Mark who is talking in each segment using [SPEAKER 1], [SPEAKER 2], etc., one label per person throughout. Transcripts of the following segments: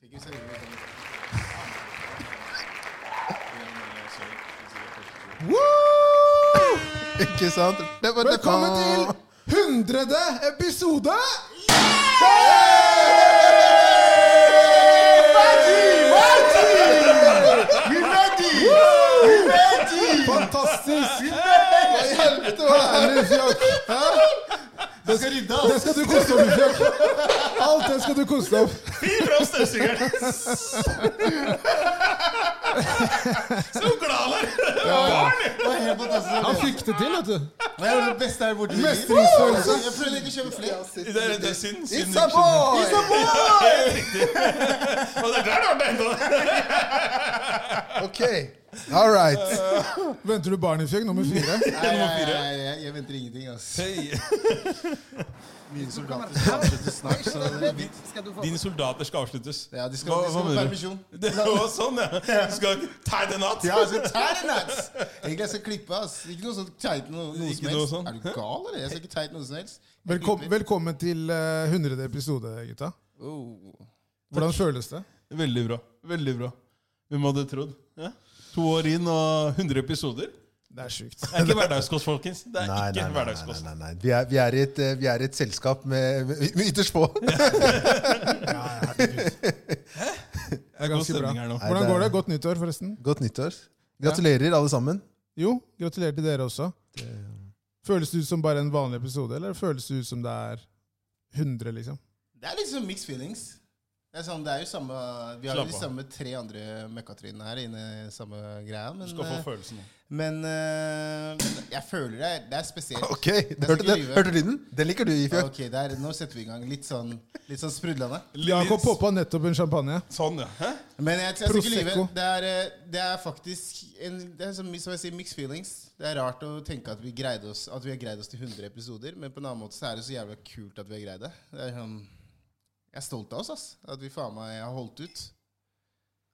[SPEAKER 1] 되게 잘입니다
[SPEAKER 2] Ikke sant? Det var det
[SPEAKER 1] Velkommen til 100. episode! Fantastisk! Hva i helvete var det her? Fjakk? Hæ? Det skal rydde, Det skal du koste opp i fjakk. Alt det skal du koste opp.
[SPEAKER 3] Fy fra støvsugeren! Så glad han er!
[SPEAKER 4] Det var helt fantastisk.
[SPEAKER 1] Han fikk det til, vet du.
[SPEAKER 4] Og jeg gjorde det beste her borte. i byen.
[SPEAKER 1] Mestringsfølelse.
[SPEAKER 4] Jeg prøvde ikke å kjøpe flere.
[SPEAKER 3] Det er, det er synd. synd
[SPEAKER 2] It's a boy!
[SPEAKER 3] Helt riktig. Og det er der det har vært enda.
[SPEAKER 2] Ok. All right.
[SPEAKER 1] Venter du barn i fjøk nummer fire?
[SPEAKER 4] Nei, nei, nei, jeg, jeg venter ingenting, ass. Mine soldater skal avslutte snart, så det er vidt.
[SPEAKER 3] Dine soldater skal avsluttes.
[SPEAKER 4] sånn. Ja, de skal, de skal på permisjon.
[SPEAKER 3] Det var sånn, ja. Du skal tegne natt.
[SPEAKER 4] Ja, altså, jeg skal tære nuts! Egentlig jeg skal klippe, ass. Ikke noe sånt teit noe, noe som
[SPEAKER 3] Ikke noe
[SPEAKER 4] helst.
[SPEAKER 3] sånn.
[SPEAKER 4] Er du gal, eller? Jeg skal ikke teit noe som helst.
[SPEAKER 1] Velkom, velkommen til eh, 100. episode, gutta.
[SPEAKER 4] Oh.
[SPEAKER 1] Hvordan føles det?
[SPEAKER 3] Veldig bra. Veldig bra. Hvem hadde trodd? Ja? To år inn og 100 episoder.
[SPEAKER 1] Det er sjukt.
[SPEAKER 3] Det er ikke hverdagskost, folkens. Det er
[SPEAKER 2] Nei, nei,
[SPEAKER 3] ikke
[SPEAKER 2] nei, nei,
[SPEAKER 3] hverdagskost.
[SPEAKER 2] nei, nei. Vi, er, vi, er i et, eh, vi er i et selskap med, med med ytterst få.
[SPEAKER 3] Det er god
[SPEAKER 1] Ganske bra.
[SPEAKER 3] stemning her nå.
[SPEAKER 1] Hvordan går det? Godt nyttår, forresten.
[SPEAKER 2] Godt nyttår. Gratulerer, alle sammen.
[SPEAKER 1] Jo, gratulerer til dere også. Føles det ut som bare en vanlig episode, eller føles det ut som det er 100, liksom?
[SPEAKER 4] Det er liksom mixed feelings. Det er, sånn, det er jo samme, Vi har jo
[SPEAKER 3] Slapp
[SPEAKER 4] de
[SPEAKER 3] av.
[SPEAKER 4] samme tre andre møkkatrynene her inne i samme greia, men,
[SPEAKER 3] Du skal få
[SPEAKER 4] eh,
[SPEAKER 3] følelsen nå.
[SPEAKER 4] men eh, jeg føler det er, det er spesielt.
[SPEAKER 2] Ok,
[SPEAKER 4] skal ikke
[SPEAKER 2] Hørte, du-
[SPEAKER 4] lyve.
[SPEAKER 2] hørte du lyden? Den liker du, Ifjø.
[SPEAKER 4] Ok, der, Nå setter vi i gang. Litt sånn, litt sånn sprudlende.
[SPEAKER 1] Jakob poppa nettopp en champagne.
[SPEAKER 3] eh, Sånn, ja. Hæ?
[SPEAKER 4] Men jeg, jeg skal ikke lyve.
[SPEAKER 1] Prosecco.
[SPEAKER 4] Det er, eh, det er faktisk en, det er som, som jeg sier, mixed feelings. Det er rart å tenke at vi, greide oss, at vi har greid oss til 100 episoder, men på en annen måte så er det så jævla kult at vi har greid det. det er, sånn- jeg er stolt av oss, ass. At vi faen meg har holdt ut.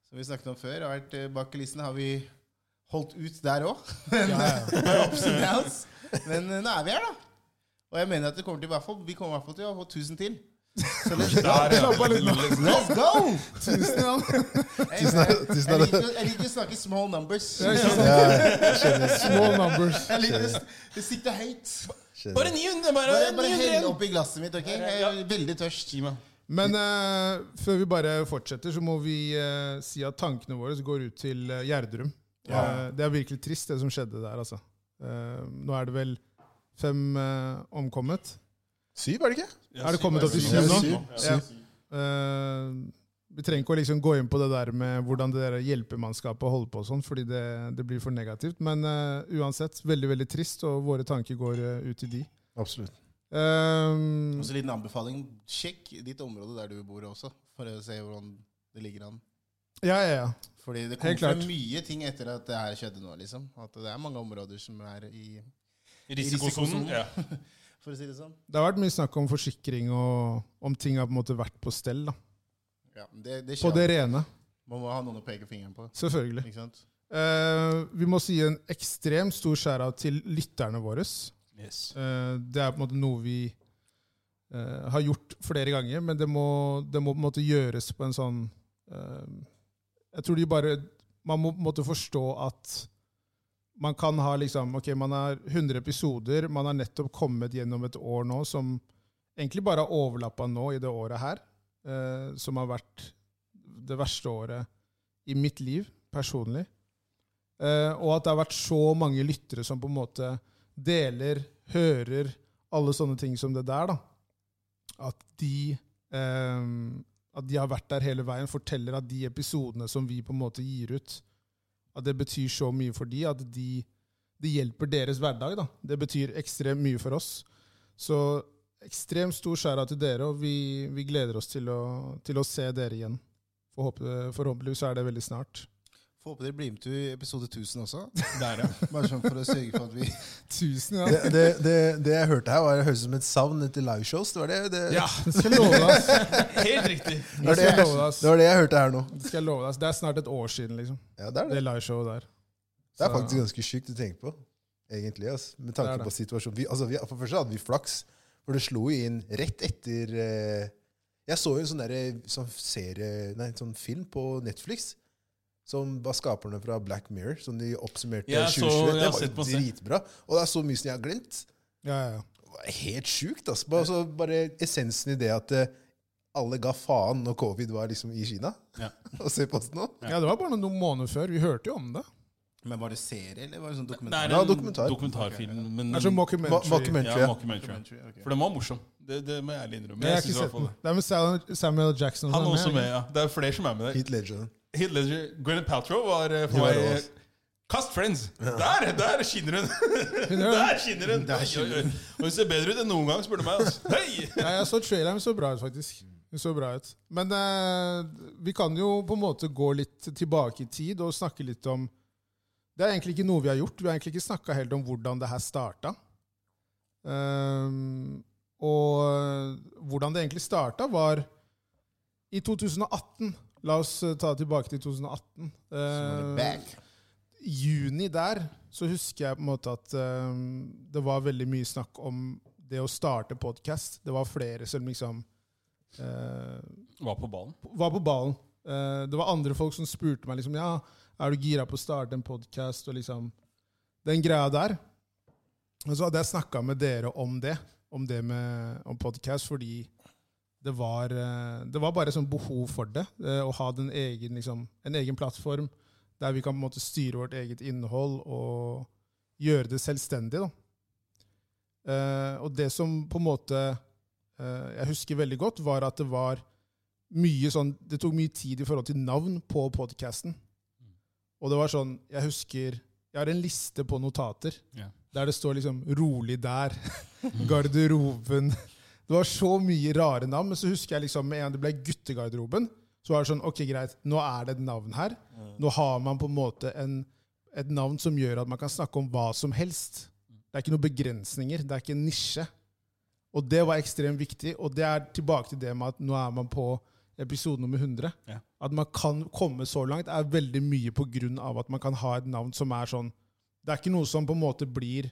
[SPEAKER 4] Som vi snakket om før, har vært eh, bak kulissene har vi holdt ut der òg. Men, eh, ups and downs. men eh, nå er vi her, da. Og jeg mener at det kommer til, i hvert fall, vi kommer i hvert fall til å få 1000 til. Så let's go!
[SPEAKER 3] Der, ja.
[SPEAKER 4] Let's go!
[SPEAKER 1] Tusen takk.
[SPEAKER 4] Hey, man, jeg liker å- jeg liker å snakke small numbers.
[SPEAKER 1] Ja, Small numbers.
[SPEAKER 4] Jeg liker å s- å sikte høyt.
[SPEAKER 3] Bare 900, bare.
[SPEAKER 4] Bare, bare
[SPEAKER 3] 900
[SPEAKER 4] hell
[SPEAKER 3] igjen.
[SPEAKER 4] opp i glasset mitt, OK? Jeg er veldig tørst.
[SPEAKER 3] Gi meg.
[SPEAKER 1] Men eh, før vi bare fortsetter, så må vi eh, si at tankene våre går ut til eh, Gjerdrum. Eh, det er virkelig trist, det som skjedde der, altså. Eh, nå er det vel fem eh, omkommet.
[SPEAKER 2] Syv, er det ikke?
[SPEAKER 1] Er det kommet opp i
[SPEAKER 2] Ja,
[SPEAKER 1] syv nå?
[SPEAKER 2] syv.
[SPEAKER 1] Ja. Eh, vi trenger ikke å liksom gå inn på det der med hvordan det der hjelpemannskapet holder på, og sånn, fordi det, det blir for negativt. Men eh, uansett, veldig veldig trist, og våre tanker går eh, ut til de.
[SPEAKER 2] Absolutt.
[SPEAKER 1] Eh,
[SPEAKER 4] Og så en liten anbefaling. Sjekk ditt område der du bor også, for å se hvordan det ligger an.
[SPEAKER 1] ja, ja, ja.
[SPEAKER 4] Fordi det
[SPEAKER 1] Helt
[SPEAKER 4] kommer frem
[SPEAKER 1] klart.
[SPEAKER 4] mye ting etter at det her skjedde nå, liksom. At det er mange områder som er i
[SPEAKER 3] Risikosonen.
[SPEAKER 4] risikosonen.
[SPEAKER 3] Ja.
[SPEAKER 4] For å si det sånn.
[SPEAKER 1] Det har vært mye snakk om forsikring og om ting har på en måte vært på stell. da.
[SPEAKER 4] Ja, det, det
[SPEAKER 1] På
[SPEAKER 4] skjer.
[SPEAKER 1] det rene,
[SPEAKER 4] Man må ha noen å peke fingeren på.
[SPEAKER 1] selvfølgelig.
[SPEAKER 4] Ikke sant?
[SPEAKER 1] Eh, vi må si en ekstremt stor skjæra til lytterne våre.
[SPEAKER 3] Yes.
[SPEAKER 1] Eh, det er på en måte noe vi eh, har gjort flere ganger, men det må, det må på en måte gjøres på en sånn eh, Jeg tror de bare Man må på en måte forstå at man kan ha liksom Ok, man har 100 episoder, man har nettopp kommet gjennom et år nå som egentlig bare har overlappa nå i det året her, eh, som har vært det verste året i mitt liv personlig. Eh, og at det har vært så mange lyttere som på en måte deler, hører, alle sånne ting som det der, da. At de, ehm, at de har vært der hele veien, forteller at de episodene som vi på en måte gir ut, at det betyr så mye for de, at de, det hjelper deres hverdag. da. Det betyr ekstremt mye for oss. Så ekstremt stor skjæra til dere, og vi, vi gleder oss til å, til å se dere igjen. Forhåpentlig, forhåpentligvis så er det veldig snart.
[SPEAKER 4] Får håpe dere blir med til episode 1000 også.
[SPEAKER 3] Der, ja.
[SPEAKER 4] Bare sånn for å sørge for at vi
[SPEAKER 1] Tusen,
[SPEAKER 2] Det, det, det, det jeg hørte her, var det høres ut som et savn etter liveshows. Det var det, det,
[SPEAKER 3] ja.
[SPEAKER 1] Det skal jeg love deg. ass.
[SPEAKER 3] Helt riktig.
[SPEAKER 2] det, var det,
[SPEAKER 1] skal jeg love deg, ass.
[SPEAKER 2] det, var det jeg hørte her nå.
[SPEAKER 1] Det skal jeg love deg. ass. Det er snart et år siden, liksom.
[SPEAKER 2] Ja, det er det.
[SPEAKER 1] Det liveshowet der.
[SPEAKER 2] Det er
[SPEAKER 1] Så-
[SPEAKER 2] faktisk ganske sykt å tenke på, egentlig. ass. Med tanke
[SPEAKER 1] Det er det.
[SPEAKER 2] på situasjonen. Vi, altså, vi, for det første hadde vi flaks, for det slo jo inn rett etter eh, Jeg så jo en sånn, derre- sånn, serie, nei, sånn film på Netflix som var skaperne fra Black Mirror, som de oppsummerte
[SPEAKER 3] Ja, jeg så-
[SPEAKER 2] 2021.
[SPEAKER 3] jeg
[SPEAKER 2] Det
[SPEAKER 3] har
[SPEAKER 2] var
[SPEAKER 3] sett
[SPEAKER 2] jo
[SPEAKER 3] masse.
[SPEAKER 2] dritbra. Og det er så mye som jeg har glemt.
[SPEAKER 1] Ja, ja, ja.
[SPEAKER 2] Det var helt sjukt. Altså. Bare, altså, bare essensen i det at eh, alle ga faen når covid var liksom i Kina.
[SPEAKER 3] Ja.
[SPEAKER 2] og se på oss nå.
[SPEAKER 3] Ja.
[SPEAKER 1] Ja, det var bare noen måneder før. Vi hørte jo om det.
[SPEAKER 4] Men var det serie, eller var det sånn
[SPEAKER 3] Det
[SPEAKER 4] dokumentar?
[SPEAKER 3] er
[SPEAKER 2] Ja,
[SPEAKER 3] en
[SPEAKER 2] dokumentar.
[SPEAKER 3] dokumentarfilm. Men,
[SPEAKER 1] Det er sånn
[SPEAKER 2] Ma-
[SPEAKER 1] mockumentary.
[SPEAKER 3] ja,
[SPEAKER 2] Mockumentary. Ja,
[SPEAKER 3] mockumentary.
[SPEAKER 4] Documentary, ok.
[SPEAKER 3] For den var morsom. Det, det må jeg ærlig innrømme.
[SPEAKER 1] Jeg har ikke
[SPEAKER 3] synes i hvert
[SPEAKER 1] sett
[SPEAKER 3] fall
[SPEAKER 1] den.
[SPEAKER 3] det.
[SPEAKER 1] Det er med Sal- Samuel Jackson.
[SPEAKER 3] Han er også
[SPEAKER 1] ikke?
[SPEAKER 3] med, ja. Det er flere som er med der.
[SPEAKER 2] Heath Ledger.
[SPEAKER 3] Heath Ledger, Gwyneth Paltrow var eh,
[SPEAKER 2] De
[SPEAKER 3] for
[SPEAKER 2] var
[SPEAKER 3] meg
[SPEAKER 2] rå,
[SPEAKER 3] eh,
[SPEAKER 2] ass.
[SPEAKER 3] Cast Friends! Der der skinner hun!
[SPEAKER 1] Hun er-
[SPEAKER 3] Der skinner hun!
[SPEAKER 4] Der
[SPEAKER 3] Oi,
[SPEAKER 4] skinner
[SPEAKER 3] oi, oi. Og hun ser bedre ut enn noen gang, spør du meg. ass. Hei!
[SPEAKER 1] Ja, jeg så traileren så bra ut, faktisk. Den så bra ut. Men eh, vi kan jo på en måte gå litt tilbake i tid og snakke litt om Det er egentlig ikke noe vi har gjort. Vi har egentlig ikke snakka helt om hvordan det her starta. Ehm, og eh, hvordan det egentlig starta, var i 2018. La oss eh, ta det tilbake til 2018.
[SPEAKER 4] Sånn,
[SPEAKER 1] Eh,
[SPEAKER 4] back.
[SPEAKER 1] juni der så husker jeg på en måte at eh, det var veldig mye snakk om det å starte podkast. Det var flere som liksom eh,
[SPEAKER 3] Var på ballen.
[SPEAKER 1] var på ballen. Eh, det var andre folk som spurte meg liksom, ja, er du gira på å starte en podkast. Og liksom den greia der. Og så hadde jeg snakka med dere om det, om det med om podkast, fordi det var, eh, det var bare sånn behov for det. eh, å ha den egen, liksom, en egen plattform der vi kan på en måte styre vårt eget innhold og gjøre det selvstendig. Da. Eh, og det som på en måte eh, jeg husker veldig godt, var at det var mye sånn Det tok mye tid i forhold til navn på podkasten. Og det var sånn Jeg husker Jeg har en liste på notater
[SPEAKER 3] Ja.
[SPEAKER 1] der det står liksom 'Rolig der', 'Garderoben' Det var så mye rare navn, men så husker jeg liksom med en gang det ble Guttegarderoben, så var det sånn Ok, greit, nå er det et navn her. Nå har man på en måte en, et navn som gjør at man kan snakke om hva som helst. Det er ikke noen begrensninger. Det er ikke en nisje. Og det var ekstremt viktig, og det er tilbake til det med at nå er man på episode nummer 100.
[SPEAKER 3] Ja.
[SPEAKER 1] At man kan komme så langt, er veldig mye på grunn av at man kan ha et navn som er sånn Det er ikke noe som på en måte blir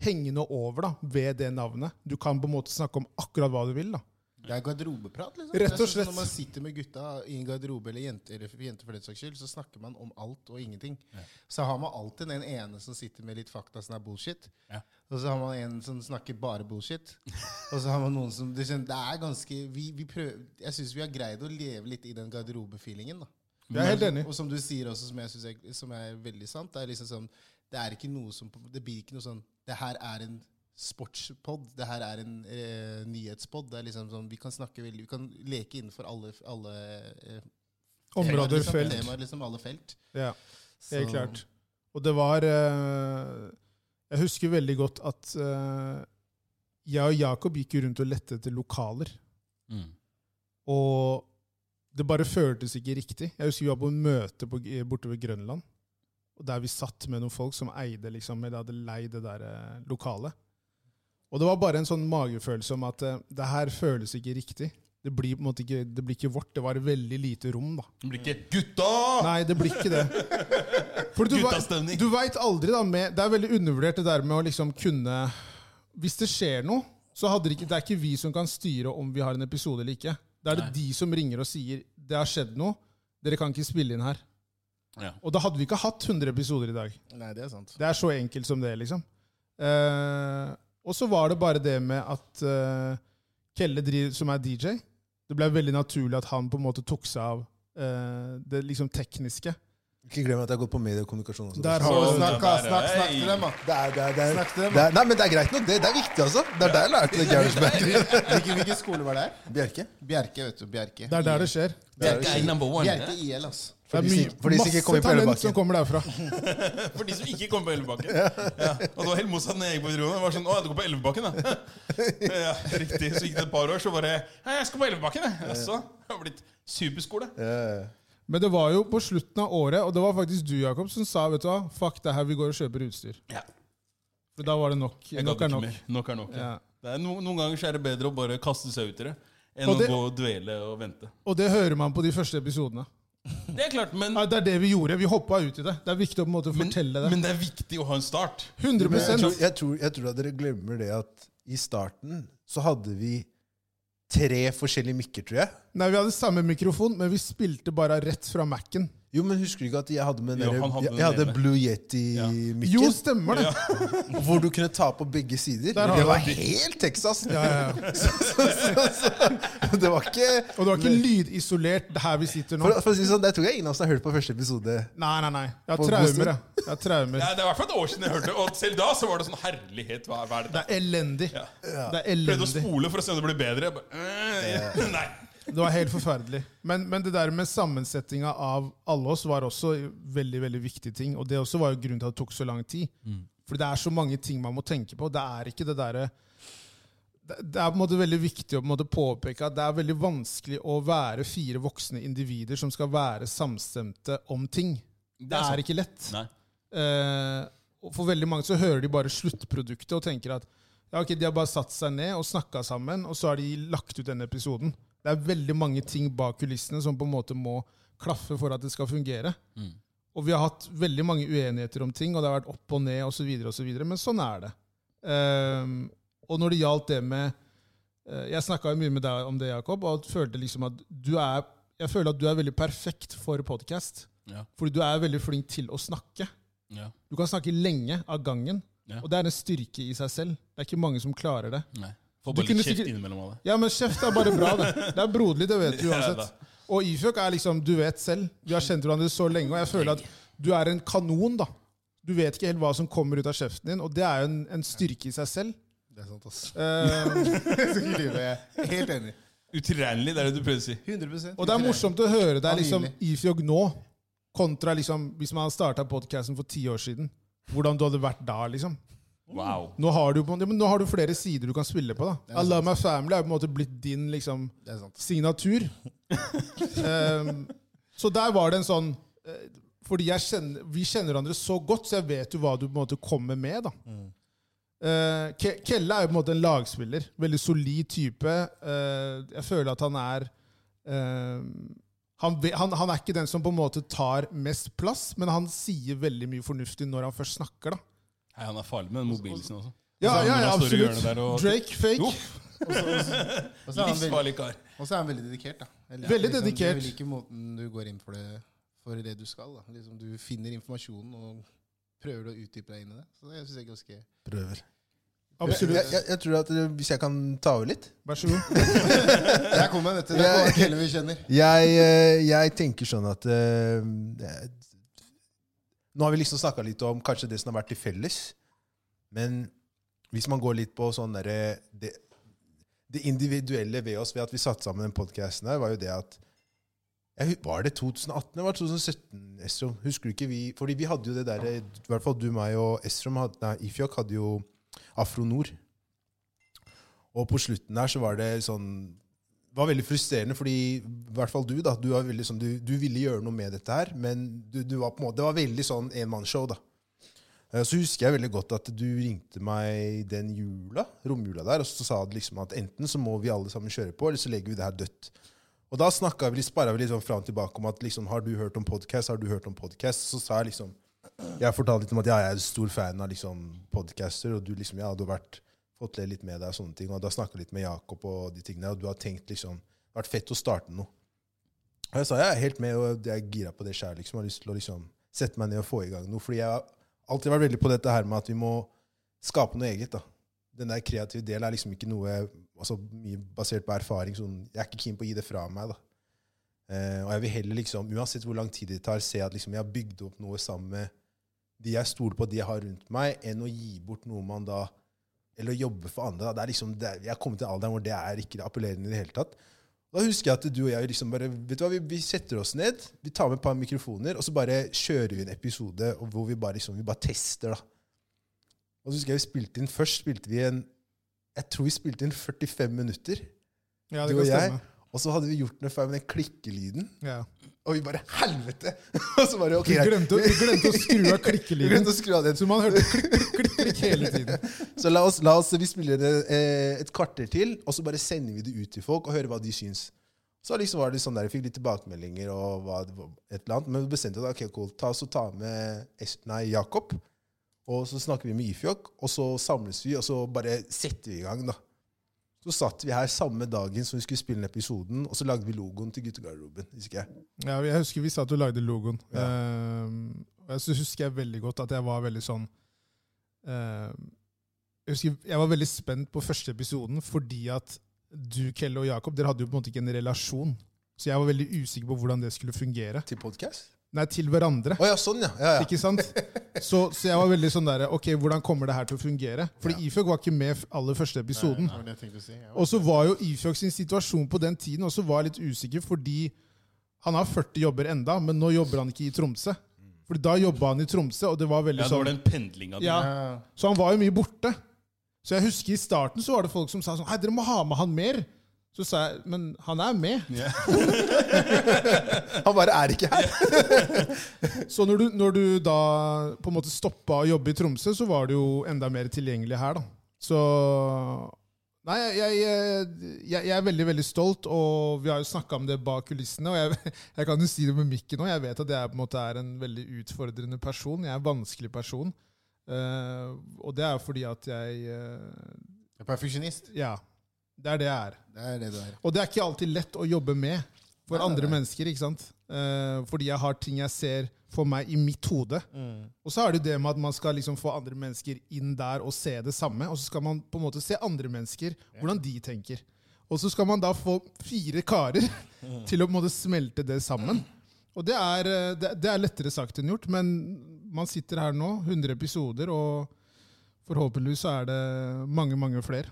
[SPEAKER 1] hengende over da, ved det navnet. Du kan på en måte snakke om akkurat hva du vil. da.
[SPEAKER 4] Det er garderobeprat, liksom.
[SPEAKER 1] Rett og
[SPEAKER 4] Det er sånn
[SPEAKER 1] slett.
[SPEAKER 4] Når man sitter med gutta i en garderobe, eller jenter, eller jenter for den saks skyld, så snakker man om alt og ingenting. Så har man alltid den ene som sitter med litt fakta som er bullshit.
[SPEAKER 3] Ja.
[SPEAKER 4] Og så har man en som snakker bare bullshit. Og så har man noen som Det er- det er ganske vi, vi prøver, Jeg syns vi har greid å leve litt i den garderobefeelingen, da.
[SPEAKER 1] Jeg er helt enig.
[SPEAKER 4] Og som du sier også, som jeg synes er, som er veldig sant, det er liksom sånn Det er ikke noe som Det blir ikke noe sånn Det her er en sportspod. Det her er en eh, nyhetspod. Det er liksom sånn Vi kan snakke veldig Vi kan leke innenfor alle, alle eh, temaer,
[SPEAKER 1] Områder,
[SPEAKER 4] liksom,
[SPEAKER 1] felt.
[SPEAKER 4] Temaer, liksom, alle felt.
[SPEAKER 1] Ja.
[SPEAKER 4] Så-
[SPEAKER 1] Helt klart. Og det var eh, Jeg husker veldig godt at eh, jeg og Jakob gikk jo rundt og lette etter lokaler.
[SPEAKER 3] Mm.
[SPEAKER 1] Og det bare føltes ikke riktig. Jeg husker vi var på en møte på, borte ved Grønland. Og der vi satt med noen folk som eide liksom, eller hadde leid det der eh, lokalet. Og det var bare en sånn magefølelse om at eh, det her føles ikke riktig. Det blir på en måte ikke, det blir ikke vårt. Det var veldig lite rom, da.
[SPEAKER 3] Det blir ikke Gutta!
[SPEAKER 1] Nei, det blir ikke det. For du,
[SPEAKER 3] Guttastemning.
[SPEAKER 1] du veit aldri, da. Med, det er veldig undervurdert det der med å liksom kunne Hvis det skjer noe, så hadde det ikke, det er ikke vi som kan styre om vi har en episode eller ikke. Da er det
[SPEAKER 3] Nei.
[SPEAKER 1] de som ringer og sier 'det har skjedd noe', dere kan ikke spille inn her.
[SPEAKER 3] Ja.
[SPEAKER 1] Og da hadde vi ikke hatt 100 episoder i dag.
[SPEAKER 4] Nei, det er sant.
[SPEAKER 1] Det er så enkelt som det, liksom. Eh, og så var det bare det med at eh, Kelle, driv- som er DJ Det ble veldig naturlig at han på en måte tok seg av eh, det liksom tekniske.
[SPEAKER 2] Ikke glem at jeg har gått på mediekommunikasjon også.
[SPEAKER 1] Der
[SPEAKER 4] Så,
[SPEAKER 1] har du
[SPEAKER 3] det
[SPEAKER 4] snakk,
[SPEAKER 3] er bare-
[SPEAKER 4] snakk, snakk til
[SPEAKER 3] Hei.
[SPEAKER 4] dem, da.
[SPEAKER 2] det er, det er, det er,
[SPEAKER 4] Snakk til dem,
[SPEAKER 2] det er, nei, men det er greit nok. Det, det er viktig, altså. Det er der jeg lærte det. Gerhardsberg.
[SPEAKER 4] Hvilken, hvilken skole var det her?
[SPEAKER 2] Bjerke.
[SPEAKER 4] Bjerke, vet du. Bjerke.
[SPEAKER 1] Det er der det skjer.
[SPEAKER 4] Bjerke,
[SPEAKER 3] Det er number one,
[SPEAKER 4] Bjerke IL, altså.
[SPEAKER 1] Det er
[SPEAKER 2] de
[SPEAKER 1] mye,
[SPEAKER 2] som- for de som ikke
[SPEAKER 1] masse
[SPEAKER 2] kom inn på
[SPEAKER 1] talent
[SPEAKER 2] Elvebakken.
[SPEAKER 1] som kommer derfra.
[SPEAKER 3] For de som ikke kom på Elvebakken. Ja. Og det var helt motsatt når jeg gikk på videregående. Det var sånn, å, du går på Elvebakken, da. Ja, riktig. Så gikk det et par år, så bare Hei, jeg skal på Elvebakken, jeg. Jaså? Det har blitt superskole.
[SPEAKER 2] Eh,
[SPEAKER 1] Men det var jo på slutten av året, og det var faktisk du, Jakob, som sa vet du hva, fuck det her, vi går og kjøper utstyr.
[SPEAKER 3] Ja.
[SPEAKER 1] For da var det nok.
[SPEAKER 3] Jeg
[SPEAKER 1] Nok
[SPEAKER 3] gadd
[SPEAKER 1] er nok.
[SPEAKER 3] ikke mer. Nok er nok. Ja.
[SPEAKER 1] Ja.
[SPEAKER 3] Det er no, noen ganger så er det bedre å bare kaste seg ut i det enn
[SPEAKER 1] Og det-
[SPEAKER 3] å gå og dvele og vente.
[SPEAKER 1] Og det hører man på de første episodene.
[SPEAKER 3] Det er klart, men,
[SPEAKER 1] Ja, det er det vi gjorde. Vi hoppa ut i det. Det er viktig å på en måte
[SPEAKER 3] men,
[SPEAKER 1] fortelle det.
[SPEAKER 3] men det er viktig å ha en start.
[SPEAKER 2] Men jeg,
[SPEAKER 1] 100
[SPEAKER 2] tror, jeg, tror, jeg tror at dere glemmer det at i starten så hadde vi tre forskjellige mikker, tror jeg.
[SPEAKER 1] Nei, vi hadde samme mikrofon, men vi spilte bare rett fra Mac-en.
[SPEAKER 2] Jo, men husker du ikke at jeg hadde med den
[SPEAKER 3] Jo,
[SPEAKER 2] der-
[SPEAKER 3] han hadde
[SPEAKER 2] jeg,
[SPEAKER 3] den
[SPEAKER 2] jeg hadde
[SPEAKER 3] ene.
[SPEAKER 2] Blue
[SPEAKER 1] Jo,
[SPEAKER 2] Yeti-mikken?
[SPEAKER 1] stemmer det!
[SPEAKER 2] Hvor du kunne ta på begge sider.
[SPEAKER 1] Der har
[SPEAKER 2] Det
[SPEAKER 1] du
[SPEAKER 2] var
[SPEAKER 1] det.
[SPEAKER 2] helt Texas!
[SPEAKER 1] Ja, ja, ja.
[SPEAKER 2] Det var ikke
[SPEAKER 1] Og det var ikke lydisolert det her vi sitter nå.
[SPEAKER 2] For, for å si det sånn, Det tror jeg ingen av oss har hørt på første episode.
[SPEAKER 1] Nei, nei, nei. Jeg har
[SPEAKER 2] På
[SPEAKER 1] traumer,
[SPEAKER 2] Booster?
[SPEAKER 1] jeg. Jeg har traumer.
[SPEAKER 3] Nei, det er i hvert fall et år siden jeg hørte det, og selv da så var det sånn herlighet. Hva, hva er det
[SPEAKER 1] Det
[SPEAKER 3] der?
[SPEAKER 1] er elendig.
[SPEAKER 3] Ja.
[SPEAKER 1] Det er
[SPEAKER 3] Prøvde å
[SPEAKER 1] elendig.
[SPEAKER 3] spole for å se om det ble bedre. Jeg bare, øh, nei.
[SPEAKER 1] Det var helt forferdelig. Men, men det der med sammensetninga av alle oss var også veldig veldig viktig ting. Og det også var jo grunnen til at det tok så lang tid.
[SPEAKER 3] Mm.
[SPEAKER 1] For det er så mange ting man må tenke på. Det er ikke det derre det det er på en måte veldig viktig å på en måte påpeke at det er veldig vanskelig å være fire voksne individer som skal være samstemte om ting. Det
[SPEAKER 3] er sant.
[SPEAKER 1] er ikke lett.
[SPEAKER 3] Nei.
[SPEAKER 1] Eh, og for veldig mange så hører de bare sluttproduktet og tenker at ja, ok, de har bare satt seg ned og snakka sammen, og så har de lagt ut denne episoden. Det er veldig mange ting bak kulissene som på en måte må klaffe for at det skal fungere. Og vi har hatt veldig mange uenigheter om ting, og det har vært opp og ned osv., så videre, og så videre, men sånn er det. Ehm, og når det gjaldt det med eh, Jeg snakka mye med deg om det, Jakob, og følte liksom at du er jeg føler at du er veldig perfekt for podkast.
[SPEAKER 3] Ja.
[SPEAKER 1] Fordi du er veldig flink til å snakke.
[SPEAKER 3] Ja.
[SPEAKER 1] Du kan snakke lenge av gangen,
[SPEAKER 3] Ja.
[SPEAKER 1] og det er en styrke i seg selv. Det er ikke mange som klarer det.
[SPEAKER 3] Nei. Får
[SPEAKER 1] Du
[SPEAKER 3] bare litt
[SPEAKER 1] kunne
[SPEAKER 3] kjeft
[SPEAKER 1] sikkert-
[SPEAKER 3] innimellom av det.
[SPEAKER 1] Ja, men kjeft er bare bra, det. Det er broderlig, det vet du
[SPEAKER 3] Ja, da.
[SPEAKER 1] uansett. Og Ifjøk er liksom Du vet selv. Vi har kjent hverandre så lenge, og jeg føler at du er en kanon, da. Du vet ikke helt hva som kommer ut av kjeften din, og det er jo en, en styrke i seg selv.
[SPEAKER 4] Det er sant, ass.
[SPEAKER 1] Eh,
[SPEAKER 4] Jeg skal ikke lyve. Jeg er helt enig.
[SPEAKER 3] Utilregnelig, det er det du prøvde å si.
[SPEAKER 4] 100
[SPEAKER 1] og det er morsomt å høre deg liksom
[SPEAKER 4] Angivelig.
[SPEAKER 1] Ifjøk nå, kontra liksom hvis man hadde starta podkasten for ti år siden. Hvordan du hadde vært da, liksom.
[SPEAKER 3] Wow.
[SPEAKER 1] Nå har, du, på- ja, men nå har du flere sider du kan spille på. da. I Love My Family er på en måte blitt din liksom,
[SPEAKER 4] Det er sant.
[SPEAKER 1] signatur. Ehm, så der var det en sånn eh, Fordi jeg kjenner, vi kjenner hverandre så godt, så jeg vet jo hva du på en måte kommer med. da. Eh, Ke Kelle er jo på en måte en lagspiller. Veldig solid type. Eh, jeg føler at han er eh, han, ve- han, han er ikke den som på en måte tar mest plass, men han sier veldig mye fornuftig når han først snakker. da. Altså,
[SPEAKER 3] Nei, han er farlig med den mobilen sin også.
[SPEAKER 1] Ja,
[SPEAKER 3] Så han
[SPEAKER 1] ja, ja
[SPEAKER 3] står i
[SPEAKER 1] absolutt.
[SPEAKER 3] hjørnet der og-
[SPEAKER 1] Drake, fake.
[SPEAKER 3] Jo.
[SPEAKER 4] Og så er han veldig-
[SPEAKER 3] Livsfarlig kar.
[SPEAKER 4] og så er han veldig dedikert, da. Jeg liker
[SPEAKER 1] Veldig
[SPEAKER 4] liksom-
[SPEAKER 1] dedikert.
[SPEAKER 4] Jeg liker måten du går inn for det, for det du skal. da. Liksom, du finner informasjonen og prøver å utdype deg inn i det. Så det syns jeg er ganske
[SPEAKER 2] Prøver. Jeg,
[SPEAKER 1] Absolutt.
[SPEAKER 2] jeg, jeg tror at eh, Hvis jeg kan ta over litt
[SPEAKER 1] Vær så god.
[SPEAKER 4] Der kom jeg, vet du. Der kommer hele vi kjenner.
[SPEAKER 2] Jeg, eh, jeg tenker sånn at eh, eh, Nå har vi liksom snakka litt om kanskje det som har vært til felles. Men hvis man går litt på sånn derre det, det individuelle ved oss ved at vi satte sammen den podkasten her, var jo det at jeg, hu- Var det 2018 eller var det 2017, Estrom? Husker du ikke vi Fordi vi hadde jo det derre I hvert fall du, meg og Estrom hadde, Nei, Ifjok hadde jo Afronor. Og på slutten der så var det sånn var veldig frustrerende, fordi i hvert fall du da, du, var veldig, sånn, du, du ville gjøre noe med dette her, men du, du var på en måte, det var veldig sånn enmannsshow. da. Eh, Så husker jeg veldig godt at du ringte meg den jula, romjula der, og så sa du liksom at enten så må vi alle sammen kjøre på, eller så legger vi det her dødt. Og da snakket vi litt, sparra vi litt sånn fram og tilbake om at liksom, har du hørt om podkast, har du hørt om podkast? Så sa jeg liksom Jeg fortalte litt om at ja, jeg er stor fan av liksom podcaster, og du liksom, ja, du har vært fått le litt med deg og sånne ting, og du har snakket litt med Jakob og de tingene, og du har tenkt liksom Det har vært fett å starte noe. Og jeg sa jeg er helt med, og jeg er gira på det sjøl, liksom. Jeg har lyst til å liksom sette meg ned og få i gang noe. Fordi jeg har alltid vært veldig på dette her med at vi må skape noe eget, da. Den der kreative delen er liksom ikke noe altså mye basert på erfaring. Sånn, jeg er ikke keen på å gi det fra meg, da. Eh, og jeg vil heller, liksom, uansett hvor lang tid det tar, se at liksom, jeg har bygd opp noe sammen med de jeg stoler på, de jeg har rundt meg, enn å gi bort noe man da Eller å jobbe for andre. Da. Det er liksom, det er, jeg har kommet til alderen hvor det er ikke appellerende i det hele tatt. Da husker jeg at du og jeg liksom bare vet du hva, vi, vi setter oss ned, vi tar med et par mikrofoner, og så bare kjører vi en episode og hvor vi bare, liksom, vi bare tester. da. Og så husker jeg vi spilte inn først spilte vi en, Jeg tror vi spilte inn 45 minutter,
[SPEAKER 1] Ja,
[SPEAKER 2] du
[SPEAKER 1] det
[SPEAKER 2] og
[SPEAKER 1] kan
[SPEAKER 2] jeg.
[SPEAKER 1] stemme.
[SPEAKER 2] Og så hadde vi gjort noe feil med den klikkelyden.
[SPEAKER 1] Ja.
[SPEAKER 2] Og vi bare Helvete! og så bare, ok,
[SPEAKER 1] Vi
[SPEAKER 2] greit.
[SPEAKER 1] glemte, å- vi glemte å skru av
[SPEAKER 2] Vi
[SPEAKER 1] klikkelyden.
[SPEAKER 2] glemte å skru av den.
[SPEAKER 1] Så man hørte klikk, klikk, klikk, klikk hele tiden.
[SPEAKER 2] Så la oss, la oss vi spiller det eh, et kvarter til, og så bare sender vi det ut til folk og hører hva de syns. Så liksom var det sånn der, Jeg fikk litt tilbakemeldinger, og hva, det var- et eller annet, men vi bestemte at ok, cool, ta, så ta med Es- nei, Jakob, og så snakker vi med Ifjok, og så samles vi, og så bare setter vi i gang. da. Så satt vi her samme dagen som vi skulle spille inn episoden, og så lagde vi logoen til guttegarderoben. husker jeg.
[SPEAKER 1] Ja, jeg husker vi sa at du lagde logoen. Ehm, og jeg så husker jeg veldig godt at jeg var veldig sånn ehm, Jeg husker jeg var veldig spent på første episoden fordi at du, Kelle og Jakob, dere hadde jo på en måte ikke en relasjon. Så jeg var veldig usikker på hvordan det skulle fungere.
[SPEAKER 2] Til podcast?
[SPEAKER 1] Nei, til hverandre.
[SPEAKER 2] Å ja, sånn, ja. ja, ja.
[SPEAKER 1] Ikke sant? Så, så jeg var veldig sånn derre Ok, hvordan kommer det her til å fungere? Fordi Ifjok var ikke med f- aller første episoden.
[SPEAKER 4] Det var det jeg tenkte å si. Ja.
[SPEAKER 1] Og så var jo Ifjok sin situasjon på den tiden også var litt usikker, fordi han har 40 jobber enda, men nå jobber han ikke i Tromsø. Fordi da jobba han i Tromsø, og det var veldig
[SPEAKER 3] Ja, det var
[SPEAKER 1] sånn
[SPEAKER 3] den pendlinga
[SPEAKER 1] ja,
[SPEAKER 4] Ja.
[SPEAKER 1] Så han var jo mye borte. Så jeg husker i starten så var det folk som sa sånn Hei, dere må ha med han mer. Så sa jeg Men han er med.
[SPEAKER 2] Han bare er ikke her!
[SPEAKER 1] Så når du, når du da på en måte stoppa å jobbe i Tromsø, så var du jo enda mer tilgjengelig her, da. Så Nei, jeg, jeg, jeg, jeg er veldig veldig stolt, og vi har jo snakka om det bak kulissene. Og jeg, jeg kan jo si det med mikken òg. Jeg vet at jeg på en måte er en veldig utfordrende person. Jeg er en vanskelig person. Eh, og det er jo fordi at jeg eh,
[SPEAKER 4] Jeg er perfeksjonist.
[SPEAKER 1] Ja. Det er det jeg er.
[SPEAKER 4] Det er det du er.
[SPEAKER 1] Og det er ikke alltid lett å jobbe med for
[SPEAKER 4] Nei, nei,
[SPEAKER 1] andre
[SPEAKER 4] nei.
[SPEAKER 1] mennesker. ikke sant? Eh, fordi jeg har ting jeg ser for meg i mitt hode.
[SPEAKER 4] Mm.
[SPEAKER 1] Og så er det jo det med at man skal liksom få andre mennesker inn der og se det samme. Og så skal man på en måte se andre mennesker, hvordan de tenker. Og så skal man da få fire karer til å på en måte smelte det sammen. Og det er, eh, det, det er lettere sagt enn gjort, men man sitter her nå, 100 episoder, og forhåpentligvis så er det mange, mange flere.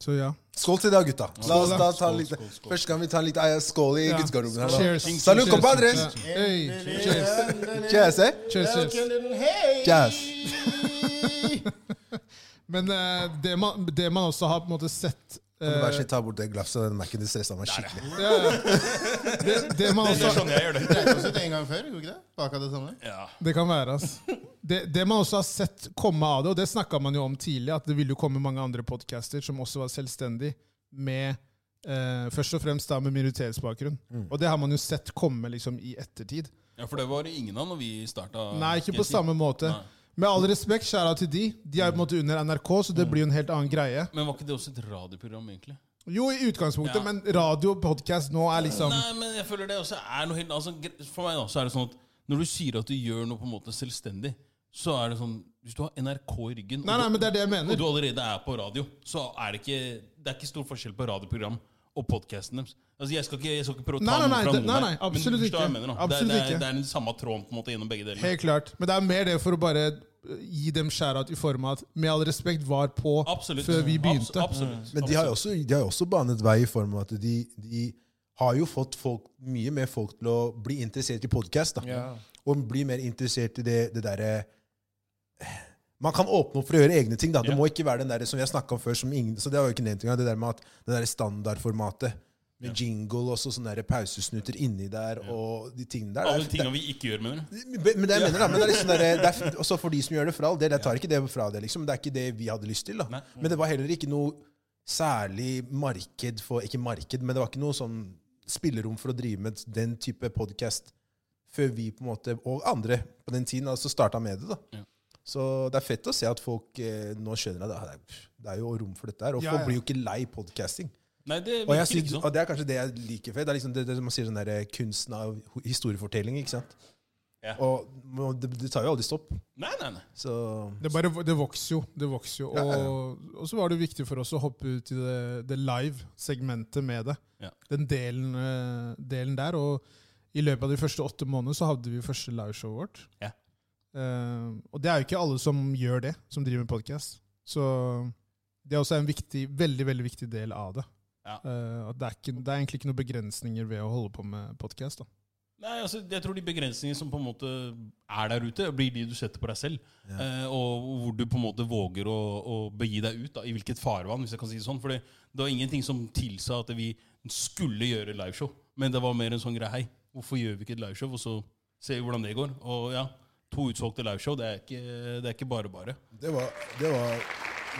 [SPEAKER 1] Så ja.
[SPEAKER 2] Skål til deg, gutta. La oss da ta
[SPEAKER 3] Skål,
[SPEAKER 2] litt,
[SPEAKER 3] skål, skål.
[SPEAKER 2] Først kan vi ta litt eh, skål i guttegarderoben her nå.
[SPEAKER 1] Cheers.
[SPEAKER 2] Salud, compadres.
[SPEAKER 1] Hey, cheers.
[SPEAKER 2] Cheers, eh?
[SPEAKER 1] Cheers, cheers.
[SPEAKER 4] Hei!
[SPEAKER 2] Cheers.
[SPEAKER 1] Men eh, det, man, det man også har på en måte sett
[SPEAKER 2] Kan du
[SPEAKER 1] eh,
[SPEAKER 2] Vær så snill, ta bort det glasset. Den Mac-en det stressa meg skikkelig.
[SPEAKER 1] ja, ja. det, det, man
[SPEAKER 3] Det
[SPEAKER 1] også,
[SPEAKER 3] er sånn jeg gjør det.
[SPEAKER 4] Dreit oss ut en gang før, gjorde vi ikke det? Baka det samme?
[SPEAKER 3] Ja.
[SPEAKER 1] det kan være, ass. Det, det man også har sett komme av det, og det snakka man jo om tidlig, at det ville jo komme mange andre podcaster som også var selvstendig med eh, Først og fremst da med minoritetsbakgrunn. Og det har man jo sett komme liksom i ettertid.
[SPEAKER 3] ja, for det var ingen av når vi starta.
[SPEAKER 1] Nei, ikke på samme måte. Med all respekt, kjære til de. De er på en måte under NRK, så det blir jo en helt annen greie.
[SPEAKER 3] Men var ikke det også et radioprogram, egentlig?
[SPEAKER 1] Jo, i utgangspunktet,
[SPEAKER 3] Ja.
[SPEAKER 1] men radio og podkast nå er liksom
[SPEAKER 3] Nei, men jeg føler det også er noe helt altså, gre- For meg da, så er det sånn at når du sier at du gjør noe på en måte selvstendig, så er det sånn Hvis du har NRK i ryggen
[SPEAKER 1] Nei, nei,
[SPEAKER 3] og,
[SPEAKER 1] men
[SPEAKER 3] du,
[SPEAKER 1] det er det jeg
[SPEAKER 3] og
[SPEAKER 1] mener.
[SPEAKER 3] du allerede er på radio, så er det ikke Det er ikke stor forskjell på radioprogram og podkasten deres. Altså, jeg, skal ikke, jeg skal ikke prøve å
[SPEAKER 1] Nei,
[SPEAKER 3] ta
[SPEAKER 1] nei, nei,
[SPEAKER 3] noe fra
[SPEAKER 1] det-
[SPEAKER 3] noen
[SPEAKER 1] nei,
[SPEAKER 3] her,
[SPEAKER 1] nei,
[SPEAKER 3] men
[SPEAKER 1] absolutt
[SPEAKER 3] du forstår hva jeg
[SPEAKER 1] ikke.
[SPEAKER 3] mener, da.
[SPEAKER 1] Absolutt
[SPEAKER 3] det, er, det,
[SPEAKER 1] ikke.
[SPEAKER 3] er, det er den samme tråden på en måte gjennom begge deler.
[SPEAKER 1] Helt klart. Men det er mer det for å bare eh, gi dem skjærat i form av at med all respekt var på
[SPEAKER 3] Absolutt.
[SPEAKER 1] før vi
[SPEAKER 3] Abs-
[SPEAKER 1] begynte.
[SPEAKER 3] absolutt.
[SPEAKER 2] Men de har jo også, de har jo også banet vei i form av at de, de har jo fått folk, mye mer folk til å bli interessert i podkast.
[SPEAKER 4] Ja.
[SPEAKER 2] Og bli mer interessert i det, det derre eh, Man kan åpne opp for å gjøre egne ting. da. Det
[SPEAKER 3] Ja.
[SPEAKER 2] må ikke være den der som vi har snakka om før, som ingen, så det har jeg jo ikke nevnt engang, det der med at det der standardformatet. Med jingle og så sånne der pausesnutter inni der og de tingene der.
[SPEAKER 3] Alle
[SPEAKER 2] Det er-
[SPEAKER 3] tinga vi ikke gjør, mener du?
[SPEAKER 2] men det jeg mener da, men det er liksom der, det er, f- også for de som gjør det, for all del. Jeg tar ikke det fra det, liksom. Det er ikke det vi hadde lyst til. da.
[SPEAKER 3] Nei.
[SPEAKER 2] Men det var heller ikke noe særlig marked for Ikke marked, men det var ikke noe sånn spillerom for å drive med den type podkast før vi på en måte, og andre på den tiden, altså starta med det. da.
[SPEAKER 3] Ja.
[SPEAKER 2] Så det er fett å se at folk eh, nå skjønner at det er, det er jo rom for dette her. Og
[SPEAKER 1] Ja,
[SPEAKER 2] folk
[SPEAKER 1] ja.
[SPEAKER 2] blir jo ikke lei podcasting.
[SPEAKER 3] Nei, det
[SPEAKER 2] Og, jeg
[SPEAKER 3] virker
[SPEAKER 2] synes,
[SPEAKER 3] ikke sånn.
[SPEAKER 2] og det er kanskje det jeg liker for. Det er liksom det, det man sier sånn der eh, kunsten av ho- historiefortelling, ikke sant?
[SPEAKER 3] Ja.
[SPEAKER 2] Og må- det, det tar jo aldri stopp.
[SPEAKER 3] Nei, nei, nei.
[SPEAKER 2] Så
[SPEAKER 1] Det, bare, det vokser jo. det vokser jo.
[SPEAKER 2] Ja, ja, ja.
[SPEAKER 1] Og, og så var det jo viktig for oss å hoppe ut i det, det live-segmentet med det.
[SPEAKER 3] Ja.
[SPEAKER 1] Den delen, eh, delen der. Og i løpet av de første åtte månedene så hadde vi første liveshowet vårt.
[SPEAKER 3] Ja.
[SPEAKER 1] Eh, og det er jo ikke alle som gjør det, som driver med podkast. Så det er også en viktig, veldig veldig viktig del av det.
[SPEAKER 3] Ja.
[SPEAKER 1] Eh, at det, er ikke, det er egentlig ikke noen begrensninger ved å holde på med podkast.
[SPEAKER 3] Nei, altså, jeg tror de begrensningene som på en måte er der ute, blir de du setter på deg selv. Eh, og hvor du på en måte våger å, å begi deg ut, da, i hvilket farvann, hvis jeg kan si det sånn. For det det var ingenting som tilsa at vi skulle gjøre liveshow. Men det var mer en sånn greie Hei, hvorfor gjør vi ikke et liveshow? Og så ser vi hvordan det går. Og ja, to utsolgte liveshow, det er ikke, det er ikke bare bare.
[SPEAKER 2] det var, det var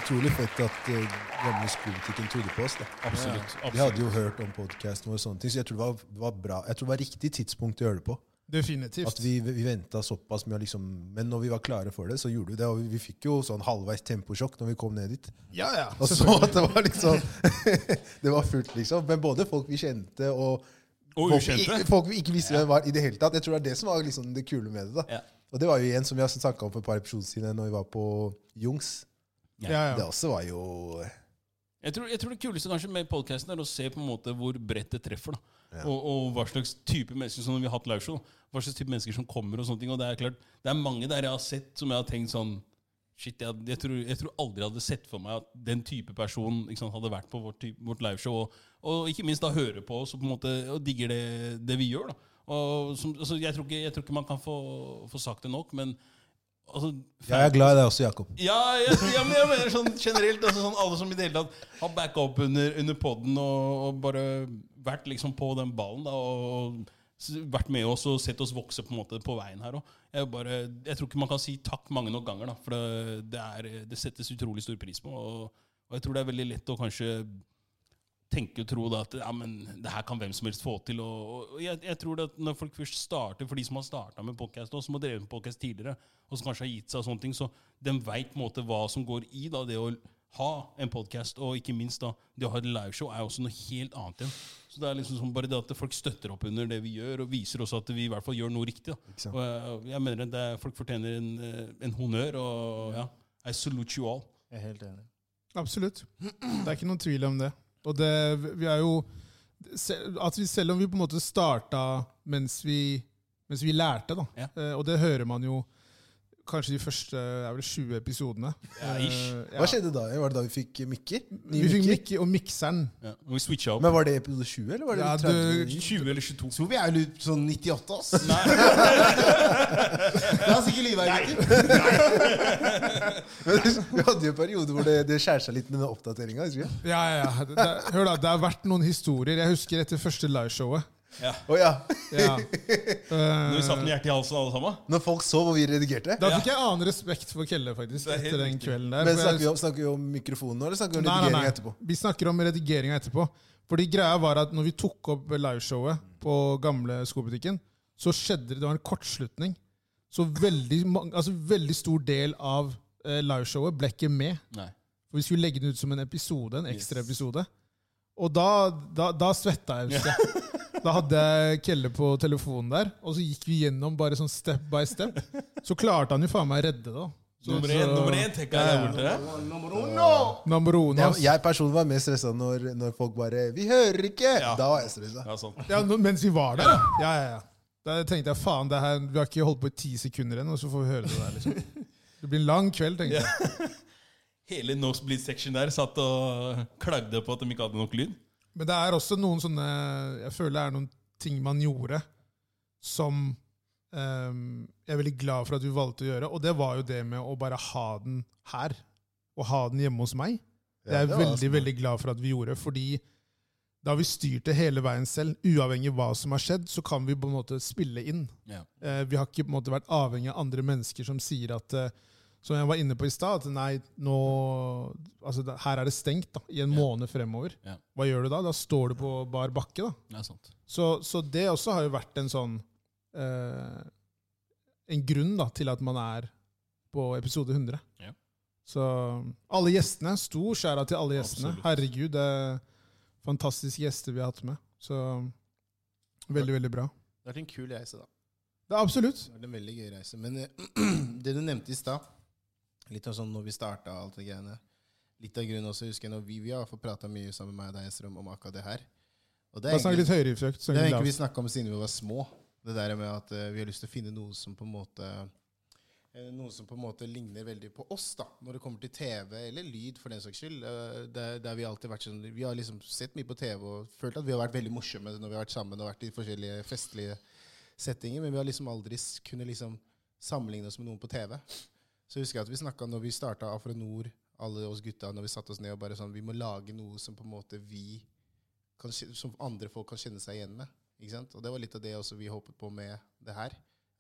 [SPEAKER 2] utrolig fett at eh, gamle skolebutikken trodde på oss. da.
[SPEAKER 3] Absolutt.
[SPEAKER 2] De hadde
[SPEAKER 3] absolutt.
[SPEAKER 2] jo hørt om podkasten vår, og sånne ting, så jeg tror det var, det var bra. Jeg tror det var riktig tidspunkt å gjøre det på.
[SPEAKER 1] Definitivt.
[SPEAKER 2] At vi, vi venta såpass med å liksom Men når vi var klare for det, så gjorde vi det. Og vi, vi fikk jo sånn halvveis temposjokk når vi kom ned dit.
[SPEAKER 1] Ja, ja.
[SPEAKER 2] Og så at det var liksom Det var fullt, liksom. Men både folk vi kjente, og
[SPEAKER 3] Og
[SPEAKER 2] folk,
[SPEAKER 3] ukjente.
[SPEAKER 2] i- folk vi ikke visste hvem var i det hele tatt. Jeg tror det er det som var liksom det kule med det. da.
[SPEAKER 3] Ja.
[SPEAKER 2] Og det var jo en som vi har snakka om for et par episoder siden, når vi var på Jungs.
[SPEAKER 1] ja,
[SPEAKER 2] Det
[SPEAKER 1] ja.
[SPEAKER 2] også var jo
[SPEAKER 3] Jeg tror, jeg tror det kuleste kanskje med podcasten er å se på en måte hvor bredt det treffer. da.
[SPEAKER 2] Ja.
[SPEAKER 3] Og, og hva slags type mennesker som vi har hatt liveshow. Hva slags type mennesker som kommer og sånne ting. Og det er klart, det er mange der jeg har sett som jeg har tenkt sånn Shit, jeg, jeg, tror, jeg tror aldri jeg hadde sett for meg at den type person ikke sant, hadde vært på vårt, type, vårt liveshow. Og, og ikke minst da høre på oss og på en måte og digger det, det vi gjør. da. Og som, altså, jeg, tror ikke, jeg tror ikke man kan få, få sagt det nok, men altså,
[SPEAKER 2] Jeg er glad i deg også, Jakob.
[SPEAKER 3] ja, jeg, ja, men jeg mener sånn generelt. Altså sånn alle som i det hele tatt har backa opp under, under poden og, og bare vært liksom på den ballen da, og, og s- vært med oss og sett oss vokse på en måte på veien her òg. Jeg, bare- jeg tror ikke man kan si takk mange nok ganger, da, for det, det, er, det settes utrolig stor pris på. Og, og jeg tror det er veldig lett å kanskje tenke og tro da, at ja, men, det her kan hvem som helst få til. Og, og jeg, jeg tror det at når folk først starter, for de som har starta med podkast, og som har drevet med podkast tidligere, og som kanskje har gitt seg og sånne ting, så de veit hva som går i da, det å ha en podkast, og ikke minst da, det å ha et liveshow, er også noe helt annet igjen. Så det er liksom som bare det at folk støtter opp under det vi gjør, og viser også at vi i hvert fall gjør noe riktig. Da.
[SPEAKER 2] Ikke sant?
[SPEAKER 3] Og jeg, og jeg mener at det, er- folk fortjener en, eh, en honnør, og ja, I salute you all.
[SPEAKER 4] Jeg er helt enig.
[SPEAKER 1] Absolutt. Det er ikke noen tvil om det. Og det, vi er jo se- at vi, Selv om vi på en måte starta mens vi, mens vi lærte, da,
[SPEAKER 3] Ja.
[SPEAKER 1] eh, og det hører man jo kanskje de første det er vel 20 episodene
[SPEAKER 3] Ja, ish.
[SPEAKER 1] Eh, ja.
[SPEAKER 2] Hva skjedde da? Var det da vi fikk mikker? Nye
[SPEAKER 1] Vi fikk
[SPEAKER 2] mikker?
[SPEAKER 1] mikke og mikseren.
[SPEAKER 3] Ja. Og vi switcha opp.
[SPEAKER 2] Men var det episode 20, eller var det
[SPEAKER 1] Ja,
[SPEAKER 2] 30?
[SPEAKER 3] 20 eller 22.
[SPEAKER 4] Tror vi er vel ut sånn 98, ass.
[SPEAKER 3] Nei.
[SPEAKER 4] La oss ikke lyve her, gutter.
[SPEAKER 2] Men vi hadde jo en periode hvor det, det skjærer seg litt med den oppdateringa.
[SPEAKER 1] Ja, ja, ja. Det, det, hør da, det har vært noen historier. Jeg husker etter første liveshowet.
[SPEAKER 3] Ja.
[SPEAKER 2] Oh, ja.
[SPEAKER 1] Ja.
[SPEAKER 3] Når vi satt med hjertet i halsen alle sammen?
[SPEAKER 2] Når folk så hvor vi redigerte.
[SPEAKER 1] Da fikk jeg annen respekt for Kelle, faktisk.
[SPEAKER 3] Det er helt
[SPEAKER 1] Etter den
[SPEAKER 3] riktig.
[SPEAKER 1] kvelden der.
[SPEAKER 2] Men
[SPEAKER 1] For jeg-
[SPEAKER 2] snakker vi, om, snakker vi om mikrofonen nå, eller snakker vi om redigeringa etterpå?
[SPEAKER 1] Vi snakker om redigeringa etterpå. Fordi greia var at når vi tok opp liveshowet på gamle skobutikken, så skjedde det, det var en kortslutning. Så veldig, mang- altså veldig stor del av eh, liveshowet ble ikke med.
[SPEAKER 3] Nei.
[SPEAKER 1] For vi skulle legge den ut som en episode, en ekstra episode. Og da, da, da svetta jeg, husker jeg. Da hadde jeg Kelle på telefonen der, og så gikk vi gjennom bare sånn step by step. Så klarte han jo faen meg å redde det. da. Så-
[SPEAKER 3] Nummer én,
[SPEAKER 1] så-
[SPEAKER 3] nummer én tenker jeg der borte.
[SPEAKER 4] Nummer uno!
[SPEAKER 1] Nummer uno,
[SPEAKER 2] Jeg,
[SPEAKER 1] ass.
[SPEAKER 2] jeg personlig var mer stressa når, når folk bare 'Vi hører ikke!'
[SPEAKER 3] Ja.
[SPEAKER 2] Da var jeg stressa.
[SPEAKER 3] Ja, sant.
[SPEAKER 1] Ja, nå- mens vi var der, da. Ja, ja, ja. Da tenkte jeg faen, det her, vi har ikke holdt på i ti sekunder ennå, så får vi høre det der. liksom. Det blir en lang kveld, tenkte jeg.
[SPEAKER 3] Hele nosebleed-section der satt og klagde på at de ikke hadde nok lyd.
[SPEAKER 1] Men det er også noen sånne Jeg føler det er noen ting man gjorde som ehm, jeg er veldig glad for at vi valgte å gjøre, og det var jo det med å bare ha den her. Og ha den hjemme hos meg. Det er
[SPEAKER 2] Ja,
[SPEAKER 1] jeg
[SPEAKER 2] det var
[SPEAKER 1] veldig veldig glad for at vi gjorde, fordi da har vi styrt det hele veien selv. Uavhengig av hva som har skjedd, så kan vi på en måte spille inn.
[SPEAKER 3] Ja.
[SPEAKER 1] Eh, vi har ikke på en måte vært avhengig av andre mennesker som sier at eh, Som jeg var inne på i stad, at nei, nå Altså, det, her er det stengt da, i en måned fremover.
[SPEAKER 3] Ja.
[SPEAKER 1] Hva gjør du da? Da står du på bar bakke, da.
[SPEAKER 3] Ja, sant.
[SPEAKER 1] Så, så det også har jo vært en sånn eh, En grunn da, til at man er på episode 100.
[SPEAKER 3] Ja.
[SPEAKER 1] Så alle gjestene. Stor skjæra til alle gjestene.
[SPEAKER 3] Absolutt.
[SPEAKER 1] Herregud, det er fantastiske gjester vi har hatt med. Så veldig, veldig bra.
[SPEAKER 4] Det har vært en kul reise, da.
[SPEAKER 1] Det er absolutt.
[SPEAKER 4] Det har vært en veldig gøy reise. Men eh, det du nevnte i stad, litt om sånn når vi starta og alt det greiene Litt av grunnen også, husker jeg, når vi, vi har fått prata mye sammen med meg og deg, Estrom, om akkurat det her. Og det
[SPEAKER 1] Bare
[SPEAKER 4] er
[SPEAKER 1] snakk
[SPEAKER 4] egentlig,
[SPEAKER 1] litt høyere i fjøkt.
[SPEAKER 4] det
[SPEAKER 1] snakk
[SPEAKER 4] er
[SPEAKER 1] litt
[SPEAKER 4] egentlig vi
[SPEAKER 1] lavt.
[SPEAKER 4] snakka om siden vi var små. Det der med at eh, vi har lyst til å finne noe som på en måte eh, noe som på en måte ligner veldig på oss, da, når det kommer til TV, eller lyd, for den saks skyld. Eh, Der, der vi alltid vært sånn, vi har liksom sett mye på TV og følt at vi har vært veldig morsomme når vi har vært sammen og vært i forskjellige festlige settinger, men vi har liksom aldri s- kunnet liksom sammenligne oss med noen på TV. Så husker jeg at vi snakka når vi starta Afronor, alle oss gutta, når vi satte oss ned og bare sånn Vi må lage noe som på en måte vi kan, kje- Som andre folk kan kjenne seg igjen med. Ikke sant? Og det var litt av det også vi håpet på med det her,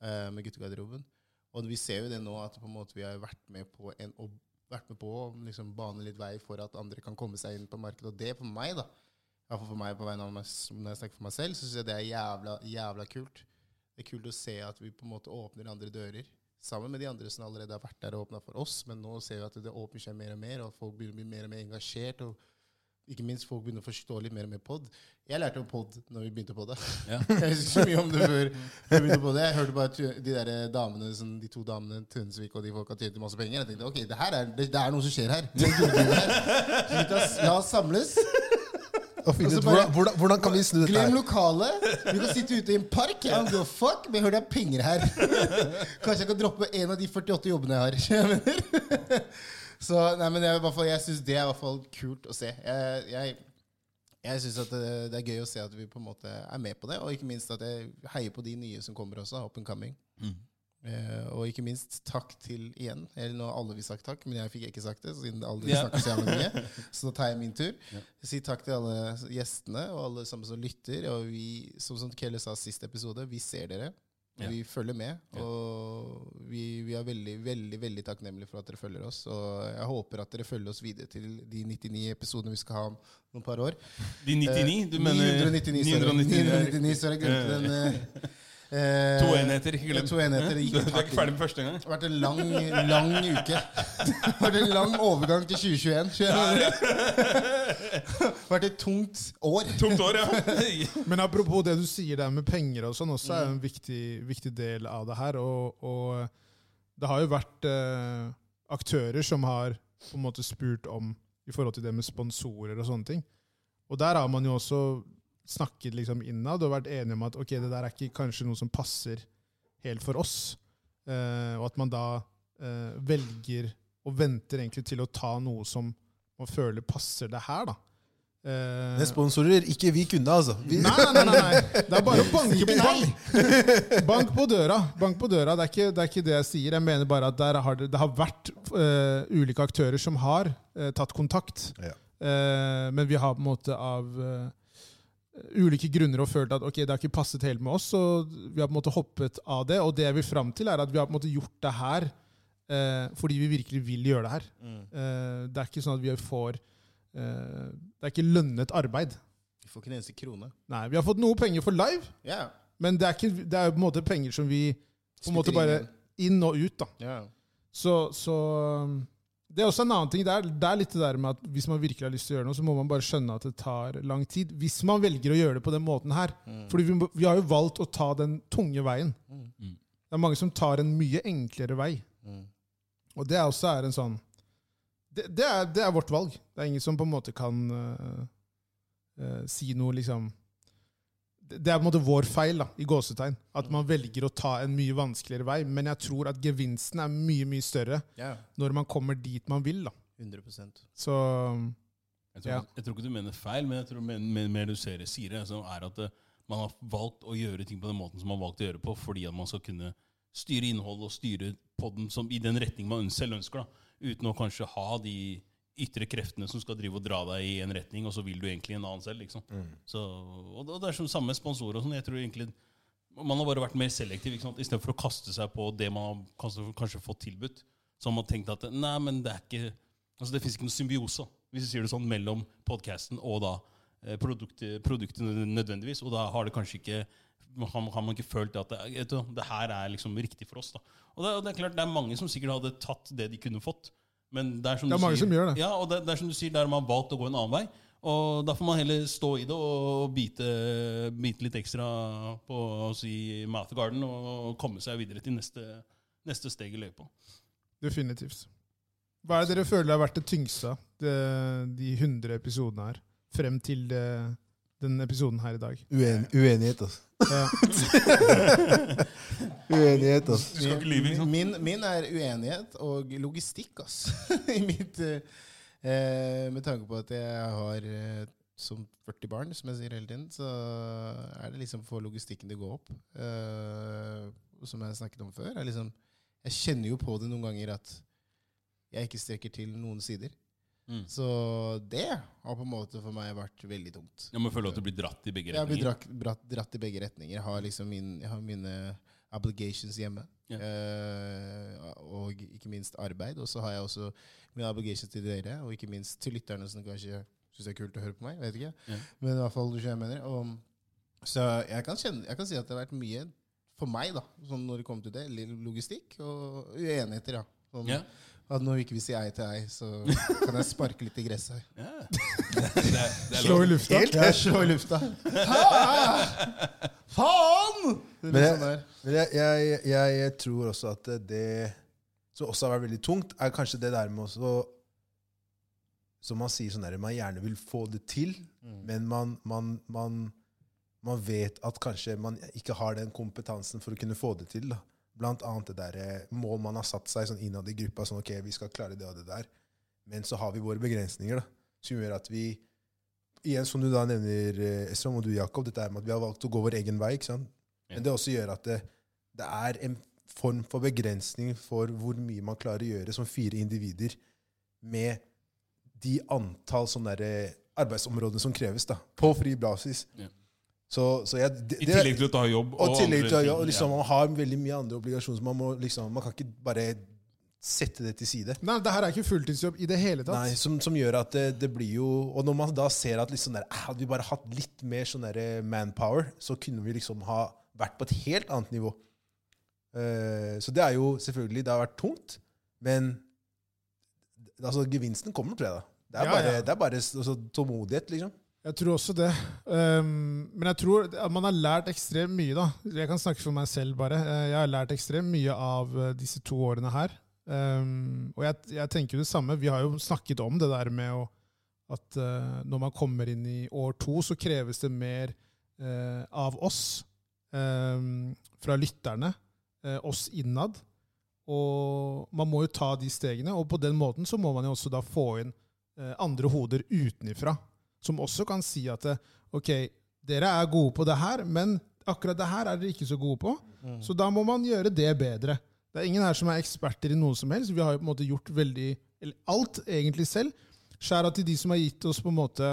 [SPEAKER 4] eh, med guttegarderoben. Og vi ser jo det nå at på en måte vi har vært med på en, og vært med på å liksom bane litt vei for at andre kan komme seg inn på markedet. Og det for meg, da, i hvert fall for meg på vegne av meg, s- når jeg snakker for meg selv, så syns jeg det er jævla, jævla kult. Det er kult å se at vi på en måte åpner andre dører. Sammen med de andre som allerede har vært der og åpna for oss. Men nå ser vi at det åpner seg mer og mer, og folk begynner å bli mer og mer engasjert. og ikke minst folk begynner å forstå litt mer og mer pod. Jeg lærte om pod når vi begynte på det.
[SPEAKER 3] Ja.
[SPEAKER 4] Jeg husker ikke så mye om det før vi begynte på det. Jeg hørte bare tu- de der eh, damene, som, de to damene, Tønsvik og de folka tjente masse penger. Jeg tenkte ok, det her er, det, det er noe som skjer her. Det er en gullgruve her. Så La oss, la oss samles.
[SPEAKER 2] Og finne
[SPEAKER 4] Og så
[SPEAKER 2] ut
[SPEAKER 4] bare-
[SPEAKER 2] hvordan, Altså, hvordan, hvordan kan vi snu dette
[SPEAKER 4] Glem
[SPEAKER 2] her?
[SPEAKER 4] lokalet. Vi kan sitte ute i en park. I don't give a fuck, men jeg hører det er penger her. Kanskje jeg kan droppe en av de 48 jobbene jeg har. Jeg mener. Så nei, men jeg, i hvert fall- jeg syns det er i hvert fall kult å se. Jeg, jeg, jeg syns det, det er gøy å se at vi på en måte er med på det, og ikke minst at jeg heier på de nye som kommer også. Up and coming.
[SPEAKER 3] Mm.
[SPEAKER 4] Eh, og ikke minst takk til igjen. Eller nå har alle vi sagt takk, men jeg fikk ikke sagt det. Siden alle
[SPEAKER 3] Ja.
[SPEAKER 4] snakker så jævla mye Så da tar jeg min tur. Si takk til alle gjestene og alle sammen som lytter. Og vi, som, som Kelle sa sist episode, vi ser dere. Og
[SPEAKER 3] Ja.
[SPEAKER 4] Vi følger med.
[SPEAKER 3] Ja.
[SPEAKER 4] Og vi, vi er veldig, veldig veldig takknemlige for at dere følger oss. Og jeg håper at dere følger oss videre til de 99 episodene vi skal ha om noen par år.
[SPEAKER 3] De 99? Du
[SPEAKER 4] Eh,
[SPEAKER 3] mener
[SPEAKER 4] 999, sorry.
[SPEAKER 3] 999.
[SPEAKER 4] 999, sorry. Jeg glemte den. eh,
[SPEAKER 3] To enheter. ikke glem.
[SPEAKER 4] To enheter, det
[SPEAKER 3] Hæ?
[SPEAKER 4] gikk
[SPEAKER 3] Du du er
[SPEAKER 4] hardt
[SPEAKER 3] ikke
[SPEAKER 4] inn.
[SPEAKER 3] ferdig med første gang?
[SPEAKER 4] Det har vært en lang, lang uke. Det har vært en lang overgang til 2021. skjønner du? Det har vært et tungt år.
[SPEAKER 3] Tungt år, ja.
[SPEAKER 1] Men apropos det du sier der med penger og sånn, også er jo en viktig, viktig del av det her. Og, og det har jo vært eh, aktører som har på en måte spurt om i forhold til det med sponsorer og sånne ting. Og der har man jo også snakket liksom innad og vært enige om at ok, det der er ikke kanskje noe som passer helt for oss. Eh, og at man da eh, velger og venter egentlig til å ta noe som man føler passer det her, da. Eh,
[SPEAKER 2] Det er sponsorer ikke vi kunne, altså. Vi,
[SPEAKER 1] Nei, nei, nei, nei. Det er bare å banke på, bank. bank på døra. Bank på døra. Det er, ikke, det er ikke det jeg sier. Jeg mener bare at der har det, det har vært eh, ulike aktører som har eh, tatt kontakt.
[SPEAKER 2] Ja.
[SPEAKER 1] Eh, men vi har på en måte av eh, ulike grunner og følt at ok, det har ikke passet helt med oss, så vi har på en måte hoppet av det. Og det jeg vil fram til, er at vi har på en måte gjort det her eh, fordi vi virkelig vil gjøre det her.
[SPEAKER 2] Mm.
[SPEAKER 1] Eh, det er ikke sånn at vi får eh, Det er ikke lønnet arbeid.
[SPEAKER 4] Vi får ikke en eneste krone.
[SPEAKER 1] Nei, vi har fått noe penger for live.
[SPEAKER 4] Ja.
[SPEAKER 1] Men det er, ikke, det er jo på en måte penger som vi på en måte
[SPEAKER 4] Spytter
[SPEAKER 1] bare
[SPEAKER 4] inn.
[SPEAKER 1] inn og ut. da.
[SPEAKER 4] ja.
[SPEAKER 1] Så, så um, Det er også en annen ting. Det er, det er litt det der med at hvis man virkelig har lyst til å gjøre noe, så må man bare skjønne at det tar lang tid. Hvis man velger å gjøre det på den måten her. Fordi vi, må- vi har jo valgt å ta den tunge veien.
[SPEAKER 3] Mm.
[SPEAKER 1] Det er mange som tar en mye enklere vei.
[SPEAKER 4] Mm.
[SPEAKER 1] Og det er også er en sånn det, det, er, det er vårt valg. Det er ingen som på en måte kan øh, øh, si noe liksom det det er på en måte vår feil, da, i gåsetegn. At man velger å ta en mye vanskeligere vei. Men jeg tror at gevinsten er mye mye større
[SPEAKER 4] ja.
[SPEAKER 1] når man kommer dit man vil. da.
[SPEAKER 4] 100
[SPEAKER 1] Så
[SPEAKER 3] Jeg tror, jeg tror ikke du mener feil, men jeg tror mer, mer, mer du ser, sier det, som er at eh, man har valgt å gjøre ting på den måten som man har valgt å gjøre på, fordi at man skal kunne styre innholdet og styre podden som, i den retning man øns- selv ønsker, da, uten å kanskje ha de ytre kreftene som skal drive og dra deg i en retning, og så vil du egentlig en annen selv. liksom. Så, og, det- og det er som samme sponsorer og sånn. jeg tror egentlig Man har bare vært mer selektiv ikke sant? istedenfor å kaste seg på det man har kanskje, kanskje fått tilbudt. Så har man tenkt at nei, men det er ikke Altså Det fins ikke noen symbiose, hvis du sier det sånn, mellom podkasten og da eh, produktet, produktet nød- nødvendigvis. Og da har det kanskje ikke man har, har man ikke følt at det, vet du, det her er liksom riktig for oss. da. Og det, og det er klart, det er mange som sikkert hadde tatt det de kunne fått. Men det er som
[SPEAKER 1] Det er
[SPEAKER 3] du
[SPEAKER 1] mange
[SPEAKER 3] sier,
[SPEAKER 1] som gjør det.
[SPEAKER 3] Ja, og det, det er som du sier, der man har valgt å gå en annen vei. Og da får man heller stå i det og bite, bite litt ekstra på å si Mouth Garden og komme seg videre til neste, neste steg i løypa.
[SPEAKER 1] definitivt. Hva er det dere føler har vært det tyngste av det- de 100 episodene her? Frem til eh, den episoden her i dag.
[SPEAKER 2] Uen, uenighet, altså.
[SPEAKER 1] Ja.
[SPEAKER 2] Uenighet, altså.
[SPEAKER 3] Du skal ikke lyve, ikke sant?
[SPEAKER 4] Min, min er uenighet og logistikk, ass. I mitt, eh, eh, med tanke på at jeg har eh, som 40 barn, som jeg sier hele tiden, så er det liksom for logistikken det går opp. Eh, og som jeg snakket om før, er liksom Jeg kjenner jo på det noen ganger at jeg ikke strekker til noen sider.
[SPEAKER 3] Mm.
[SPEAKER 4] Så det har på en måte for meg vært veldig tungt.
[SPEAKER 3] Jeg må føle at du blir dratt i begge
[SPEAKER 4] Jeg blir
[SPEAKER 3] retninger.
[SPEAKER 4] dratt, dratt, dratt i begge retninger. Jeg har liksom min, jeg har mine obligations hjemme.
[SPEAKER 3] Ja.
[SPEAKER 4] Eh, og ikke minst arbeid. Og så har jeg også mine obligations til dere, og ikke minst til lytterne som kanskje syns det er kult å høre på meg. vet ikke.
[SPEAKER 3] Ja.
[SPEAKER 4] Men i hvert fall, du skjønner hva jeg mener. Og, så jeg kan, kjenne, jeg kan si at det har vært mye for meg, da, sånn når det kommer til det, litt logistikk og uenigheter, ja. Sånn,
[SPEAKER 3] Ja.
[SPEAKER 4] At når ikke vi sier ei til ei, så kan jeg sparke litt i gresset her.
[SPEAKER 3] Ja. Det, er- det er
[SPEAKER 1] Slå i
[SPEAKER 3] lov.
[SPEAKER 1] lufta.
[SPEAKER 4] Jeg slår i lufta. Hæ? eh, Faen! Det er
[SPEAKER 2] Men
[SPEAKER 4] litt
[SPEAKER 2] jeg-
[SPEAKER 4] sånn der.
[SPEAKER 2] Men jeg, jeg, jeg, jeg tror også at det som også har vært veldig tungt, er kanskje det der med også Som man sier sånn der, man gjerne vil få det til, men man, man, man, man vet at kanskje man ikke har den kompetansen for å kunne få det til. Da. Blant annet det der eh, mål man har satt seg sånn innad i gruppa. sånn, ok, vi skal klare det og det der. Men så har vi våre begrensninger, da, som gjør at vi Igjen, som du da nevner, eh, Esrom, og du, Jakob, dette her med at vi har valgt å gå vår egen vei. ikke sant? Men det også gjør at det, det er en form for begrensning for hvor mye man klarer å gjøre som fire individer med de antall sånne der eh, arbeidsområdene som kreves da, på fri basis.
[SPEAKER 3] Ja.
[SPEAKER 2] Så, så jeg, det,
[SPEAKER 3] I tillegg til å ta jobb.
[SPEAKER 2] og tillegg til å
[SPEAKER 3] andre
[SPEAKER 2] gjøre- og
[SPEAKER 3] ting.
[SPEAKER 2] liksom, Man har veldig mye andre obligasjoner, så man, må, liksom, man kan ikke bare sette det til side.
[SPEAKER 1] Nei, det her er ikke fulltidsjobb i det hele tatt.
[SPEAKER 2] Nei, som, som gjør at det, det blir jo Og når man da ser at liksom der, "Ah, hadde vi bare hatt litt mer sånn der manpower, så kunne vi liksom ha vært på et helt annet nivå. Eh, så det er jo selvfølgelig Det har vært tungt, men altså, gevinsten kommer, tror jeg. da. Det er
[SPEAKER 1] Ja,
[SPEAKER 2] bare,
[SPEAKER 1] ja.
[SPEAKER 2] Det er bare s- altså, tålmodighet, liksom.
[SPEAKER 1] Jeg tror også det. Ehm, men jeg tror at man har lært ekstremt mye. da. Jeg kan snakke for meg selv bare. Eh, Jeg har lært ekstremt mye av eh, disse to årene her. Ehm, og jeg, jeg tenker jo det samme. Vi har jo snakket om det der med å, at eh, når man kommer inn i år to, så kreves det mer eh, av oss. ehm, fra lytterne. eh, oss innad. Og man må jo ta de stegene. Og på den måten så må man jo også da få inn eh, andre hoder utenifra som også kan si at eh, ok, dere er gode på det her, men akkurat det her er dere ikke så gode på. Så da må man gjøre det bedre. Det er ingen her som er eksperter i noe som helst. Vi har jo på en måte gjort veldig, eller alt egentlig selv. Skjæra til de som har gitt oss på en måte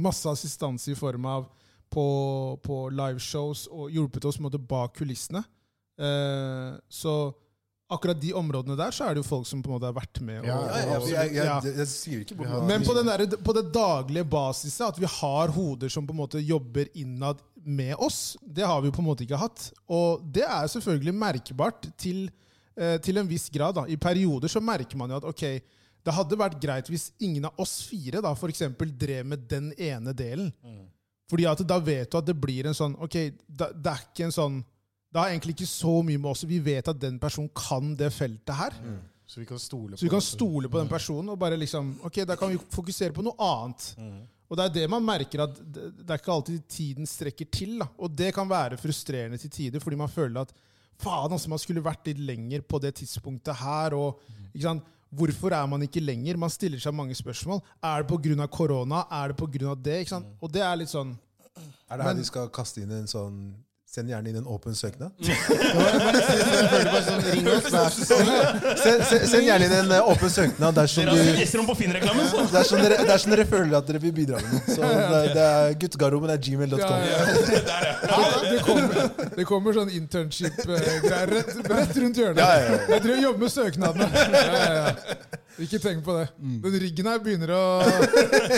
[SPEAKER 1] masse assistanse i form av på, på liveshows og hjulpet oss på en måte bak kulissene. Eh, så akkurat de områdene der så er det jo folk som på en måte har vært med. og-
[SPEAKER 4] Ja,
[SPEAKER 2] Ja, jeg, jeg, jeg,
[SPEAKER 1] Ja.
[SPEAKER 2] jeg, jeg sier ikke
[SPEAKER 4] Vi
[SPEAKER 2] bort
[SPEAKER 4] har-
[SPEAKER 2] noe.
[SPEAKER 1] Men på, den der, på det daglige basiset, at vi har hoder som på en måte jobber innad med oss, det har vi jo på en måte ikke hatt. Og det er selvfølgelig merkbart til, eh, til en viss grad. Da. I perioder så merker man jo at ok, det hadde vært greit hvis ingen av oss fire da, for eksempel, drev med den ene delen. Fordi at da vet du at det blir en sånn Ok, da, det er ikke en sånn Det har egentlig ikke så mye med oss Vi vet at den personen kan det feltet her.
[SPEAKER 4] Så vi kan stole på
[SPEAKER 1] Så vi kan
[SPEAKER 4] det.
[SPEAKER 1] stole på den personen og bare liksom Ok, da kan vi fokusere på noe annet. Og det er det man merker, at det det er ikke alltid tiden strekker til. da. Og det kan være frustrerende til tider, fordi man føler at faen, altså, man skulle vært litt lenger på det tidspunktet her. og ikke sant? Hvorfor er man ikke lenger? Man stiller seg mange spørsmål. Er det pga. korona? Er det pga. det? ikke sant? Og det er litt sånn
[SPEAKER 2] Er det her de skal kaste inn en sånn Send gjerne inn en åpen søknad.
[SPEAKER 4] Jeg føler bare sånn, ring oss, vær-
[SPEAKER 2] Send, send, send gjerne inn en eh, åpen søknad dersom
[SPEAKER 3] Dere har
[SPEAKER 2] du
[SPEAKER 3] sett Esrom på Finn-reklamen, så!
[SPEAKER 2] Dersom dere, dersom dere føler at dere vil bidra med noe. Så det, det er guttegarderoben er gmail.com.
[SPEAKER 1] Det kommer, det kommer sånn internship-greier rett, rett rundt hjørnet.
[SPEAKER 2] Ja, ja, ja.
[SPEAKER 1] Jeg tror jeg jobber med søknadene. Ja, ja, ja. Ikke tenk på det. Den ryggen her begynner å,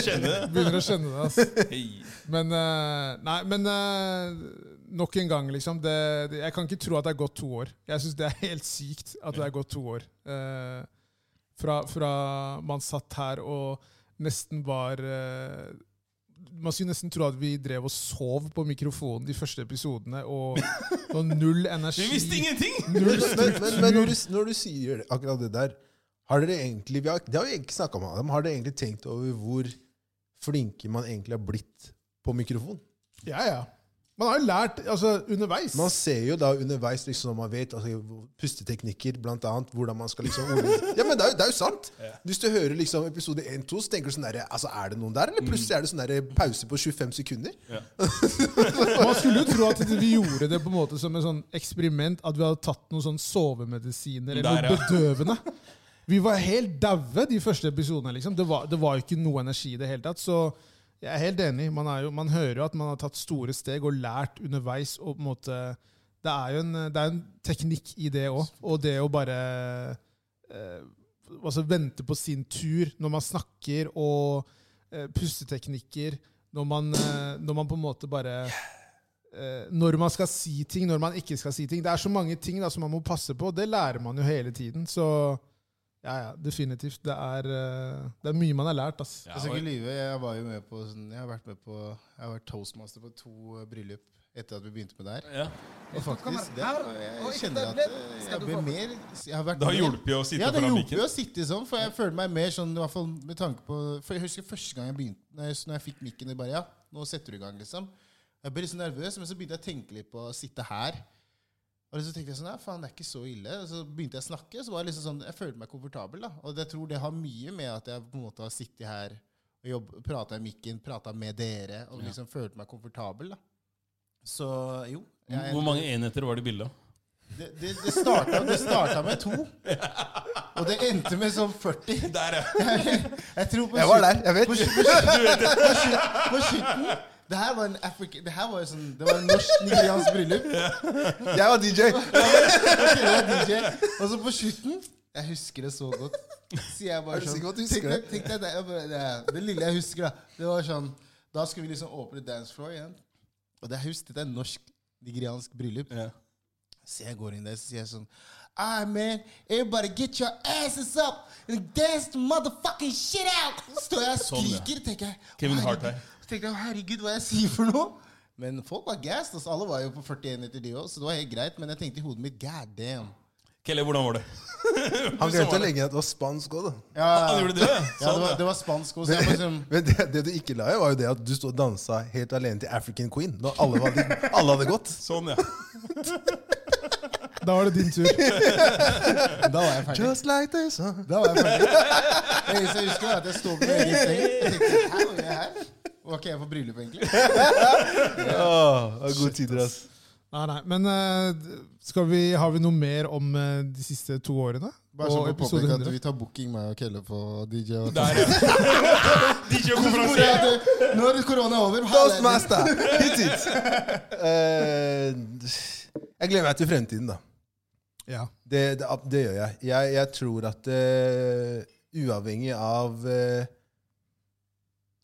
[SPEAKER 3] Kjenne
[SPEAKER 1] begynner å altså. skjønne det. ass.
[SPEAKER 3] det. Hei.
[SPEAKER 1] Men, eh, nei, men eh, nok en gang, liksom. Det, det, jeg kan ikke tro at det er gått to år. Jeg syns det er helt sykt at det er gått to år. Eh, fra, fra man satt her og nesten var eh, man skulle nesten tro at vi drev og sov på mikrofonen de første episodene. Og, og null energi.
[SPEAKER 3] Vi visste ingenting!
[SPEAKER 1] Null
[SPEAKER 2] Men, men, men
[SPEAKER 1] struktur.
[SPEAKER 2] når, du, når du sier akkurat det der, har dere egentlig vi har, Det har vi egentlig snakket om, Adam. Har dere egentlig tenkt over hvor flinke man egentlig har blitt på mikrofon?
[SPEAKER 1] Ja, ja. Man har jo lært altså, underveis.
[SPEAKER 2] Man ser jo da underveis liksom man vet altså, pusteteknikker, blant annet, hvordan man skal liksom ordne- Ja, men det er, jo- det er jo sant! Hvis du hører liksom episode 1-2, så tenker du sånn der, altså, Er det noen der? Eller plutselig er det sånn der pause på 25 sekunder?
[SPEAKER 1] Man skulle jo tro at vi gjorde det på en måte som et sånn eksperiment, at vi hadde tatt noen sånn sovemedisiner eller
[SPEAKER 3] Der,
[SPEAKER 1] noe
[SPEAKER 3] ja.
[SPEAKER 1] bedøvende. Vi var helt daue de første episodene. liksom. Det var, det var jo ikke noe energi i det hele tatt. Så jeg er helt enig. Man, er jo, man hører jo at man har tatt store steg og lært underveis. og på en måte, Det er jo en, det er en teknikk i det òg. Og det å bare eh, altså vente på sin tur når man snakker, og eh, pusteteknikker når man, eh, når man på en måte bare eh, når man skal si ting, når man ikke skal si ting. Det er så mange ting da, som man må passe på. Det lærer man jo hele tiden. Så ja, ja, definitivt. Det er, eh, det er mye man har lært. ass.
[SPEAKER 3] Ja,
[SPEAKER 4] Jeg skal
[SPEAKER 3] og-
[SPEAKER 4] ikke lyve. Jeg var jo med på sånn, Jeg har vært med på Jeg har vært toastmaster på to eh, bryllup etter at vi begynte med det her.
[SPEAKER 3] ja.
[SPEAKER 4] Og faktisk, det,
[SPEAKER 5] her, og
[SPEAKER 4] jeg
[SPEAKER 5] ikke
[SPEAKER 4] kjenner at
[SPEAKER 5] tablet,
[SPEAKER 4] eh,
[SPEAKER 5] skal
[SPEAKER 4] jeg
[SPEAKER 5] du
[SPEAKER 4] ble
[SPEAKER 5] få.
[SPEAKER 4] mer jeg har vært
[SPEAKER 3] Det har
[SPEAKER 4] mer-
[SPEAKER 3] hjulpet å sitte
[SPEAKER 4] Ja, det
[SPEAKER 3] foran
[SPEAKER 4] hjulpet
[SPEAKER 3] mikken.
[SPEAKER 4] å sitte sånn, for jeg føler meg mer sånn i hvert fall med tanke på For Jeg husker første gang jeg begynte Når jeg, når jeg fikk mikken, og bare ja, nå setter du i gang, liksom. Jeg ble litt sånn nervøs, men så begynte jeg å tenke litt på å sitte her. Og så tenkte jeg sånn, ja, faen, det er ikke så ille. Og så begynte jeg å snakke, og så var det liksom sånn, jeg følte meg komfortabel. da. Og jeg tror det har mye med at jeg på en måte har sittet her og jobb- prata i mikken, prata med dere, og liksom følte meg komfortabel. da. Så jo. jeg-
[SPEAKER 3] Hvor mange enheter var det i bildet?
[SPEAKER 4] Det, det, det, starta, det starta med to, og det endte med sånn 40.
[SPEAKER 3] Der, ja.
[SPEAKER 4] Jeg tror på
[SPEAKER 2] Jeg var
[SPEAKER 4] slutten-
[SPEAKER 2] der, jeg vet.
[SPEAKER 4] På, slu- på, slu- på, slu- på slutten Det her var en Afrika, det her var jo sånn Det var en norsk nigeriansk bryllup.
[SPEAKER 2] Jeg var DJ!
[SPEAKER 4] Jeg var DJ, og så på slutten Jeg husker det så godt. Sier jeg bare
[SPEAKER 2] Er du
[SPEAKER 4] sånn
[SPEAKER 2] sikker på at du husker
[SPEAKER 4] tenkte- tenkte jeg det, jeg bare- det, er- det lille jeg husker, da. Det var sånn Da skulle vi liksom åpne dance floor igjen. Og det jeg husket, det er norsk nigeriansk bryllup.
[SPEAKER 3] ja.
[SPEAKER 4] Så jeg går inn der, så sier jeg sånn All right, man. Everybody get your asses up and dance the motherfucking shit out! Står jeg og
[SPEAKER 3] Sånn, ja.
[SPEAKER 4] skriker, tenker jeg.
[SPEAKER 3] Kevin
[SPEAKER 4] «Å,
[SPEAKER 3] Hart her.
[SPEAKER 4] herregud». Så tenkte jeg, herregud, hva jeg sier for noe? Men folk var gassed. Altså, alle var jo på 41 etter de òg, så det var helt greit. Men jeg tenkte i hodet mitt god damn.
[SPEAKER 3] Kelle, hvordan var det?
[SPEAKER 2] Han glemte å legge inn at det var spansk òg, da.
[SPEAKER 4] Ja,
[SPEAKER 3] Han gjorde det?
[SPEAKER 4] ja, det,
[SPEAKER 3] Sånn,
[SPEAKER 4] var,
[SPEAKER 3] ja.
[SPEAKER 4] det var spansk også. Jeg var liksom,
[SPEAKER 2] Men det, det du ikke la i, var jo det at du stod og dansa helt alene til African Queen. Da alle, var, alle hadde gått.
[SPEAKER 3] Sånn, ja.
[SPEAKER 1] Da var det din tur.
[SPEAKER 4] da var jeg ferdig.
[SPEAKER 2] Just like this. huh?
[SPEAKER 4] Da var jeg ferdig. Det eneste jeg husker, er at jeg står på egen seng og tenkte Hæ, hva gjør jeg her? Var ikke jeg på bryllup, egentlig?
[SPEAKER 2] Åh, det var gode tider, ass.
[SPEAKER 1] Nei, nei. Men eh, skal vi, har vi noe mer om eh, de siste to årene?
[SPEAKER 4] Bare sånn
[SPEAKER 1] Og
[SPEAKER 4] for å
[SPEAKER 1] episode
[SPEAKER 4] påpeke at
[SPEAKER 1] 100?
[SPEAKER 4] vi tar booking, meg og Kelle, på DJ og
[SPEAKER 3] Der, ja.
[SPEAKER 4] Hvor er
[SPEAKER 3] DJ-konferanse.
[SPEAKER 4] det? Når korona er over halleluja.
[SPEAKER 2] Toastmaster! Hit hit! Eh, jeg gleder meg til fremtiden, da.
[SPEAKER 1] Ja.
[SPEAKER 2] Det, det, det gjør jeg. jeg. Jeg tror at eh, uavhengig av eh,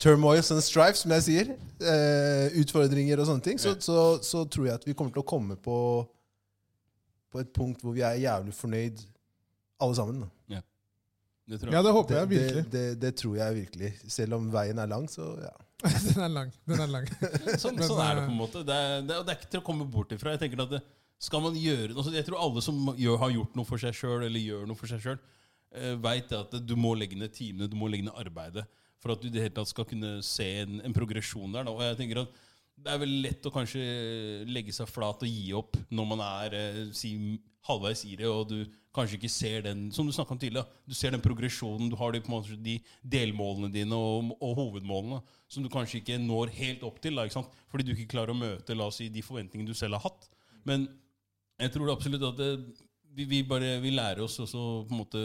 [SPEAKER 2] turmoils and strife, som jeg sier, eh, utfordringer og sånne ting, så,
[SPEAKER 3] Ja.
[SPEAKER 2] så, så tror jeg at vi kommer til å komme på, på et punkt hvor vi er jævlig fornøyd, alle sammen. Da.
[SPEAKER 3] Det tror
[SPEAKER 1] ja,
[SPEAKER 3] jeg.
[SPEAKER 1] det håper jeg
[SPEAKER 2] det, det,
[SPEAKER 1] virkelig.
[SPEAKER 2] det, det tror jeg virkelig. Selv om veien er lang, så ja.
[SPEAKER 1] Den er lang. Den er lang.
[SPEAKER 3] Sånn, sånn er det på en måte. Det er, det, er, og det er ikke til å komme bort ifra. Jeg tenker at det, skal man gjøre altså, Jeg tror alle som gjør, har gjort noe for seg sjøl, eller gjør noe for seg sjøl, veit eh, at du må legge ned timene, du må legge ned arbeidet for at du i det hele tatt skal kunne se en, en progresjon der. Da. Og jeg tenker at det er veldig lett å kanskje legge seg flat og gi opp når man er eh, si, halvveis i det, og du kanskje ikke ser den som du snakket om tidligere, da. du ser den progresjonen, du har de, på en måte, de delmålene dine og, og hovedmålene som du kanskje ikke når helt opp til, da, ikke sant? fordi du ikke klarer å møte la oss si, de forventningene du selv har hatt. Men jeg tror absolutt at det, vi, vi bare vi lærer oss også på en måte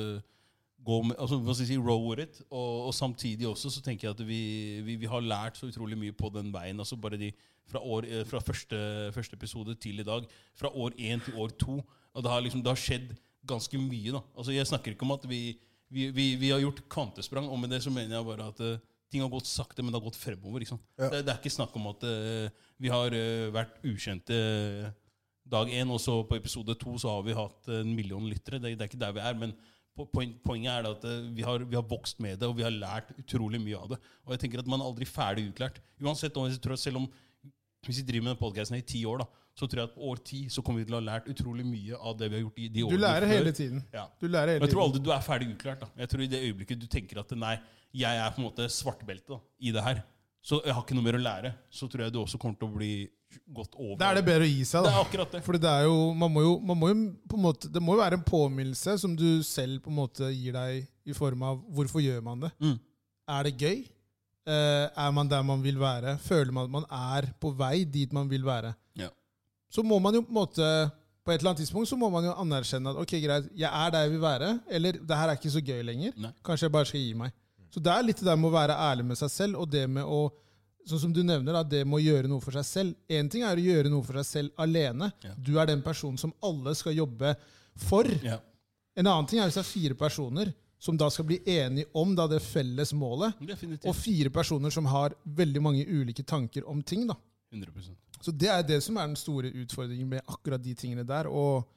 [SPEAKER 3] gå med, altså hva skal jeg si, row with it, og, og samtidig også så tenker jeg at vi, vi, vi har lært så utrolig mye på den veien, altså bare de fra, år, eh, fra første, første episode til i dag, fra år én til år to, og det har liksom, det har skjedd ganske mye da, altså jeg snakker ikke om at vi, vi, vi, vi har gjort kvantesprang, og med det så mener jeg bare at eh, ting har gått sakte, men det har gått fremover, ikke sant? Det, det er ikke snakk om at eh, vi har eh, vært ukjente eh, dag én, og så på episode to så har vi hatt en million lyttere. Det, det er ikke der vi er, men po- poen, poenget er da at eh, vi har, vi har vokst med det, og vi har lært utrolig mye av det. Og jeg tenker at man er aldri ferdig utlært. Uansett, og jeg tror at selv om hvis vi driver med den podcasten i ti år, da, så tror jeg at på år ti så kommer vi til å ha lært utrolig mye av det vi har gjort i de
[SPEAKER 1] Du
[SPEAKER 3] årene.
[SPEAKER 1] lærer
[SPEAKER 3] før.
[SPEAKER 1] hele tiden.
[SPEAKER 3] Ja.
[SPEAKER 1] Du lærer
[SPEAKER 3] Men
[SPEAKER 1] hele
[SPEAKER 3] jeg tror
[SPEAKER 1] tiden.
[SPEAKER 3] aldri du er ferdig utlært. da. Jeg tror I det øyeblikket du tenker at nei, jeg er på en måte svartbelte da, i det her, så jeg har ikke noe mer å lære, så tror jeg du også kommer til å bli godt over.
[SPEAKER 1] Da er det bedre å gi seg,
[SPEAKER 3] Det er
[SPEAKER 1] da.
[SPEAKER 3] akkurat det.
[SPEAKER 1] Fordi det er jo, man må jo, man må jo på en måte, Det må jo være en påminnelse som du selv på en måte gir deg i form av hvorfor gjør man det.
[SPEAKER 3] Mm.
[SPEAKER 1] Er det gøy? Eh, er man der man vil være? Føler man at man er på vei dit man vil være?
[SPEAKER 3] Ja.
[SPEAKER 1] Så må man jo på en måte på et eller annet tidspunkt så må man jo anerkjenne at ok, greit, jeg er der jeg vil være, eller det her er ikke så gøy lenger.
[SPEAKER 3] Nei.
[SPEAKER 1] Kanskje jeg bare skal gi meg. Så det er litt det der med å være ærlig med seg selv, og det med å sånn som du nevner da, det med å gjøre noe for seg selv. Én ting er å gjøre noe for seg selv alene.
[SPEAKER 3] Ja.
[SPEAKER 1] Du er den personen som alle skal jobbe for.
[SPEAKER 3] Ja.
[SPEAKER 1] En annen ting er hvis det er fire personer som da skal bli enige om da det felles målet,
[SPEAKER 3] Definitivt.
[SPEAKER 1] og fire personer som har veldig mange ulike tanker om ting. da.
[SPEAKER 3] 100
[SPEAKER 1] Så det er det som er den store utfordringen med akkurat de tingene der. Og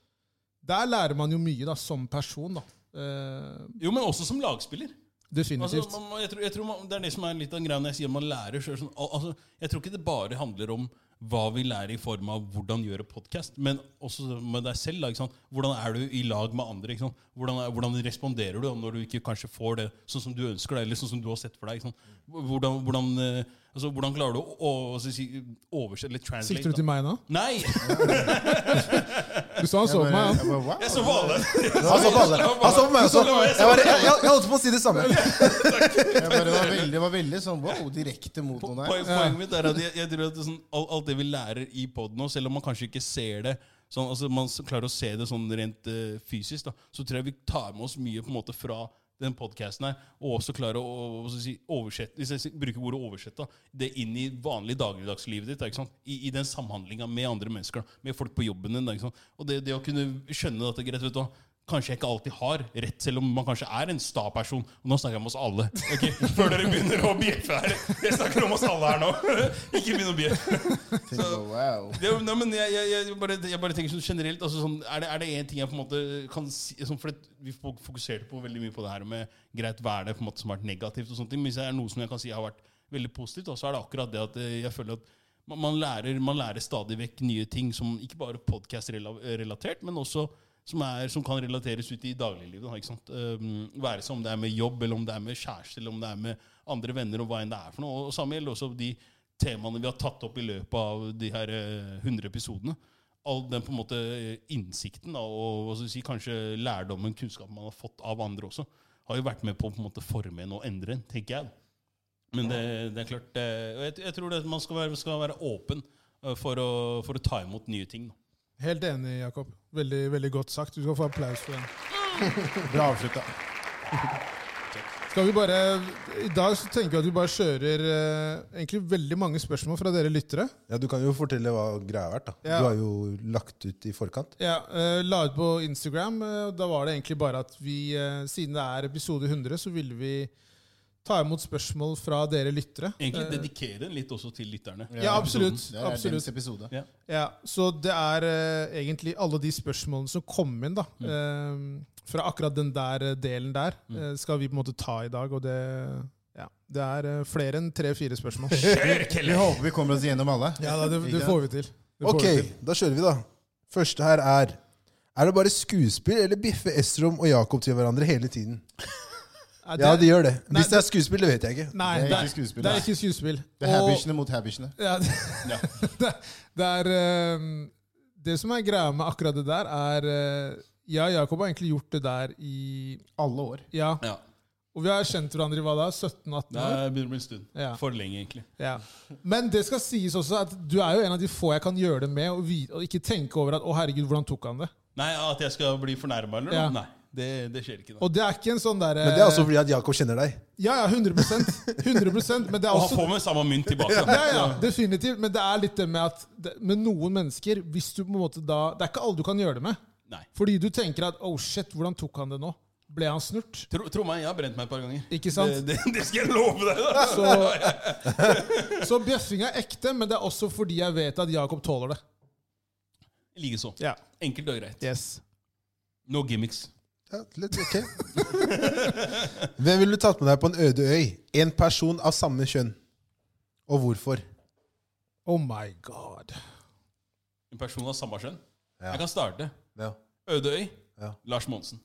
[SPEAKER 1] der lærer man jo mye da, som person. da. Eh,
[SPEAKER 3] Jo, men også som lagspiller.
[SPEAKER 1] definitivt.
[SPEAKER 3] Altså, man, man- jeg tror, jeg tror man, det er det som er litt av greia når jeg sier man lærer selv, sånn, al- altså, Jeg tror ikke det bare handler om hva vi lærer i form av hvordan gjøre podkast, men også med deg selv. da, Ikke sant? Hvordan er du i lag med andre? Ikke sant? Hvordan, er, hvordan responderer du da når du ikke kanskje får det sånn som du ønsker deg, eller sånn som du har sett for deg? Ikke sant? Hvordan, hvordan, eh, altså, hvordan klarer du å, å, å si, oversette eller translate?
[SPEAKER 1] Sikter du til meg nå?
[SPEAKER 3] da? Nei!
[SPEAKER 1] Du så han så på meg.
[SPEAKER 4] Jeg
[SPEAKER 1] han.
[SPEAKER 4] bare, wow.
[SPEAKER 3] Jeg så på alle.
[SPEAKER 2] Han så på alle. Han så på meg også. Jeg, bare, jeg, jeg, jeg holdt på å si det samme.
[SPEAKER 4] Jeg bare var veldig, var veldig sånn wow, direkte mot noen her.
[SPEAKER 3] Poen- Poenget mitt er at jeg, jeg tror at det er sånn, alt, alt det vi lærer i poden nå, selv om man kanskje ikke ser det sånn, altså Man s- klarer å se det sånn rent eh, fysisk, da, så tror jeg vi tar med oss mye på en måte fra den podkasten her, og også klarer å, å, å si, oversette Hvis jeg si- bruker ordet oversette, da, det inn i vanlig dagligdagslivet ditt. da, Ikke sant? I, I den samhandlinga med andre mennesker, da, med folk på jobben din. da, Ikke sant? Og det, det å kunne skjønne dette greit, vet du hva Kanskje jeg ikke alltid har rett, selv om man kanskje er en sta person. Og nå snakker jeg om oss alle. ok? Før dere begynner å bjeffe her. Jeg snakker om oss alle her nå. Ikke begynn å bjeffe.
[SPEAKER 4] Tenkte bare, wow.
[SPEAKER 3] Det er jo- nei, men jeg, jeg, jeg, bare, jeg bare tenker sånn generelt altså sånn, Er det er det én ting jeg på en måte kan si sånn, For det, Vi fok- fokuserte på veldig mye på det her med greit hva er det på en måte som har vært negativt. og sånne ting, Men hvis det er noe som jeg kan si har vært veldig positivt, da, så er det akkurat det at eh, jeg føler at man, man, lærer, man lærer stadig vekk nye ting som ikke bare podkast-relatert, men også som, er, som kan relateres ut i dagliglivet. da, Ikke sant? Um, være seg om det er med jobb, eller om det er med kjæreste, eller om det er med andre venner. og hva enn det er for noe. Og samme gjelder også de temaene vi har tatt opp i løpet av de her eh, 100 episodene. All den på en måte eh, innsikten da, og hva skal vi si, kanskje lærdommen, kunnskapen man har fått av andre også, har jo vært med på å på en måte forme en og endre en, tenker jeg. da. Men det, det er klart det, og jeg, jeg tror det at man skal være, skal være åpen eh, for å, for å ta imot nye ting. Da.
[SPEAKER 1] Helt enig, Jakob. Veldig, veldig godt sagt. Du skal få applaus for den.
[SPEAKER 2] Bra avslutta.
[SPEAKER 1] Skal vi bare, I dag så tenker jeg at vi bare kjører eh, egentlig veldig mange spørsmål fra dere lyttere.
[SPEAKER 2] Ja, du kan jo fortelle hva greia har vært. da.
[SPEAKER 1] Ja.
[SPEAKER 2] Du har jo lagt ut i forkant.
[SPEAKER 1] Ja, eh, La ut på Instagram. eh, og da var det egentlig bare at vi, eh, siden det er episode 100, så ville vi ta imot spørsmål fra dere lyttere.
[SPEAKER 3] Egentlig
[SPEAKER 1] Eh,
[SPEAKER 3] dedikere den litt også til lytterne.
[SPEAKER 1] Ja, absolutt.
[SPEAKER 4] Det er
[SPEAKER 1] absolutt.
[SPEAKER 4] deres episode.
[SPEAKER 3] Ja.
[SPEAKER 1] Ja, Så det er eh, egentlig alle de spørsmålene som kom inn da, eh, fra akkurat den der eh, delen der, eh, skal vi på en måte ta i dag. Og det, ja, det er eh, flere enn tre-fire spørsmål.
[SPEAKER 4] Vi håper vi kommer oss gjennom alle.
[SPEAKER 1] Ja, da, det, det
[SPEAKER 4] Ikke?
[SPEAKER 1] får vi til. Det får
[SPEAKER 2] Ok,
[SPEAKER 1] vi til.
[SPEAKER 2] da kjører vi, da. Første her er Er det bare skuespill, eller biffer Estrom og Jakob til hverandre hele tiden?
[SPEAKER 1] Nei,
[SPEAKER 2] Ja, de
[SPEAKER 1] det,
[SPEAKER 2] gjør det.
[SPEAKER 1] Nei,
[SPEAKER 2] Hvis det er skuespill, det vet jeg ikke.
[SPEAKER 1] nei,
[SPEAKER 4] Det er
[SPEAKER 1] det
[SPEAKER 4] ikke
[SPEAKER 1] er,
[SPEAKER 4] skuespill,
[SPEAKER 1] det er
[SPEAKER 4] nei.
[SPEAKER 1] ikke skuespill.
[SPEAKER 4] Det er habishene mot habishene.
[SPEAKER 1] ja, det,
[SPEAKER 3] Ja.
[SPEAKER 1] det, det er eh, Det som er greia med akkurat det der, er eh, Ja, Jakob har egentlig gjort det der i
[SPEAKER 4] Alle år.
[SPEAKER 1] Ja,
[SPEAKER 3] Ja.
[SPEAKER 1] og vi har kjent hverandre i hva da? 17-18
[SPEAKER 3] Det
[SPEAKER 1] år?
[SPEAKER 3] er- begynner å bli en stund.
[SPEAKER 1] Ja.
[SPEAKER 3] For lenge, egentlig.
[SPEAKER 1] Ja. Men det skal sies også at du er jo en av de få jeg kan gjøre det med, og, vi, og ikke tenke over at 'Å, herregud, hvordan tok han det?'
[SPEAKER 3] Nei, At jeg skal bli fornærma, eller noe?
[SPEAKER 1] Ja.
[SPEAKER 3] Nei, det, det skjer ikke. da.
[SPEAKER 1] Og det er ikke en sånn derre
[SPEAKER 2] Men det er altså- også fordi at Jakob kjenner deg.
[SPEAKER 1] Ja, ja, 100 100 Men det er
[SPEAKER 3] Og han
[SPEAKER 1] også
[SPEAKER 3] får med samme mynt tilbake. da.
[SPEAKER 1] ja, ja, definitivt. Men det er litt det med at det, med noen mennesker hvis du på en måte da, Det er ikke alle du kan gjøre det med.
[SPEAKER 3] Nei.
[SPEAKER 1] Fordi du tenker at 'oh shit, hvordan tok han det nå?' Ble han snurt?
[SPEAKER 3] Tro, tro meg, jeg har brent meg et par ganger.
[SPEAKER 1] Ikke sant?
[SPEAKER 3] Det, det, det skal jeg love deg! da
[SPEAKER 1] Så, så bjeffing er ekte, men det er også fordi jeg vet at Jakob tåler det.
[SPEAKER 3] Likeså.
[SPEAKER 1] Ja.
[SPEAKER 3] Enkelt og greit.
[SPEAKER 1] Yes.
[SPEAKER 3] No gimmicks.
[SPEAKER 2] Ja, litt, ok. Hvem ville du tatt med deg på en øde øy? En person av samme kjønn. Og hvorfor?
[SPEAKER 1] Oh my god.
[SPEAKER 3] En person av samme kjønn.
[SPEAKER 2] Ja.
[SPEAKER 3] Jeg kan starte.
[SPEAKER 2] Ja.
[SPEAKER 3] Ødøy.
[SPEAKER 2] Ja.
[SPEAKER 3] Lars Monsen.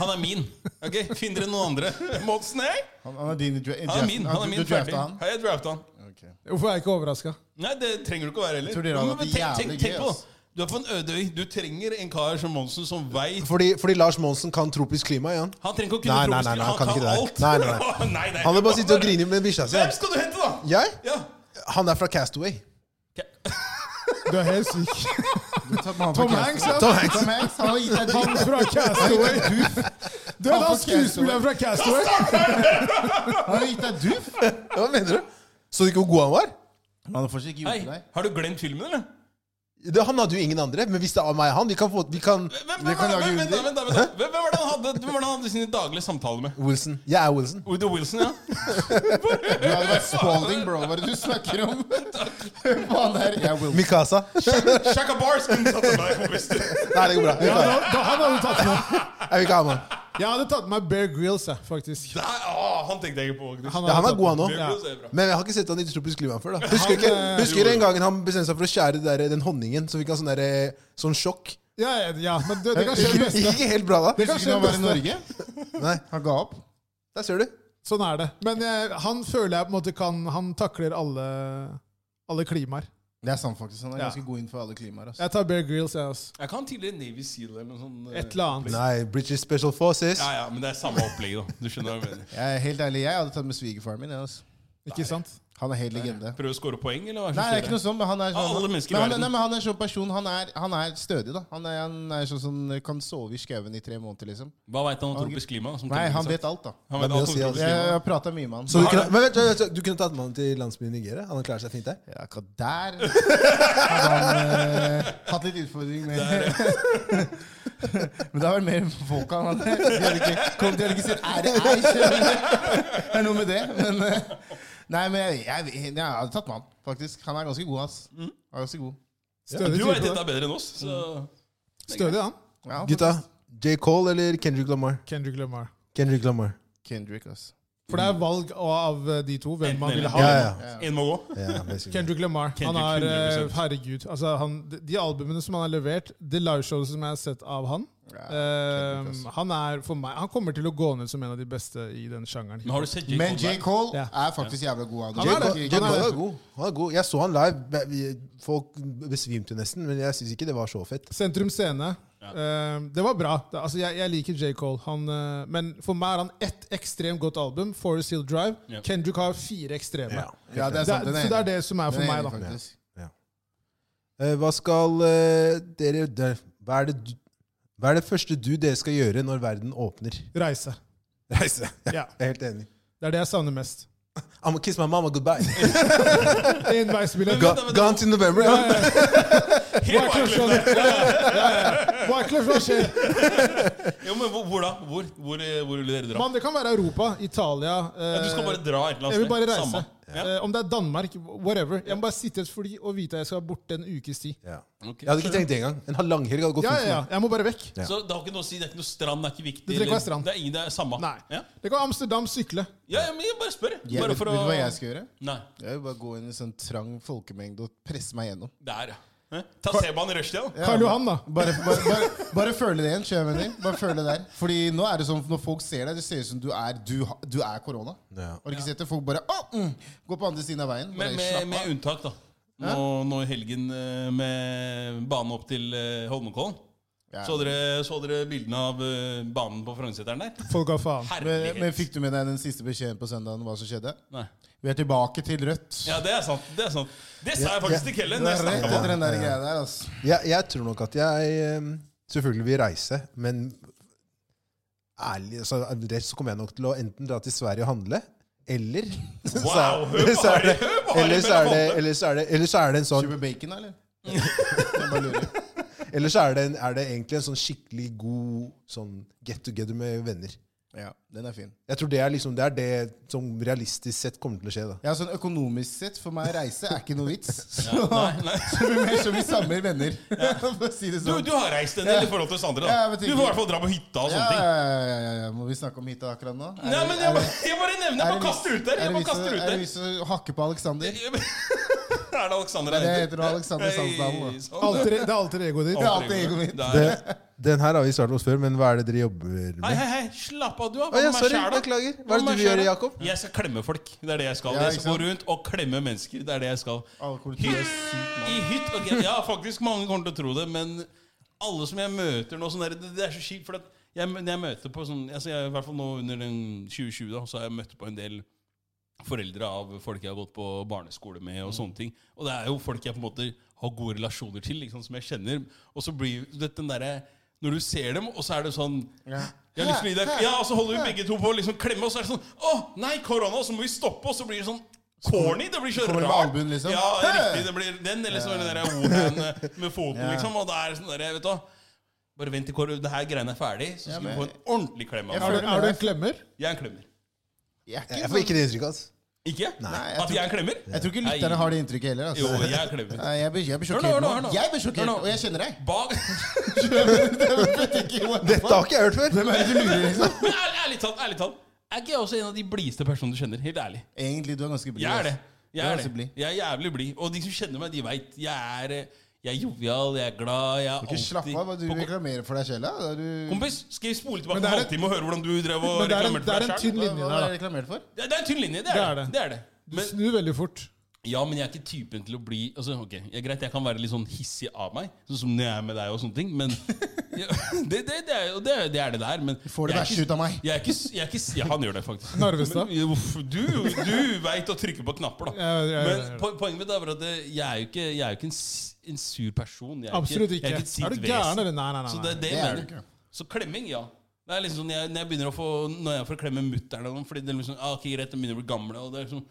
[SPEAKER 3] Han er min. Ok, Finn dere noen andre. Monsen, hei!
[SPEAKER 4] Han, han er din dra
[SPEAKER 3] Han er
[SPEAKER 4] draft-
[SPEAKER 3] min. han er
[SPEAKER 4] du-
[SPEAKER 3] min
[SPEAKER 4] Du drafta
[SPEAKER 3] ferdig.
[SPEAKER 4] han?
[SPEAKER 3] Hei, jeg drafta han.
[SPEAKER 4] Ok.
[SPEAKER 1] Hvorfor er jeg ikke overraska?
[SPEAKER 3] Nei, det trenger du ikke å være heller.
[SPEAKER 4] tror dere han
[SPEAKER 3] Men-
[SPEAKER 4] hadde
[SPEAKER 3] men tenk-
[SPEAKER 4] jævlig
[SPEAKER 3] tenk- tenk
[SPEAKER 4] gøy,
[SPEAKER 3] på,
[SPEAKER 4] ass.
[SPEAKER 3] Du er på en øde øy. Du trenger en kar som Monsen, som veit
[SPEAKER 2] Fordi, fordi Lars Monsen kan tropisk klima, ja.
[SPEAKER 3] Han trenger ikke å kunne
[SPEAKER 2] Nei, nei,
[SPEAKER 3] tropisk-
[SPEAKER 2] nei, nei, han kan ikke det der.
[SPEAKER 3] alt.
[SPEAKER 2] Nei, nei, nei.
[SPEAKER 3] nei, nei.
[SPEAKER 2] Han vil bare sitte og grine med bikkja si.
[SPEAKER 3] Hvem
[SPEAKER 2] han.
[SPEAKER 3] skal du hente, da?
[SPEAKER 2] Jeg?
[SPEAKER 3] Ja.
[SPEAKER 2] Han er fra Castaway.
[SPEAKER 1] Du er helt syk.
[SPEAKER 4] Du tar med han på
[SPEAKER 1] Tom
[SPEAKER 4] Castaway.
[SPEAKER 1] Hanks, ja.
[SPEAKER 4] Tom Hanks. Tom Hanks, Han har gitt deg
[SPEAKER 1] Han
[SPEAKER 4] dritt.
[SPEAKER 1] fra Castaway. Du er
[SPEAKER 4] Han
[SPEAKER 1] da
[SPEAKER 4] fra
[SPEAKER 1] skuespilleren fra Castaway.
[SPEAKER 4] Han har gitt deg duff.
[SPEAKER 2] Hva mener du? Så du ikke hvor god han var?
[SPEAKER 4] Han har fortsatt ikke
[SPEAKER 3] Hei,
[SPEAKER 4] gjort deg.
[SPEAKER 3] har du glemt filmen, eller?
[SPEAKER 2] det, Han hadde jo ingen andre, men hvis det er meg og han Vi kan få vi kan,
[SPEAKER 3] Hvem, hvem,
[SPEAKER 2] vi kan
[SPEAKER 3] hvem,
[SPEAKER 2] lage
[SPEAKER 3] hvem, vent da,
[SPEAKER 2] under.
[SPEAKER 3] vent da, vent da. Hvem- hvem var det han hadde, hvem var det han hadde sine daglige samtaler med?
[SPEAKER 2] Wilson. Jeg er Wilson.
[SPEAKER 3] Udo Wilson, ja.
[SPEAKER 4] Du hadde vært Spalding, bro. Hva er det du snakker om? Hør på han der. Jeg will.
[SPEAKER 2] Mikasa.
[SPEAKER 3] Shaka Barskin satt med deg, kompis.
[SPEAKER 2] Nei, det går bra. Vi
[SPEAKER 1] Ja, da,
[SPEAKER 2] klarer det.
[SPEAKER 1] da hadde du tatt med.
[SPEAKER 2] Jeg vil ikke ha med han.
[SPEAKER 1] Jeg hadde tatt med Bear Grills, jeg, faktisk.
[SPEAKER 3] Der, å, han tenkte jeg ikke på. faktisk.
[SPEAKER 1] hadde
[SPEAKER 2] Ja, han er
[SPEAKER 1] tatt
[SPEAKER 2] god,
[SPEAKER 1] med.
[SPEAKER 2] han òg.
[SPEAKER 1] Ja.
[SPEAKER 3] Miracles er bra.
[SPEAKER 2] Men jeg har ikke sett han i tropisk klima før. da Husker,
[SPEAKER 1] Han,
[SPEAKER 2] ikke,
[SPEAKER 1] eh,
[SPEAKER 2] husker den gangen han bestemte seg for å skjære det der, den honningen, så fikk han sånn, der, eh, sånn sjokk?
[SPEAKER 1] Ja, ja, ja, men det, det kan skje
[SPEAKER 2] Ikke,
[SPEAKER 1] det beste.
[SPEAKER 2] ikke helt bra da.
[SPEAKER 1] Det kan skje
[SPEAKER 4] Husker ikke han
[SPEAKER 1] det
[SPEAKER 4] var i
[SPEAKER 1] beste.
[SPEAKER 4] Norge?
[SPEAKER 2] Nei,
[SPEAKER 4] Han ga opp.
[SPEAKER 2] Der ser du.
[SPEAKER 1] Sånn er det. Men eh, han føler jeg på en måte kan Han takler alle, alle klimaer.
[SPEAKER 4] Det er sant, faktisk. Han er
[SPEAKER 1] Ja.
[SPEAKER 4] ganske god innenfor alle klimaer. Altså.
[SPEAKER 1] Jeg tar Bear Grills, jeg også.
[SPEAKER 3] Jeg kan tidligere Navy Seal eller noe sånt. eh,
[SPEAKER 1] Et eller annet.
[SPEAKER 2] Nei, British Special Forces.
[SPEAKER 3] Ja, ja, men det er samme opplegg, da. Du skjønner hva jeg mener.
[SPEAKER 4] Jeg er helt ærlig, jeg hadde tatt med svigerfaren min. jeg, Altså.
[SPEAKER 1] Ikke sant?
[SPEAKER 4] Han er helt legende.
[SPEAKER 3] Prøv å score poeng, eller hva?
[SPEAKER 4] Nei, det er ikke noe sånn, men han er sånn
[SPEAKER 3] Alle mennesker i
[SPEAKER 4] men han,
[SPEAKER 3] verden.
[SPEAKER 4] nei, men han er en sånn person. Han er, han er stødig, da. Han er, han er sånn som kan sove i skauen i tre måneder, liksom.
[SPEAKER 3] Hva veit han om tropisk klima? Som
[SPEAKER 4] Nei,
[SPEAKER 3] Torben
[SPEAKER 4] han
[SPEAKER 3] sa?
[SPEAKER 4] vet alt, da.
[SPEAKER 3] Han vet
[SPEAKER 2] Det er mye
[SPEAKER 3] alt om
[SPEAKER 2] å si, altså.
[SPEAKER 4] Jeg,
[SPEAKER 3] tropisk klima.
[SPEAKER 4] jeg prata mye med han.
[SPEAKER 2] Så du kunne, men vent, vent, vent, du kunne tatt med han til landsbyen i Nigeria? Han klarer seg fint der?
[SPEAKER 4] Ja, akkurat der hadde han eh, hatt litt utfordring med Men det har vært mer folk han hadde. De hadde ikke, kom, de hadde ikke sett Er det ei? Det er noe med det. Men, eh, nei, men jeg, jeg, jeg, hadde tatt med han, faktisk. Han er ganske god, ass.
[SPEAKER 3] Mm.
[SPEAKER 4] Han er ganske god.
[SPEAKER 1] Stødig
[SPEAKER 3] Du veit
[SPEAKER 1] type.
[SPEAKER 3] dette bedre enn oss, så
[SPEAKER 1] Stødig, han.
[SPEAKER 4] Ja, han-
[SPEAKER 2] Gutta, J. Cole eller Kendrick Lamar?
[SPEAKER 1] Kendrick Lamar.
[SPEAKER 2] Kendrick Lamar.
[SPEAKER 4] Kendrick, ass.
[SPEAKER 1] For det er valg av eh, de to hvem man vil ha.
[SPEAKER 2] Ja, ja.
[SPEAKER 3] én må gå.
[SPEAKER 2] ja basically.
[SPEAKER 1] Kendrick Lamar. Han
[SPEAKER 3] Kendrick,
[SPEAKER 1] er, eh,
[SPEAKER 3] 100%.
[SPEAKER 1] herregud altså han, de- De albumene som han har levert, det liveshowet som jeg har sett av han
[SPEAKER 4] Ja,
[SPEAKER 1] eh,
[SPEAKER 4] Kendrick, altså. ass.
[SPEAKER 1] Han er for meg Han kommer til å gå ned som en av de beste i den sjangeren.
[SPEAKER 3] Men har du sett J.
[SPEAKER 4] Men J. Cole
[SPEAKER 3] Cole?
[SPEAKER 1] Ja.
[SPEAKER 4] er faktisk jævla god.
[SPEAKER 1] Han
[SPEAKER 2] J.
[SPEAKER 1] er det.
[SPEAKER 2] Cole,
[SPEAKER 4] J.
[SPEAKER 2] J.
[SPEAKER 4] Cole
[SPEAKER 2] Cole er god. Han er god. Jeg så han live. Vi- Folk besvimte nesten, men jeg syns ikke det var så fett.
[SPEAKER 1] Sentrum Scene. Eh, det var bra. Det, altså, jeg, jeg liker J. Cole. Han, eh, men for meg er han ett ekstremt godt album. Forest Hill Drive.
[SPEAKER 3] Ja.
[SPEAKER 1] Kendrick har fire ekstreme.
[SPEAKER 4] Ja, det er
[SPEAKER 1] Det er,
[SPEAKER 4] sant. Den
[SPEAKER 1] så
[SPEAKER 4] er
[SPEAKER 1] det er
[SPEAKER 4] enig.
[SPEAKER 1] det som er
[SPEAKER 4] Den
[SPEAKER 1] for
[SPEAKER 4] er
[SPEAKER 1] meg,
[SPEAKER 4] enig,
[SPEAKER 1] da.
[SPEAKER 4] faktisk.
[SPEAKER 2] Eh, Hva skal eh, dere der- hva er, det, du- hva er det første du dere skal gjøre når verden åpner?
[SPEAKER 1] Reise.
[SPEAKER 2] Reise. Jeg
[SPEAKER 1] Ja.
[SPEAKER 2] er helt enig.
[SPEAKER 1] Det er det jeg savner mest.
[SPEAKER 2] I'm gonna kiss my mama goodbye.
[SPEAKER 1] Enveisbillett.
[SPEAKER 2] Go- Gone till November. ja.
[SPEAKER 3] Helt
[SPEAKER 1] Wyclef-Jean.
[SPEAKER 3] Wyclef, ja.
[SPEAKER 1] Wyclef-Jean.
[SPEAKER 3] Jo, men hvor, hvor da? Hvor, hvor, eh, hvor vil dere dra?
[SPEAKER 1] Mann, det kan være Europa, Italia eh,
[SPEAKER 3] Ja, du skal bare dra et eller annet
[SPEAKER 1] Jeg vil bare reise.
[SPEAKER 3] Samme. Ja.
[SPEAKER 1] Eh, om det er Danmark, whatever. Jeg må bare sitte i et fly og vite at jeg skal borte en ukes tid.
[SPEAKER 2] Ja.
[SPEAKER 3] Ok.
[SPEAKER 2] Jeg hadde ikke tenkt det engang. En halv langhelg hadde gått
[SPEAKER 1] Ja,
[SPEAKER 2] fint
[SPEAKER 1] ja, ja.
[SPEAKER 2] for meg.
[SPEAKER 1] Jeg må bare vekk.
[SPEAKER 2] Ja.
[SPEAKER 3] Så det har ikke noe å si? Det er ikke noe strand, det er ikke viktig?
[SPEAKER 1] Det trenger ikke
[SPEAKER 3] eller-
[SPEAKER 1] være strand.
[SPEAKER 3] Det er ingen, det er samme.
[SPEAKER 1] Nei.
[SPEAKER 3] Ja.
[SPEAKER 1] Det kan Amsterdam sykle.
[SPEAKER 3] ja, ja, men jeg bare spør. jeg.
[SPEAKER 4] Jeg
[SPEAKER 3] Bare
[SPEAKER 4] vet,
[SPEAKER 3] for
[SPEAKER 4] vet du hva
[SPEAKER 3] å
[SPEAKER 4] jeg skal gjøre?
[SPEAKER 3] Nei.
[SPEAKER 4] Jeg vil bare gå inn i en sånn trang folkemengde og presse meg gjennom.
[SPEAKER 3] Der, ja. Hæ? Ta T-banen i rushtida. da.
[SPEAKER 1] Karl Johan, da.
[SPEAKER 4] Bare, bare, bare, bare føle det igjen, kjører jeg mener. Bare føle det der. Fordi nå er det sånn, når folk ser deg, det ser ut som du er, du, ha- du er korona.
[SPEAKER 2] Ja.
[SPEAKER 4] Har du ikke sett det? Folk bare å, mm, går på andre siden av veien. Bare
[SPEAKER 3] Med, med,
[SPEAKER 4] slapp
[SPEAKER 3] med
[SPEAKER 4] av.
[SPEAKER 3] unntak, da. Nå, nå i helgen eh, med bane opp til eh, Holmenkollen.
[SPEAKER 4] Ja.
[SPEAKER 3] Så, dere, så dere bildene av eh, banen på Frognerseteren der?
[SPEAKER 1] Folk har faen.
[SPEAKER 4] Men,
[SPEAKER 3] Herlighet.
[SPEAKER 4] men fikk du med deg den siste beskjeden på søndagen, hva som skjedde?
[SPEAKER 3] Nei.
[SPEAKER 4] Vi er tilbake til Rødt.
[SPEAKER 3] Ja, det er sant. Det er sant Det sa jeg faktisk til Kellen.
[SPEAKER 4] Du
[SPEAKER 3] når
[SPEAKER 4] er
[SPEAKER 3] jeg
[SPEAKER 4] rett
[SPEAKER 3] snakket
[SPEAKER 4] etter
[SPEAKER 3] med han.
[SPEAKER 4] den der greia der, altså.
[SPEAKER 2] Jeg, jeg tror nok at jeg ehm, selvfølgelig vil reise, men ærlig så, rett så kommer jeg nok til å enten dra til Sverige og handle, eller så,
[SPEAKER 3] Wow, hør på
[SPEAKER 2] så er det,
[SPEAKER 3] Harry, hør på Harry
[SPEAKER 2] eller, så er det, eller, så er det, eller så er det en sånn
[SPEAKER 4] Kjøper bacon, da, eller? Jeg bare lurer.
[SPEAKER 2] Eller så er det, en, er det egentlig en sånn skikkelig god sånn get together med venner.
[SPEAKER 4] Ja, den er fin.
[SPEAKER 2] Jeg tror det er liksom, det er det som realistisk sett kommer til å skje. da.
[SPEAKER 4] Ja, sånn Økonomisk sett, for meg, reise er ikke noe vits. Så,
[SPEAKER 3] Nei, nei.
[SPEAKER 4] så vi mer som vi samler venner. For å si det
[SPEAKER 3] Du,
[SPEAKER 4] sånn.
[SPEAKER 3] du har reist en del i forhold til oss andre.
[SPEAKER 4] Ja,
[SPEAKER 3] Da.
[SPEAKER 4] jeg vet
[SPEAKER 3] Du
[SPEAKER 4] ikke.
[SPEAKER 3] får i hvert fall dra på hytta og
[SPEAKER 4] ja,
[SPEAKER 3] sånne ting.
[SPEAKER 4] ja, ja, ja, ja. Må vi snakke om hytta akkurat nå? Er
[SPEAKER 3] Nei,
[SPEAKER 4] det-
[SPEAKER 3] men
[SPEAKER 4] er
[SPEAKER 3] jeg, bare-
[SPEAKER 4] det-
[SPEAKER 3] jeg bare nevner Jeg
[SPEAKER 4] er det
[SPEAKER 3] bare
[SPEAKER 4] vi-
[SPEAKER 3] kaster ut der.
[SPEAKER 4] er
[SPEAKER 3] Jeg
[SPEAKER 4] det
[SPEAKER 3] bare
[SPEAKER 4] vi som-
[SPEAKER 3] kaster ut
[SPEAKER 4] Er det
[SPEAKER 3] der.
[SPEAKER 4] vi som hakker på Alexander?
[SPEAKER 3] Jeg- Er det Alexander
[SPEAKER 4] Nei, det heter han, Alexander Sandsdalen, da.
[SPEAKER 3] sånn.
[SPEAKER 1] Alter,
[SPEAKER 3] e-
[SPEAKER 1] det er alltid egoet ditt.
[SPEAKER 4] Ja. alltid egoet mitt.
[SPEAKER 2] Det, den her har vi svart oss før, men hva er det dere jobber med?
[SPEAKER 3] Hei, hei, hei, slapp av, du. har
[SPEAKER 2] Å, ja,
[SPEAKER 3] meg
[SPEAKER 2] sorry,
[SPEAKER 3] skjær, da.
[SPEAKER 2] beklager. Hva
[SPEAKER 3] Hva
[SPEAKER 2] er det
[SPEAKER 3] med
[SPEAKER 2] du
[SPEAKER 3] skjær,
[SPEAKER 2] gjør,
[SPEAKER 3] da?
[SPEAKER 2] Jakob?
[SPEAKER 3] Jeg skal klemme folk. Det er det jeg skal.
[SPEAKER 4] Ja,
[SPEAKER 3] jeg
[SPEAKER 4] ikke
[SPEAKER 3] skal gå
[SPEAKER 4] sant?
[SPEAKER 3] rundt og klemme mennesker. Det er det jeg skal.
[SPEAKER 4] Alle kommer til å
[SPEAKER 3] Hytt,
[SPEAKER 4] gjøre sykt mye.
[SPEAKER 3] I hytt ok, Ja, faktisk, mange kommer til å tro det, men alle som jeg møter nå sånn der, det, det er så kjipt, for at jeg, mø- når jeg møter på sånn altså jeg, I hvert fall nå under den 2020, da, så har jeg møtt på en del foreldre av folk jeg har gått på barneskole med, og sånne ting. Og det er jo folk jeg på en måte har gode relasjoner til, liksom, som jeg kjenner. Og så blir du vet, den derre Når du ser dem, og så er det sånn Jeg har lyst til å gi deg Ja, og så holder vi begge to på å liksom klemme, og så er det sånn Å, nei, korona, og så må vi stoppe, og så blir det sånn corny. Det blir så
[SPEAKER 4] Kommer med
[SPEAKER 3] rart.
[SPEAKER 4] albuen, liksom.
[SPEAKER 3] Ja,
[SPEAKER 4] Hey!
[SPEAKER 3] riktig. Det blir den, eller så er det der one-hand med foten,
[SPEAKER 4] Ja.
[SPEAKER 3] liksom. Og det er sånn der, vet du hva. Bare vent til kor- det her greiene er ferdig, så
[SPEAKER 4] Ja,
[SPEAKER 3] skal
[SPEAKER 4] men-
[SPEAKER 3] du få en ordentlig klem.
[SPEAKER 1] Er
[SPEAKER 4] Jeg
[SPEAKER 3] av meg.
[SPEAKER 4] føler-
[SPEAKER 1] du, er du en klemmer?
[SPEAKER 3] Jeg er en klemmer.
[SPEAKER 4] Jeg, er
[SPEAKER 2] Jeg
[SPEAKER 4] ikke
[SPEAKER 2] får
[SPEAKER 4] sånn,
[SPEAKER 2] ikke det inntrykket. Altså.
[SPEAKER 3] Ikke?
[SPEAKER 4] Nei, jeg
[SPEAKER 3] At jeg er en klemmer?
[SPEAKER 4] jeg tror ikke lytterne har det inntrykket heller.
[SPEAKER 3] Jo,
[SPEAKER 4] Altså.
[SPEAKER 3] jeg er en klemmer.
[SPEAKER 4] Nei, jeg blir, jeg blir
[SPEAKER 3] Hør nå,
[SPEAKER 4] sjokkert
[SPEAKER 3] hør nå,
[SPEAKER 4] nå.
[SPEAKER 3] hør nå.
[SPEAKER 4] Jeg blir sjokkert,
[SPEAKER 3] Hør nå.
[SPEAKER 4] og jeg kjenner deg.
[SPEAKER 3] Bak
[SPEAKER 2] Dette har ikke jeg hørt før!
[SPEAKER 4] Hvem er det du lurer, liksom?
[SPEAKER 3] Men ærlig, ærlig talt, ærlig talt. Er ikke jeg også en av de blideste personene du kjenner? Helt ærlig.
[SPEAKER 4] Egentlig, du er ganske blid.
[SPEAKER 3] Jeg er det.
[SPEAKER 4] ass.
[SPEAKER 3] Jeg er,
[SPEAKER 4] ganske
[SPEAKER 3] det.
[SPEAKER 4] blid.
[SPEAKER 3] Jeg er jævlig blid. Og de som kjenner meg, de veit. Jeg er eh, Jeg er jovial, jeg er glad, jeg er
[SPEAKER 4] Ikke slapp av, hva du
[SPEAKER 3] på-
[SPEAKER 4] reklamerer for deg selv, da? da? Du...
[SPEAKER 3] Kompis, skal vi spole tilbake
[SPEAKER 1] Men det
[SPEAKER 3] en
[SPEAKER 1] er en-
[SPEAKER 3] halvtime og høre hvordan du drev og
[SPEAKER 1] Men det er en,
[SPEAKER 3] reklamerte
[SPEAKER 1] det
[SPEAKER 3] for
[SPEAKER 1] er
[SPEAKER 3] deg
[SPEAKER 1] en
[SPEAKER 3] sjøl?
[SPEAKER 1] tynn linje
[SPEAKER 4] Hva, hva er
[SPEAKER 1] der,
[SPEAKER 4] det
[SPEAKER 1] da.
[SPEAKER 4] reklamert for?
[SPEAKER 3] Det det er en tynn linje, det
[SPEAKER 1] Det
[SPEAKER 3] er
[SPEAKER 1] er
[SPEAKER 3] det.
[SPEAKER 1] det.
[SPEAKER 3] det, er det.
[SPEAKER 1] Du
[SPEAKER 3] Men,
[SPEAKER 1] snur veldig fort.
[SPEAKER 3] ja, men jeg er ikke typen til å bli altså, ok, jeg, Greit, jeg kan være litt sånn hissig av meg, sånn som når jeg er med deg og sånne ting, men ja, det, det, det, er, og det, er- det er det der. Men
[SPEAKER 4] Får det
[SPEAKER 3] jeg er ikke-
[SPEAKER 4] verste ut av meg.
[SPEAKER 3] Jeg er ikke, jeg er ikke ja, Han gjør det, faktisk.
[SPEAKER 1] Narvestad.
[SPEAKER 3] Men, uff, du du veit å trykke på knapper, da.
[SPEAKER 1] Ja, ja, ja, ja.
[SPEAKER 3] Men po poenget mitt er bare at det, jeg er jo ikke, jeg er jo ikke en, s- en sur person. Jeg er
[SPEAKER 1] Absolutt
[SPEAKER 3] Jeg
[SPEAKER 1] ikke.
[SPEAKER 3] er ikke et sint
[SPEAKER 1] Er du
[SPEAKER 3] vesen.
[SPEAKER 1] gæren, eller? Nei, nei,
[SPEAKER 3] Så
[SPEAKER 1] nei. nei.
[SPEAKER 3] det, er det
[SPEAKER 4] Det
[SPEAKER 3] jeg
[SPEAKER 4] er du
[SPEAKER 3] mener.
[SPEAKER 4] ikke.
[SPEAKER 3] Så klemming, ja. Det er liksom sånn, jeg, når jeg begynner å få Når jeg får klemme mutter'n eller noe, fordi det er liksom, ah, ok, greit, de begynner å bli gamle og det er liksom,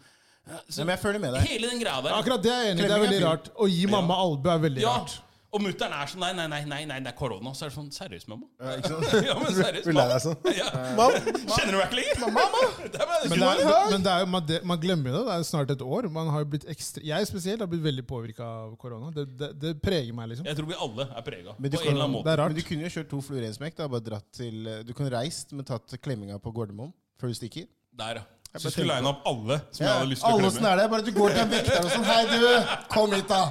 [SPEAKER 3] ja,
[SPEAKER 4] Nei,
[SPEAKER 3] så,
[SPEAKER 4] men jeg føler med deg.
[SPEAKER 3] Hele den greia der.
[SPEAKER 1] Akkurat det er jeg enig i. Det er veldig rart. Å gi mamma albue er veldig
[SPEAKER 3] Ja.
[SPEAKER 1] rart.
[SPEAKER 3] Og mutter'n er sånn Nei, nei, nei, nei, nei, det er korona. Så er det sånn Seriøst, mamma?
[SPEAKER 4] Ja, ikke sant?
[SPEAKER 3] Ja, men seriøst,
[SPEAKER 2] Vil
[SPEAKER 3] mamma.
[SPEAKER 2] jeg deg sånn?
[SPEAKER 3] Ja.
[SPEAKER 4] Eh,
[SPEAKER 2] Mam,
[SPEAKER 3] Kjenner du meg ikke lenger? Det er bare-
[SPEAKER 1] Men, det er, men det er, jo- man, det, man glemmer jo det. Det er jo snart et år. Man har jo blitt ekstra, jeg spesielt har blitt veldig påvirka av korona. Det, det, det preger meg, liksom.
[SPEAKER 3] Jeg tror vi alle er prega. På en
[SPEAKER 4] Men du,
[SPEAKER 3] eller annen måte.
[SPEAKER 1] Det er rart.
[SPEAKER 4] men du kunne jo kjørt to fluer i en smekk. da, bare dratt til, eh, Du kunne reist, men tatt klemminga på Gardermoen før du stikker.
[SPEAKER 3] Der, ja.
[SPEAKER 4] bare
[SPEAKER 3] Så jeg
[SPEAKER 4] tenkte-
[SPEAKER 3] skulle line opp alle som jeg
[SPEAKER 4] Ja,
[SPEAKER 3] hadde lyst til å
[SPEAKER 4] alle åssen
[SPEAKER 3] klemme.
[SPEAKER 4] er det? Bare at du går til en vekter og sånn Hei, du! Kom hit, da!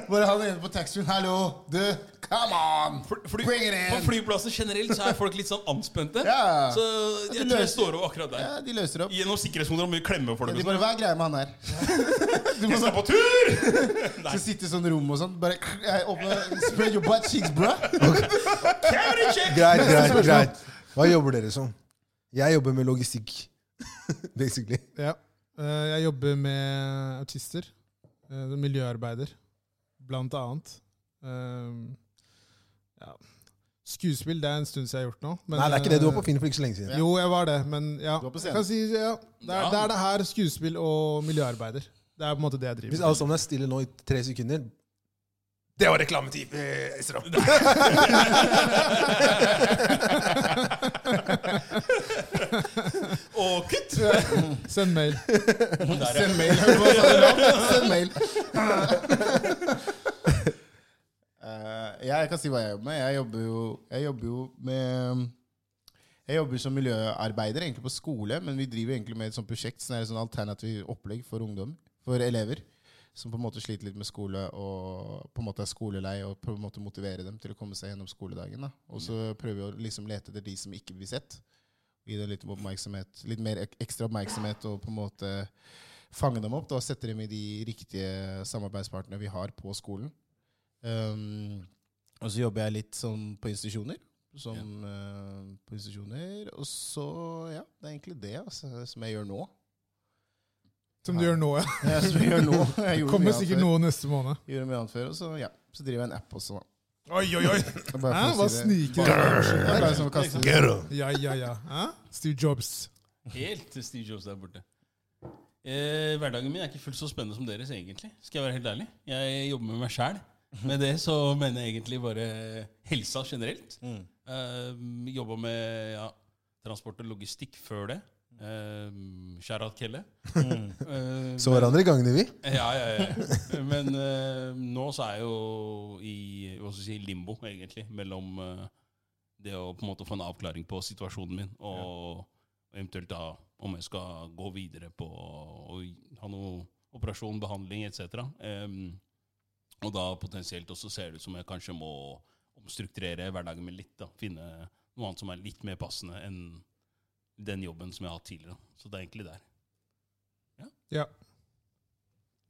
[SPEAKER 4] Bare han inne på taxfree. Hallo! Du! Come on!
[SPEAKER 3] For, fordi
[SPEAKER 4] Bring it
[SPEAKER 3] på
[SPEAKER 4] in!
[SPEAKER 3] flyplasser generelt så er folk litt sånn anspente.
[SPEAKER 4] Ja.
[SPEAKER 3] Så
[SPEAKER 4] Det
[SPEAKER 3] jeg tror jeg
[SPEAKER 4] løser-
[SPEAKER 3] står over akkurat der.
[SPEAKER 4] Ja, de løser opp.
[SPEAKER 3] Gjennom sikkerhetsmoder og mye klemme for
[SPEAKER 4] Ja, de
[SPEAKER 3] dem. og sånn.
[SPEAKER 4] bare, Hva er greia med han her? Du må
[SPEAKER 3] Jeg
[SPEAKER 4] så,
[SPEAKER 3] skal på tur! Nei,
[SPEAKER 4] så sitte i sånn rom og sånn. Bare jeg åpner, Spread your butt cheeks, bro!
[SPEAKER 3] camera check!
[SPEAKER 2] Greit, greit, greit. Hva jobber dere som? Jeg jobber med logistikk, basically.
[SPEAKER 1] Ja. Eh, Jeg jobber med autister. eh, som Miljøarbeider, blant annet. Eh, Ja. Skuespill det er en stund siden jeg har gjort nå. men,
[SPEAKER 2] Nei, det er ikke det. Du var
[SPEAKER 1] eh,
[SPEAKER 2] på Finn for ikke så lenge siden.
[SPEAKER 1] Jo, jeg var det, men ja.
[SPEAKER 4] Du var på
[SPEAKER 1] Jeg
[SPEAKER 4] scenen.
[SPEAKER 1] Kan si, ja. Det, er,
[SPEAKER 3] Ja.
[SPEAKER 1] det er det her skuespill og miljøarbeider. Det er på en måte det jeg driver
[SPEAKER 2] Hvis alle sammen er stille nå i tre sekunder Det var reklametid! Eh, Esra.
[SPEAKER 3] Og kutt!
[SPEAKER 1] med. Send mail.
[SPEAKER 3] Der, ja.
[SPEAKER 4] Send mail. Send mail. Eh, jeg kan si hva jeg jobber med. Jeg jobber jo, jeg jobber jo med Jeg jobber som miljøarbeider egentlig på skole, men vi driver egentlig med et sånt prosjekt som er et sånt alternativt opplegg for ungdom, for elever. Som på en måte sliter litt med skole og på en måte er skolelei, og på en måte motivere dem til å komme seg gjennom skoledagen. da. Og så prøver vi å liksom lete etter de som ikke blir sett. Gi dem litt oppmerksomhet, litt mer ek- ekstra oppmerksomhet og på en måte fange dem opp da, og sette dem i de riktige samarbeidspartnerne vi har på skolen. Um, og så jobber jeg litt sånn på institusjoner. Som, eh, på institusjoner. Og så, ja, det er egentlig det altså, som jeg gjør nå.
[SPEAKER 1] Som du gjør nå, ja.
[SPEAKER 4] Ja, som jeg gjør nå. Jeg
[SPEAKER 1] Det
[SPEAKER 4] gjorde
[SPEAKER 1] kommer
[SPEAKER 4] mye annet
[SPEAKER 1] sikkert
[SPEAKER 4] før.
[SPEAKER 1] noe neste måned.
[SPEAKER 4] Gjorde mye annet før, og så, ja. så driver jeg en app også. da.
[SPEAKER 1] Oi, oi, oi!
[SPEAKER 4] Det er bare
[SPEAKER 1] Hæ?
[SPEAKER 4] for
[SPEAKER 1] Hva
[SPEAKER 4] å si det.
[SPEAKER 1] sniker du?
[SPEAKER 4] Det er bare som å kaste det.
[SPEAKER 2] Get 'em.
[SPEAKER 1] Ja, ja, ja. Hæ? Steve Jobs.
[SPEAKER 3] Helt til Steve Jobs der borte. Eh, hverdagen min er ikke fullt så spennende som deres, egentlig. Skal jeg være helt ærlig. Jeg jobber med meg sjæl. Med det så mener jeg egentlig bare helsa generelt.
[SPEAKER 4] Mm.
[SPEAKER 3] Um, Jobba med ja, transport og logistikk før det. Um, Gerhard Kelle.
[SPEAKER 4] Mm.
[SPEAKER 3] Um,
[SPEAKER 2] Så hverandre i gangene, vi.
[SPEAKER 3] ja, ja, ja. Men eh, nå så er jeg jo i hva skal jeg si, limbo, egentlig, mellom eh, det å på en måte få en avklaring på situasjonen min, og eventuelt da om jeg skal gå videre på å ha noe operasjon, behandling etc. Um, og da potensielt også ser det ut som jeg kanskje må omstrukturere hverdagen min litt. da, Finne noe annet som er litt mer passende enn den jobben som jeg har hatt tidligere. Så det er egentlig der.
[SPEAKER 1] Ja.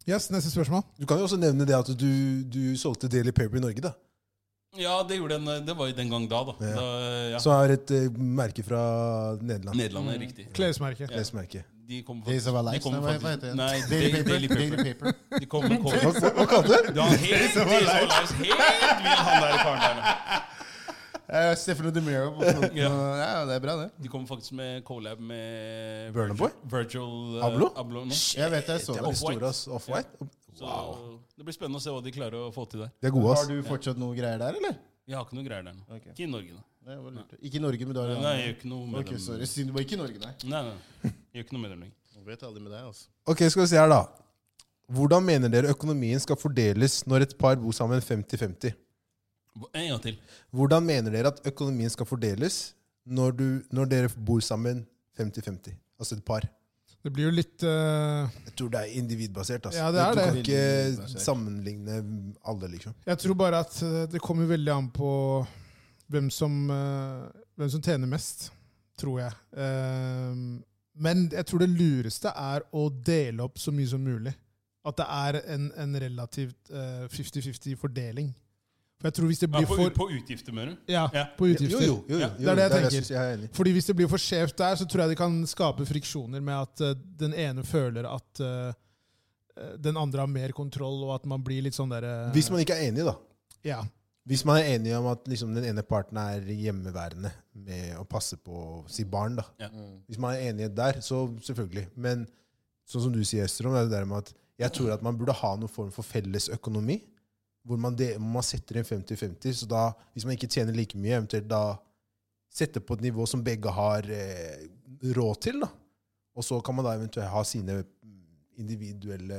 [SPEAKER 1] Yes, neste spørsmål.
[SPEAKER 2] Du kan jo også nevne det at du, du solgte Daily Paper i Norge. da.
[SPEAKER 3] Ja, det, gjorde den, det var jo den gang da, da.
[SPEAKER 2] Ja.
[SPEAKER 3] da ja.
[SPEAKER 2] Som er et eh, merke fra Nederland.
[SPEAKER 3] Nederland er riktig.
[SPEAKER 1] Klesmerke.
[SPEAKER 2] Klesmerke.
[SPEAKER 3] De kommer
[SPEAKER 4] Days of our lives,
[SPEAKER 3] kommer
[SPEAKER 4] Mm. nei, hva- hva heter
[SPEAKER 3] faktisk-
[SPEAKER 4] det?
[SPEAKER 3] Nei,
[SPEAKER 4] Daily
[SPEAKER 3] Daily,
[SPEAKER 4] Paper.
[SPEAKER 3] Daily Paper.
[SPEAKER 4] Daily Paper.
[SPEAKER 3] De kommer, kommer.
[SPEAKER 2] Hva, hva kalte du det?
[SPEAKER 3] Ja, helt Days of our lives. Helt vill han der karen der.
[SPEAKER 4] Eh, Stefano De Miro på fronten.
[SPEAKER 3] Ja.
[SPEAKER 4] og- Ja, det er bra, det.
[SPEAKER 3] De kom faktisk med collab med
[SPEAKER 2] Burna Boy?
[SPEAKER 3] Virgil eh,
[SPEAKER 2] Abloh?
[SPEAKER 3] Abloh nå.
[SPEAKER 4] Jeg vet jeg så
[SPEAKER 2] Det
[SPEAKER 4] det.
[SPEAKER 2] var
[SPEAKER 3] Off-white.
[SPEAKER 2] store, ass. Off-white.
[SPEAKER 3] Så det blir spennende å se hva de klarer å få til der.
[SPEAKER 2] De er gode,
[SPEAKER 4] Har
[SPEAKER 2] ass.
[SPEAKER 4] du fortsatt noe greier der, eller?
[SPEAKER 3] Jeg har ikke noe greier der nå.
[SPEAKER 4] Ok.
[SPEAKER 3] Ikke i Norge, da.
[SPEAKER 4] Nei, det var lurt. Ikke i Norge, men du har
[SPEAKER 3] Nei, jeg gjør ikke noe med
[SPEAKER 4] Ok,
[SPEAKER 3] dem.
[SPEAKER 4] sorry. Synd det var ikke i Norge, nei.
[SPEAKER 3] Nei, nei. Jeg gjør ikke noe med dem lenger.
[SPEAKER 4] Jeg vet aldri med deg, altså.
[SPEAKER 2] Ok, skal vi se her, da. Hvordan mener dere økonomien skal fordeles når et par bor sammen 50-50?
[SPEAKER 3] En gang til.
[SPEAKER 2] Hvordan mener dere at økonomien skal fordeles når, du, når dere bor sammen 50-50? Altså et par.
[SPEAKER 1] Det blir jo litt eh,
[SPEAKER 2] Jeg tror det er individbasert. Altså.
[SPEAKER 1] Ja, det er
[SPEAKER 2] du
[SPEAKER 1] det.
[SPEAKER 2] kan ikke
[SPEAKER 4] Individbasert.
[SPEAKER 2] sammenligne alle, liksom.
[SPEAKER 1] Jeg tror bare at eh, det kommer veldig an på hvem som, eh, hvem som tjener mest, tror jeg. Ehm, Men jeg tror det lureste er å dele opp så mye som mulig. At det er en, en relativt eh, 50-50 fordeling. For jeg tror hvis det
[SPEAKER 3] Ja,
[SPEAKER 1] blir
[SPEAKER 3] på,
[SPEAKER 1] for
[SPEAKER 3] på utgifter, mener du?
[SPEAKER 1] Ja,
[SPEAKER 3] Ja.
[SPEAKER 1] på utgifter.
[SPEAKER 2] Jo, jo, jo, jo,
[SPEAKER 3] Ja,
[SPEAKER 1] det er det jeg tenker.
[SPEAKER 2] synes jeg er enig. i.
[SPEAKER 1] Fordi hvis det blir for skjevt der, så tror jeg det kan skape friksjoner med at eh, den ene føler at eh, den andre har mer kontroll, og at man blir litt sånn derre
[SPEAKER 2] Hvis man ikke er enig, da.
[SPEAKER 1] Ja.
[SPEAKER 2] Hvis man er enig om at liksom, den ene parten er hjemmeværende med å passe på sitt barn, da.
[SPEAKER 3] Ja.
[SPEAKER 2] Hvis man er enighet der, så selvfølgelig. Men sånn som du sier, Østerom, er det der med at jeg tror at man burde ha noen form for felles økonomi. Hvor man, de, man setter inn 50-50, så da, hvis man ikke tjener like mye, eventuelt da sette på et nivå som begge har eh, råd til, da. Og så kan man da eventuelt ha sine individuelle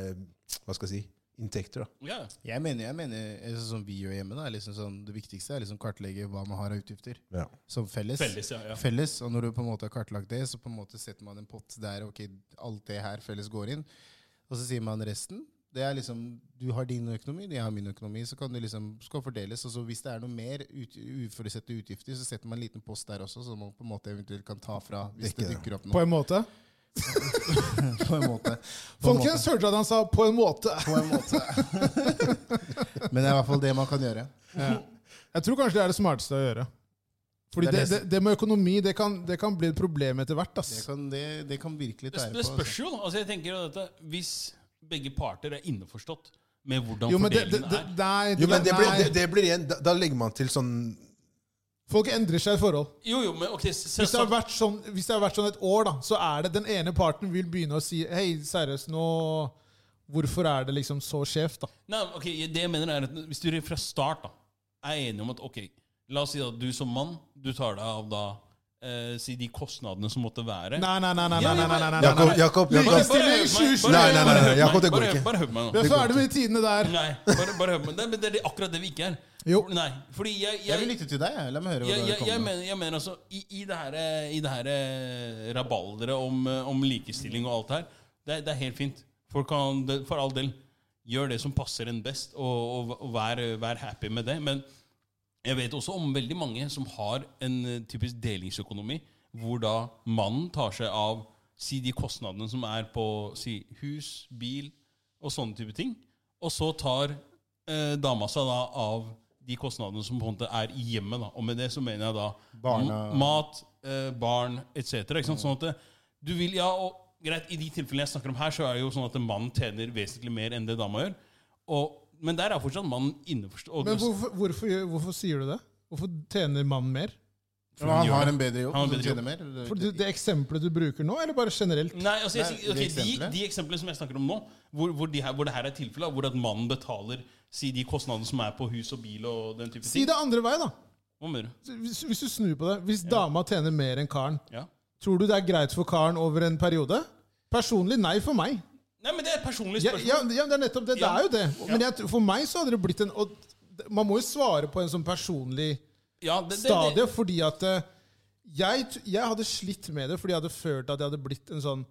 [SPEAKER 2] hva skal jeg si, inntekter, da.
[SPEAKER 3] Ja.
[SPEAKER 4] Jeg mener, jeg mener eh, sånn som vi gjør hjemme, da, er liksom sånn, det viktigste er liksom kartlegge hva man har av utgifter.
[SPEAKER 2] Ja.
[SPEAKER 4] Som felles.
[SPEAKER 3] Felles, ja. ja.
[SPEAKER 4] Felles, Og når du på en måte har kartlagt det, så på en måte setter man en pott der ok, alt det her felles går inn. Og så sier man resten. Det er liksom, Du har din økonomi, jeg har min økonomi. Så kan det liksom, skal fordeles. Og så hvis det er noe mer ut, uforutsette utgifter, så setter man en liten post der også, som man på en måte eventuelt kan ta fra hvis det
[SPEAKER 2] Dekke det.
[SPEAKER 4] dukker opp
[SPEAKER 1] På
[SPEAKER 4] noe.
[SPEAKER 1] en måte.
[SPEAKER 4] På en måte. På en måte.
[SPEAKER 1] Folkens, hørte du at han sa 'på en måte'?
[SPEAKER 4] På en måte. Men det er i hvert fall det man kan gjøre.
[SPEAKER 1] Jeg tror kanskje det er det smarteste å gjøre. Fordi
[SPEAKER 4] Det
[SPEAKER 1] det,
[SPEAKER 4] er
[SPEAKER 1] det,
[SPEAKER 4] det-
[SPEAKER 1] det med økonomi det kan, det kan bli et problem etter hvert.
[SPEAKER 4] Det
[SPEAKER 1] ass.
[SPEAKER 4] kan, det, det kan virkelig
[SPEAKER 3] Det,
[SPEAKER 4] tære på.
[SPEAKER 3] det
[SPEAKER 4] altså.
[SPEAKER 3] spørs jo, da. Altså, jeg tenker jo dette, hvis begge parter er innforstått med hvordan
[SPEAKER 1] Jo, men det, det,
[SPEAKER 3] fordelingen
[SPEAKER 1] det,
[SPEAKER 3] er
[SPEAKER 1] nei,
[SPEAKER 2] Jo, men det blir,
[SPEAKER 1] nei.
[SPEAKER 2] det, det blir igjen, da, da legger man til sånn
[SPEAKER 1] Folk endrer seg i forhold.
[SPEAKER 3] Jo, jo, men ok, se- se-
[SPEAKER 1] Hvis det, har vært sånn, hvis det har vært sånn et år, da, så er det den ene parten vil begynne å si Hei, seriøst, nå Hvorfor er det liksom så skjevt, da?
[SPEAKER 3] Nei, ok, det jeg mener er at Hvis du fra start da er enige om at ok, la oss si at du som mann Du tar deg av da eh, Si de kostnadene som måtte være
[SPEAKER 1] Nei, nei, nei, nei, nei,
[SPEAKER 3] Ja,
[SPEAKER 1] nei,
[SPEAKER 3] ja,
[SPEAKER 1] nei, nei, nei,
[SPEAKER 2] Jakob,
[SPEAKER 1] nei.
[SPEAKER 2] Jakob,
[SPEAKER 1] Like
[SPEAKER 2] Jakob.
[SPEAKER 1] stil- Stilling
[SPEAKER 3] bare-
[SPEAKER 1] 2020.
[SPEAKER 2] Nei, nei, nei, nei,
[SPEAKER 3] bare hør
[SPEAKER 2] Jakob,
[SPEAKER 3] meg,
[SPEAKER 2] det går
[SPEAKER 3] bare-
[SPEAKER 2] ikke.
[SPEAKER 3] Bare hør på meg
[SPEAKER 1] Vi
[SPEAKER 3] nå
[SPEAKER 1] er ferdig med de tidene der.
[SPEAKER 3] Nei, bare, bare hør på meg Nei, men Det er det- akkurat det vi ikke er
[SPEAKER 1] Jo.
[SPEAKER 3] Nei, fordi jeg,
[SPEAKER 4] Jeg vil
[SPEAKER 3] jeg
[SPEAKER 4] lytte til deg. jeg. La meg høre hva
[SPEAKER 3] jeg,
[SPEAKER 4] du
[SPEAKER 3] jeg,
[SPEAKER 4] har
[SPEAKER 3] jeg,
[SPEAKER 4] kommet med.
[SPEAKER 3] mener, jeg mener altså I, i det her, eh, i det her eh, rabalderet om, eh, om likestilling og alt her Det, er- det er helt fint Folk kan, det- For all del Gjør det som passer en best Og, og, og vær, vær happy med det Men jeg vet også om veldig mange som har en eh, typisk delingsøkonomi, hvor da mannen tar seg av si de kostnadene som er på si, hus, bil og sånne type ting. Og så tar eh, dama seg da av de kostnadene som på en måte er i hjemmet. da. Og med det så mener jeg da
[SPEAKER 4] Barna-
[SPEAKER 3] m- mat, eh, barn etc. Ikke sant? Sånn at det, du vil, ja, og greit, I de tilfellene jeg snakker om her, så er det jo sånn at en mann tjener vesentlig mer enn det dama gjør. Og, men der er fortsatt mannen inneforstått.
[SPEAKER 1] Men hvorfor, hvorfor, gjør- hvorfor sier du det? Hvorfor tjener mannen mer?
[SPEAKER 4] Men han har en bedre jobb.
[SPEAKER 3] Han har
[SPEAKER 4] så
[SPEAKER 3] bedre
[SPEAKER 4] tjener
[SPEAKER 3] jobb.
[SPEAKER 4] mer, eller?
[SPEAKER 1] For det, det eksempelet du bruker nå, eller bare generelt?
[SPEAKER 3] Nei, altså, jeg,
[SPEAKER 4] Nei,
[SPEAKER 3] sier- ok,
[SPEAKER 4] de eksemplene?
[SPEAKER 3] de, de eksemplene som jeg snakker om nå, hvor, hvor, de her, hvor det her er tilfellet, hvor at mannen betaler si, de kostnadene som er på hus og bil og den type
[SPEAKER 1] Si
[SPEAKER 3] ting
[SPEAKER 1] det andre vei, da.
[SPEAKER 3] Hva mener du?
[SPEAKER 1] Hvis, hvis du snur på det Hvis dama tjener mer enn karen,
[SPEAKER 3] Ja.
[SPEAKER 1] tror du det er greit for karen over en periode? Personlig nei for meg.
[SPEAKER 3] Nei, men det er et personlig
[SPEAKER 1] Ja,
[SPEAKER 3] spørsmål.
[SPEAKER 1] ja, ja, det er nettopp det. Det
[SPEAKER 3] Ja.
[SPEAKER 1] er jo det. Men jeg, for meg så hadde det blitt en og d- Man må jo svare på en sånn personlig
[SPEAKER 3] Ja, det- det-
[SPEAKER 1] stadie,
[SPEAKER 3] det-
[SPEAKER 1] fordi at eh, jeg, t- jeg hadde slitt med det fordi jeg hadde følt at jeg hadde blitt en sånn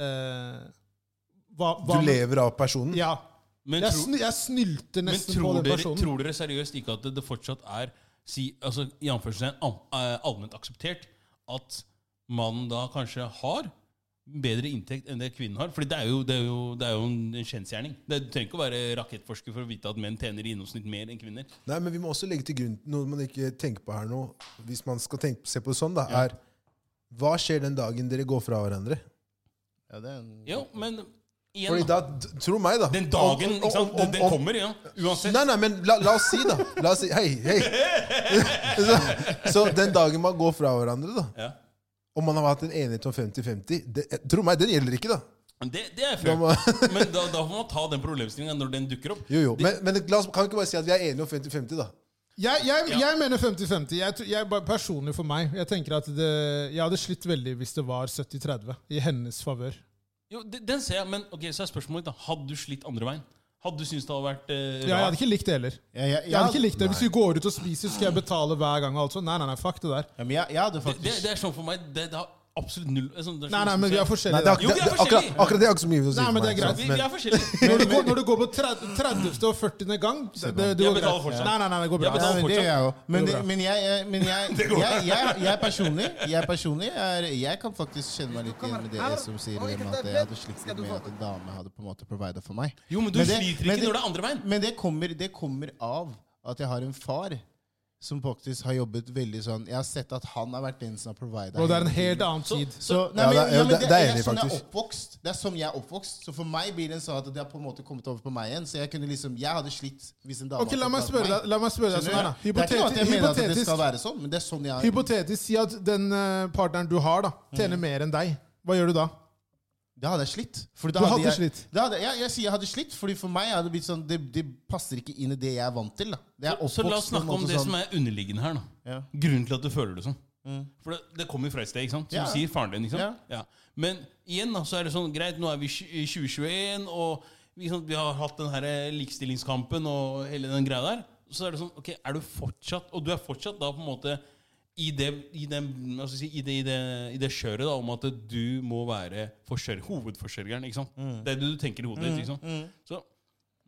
[SPEAKER 1] eh, hva,
[SPEAKER 2] Du
[SPEAKER 1] hva med-
[SPEAKER 2] lever av personen.
[SPEAKER 1] Ja.
[SPEAKER 3] Men
[SPEAKER 1] Jeg,
[SPEAKER 3] tro-
[SPEAKER 1] sny, jeg snylter
[SPEAKER 3] Men
[SPEAKER 1] nesten på
[SPEAKER 3] tror
[SPEAKER 1] den
[SPEAKER 3] dere,
[SPEAKER 1] personen.
[SPEAKER 3] tror dere seriøst ikke at det, det fortsatt er si, altså, i anførselstegn am- eh, allment akseptert at mannen da kanskje har bedre inntekt enn det kvinnen har? Fordi det er jo, det er jo, det er jo en kjensgjerning. Det, du trenger ikke å være rakettforsker for å vite at menn tjener i gjennomsnitt mer enn kvinner.
[SPEAKER 2] Nei, men vi må også legge til grunn noe man ikke tenker på her nå, hvis man skal tenke, se på det sånn, da, er hva skjer den dagen dere går fra hverandre?
[SPEAKER 4] Ja, det er en...
[SPEAKER 3] Jo, men Igjen,
[SPEAKER 2] Fordi
[SPEAKER 3] da.
[SPEAKER 2] da, tro meg, da
[SPEAKER 3] Den dagen,
[SPEAKER 2] Om-
[SPEAKER 3] ikke sant?
[SPEAKER 2] om-
[SPEAKER 3] Den,
[SPEAKER 2] om-
[SPEAKER 3] den
[SPEAKER 2] om-
[SPEAKER 3] kommer, ja. Uansett.
[SPEAKER 2] Nei, nei, men la, la oss si, da. La oss si, Hei, hei. så, så den dagen man går fra hverandre, da
[SPEAKER 3] Ja.
[SPEAKER 2] om man har hatt en enighet om 50-50 det- eh, Tro meg, den gjelder ikke, da.
[SPEAKER 3] Men Det, det er
[SPEAKER 2] Da
[SPEAKER 3] fair.
[SPEAKER 2] må,
[SPEAKER 3] Men da, da får man ta den problemstillinga når den dukker opp.
[SPEAKER 2] jo, jo. Men, men la oss, kan vi ikke bare si at vi er enige om 50-50, da?
[SPEAKER 1] Jeg, jeg,
[SPEAKER 3] Ja.
[SPEAKER 1] jeg mener 50-50. Jeg, tr- jeg, bare- personlig for meg. Jeg tenker at det, jeg hadde slitt veldig hvis det var 70-30 i hennes favør.
[SPEAKER 3] Jo, de- Den ser jeg, men ok, så er spørsmålet da Hadde du slitt andre veien? Hadde du syntes det hadde vært
[SPEAKER 1] Ja,
[SPEAKER 3] eh,
[SPEAKER 1] jeg hadde
[SPEAKER 3] rart?
[SPEAKER 1] ikke likt det heller.
[SPEAKER 4] Jeg, jeg,
[SPEAKER 1] Jeg hadde ikke likt det. Hvis vi går ut og spiser, skal jeg betale hver gang. og alt sånt. Nei, nei, nei, fuck det der.
[SPEAKER 4] Ja, men jeg, jeg hadde
[SPEAKER 3] Det, det,
[SPEAKER 4] faktisk
[SPEAKER 3] det er sånn for meg Det, det har absolutt null det er sånn- det er
[SPEAKER 1] Nei,
[SPEAKER 3] sånn
[SPEAKER 1] nei, men vi er
[SPEAKER 2] Nei,
[SPEAKER 1] forskjellige.
[SPEAKER 2] det er,
[SPEAKER 1] da.
[SPEAKER 3] Jo, vi er
[SPEAKER 2] det- det- akkurat,
[SPEAKER 3] forskjellige.
[SPEAKER 2] akkurat det har ikke så mye å si
[SPEAKER 1] Nei,
[SPEAKER 2] for
[SPEAKER 1] men det er
[SPEAKER 2] meg.
[SPEAKER 1] greit.
[SPEAKER 3] vi, vi
[SPEAKER 2] Men,
[SPEAKER 3] er forskjellige.
[SPEAKER 1] Når du, går, når du går på 30. 30. og 40. gang det, det, det
[SPEAKER 3] Jeg
[SPEAKER 1] går
[SPEAKER 3] betaler
[SPEAKER 1] greit.
[SPEAKER 3] fortsatt.
[SPEAKER 1] Nei, nei, nei, det går
[SPEAKER 3] Jeg
[SPEAKER 1] bra.
[SPEAKER 4] ja,
[SPEAKER 3] betaler
[SPEAKER 4] men det
[SPEAKER 3] fortsatt.
[SPEAKER 4] gjør jeg òg. Men,
[SPEAKER 1] Det går bra.
[SPEAKER 4] men, jeg, jeg- men jeg, jeg, jeg, jeg personlig Jeg personlig er, Jeg kan faktisk kjenne meg litt igjen med dere som sier det med at jeg hadde slitt litt med at en dame hadde på en måte provida for meg.
[SPEAKER 3] Jo, men du
[SPEAKER 4] Men det-
[SPEAKER 3] sliter
[SPEAKER 4] men
[SPEAKER 3] ikke
[SPEAKER 4] det-
[SPEAKER 3] når det er andre veien.
[SPEAKER 4] Men det kommer, det kommer av at jeg har en far som faktisk har jobbet veldig sånn Jeg har sett at han har vært den som har provida
[SPEAKER 1] Og det er en helt annen tid.
[SPEAKER 4] Så, nei, men,
[SPEAKER 2] Ja, det er-
[SPEAKER 4] ja, men
[SPEAKER 2] det-
[SPEAKER 4] det,
[SPEAKER 2] det er
[SPEAKER 4] det er
[SPEAKER 2] enig,
[SPEAKER 4] sånn jeg er
[SPEAKER 2] faktisk.
[SPEAKER 4] oppvokst. Det er sånn jeg er oppvokst. Så for meg blir det en sånn at det har på en måte kommet over på meg igjen. Så jeg kunne liksom, jeg hadde slitt hvis en dame
[SPEAKER 1] Ok, La meg
[SPEAKER 4] hadde
[SPEAKER 1] spørre
[SPEAKER 4] fortalt
[SPEAKER 1] deg, la meg spørre deg sånn her, da.
[SPEAKER 4] Skjønner du? Det er ikke at jeg mener at det
[SPEAKER 1] hypotetisk.
[SPEAKER 4] skal være sånn, men det er sånn jeg
[SPEAKER 1] Hypotetisk, si at den eh, partneren du har, da, tjener mer enn deg. Hva gjør du da?
[SPEAKER 4] Da hadde jeg slitt. For da
[SPEAKER 1] Du
[SPEAKER 4] hadde
[SPEAKER 1] hadde
[SPEAKER 4] jeg,
[SPEAKER 1] slitt.
[SPEAKER 4] Da hadde, ja, jeg sier jeg hadde slitt, fordi for meg hadde det blitt sånn det, det passer ikke inn i det jeg er vant til. da. Det er
[SPEAKER 3] Så la oss
[SPEAKER 4] oppvokst på en
[SPEAKER 3] snakke om
[SPEAKER 4] måte
[SPEAKER 3] det
[SPEAKER 4] sånn.
[SPEAKER 3] som er underliggende her. da
[SPEAKER 4] Ja. Mm.
[SPEAKER 3] Grunnen til at du føler det sånn. For det, det kommer fra et sted, ikke sant? Som
[SPEAKER 4] Ja.
[SPEAKER 3] sier faren din. ikke sant?
[SPEAKER 4] Ja.
[SPEAKER 3] Ja. Men igjen da, så er det sånn, greit, nå er vi tj- i 2021, og vi, sånn, vi har hatt den her likestillingskampen og hele den greia der. Så er det sånn, ok, er du fortsatt, og du er fortsatt da på en måte i det, i det, hva skal jeg si, i det, i det, i det kjøret da, om at du må være forsørger, hovedforsørgeren, ikke sant?
[SPEAKER 4] Mm.
[SPEAKER 3] Det er det du tenker i hodet ditt, ikke sant? Så,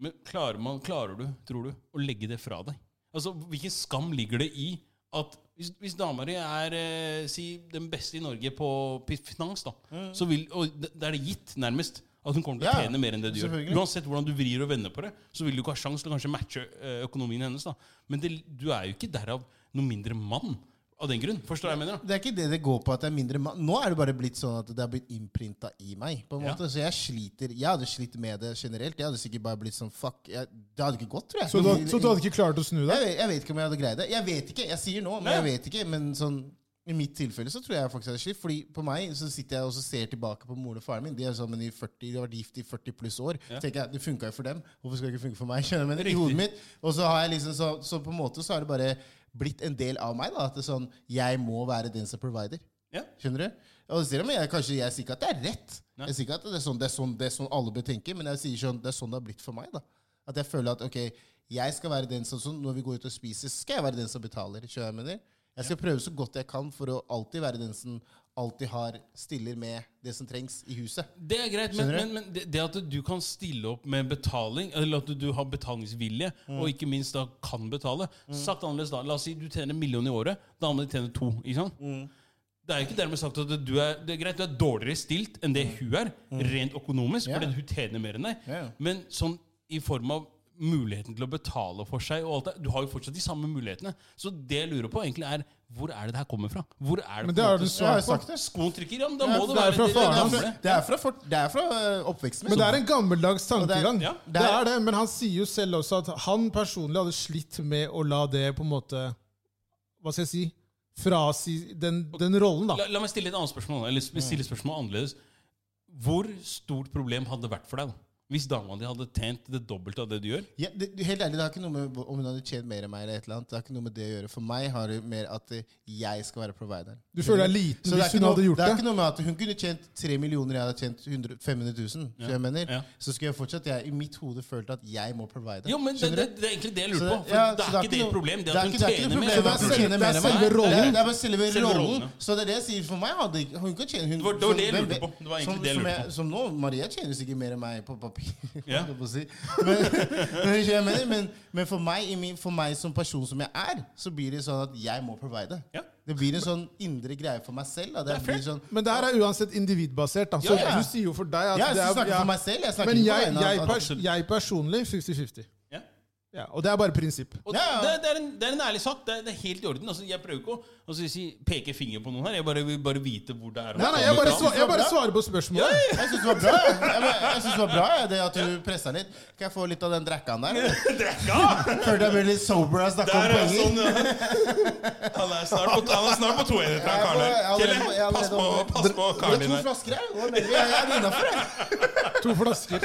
[SPEAKER 3] men klarer, man, klarer du, tror du, å legge det fra deg? Altså, Hvilken skam ligger det i at hvis, hvis dama di er eh, si, den beste i Norge på pi- finans, da, så vil, og d- da er det gitt, nærmest, at hun kommer til å
[SPEAKER 4] Mm. Ja,
[SPEAKER 3] tjene mer enn det du gjør.
[SPEAKER 4] selvfølgelig.
[SPEAKER 3] Uansett hvordan du vrir og vender på det, så vil du ikke ha sjans til å kanskje matche eh, økonomien hennes. da. Men det, du er jo ikke derav noe mindre mann av den grunn. Forstår du hva jeg mener? da?
[SPEAKER 4] Det er ikke det det går på at det er mindre ma- Nå er det bare blitt sånn at det er blitt innprinta i meg. på en
[SPEAKER 3] Ja.
[SPEAKER 4] måte Så jeg sliter Jeg hadde slitt med det generelt. Jeg hadde sikkert bare blitt sånn fuck jeg, Det hadde ikke gått, tror jeg.
[SPEAKER 1] Så du, så du hadde ikke klart å snu
[SPEAKER 4] jeg,
[SPEAKER 1] deg?
[SPEAKER 4] vet, jeg vet ikke om jeg hadde greid det. Jeg vet ikke. Jeg sier nå, men
[SPEAKER 3] Nei.
[SPEAKER 4] jeg vet ikke. Men sånn i mitt tilfelle så tror jeg faktisk jeg hadde slitt. Fordi på meg så sitter jeg og så ser tilbake på moren og faren min. De er sammen i 40, de har vært gift i 40 pluss år. Så tenker jeg, Det funka jo for dem. Hvorfor skal det ikke funke for meg? Skjønner du? Men i hodet mitt Og så har jeg liksom så, så på en måte så har det bare blitt en del av meg. da At det er sånn Jeg må være den som provider.
[SPEAKER 3] Ja.
[SPEAKER 4] Skjønner du? Og selv om jeg kanskje jeg sier ikke at det er rett,
[SPEAKER 3] Nei.
[SPEAKER 4] jeg sier ikke at det er sånn, det er sånn, det er sånn alle bør tenke, men jeg sier sånn, det er sånn det har blitt for meg. da. At jeg føler at ok, jeg skal være den som sånn, når vi går ut og spiser, så skal jeg være den som betaler. skjønner du hva Jeg mener? Jeg skal prøve så godt jeg kan for å alltid være den som alltid har stiller med det som trengs i huset.
[SPEAKER 3] Det er greit, men,
[SPEAKER 4] Skjønner du?
[SPEAKER 3] men, men det, det at du kan stille opp med betaling, eller at du, du har betalingsvilje,
[SPEAKER 1] Mm.
[SPEAKER 3] og ikke minst da kan betale Sagt annerledes da, La oss si du tjener en million i året, da andre tjener to. ikke sant?
[SPEAKER 1] Mm.
[SPEAKER 3] Det er jo ikke dermed sagt at du er, det er greit, du er dårligere stilt enn det
[SPEAKER 1] Mm.
[SPEAKER 3] hun er, rent økonomisk,
[SPEAKER 4] Ja.
[SPEAKER 3] fordi hun tjener mer enn deg.
[SPEAKER 4] Ja.
[SPEAKER 3] Men sånn i form av muligheten til å betale for seg og alt det, du har jo fortsatt de samme mulighetene. Så det jeg lurer på, egentlig er hvor er det det her kommer fra? Hvor er det
[SPEAKER 1] Men
[SPEAKER 3] på
[SPEAKER 1] det
[SPEAKER 3] en
[SPEAKER 1] har
[SPEAKER 3] måte-
[SPEAKER 1] du
[SPEAKER 4] Jeg har
[SPEAKER 1] svart på.
[SPEAKER 4] sagt det.
[SPEAKER 3] Skoen trykker, ja, men da
[SPEAKER 1] Ja,
[SPEAKER 3] må
[SPEAKER 1] for
[SPEAKER 3] det,
[SPEAKER 1] det er
[SPEAKER 3] være
[SPEAKER 1] fra
[SPEAKER 3] det-
[SPEAKER 1] faren
[SPEAKER 3] det
[SPEAKER 1] hans.
[SPEAKER 3] gamle.
[SPEAKER 4] Det er fra, fort- det er fra øh, oppveksten
[SPEAKER 1] Men
[SPEAKER 4] min.
[SPEAKER 1] det er en gammeldags
[SPEAKER 4] det er-
[SPEAKER 1] tankegang.
[SPEAKER 4] ja.
[SPEAKER 1] Det er det, men han sier jo selv også at han personlig hadde slitt med å la det på en måte Hva skal jeg si? Frasi den, den rollen, da.
[SPEAKER 3] La, la meg stille et annet spørsmål. Eller sp- stille spørsmål annerledes Hvor stort problem hadde det vært for deg da? hvis dama di hadde tjent det dobbelte av det du gjør?
[SPEAKER 4] Ja, det, det- helt ærlig, det har ikke noe med hvor- om hun hadde tjent mer enn meg. eller et eller annet. Det har ikke noe med det å gjøre. For meg har det mer at eh, jeg skal være provideren.
[SPEAKER 1] Du føler deg
[SPEAKER 4] Så
[SPEAKER 1] liten
[SPEAKER 4] det er,
[SPEAKER 1] hvis
[SPEAKER 4] ikke
[SPEAKER 1] hun hadde
[SPEAKER 4] noe,
[SPEAKER 1] gjort
[SPEAKER 4] det er ikke
[SPEAKER 1] det.
[SPEAKER 4] noe med at hun kunne tjent 3 millioner, jeg hadde tjent 100, 500 000. så Jeg mener.
[SPEAKER 3] Ja.
[SPEAKER 4] Så skulle jeg fortsatt jeg, i mitt hode følt at jeg må provide.
[SPEAKER 3] Jo, men det,
[SPEAKER 4] Skjønner
[SPEAKER 3] det,
[SPEAKER 4] du?
[SPEAKER 3] det er egentlig det jeg lurer
[SPEAKER 4] Så
[SPEAKER 3] på.
[SPEAKER 4] det-
[SPEAKER 3] For
[SPEAKER 4] ja, så
[SPEAKER 3] det er ikke det
[SPEAKER 4] noe-
[SPEAKER 3] problemet. Det
[SPEAKER 4] er
[SPEAKER 3] at hun
[SPEAKER 4] ikke- det er ikke
[SPEAKER 3] tjener
[SPEAKER 4] noe
[SPEAKER 3] mer.
[SPEAKER 4] problem,
[SPEAKER 3] så
[SPEAKER 4] det er
[SPEAKER 3] det er
[SPEAKER 4] selve-
[SPEAKER 3] problemet.
[SPEAKER 4] det er selve rollen.
[SPEAKER 3] Nei, det er-
[SPEAKER 4] Det er bare selve,
[SPEAKER 3] Selve
[SPEAKER 4] rollen.
[SPEAKER 3] rollen, ja.
[SPEAKER 4] Så det er det jeg sier for meg. Hadde, ikke- hun kan tjene hun,
[SPEAKER 3] Det var- det var det jeg
[SPEAKER 4] som-
[SPEAKER 3] lurte på. Det var egentlig
[SPEAKER 4] som,
[SPEAKER 3] det jeg
[SPEAKER 4] som,
[SPEAKER 3] lurte
[SPEAKER 4] jeg, som nå, Maria tjener sikkert mer enn meg på papir.
[SPEAKER 3] Ja.
[SPEAKER 4] holdt jeg på å si. Men, men, jeg mener, men, men for, meg, i min, for meg som person som jeg er, så blir det sånn at jeg må provide.
[SPEAKER 3] Ja.
[SPEAKER 4] Det blir en sånn indre greie for meg selv. Da. Det,
[SPEAKER 3] Det er
[SPEAKER 4] blir
[SPEAKER 3] fair.
[SPEAKER 4] sånn,
[SPEAKER 1] Men det her er uansett individbasert. da. Så
[SPEAKER 4] Ja, ja.
[SPEAKER 1] du sier jo for deg at
[SPEAKER 4] Ja, jeg
[SPEAKER 1] det er
[SPEAKER 4] snakker
[SPEAKER 1] ja.
[SPEAKER 4] for meg selv. Jeg snakker
[SPEAKER 1] Men
[SPEAKER 4] ikke på
[SPEAKER 1] jeg,
[SPEAKER 4] vegne av-
[SPEAKER 1] jeg,
[SPEAKER 4] av-
[SPEAKER 1] pers jeg personlig 50-50.
[SPEAKER 3] Ja.
[SPEAKER 1] Ja, og det er bare prinsipp.
[SPEAKER 3] Og
[SPEAKER 4] Ja, ja.
[SPEAKER 3] Det, det, er en, det er en ærlig sak. Det er, det er helt i orden. Altså, jeg prøver ikke å altså, si, peke finger på noen her. Jeg bare vil bare vite hvor det er.
[SPEAKER 1] Nei, nei, jeg bare,
[SPEAKER 4] bra.
[SPEAKER 1] svar, jeg bare svarer på
[SPEAKER 3] Ja,
[SPEAKER 1] spørsmålet.
[SPEAKER 4] Jeg syns det var bra, jeg. jeg. bare- jeg synes det var bra jeg, det at du pressa litt. Kan jeg få litt av den drekkaen der?
[SPEAKER 3] Drekka!
[SPEAKER 4] Før jeg blir litt sober og snakker om
[SPEAKER 3] Der er
[SPEAKER 4] penger.
[SPEAKER 3] sånn, ja. Han er snart på, han er snart på to enheter, han karen der.
[SPEAKER 4] Jeg er allerede- jeg er
[SPEAKER 3] Kjell, pass på,
[SPEAKER 4] allerede-
[SPEAKER 3] pass på
[SPEAKER 4] Det
[SPEAKER 3] karen
[SPEAKER 4] er
[SPEAKER 3] din
[SPEAKER 4] to
[SPEAKER 3] der.
[SPEAKER 4] flasker her. Å, Melvin, Jeg jeg er innafor, jeg.
[SPEAKER 1] To flasker.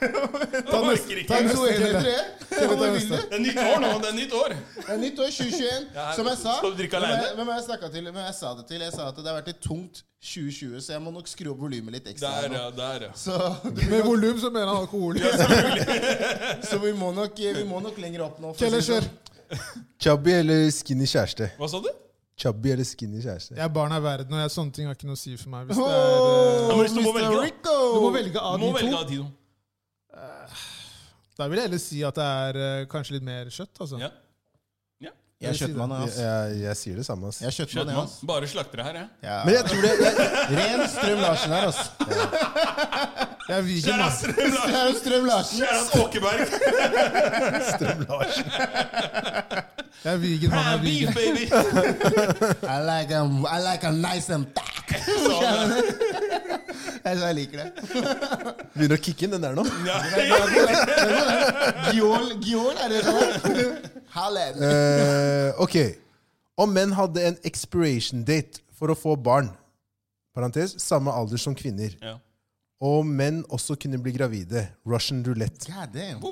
[SPEAKER 3] Han orker
[SPEAKER 1] ta
[SPEAKER 3] ikke.
[SPEAKER 1] neste.
[SPEAKER 4] To enheter, jeg. Hvor vil du?
[SPEAKER 3] Det er nytt år nå. Det er nytt år.
[SPEAKER 4] Det er nytt år 2021. Som jeg sa
[SPEAKER 3] Skal du drikke
[SPEAKER 4] hvem
[SPEAKER 3] alene?
[SPEAKER 4] jeg- Hvem har jeg snakket til? Hvem jeg sa det til? Jeg sa at det har vært et tungt 2020, så jeg må nok skru opp volumet litt ekstra. her
[SPEAKER 3] Der,
[SPEAKER 4] nå.
[SPEAKER 3] ja. Der, ja.
[SPEAKER 4] Så,
[SPEAKER 1] Med volum så mener han alkohol.
[SPEAKER 4] så vi, må nok, vi må nok lenger opp nå. for å
[SPEAKER 1] Kjeller,
[SPEAKER 4] si det
[SPEAKER 1] kjør.
[SPEAKER 4] sånn.
[SPEAKER 2] Chubby eller skinny kjæreste?
[SPEAKER 3] Hva sa du?
[SPEAKER 2] Chubby eller skinny kjæreste?
[SPEAKER 1] Jeg er barn av verden, og jeg, sånne ting har ikke noe å si for meg. Hvis det er,
[SPEAKER 4] Åh,
[SPEAKER 1] eh,
[SPEAKER 3] men hvis du må
[SPEAKER 4] Mr.
[SPEAKER 3] velge, da.
[SPEAKER 4] Rico!
[SPEAKER 1] du må velge av
[SPEAKER 3] Du
[SPEAKER 1] de
[SPEAKER 3] må velge
[SPEAKER 1] to.
[SPEAKER 3] av de to.
[SPEAKER 1] Da vil jeg heller si at det er eh, kanskje litt mer kjøtt. Altså.
[SPEAKER 3] Ja.
[SPEAKER 4] Jeg er kjøttmann,
[SPEAKER 2] Jeg,
[SPEAKER 4] ass.
[SPEAKER 2] jeg, jeg sier det samme. ass.
[SPEAKER 4] Jeg er kjøttmann, jeg,
[SPEAKER 3] Kjøttmann.
[SPEAKER 4] ass.
[SPEAKER 3] Bare slaktere her, jeg.
[SPEAKER 4] Ja.
[SPEAKER 2] Men jeg tror det jeg,
[SPEAKER 4] Ren Strøm Larsen her, ass.
[SPEAKER 1] Jeg er vegan,
[SPEAKER 3] Kjære
[SPEAKER 1] ass.
[SPEAKER 4] Det
[SPEAKER 3] Astrid,
[SPEAKER 4] er jo Strøm Larsen.
[SPEAKER 3] kjære Åkeberg.
[SPEAKER 1] Jeg er vegan, han er vegan.
[SPEAKER 3] Beef, baby!
[SPEAKER 4] I like him, I like him nice and thick.
[SPEAKER 3] Sa han det.
[SPEAKER 4] Jeg jeg liker det.
[SPEAKER 2] begynner å kicke inn den der nå.
[SPEAKER 3] Ja.
[SPEAKER 4] Giol, Giol, er det sånn? Hallen.
[SPEAKER 2] Eh, ok. Om menn hadde en expiration date for å få barn, parentes, samme alder som kvinner,
[SPEAKER 3] Ja.
[SPEAKER 2] og menn også kunne bli gravide, Russian roulette,
[SPEAKER 4] God damn.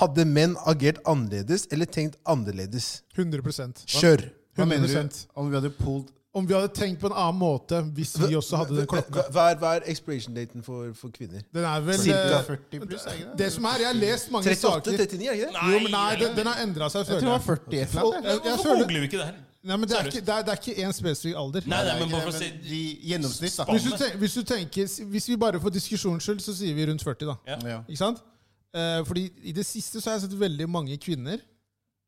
[SPEAKER 2] hadde menn agert annerledes eller tenkt annerledes?
[SPEAKER 1] 100
[SPEAKER 2] Kjør!
[SPEAKER 4] Hva mener du
[SPEAKER 1] 100%.
[SPEAKER 4] om vi hadde pulled
[SPEAKER 1] Om vi hadde tenkt på en annen måte hvis vi også hadde den klokka.
[SPEAKER 2] Hva hva er, hva er expiration daten for, for kvinner?
[SPEAKER 1] Den er vel
[SPEAKER 2] Cirka
[SPEAKER 1] eh,
[SPEAKER 4] 40 pluss? er ikke det?
[SPEAKER 1] Det som er, Jeg har lest mange
[SPEAKER 2] 38-39,
[SPEAKER 1] saker
[SPEAKER 2] er det ikke det?
[SPEAKER 1] Jo, men nei, den, den har endra seg,
[SPEAKER 4] Jeg tror det
[SPEAKER 1] føler jeg.
[SPEAKER 4] var 40 et eller annet.
[SPEAKER 1] Jeg, jeg
[SPEAKER 3] Hvorfor
[SPEAKER 1] føler,
[SPEAKER 3] googler vi ikke det her?
[SPEAKER 1] nei, men det er ikke, det er, det er ikke én spesifikk alder.
[SPEAKER 3] Nei, nei,
[SPEAKER 4] Nei,
[SPEAKER 3] men
[SPEAKER 4] ikke
[SPEAKER 3] bare
[SPEAKER 4] det,
[SPEAKER 3] for å si
[SPEAKER 4] men de Gjennomsnitt, da.
[SPEAKER 1] Hvis du, tenker, hvis du tenker, hvis vi bare for diskusjons skyld, så sier vi rundt 40, da.
[SPEAKER 3] Ja.
[SPEAKER 4] Ja.
[SPEAKER 1] Ikke sant? Eh, fordi i det siste så har jeg sett veldig mange kvinner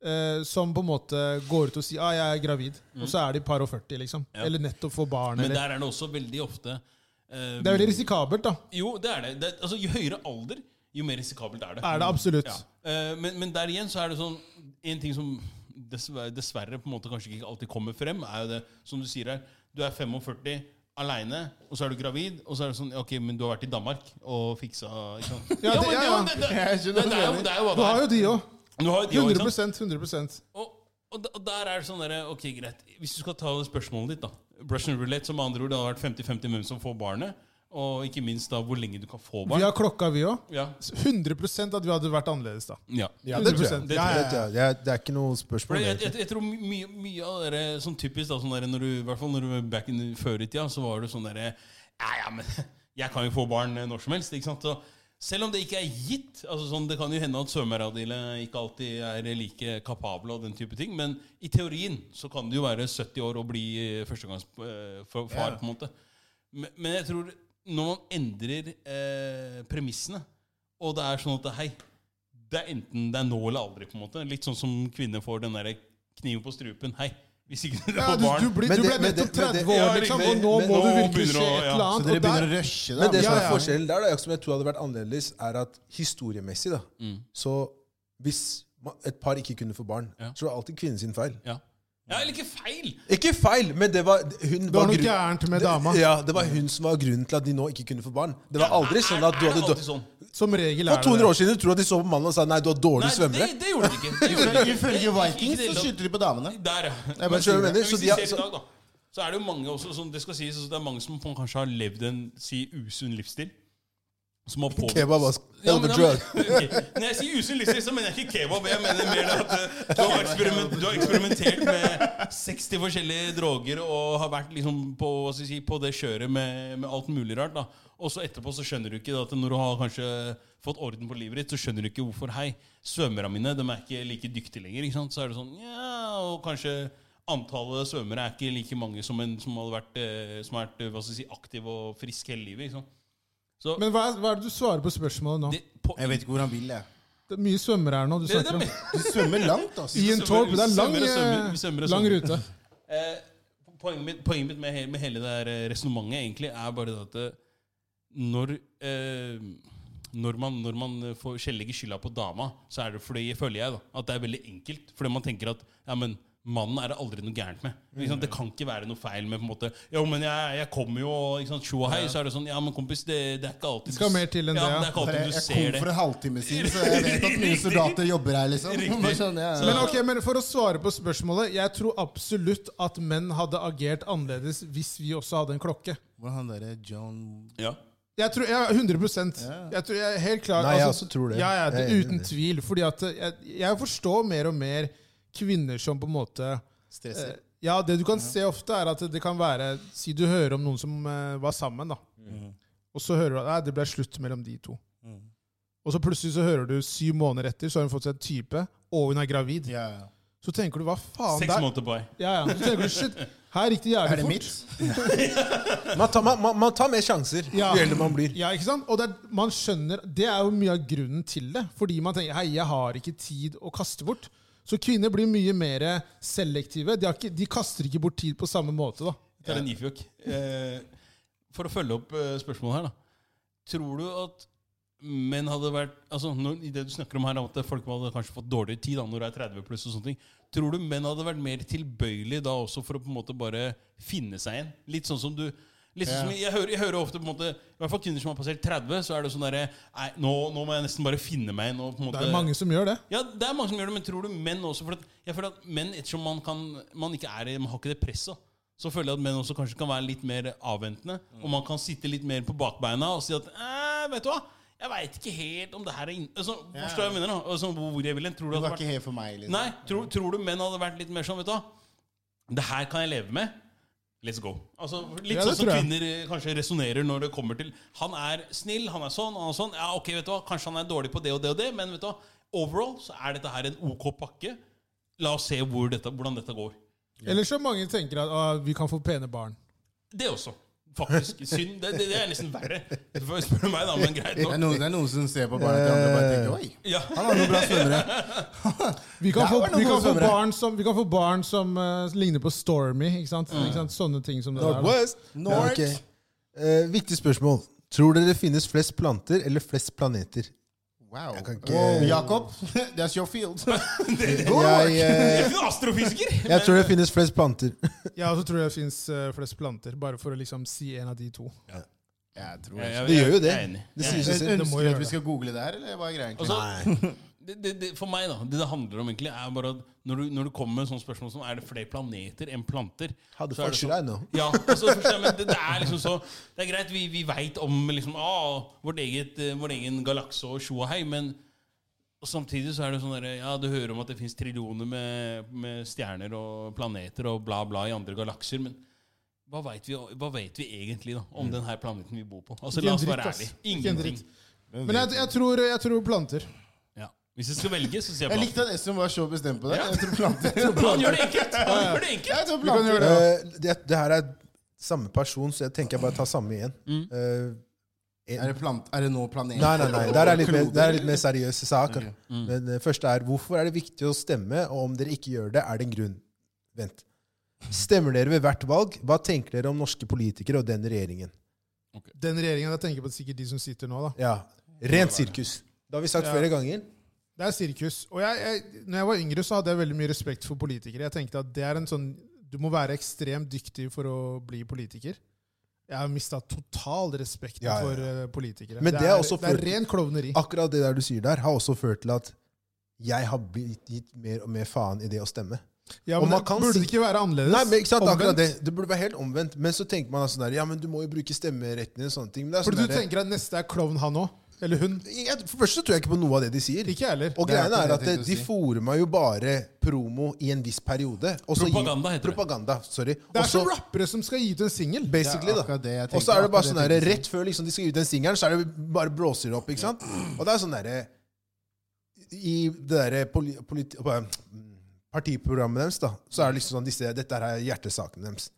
[SPEAKER 1] eh, som på en måte går ut og sier ah, 'jeg er gravid', og så er de par og 40, liksom. Eller nettopp får barn.
[SPEAKER 3] Mm. Men
[SPEAKER 1] Eller.
[SPEAKER 3] der er det også veldig ofte eh,
[SPEAKER 1] Det er veldig risikabelt, da.
[SPEAKER 3] Jo, det er det. det altså, jo høyere alder, jo mer risikabelt er det.
[SPEAKER 1] Er det absolutt.
[SPEAKER 3] Ja. Eh, men, men der igjen så er det sånn En ting som dessverre, dessverre på en måte kanskje ikke alltid kommer frem, er jo det som du sier her. Du er 45 aleine, og så er du gravid, og så er det sånn Ok, men du har vært i Danmark og fiksa ikke sant?
[SPEAKER 1] Ja, det-
[SPEAKER 3] men
[SPEAKER 1] ja, ja.
[SPEAKER 3] det- det-
[SPEAKER 4] Jeg skjønner
[SPEAKER 3] det- det er
[SPEAKER 4] hva du
[SPEAKER 3] jo- det er jo
[SPEAKER 1] Du
[SPEAKER 3] hva det
[SPEAKER 1] har
[SPEAKER 3] er.
[SPEAKER 1] jo de òg.
[SPEAKER 3] Du har jo de også, ikke sant?
[SPEAKER 1] 100 100
[SPEAKER 3] Og, og, da- og der er det sånn der, Ok, greit. Hvis du skal ta spørsmålet ditt, da. Russian roulette, som med andre ord det har vært 50-50 hvem som får barnet. Og ikke minst da hvor lenge du kan få
[SPEAKER 1] Vi
[SPEAKER 3] barn.
[SPEAKER 1] har klokka, vi òg.
[SPEAKER 3] Ja.
[SPEAKER 1] 100 at vi hadde vært annerledes, da.
[SPEAKER 3] ja.
[SPEAKER 2] Ja, det tror jeg.
[SPEAKER 1] 100%.
[SPEAKER 2] Det, tror jeg. Det, er, det er ikke noe
[SPEAKER 3] For
[SPEAKER 2] spørsmål.
[SPEAKER 3] jeg,
[SPEAKER 2] egentlig.
[SPEAKER 3] jeg, jeg tror mye, mye av det der, sånn typisk da, sånn der, når du, i hvert fall når du var back in før i tida, så var det sånn derre Ja, ja, men jeg kan jo få barn eh, når som helst. ikke sant? Så, selv om det ikke er gitt altså sånn, Det kan jo hende at svømmeradile ikke alltid er like kapable og den type ting, men i teorien så kan du jo være 70 år og bli eh, førstegangsfar, far på en måte. Men, men jeg tror når man endrer eh, premissene, og det er sånn at hei, det er enten det er nå eller aldri. på en måte Litt sånn som kvinner får den der kniven på strupen. Hei, hvis ikke du
[SPEAKER 1] Ja,
[SPEAKER 3] får
[SPEAKER 1] du,
[SPEAKER 3] barn
[SPEAKER 1] du, blir,
[SPEAKER 2] Men
[SPEAKER 1] du
[SPEAKER 2] det-
[SPEAKER 1] ble
[SPEAKER 2] men det-
[SPEAKER 1] nettopp
[SPEAKER 2] men
[SPEAKER 1] 30
[SPEAKER 2] det-
[SPEAKER 1] år,
[SPEAKER 3] Ja,
[SPEAKER 1] liksom,
[SPEAKER 3] riktig.
[SPEAKER 1] og nå
[SPEAKER 2] Men
[SPEAKER 1] må
[SPEAKER 3] nå
[SPEAKER 1] du virkelig
[SPEAKER 3] begynner
[SPEAKER 1] se
[SPEAKER 3] å-
[SPEAKER 1] et
[SPEAKER 3] ja.
[SPEAKER 1] eller
[SPEAKER 4] Så
[SPEAKER 1] annet.
[SPEAKER 4] dere
[SPEAKER 1] og der-
[SPEAKER 4] begynner å rushe, da?
[SPEAKER 2] Men det som
[SPEAKER 1] Ja,
[SPEAKER 2] er
[SPEAKER 1] ja.
[SPEAKER 2] forskjellen der, da, som jeg tror hadde vært annerledes, er at historiemessig da,
[SPEAKER 3] Mm.
[SPEAKER 2] Så hvis ma- et par ikke kunne få barn,
[SPEAKER 3] Ja.
[SPEAKER 2] så var det alltid kvinnen sin feil.
[SPEAKER 3] ja. ja, eller ikke feil!
[SPEAKER 2] Ikke feil, men det var hun
[SPEAKER 1] Det var noe
[SPEAKER 2] grunn-
[SPEAKER 1] gærent med dama.
[SPEAKER 2] Det, ja, det var hun som var grunnen til at de nå ikke kunne få barn. Det var aldri
[SPEAKER 3] Er-
[SPEAKER 2] sånn at du
[SPEAKER 3] er det
[SPEAKER 2] hadde
[SPEAKER 3] alltid
[SPEAKER 2] dår-
[SPEAKER 3] sånn?
[SPEAKER 1] Som regel
[SPEAKER 2] For
[SPEAKER 1] er
[SPEAKER 2] 200
[SPEAKER 1] det
[SPEAKER 2] år siden tror jeg de så på mannen og sa nei, du har dårlig
[SPEAKER 3] Nei, det,
[SPEAKER 2] svømmere.
[SPEAKER 3] det gjorde de ikke. Det gjorde de ikke.
[SPEAKER 4] Ifølge Vikings
[SPEAKER 3] Ikke i det
[SPEAKER 4] så
[SPEAKER 3] hele tatt.
[SPEAKER 4] skyter de på damene.
[SPEAKER 3] Der, ja.
[SPEAKER 2] Men skjønner du hva jeg mener?
[SPEAKER 3] Men
[SPEAKER 2] Så
[SPEAKER 3] hvis
[SPEAKER 2] de
[SPEAKER 3] vi
[SPEAKER 2] har-
[SPEAKER 3] ser i
[SPEAKER 2] så-
[SPEAKER 3] dag, da, så er det jo mange også som det skal sies, altså, det er mange som på- kanskje har levd en si, usunn livsstil. Som har påvirket
[SPEAKER 2] Kebab was
[SPEAKER 3] Ja,
[SPEAKER 2] hell of
[SPEAKER 3] men,
[SPEAKER 2] a
[SPEAKER 3] ja,
[SPEAKER 2] drug.
[SPEAKER 3] men, ok. Når jeg sier usunn livsstil, så mener jeg ikke kebab. Jeg mener mer det at eh, du har, eksperiment, du har eksperimentert med 60 forskjellige droger og har vært liksom på, hva skal jeg si, på det kjøret med, med alt mulig rart. da. Og så etterpå så skjønner du ikke at når du har kanskje fått orden på livet ditt, så skjønner du ikke hvorfor Hei, svømmerne mine de er ikke like dyktige lenger. ikke sant? Så er det sånn, ja, og kanskje... Antallet svømmere er ikke like mange som en som hadde vært, eh, som har vært eh, hva skal jeg si, aktiv og frisk hele livet. Ikke sant? Så
[SPEAKER 1] Men hva er, hva er det du svarer på spørsmålet nå?
[SPEAKER 3] det, på,
[SPEAKER 4] Jeg vet ikke hvor han vil, jeg.
[SPEAKER 1] Det er mye svømmere her nå du
[SPEAKER 3] det, det,
[SPEAKER 1] snakker om.
[SPEAKER 3] det,
[SPEAKER 4] De svømmer langt,
[SPEAKER 1] I
[SPEAKER 4] altså.
[SPEAKER 1] en
[SPEAKER 3] Svømmer-
[SPEAKER 1] tolv. Det er lang,
[SPEAKER 3] svømmer og svømmer, vi
[SPEAKER 1] eh,
[SPEAKER 3] svømmer og
[SPEAKER 1] lang
[SPEAKER 3] svømmer.
[SPEAKER 1] rute.
[SPEAKER 3] Eh, poenget mitt, poenget mitt med, he- med hele det resonnementet egentlig er bare det at eh, når eh, når man, når man eh, får selv legger skylda på dama, så er det fordi, føler jeg da, at det er veldig enkelt. Fordi man tenker at ja, men, mannen er det aldri noe gærent med. Ikke sant? Det kan ikke være noe feil med på en måte Jo, men jeg, jeg kommer jo, og ikke sant, tjo og hei. Så er det sånn Ja, men kompis, det, det er ikke alltid
[SPEAKER 1] Det skal
[SPEAKER 3] du-
[SPEAKER 1] mer til enn
[SPEAKER 3] ja,
[SPEAKER 1] det, ja.
[SPEAKER 3] det er ikke alltid
[SPEAKER 4] Jeg,
[SPEAKER 3] du
[SPEAKER 4] jeg
[SPEAKER 3] ser
[SPEAKER 4] kom
[SPEAKER 3] det.
[SPEAKER 4] for en halvtime siden, så jeg vet at mine soldater jobber her, liksom.
[SPEAKER 3] Riktig.
[SPEAKER 4] Sånn, ja.
[SPEAKER 1] Men ok, men For å svare på spørsmålet Jeg tror absolutt at menn hadde agert annerledes hvis vi også hadde en klokke.
[SPEAKER 4] Hvordan han derre John
[SPEAKER 3] Ja.
[SPEAKER 1] Jeg tror, ja, 100 Jeg tror jeg er helt klar. Altså,
[SPEAKER 2] Nei, jeg også tror det.
[SPEAKER 1] Ja, ja,
[SPEAKER 2] Jeg er
[SPEAKER 1] det,
[SPEAKER 2] enig i
[SPEAKER 1] Uten
[SPEAKER 2] det.
[SPEAKER 1] tvil. Fordi at jeg, jeg forstår mer og mer kvinner som på en måte eh,
[SPEAKER 4] stresser.
[SPEAKER 1] Ja, det du kan se ofte, er at det kan være Si du hører om noen som eh, var sammen, da. Og så hører du at nei, det ble slutt mellom de to. Og så plutselig så hører du syv måneder etter, så har hun fått seg en type, og hun er gravid.
[SPEAKER 4] Ja, ja.
[SPEAKER 1] Så tenker du hva faen
[SPEAKER 3] Seks
[SPEAKER 1] der-
[SPEAKER 3] måneder på vei.
[SPEAKER 1] Ja, ja. Så tenker du shit, her gikk det jævlig
[SPEAKER 4] Er det
[SPEAKER 1] fort.
[SPEAKER 4] mitt?
[SPEAKER 2] Man tar, man, man, man tar mer sjanser
[SPEAKER 1] Ja.
[SPEAKER 2] jo eldre man blir.
[SPEAKER 1] Ja, ikke sant? Og det er, man skjønner, det er jo mye av grunnen til det. Fordi man tenker hei, jeg har ikke tid å kaste bort. Så kvinner blir mye mer selektive. De, har ikke, de kaster ikke bort tid på samme måte. da.
[SPEAKER 3] Jeg tar en ifjøk. Eh, for å følge opp eh, spørsmålet her, da. Tror du at menn hadde vært altså, når, I det du snakker om her, at folk hadde kanskje fått dårligere tid da, når du er 30 pluss og sånne ting. Tror du menn hadde vært mer tilbøyelige da også for å på en måte bare finne seg igjen? Litt sånn som du Litt sånn som jeg, hører, jeg hører ofte på en måte I hvert fall kvinner som har passert 30, så er det sånn derre Nei, nå, nå må jeg nesten bare finne meg igjen. og på en måte
[SPEAKER 1] Det er mange som gjør det.
[SPEAKER 3] ja, det er mange som gjør det, men tror du menn også? For at, jeg føler at menn, ettersom man, kan, man ikke er i, man har ikke det presset, så føler jeg at menn også kanskje kan være litt mer avventende. Og man kan sitte litt mer på bakbeina og si at eh, vet du hva, jeg veit ikke helt om det her er inn... Altså, forstår jeg hva jeg mener da? Altså, hvor jeg vil hen? Tror du
[SPEAKER 4] Det
[SPEAKER 3] at
[SPEAKER 4] var ikke helt for meg, liksom.
[SPEAKER 3] Nei, tror, tror du menn hadde vært litt mer sånn, vet du hva? Det her kan jeg leve med. Let's go. Altså, litt
[SPEAKER 1] Ja, det
[SPEAKER 3] sånn som
[SPEAKER 1] tror jeg.
[SPEAKER 3] kvinner eh, kanskje resonnerer når det kommer til Han er snill, han er sånn, han er sånn. Ja, ok, vet du hva, kanskje han er dårlig på det og det og det, men vet du hva, overall så er dette her en ok pakke. La oss se hvor dette, hvordan dette går.
[SPEAKER 1] Ellers så mange tenker at «Å, vi kan få pene barn.
[SPEAKER 3] Det også. Faktisk. Synd. Det, det, det er nesten verre. Du får spørre meg, da, men greit
[SPEAKER 4] Det er,
[SPEAKER 3] nok.
[SPEAKER 4] noen, det er noen som ser på barna til andre og bare tenker Oi,
[SPEAKER 3] Ja.
[SPEAKER 4] han har noen bra svømmere.
[SPEAKER 1] Vi kan,
[SPEAKER 4] Der
[SPEAKER 1] få,
[SPEAKER 4] var det
[SPEAKER 1] vi
[SPEAKER 4] noen
[SPEAKER 1] kan få
[SPEAKER 4] som-
[SPEAKER 1] barn som, vi kan få barn som eh, ligner på Stormy. ikke sant?
[SPEAKER 3] Mm.
[SPEAKER 1] Ikke sant? Sånne ting som det der. da.
[SPEAKER 2] Northwest.
[SPEAKER 4] North.
[SPEAKER 2] ok. Eh, viktig spørsmål. Tror dere det finnes flest planter eller flest planeter?
[SPEAKER 4] Wow.
[SPEAKER 2] kan ikke-
[SPEAKER 4] Wow, Jakob, that's your field.
[SPEAKER 3] Jeg
[SPEAKER 2] Jeg, eh,
[SPEAKER 3] er ikke noen astrofysiker.
[SPEAKER 2] jeg tror det finnes flest planter.
[SPEAKER 1] Ja, og så tror jeg det fins flest planter, bare for å liksom si en av de to.
[SPEAKER 4] Jeg tror
[SPEAKER 3] Jeg-
[SPEAKER 4] ikke.
[SPEAKER 3] jeg-
[SPEAKER 2] Det gjør jo det.
[SPEAKER 3] Jeg er enig.
[SPEAKER 2] Det
[SPEAKER 3] Jeg er
[SPEAKER 2] sier seg selv.
[SPEAKER 1] må
[SPEAKER 4] Ønsker
[SPEAKER 1] jo
[SPEAKER 4] du
[SPEAKER 1] gjøre
[SPEAKER 4] at vi skal google det her, eller hva er greia? egentlig?
[SPEAKER 3] Altså, det, det, det, for meg, da. Det det handler om egentlig er bare at når du, når du kommer med sånne spørsmål som er det flere planeter enn planter
[SPEAKER 2] How the
[SPEAKER 3] så er
[SPEAKER 2] fuck
[SPEAKER 3] det
[SPEAKER 2] should
[SPEAKER 3] sånn-
[SPEAKER 2] I know?
[SPEAKER 3] Ja, altså, forstår jeg, men det, det er liksom så Det er greit, vi, vi veit om liksom, ah, vårt eget, eh, vår egen galakse og tjo og hei, men og samtidig så er det sånn der, ja, Du hører om at det fins trillioner med, med stjerner og planeter og bla, bla i andre galakser, men hva veit vi, hva vet vi egentlig da om den her planeten vi bor på? Altså,
[SPEAKER 1] Mm. Ikke en
[SPEAKER 3] La oss være
[SPEAKER 1] dritt, ass.
[SPEAKER 3] ærlige.
[SPEAKER 1] Ikke en
[SPEAKER 3] Ingenting.
[SPEAKER 1] dritt. Men jeg, jeg, tror, jeg tror planter.
[SPEAKER 3] Ja. Hvis jeg skal velge, så sier jeg
[SPEAKER 4] Jeg
[SPEAKER 3] planter.
[SPEAKER 4] likte at Espen var så bestemt på det. Jeg tror planter. Jeg tror
[SPEAKER 3] Han
[SPEAKER 4] planter.
[SPEAKER 3] gjør det enkelt! Han gjør det enkelt.
[SPEAKER 4] Jeg tror
[SPEAKER 1] Vi kan
[SPEAKER 4] planter.
[SPEAKER 1] gjøre det.
[SPEAKER 2] Eh, det, det her er samme person, så jeg tenker jeg bare tar samme igjen.
[SPEAKER 3] Mm.
[SPEAKER 2] Eh,
[SPEAKER 4] Er det, plant, er det nå planeter?
[SPEAKER 2] Nei, nei, nei. Der er litt mer,
[SPEAKER 4] Kloder,
[SPEAKER 2] der er litt mer seriøse saker.
[SPEAKER 3] Mm.
[SPEAKER 2] Men det første er hvorfor er det viktig å stemme, og om dere ikke gjør det, er det en grunn. Vent. Stemmer dere ved hvert valg? Hva tenker dere om norske politikere og den regjeringen?
[SPEAKER 1] Den regjeringen jeg tenker på, det er sikkert de som sitter nå, da.
[SPEAKER 2] Ja. Rent sirkus. Det har vi sagt flere ganger.
[SPEAKER 1] Det er sirkus. Og jeg, jeg, når jeg var yngre, så hadde jeg veldig mye respekt for politikere. Jeg tenkte at det er en sånn Du må være ekstremt dyktig for å bli politiker. Jeg har mista total respekt
[SPEAKER 2] Ja, ja, ja.
[SPEAKER 1] for eh, politikere.
[SPEAKER 2] Men det er også
[SPEAKER 1] det er
[SPEAKER 2] for-
[SPEAKER 1] ren klovneri.
[SPEAKER 2] Akkurat det der du sier der, har også ført til at jeg har blitt gitt mer og mer faen i det å stemme.
[SPEAKER 1] Ja,
[SPEAKER 2] og
[SPEAKER 1] men
[SPEAKER 2] man
[SPEAKER 1] det
[SPEAKER 2] kan
[SPEAKER 1] burde
[SPEAKER 2] si-
[SPEAKER 1] det ikke være annerledes?
[SPEAKER 2] Nei, men ikke sant, akkurat
[SPEAKER 1] Omvendt.
[SPEAKER 2] det. Det burde være helt omvendt. Men så tenker man sånn der, ja, men du må jo bruke stemmeretten din og sånne ting. Men det er sånn
[SPEAKER 1] Fordi du
[SPEAKER 2] der-
[SPEAKER 1] tenker at neste er klovn han òg? Eller hun?
[SPEAKER 2] jeg, for det første så tror jeg ikke på noe av det de sier.
[SPEAKER 1] Ikke jeg heller.
[SPEAKER 2] Og
[SPEAKER 4] Det er
[SPEAKER 2] greiene
[SPEAKER 4] akkurat
[SPEAKER 2] er at
[SPEAKER 4] det jeg tenkte
[SPEAKER 2] de
[SPEAKER 4] å si.
[SPEAKER 2] fôrer meg jo bare promo i en viss periode. og så gir-
[SPEAKER 3] Propaganda heter det.
[SPEAKER 2] propaganda, Sorry.
[SPEAKER 1] Det er
[SPEAKER 2] Og så-
[SPEAKER 1] som rappere som skal gi ut en singel.
[SPEAKER 2] Basically,
[SPEAKER 4] Det er
[SPEAKER 2] da.
[SPEAKER 4] akkurat det jeg tenkte,
[SPEAKER 2] Og så er det bare
[SPEAKER 4] akkurat
[SPEAKER 2] sånn
[SPEAKER 4] det jeg
[SPEAKER 2] der,
[SPEAKER 4] tenkte å
[SPEAKER 2] rett før liksom de skal gi ut den singelen, så er det bare blåser det opp. ikke sant?
[SPEAKER 4] Mm.
[SPEAKER 2] Og det er sånn derre I det derre poli- politi- hva- partiprogrammet deres, da, så er det liksom sånn disse, Dette her er hjertesakene deres.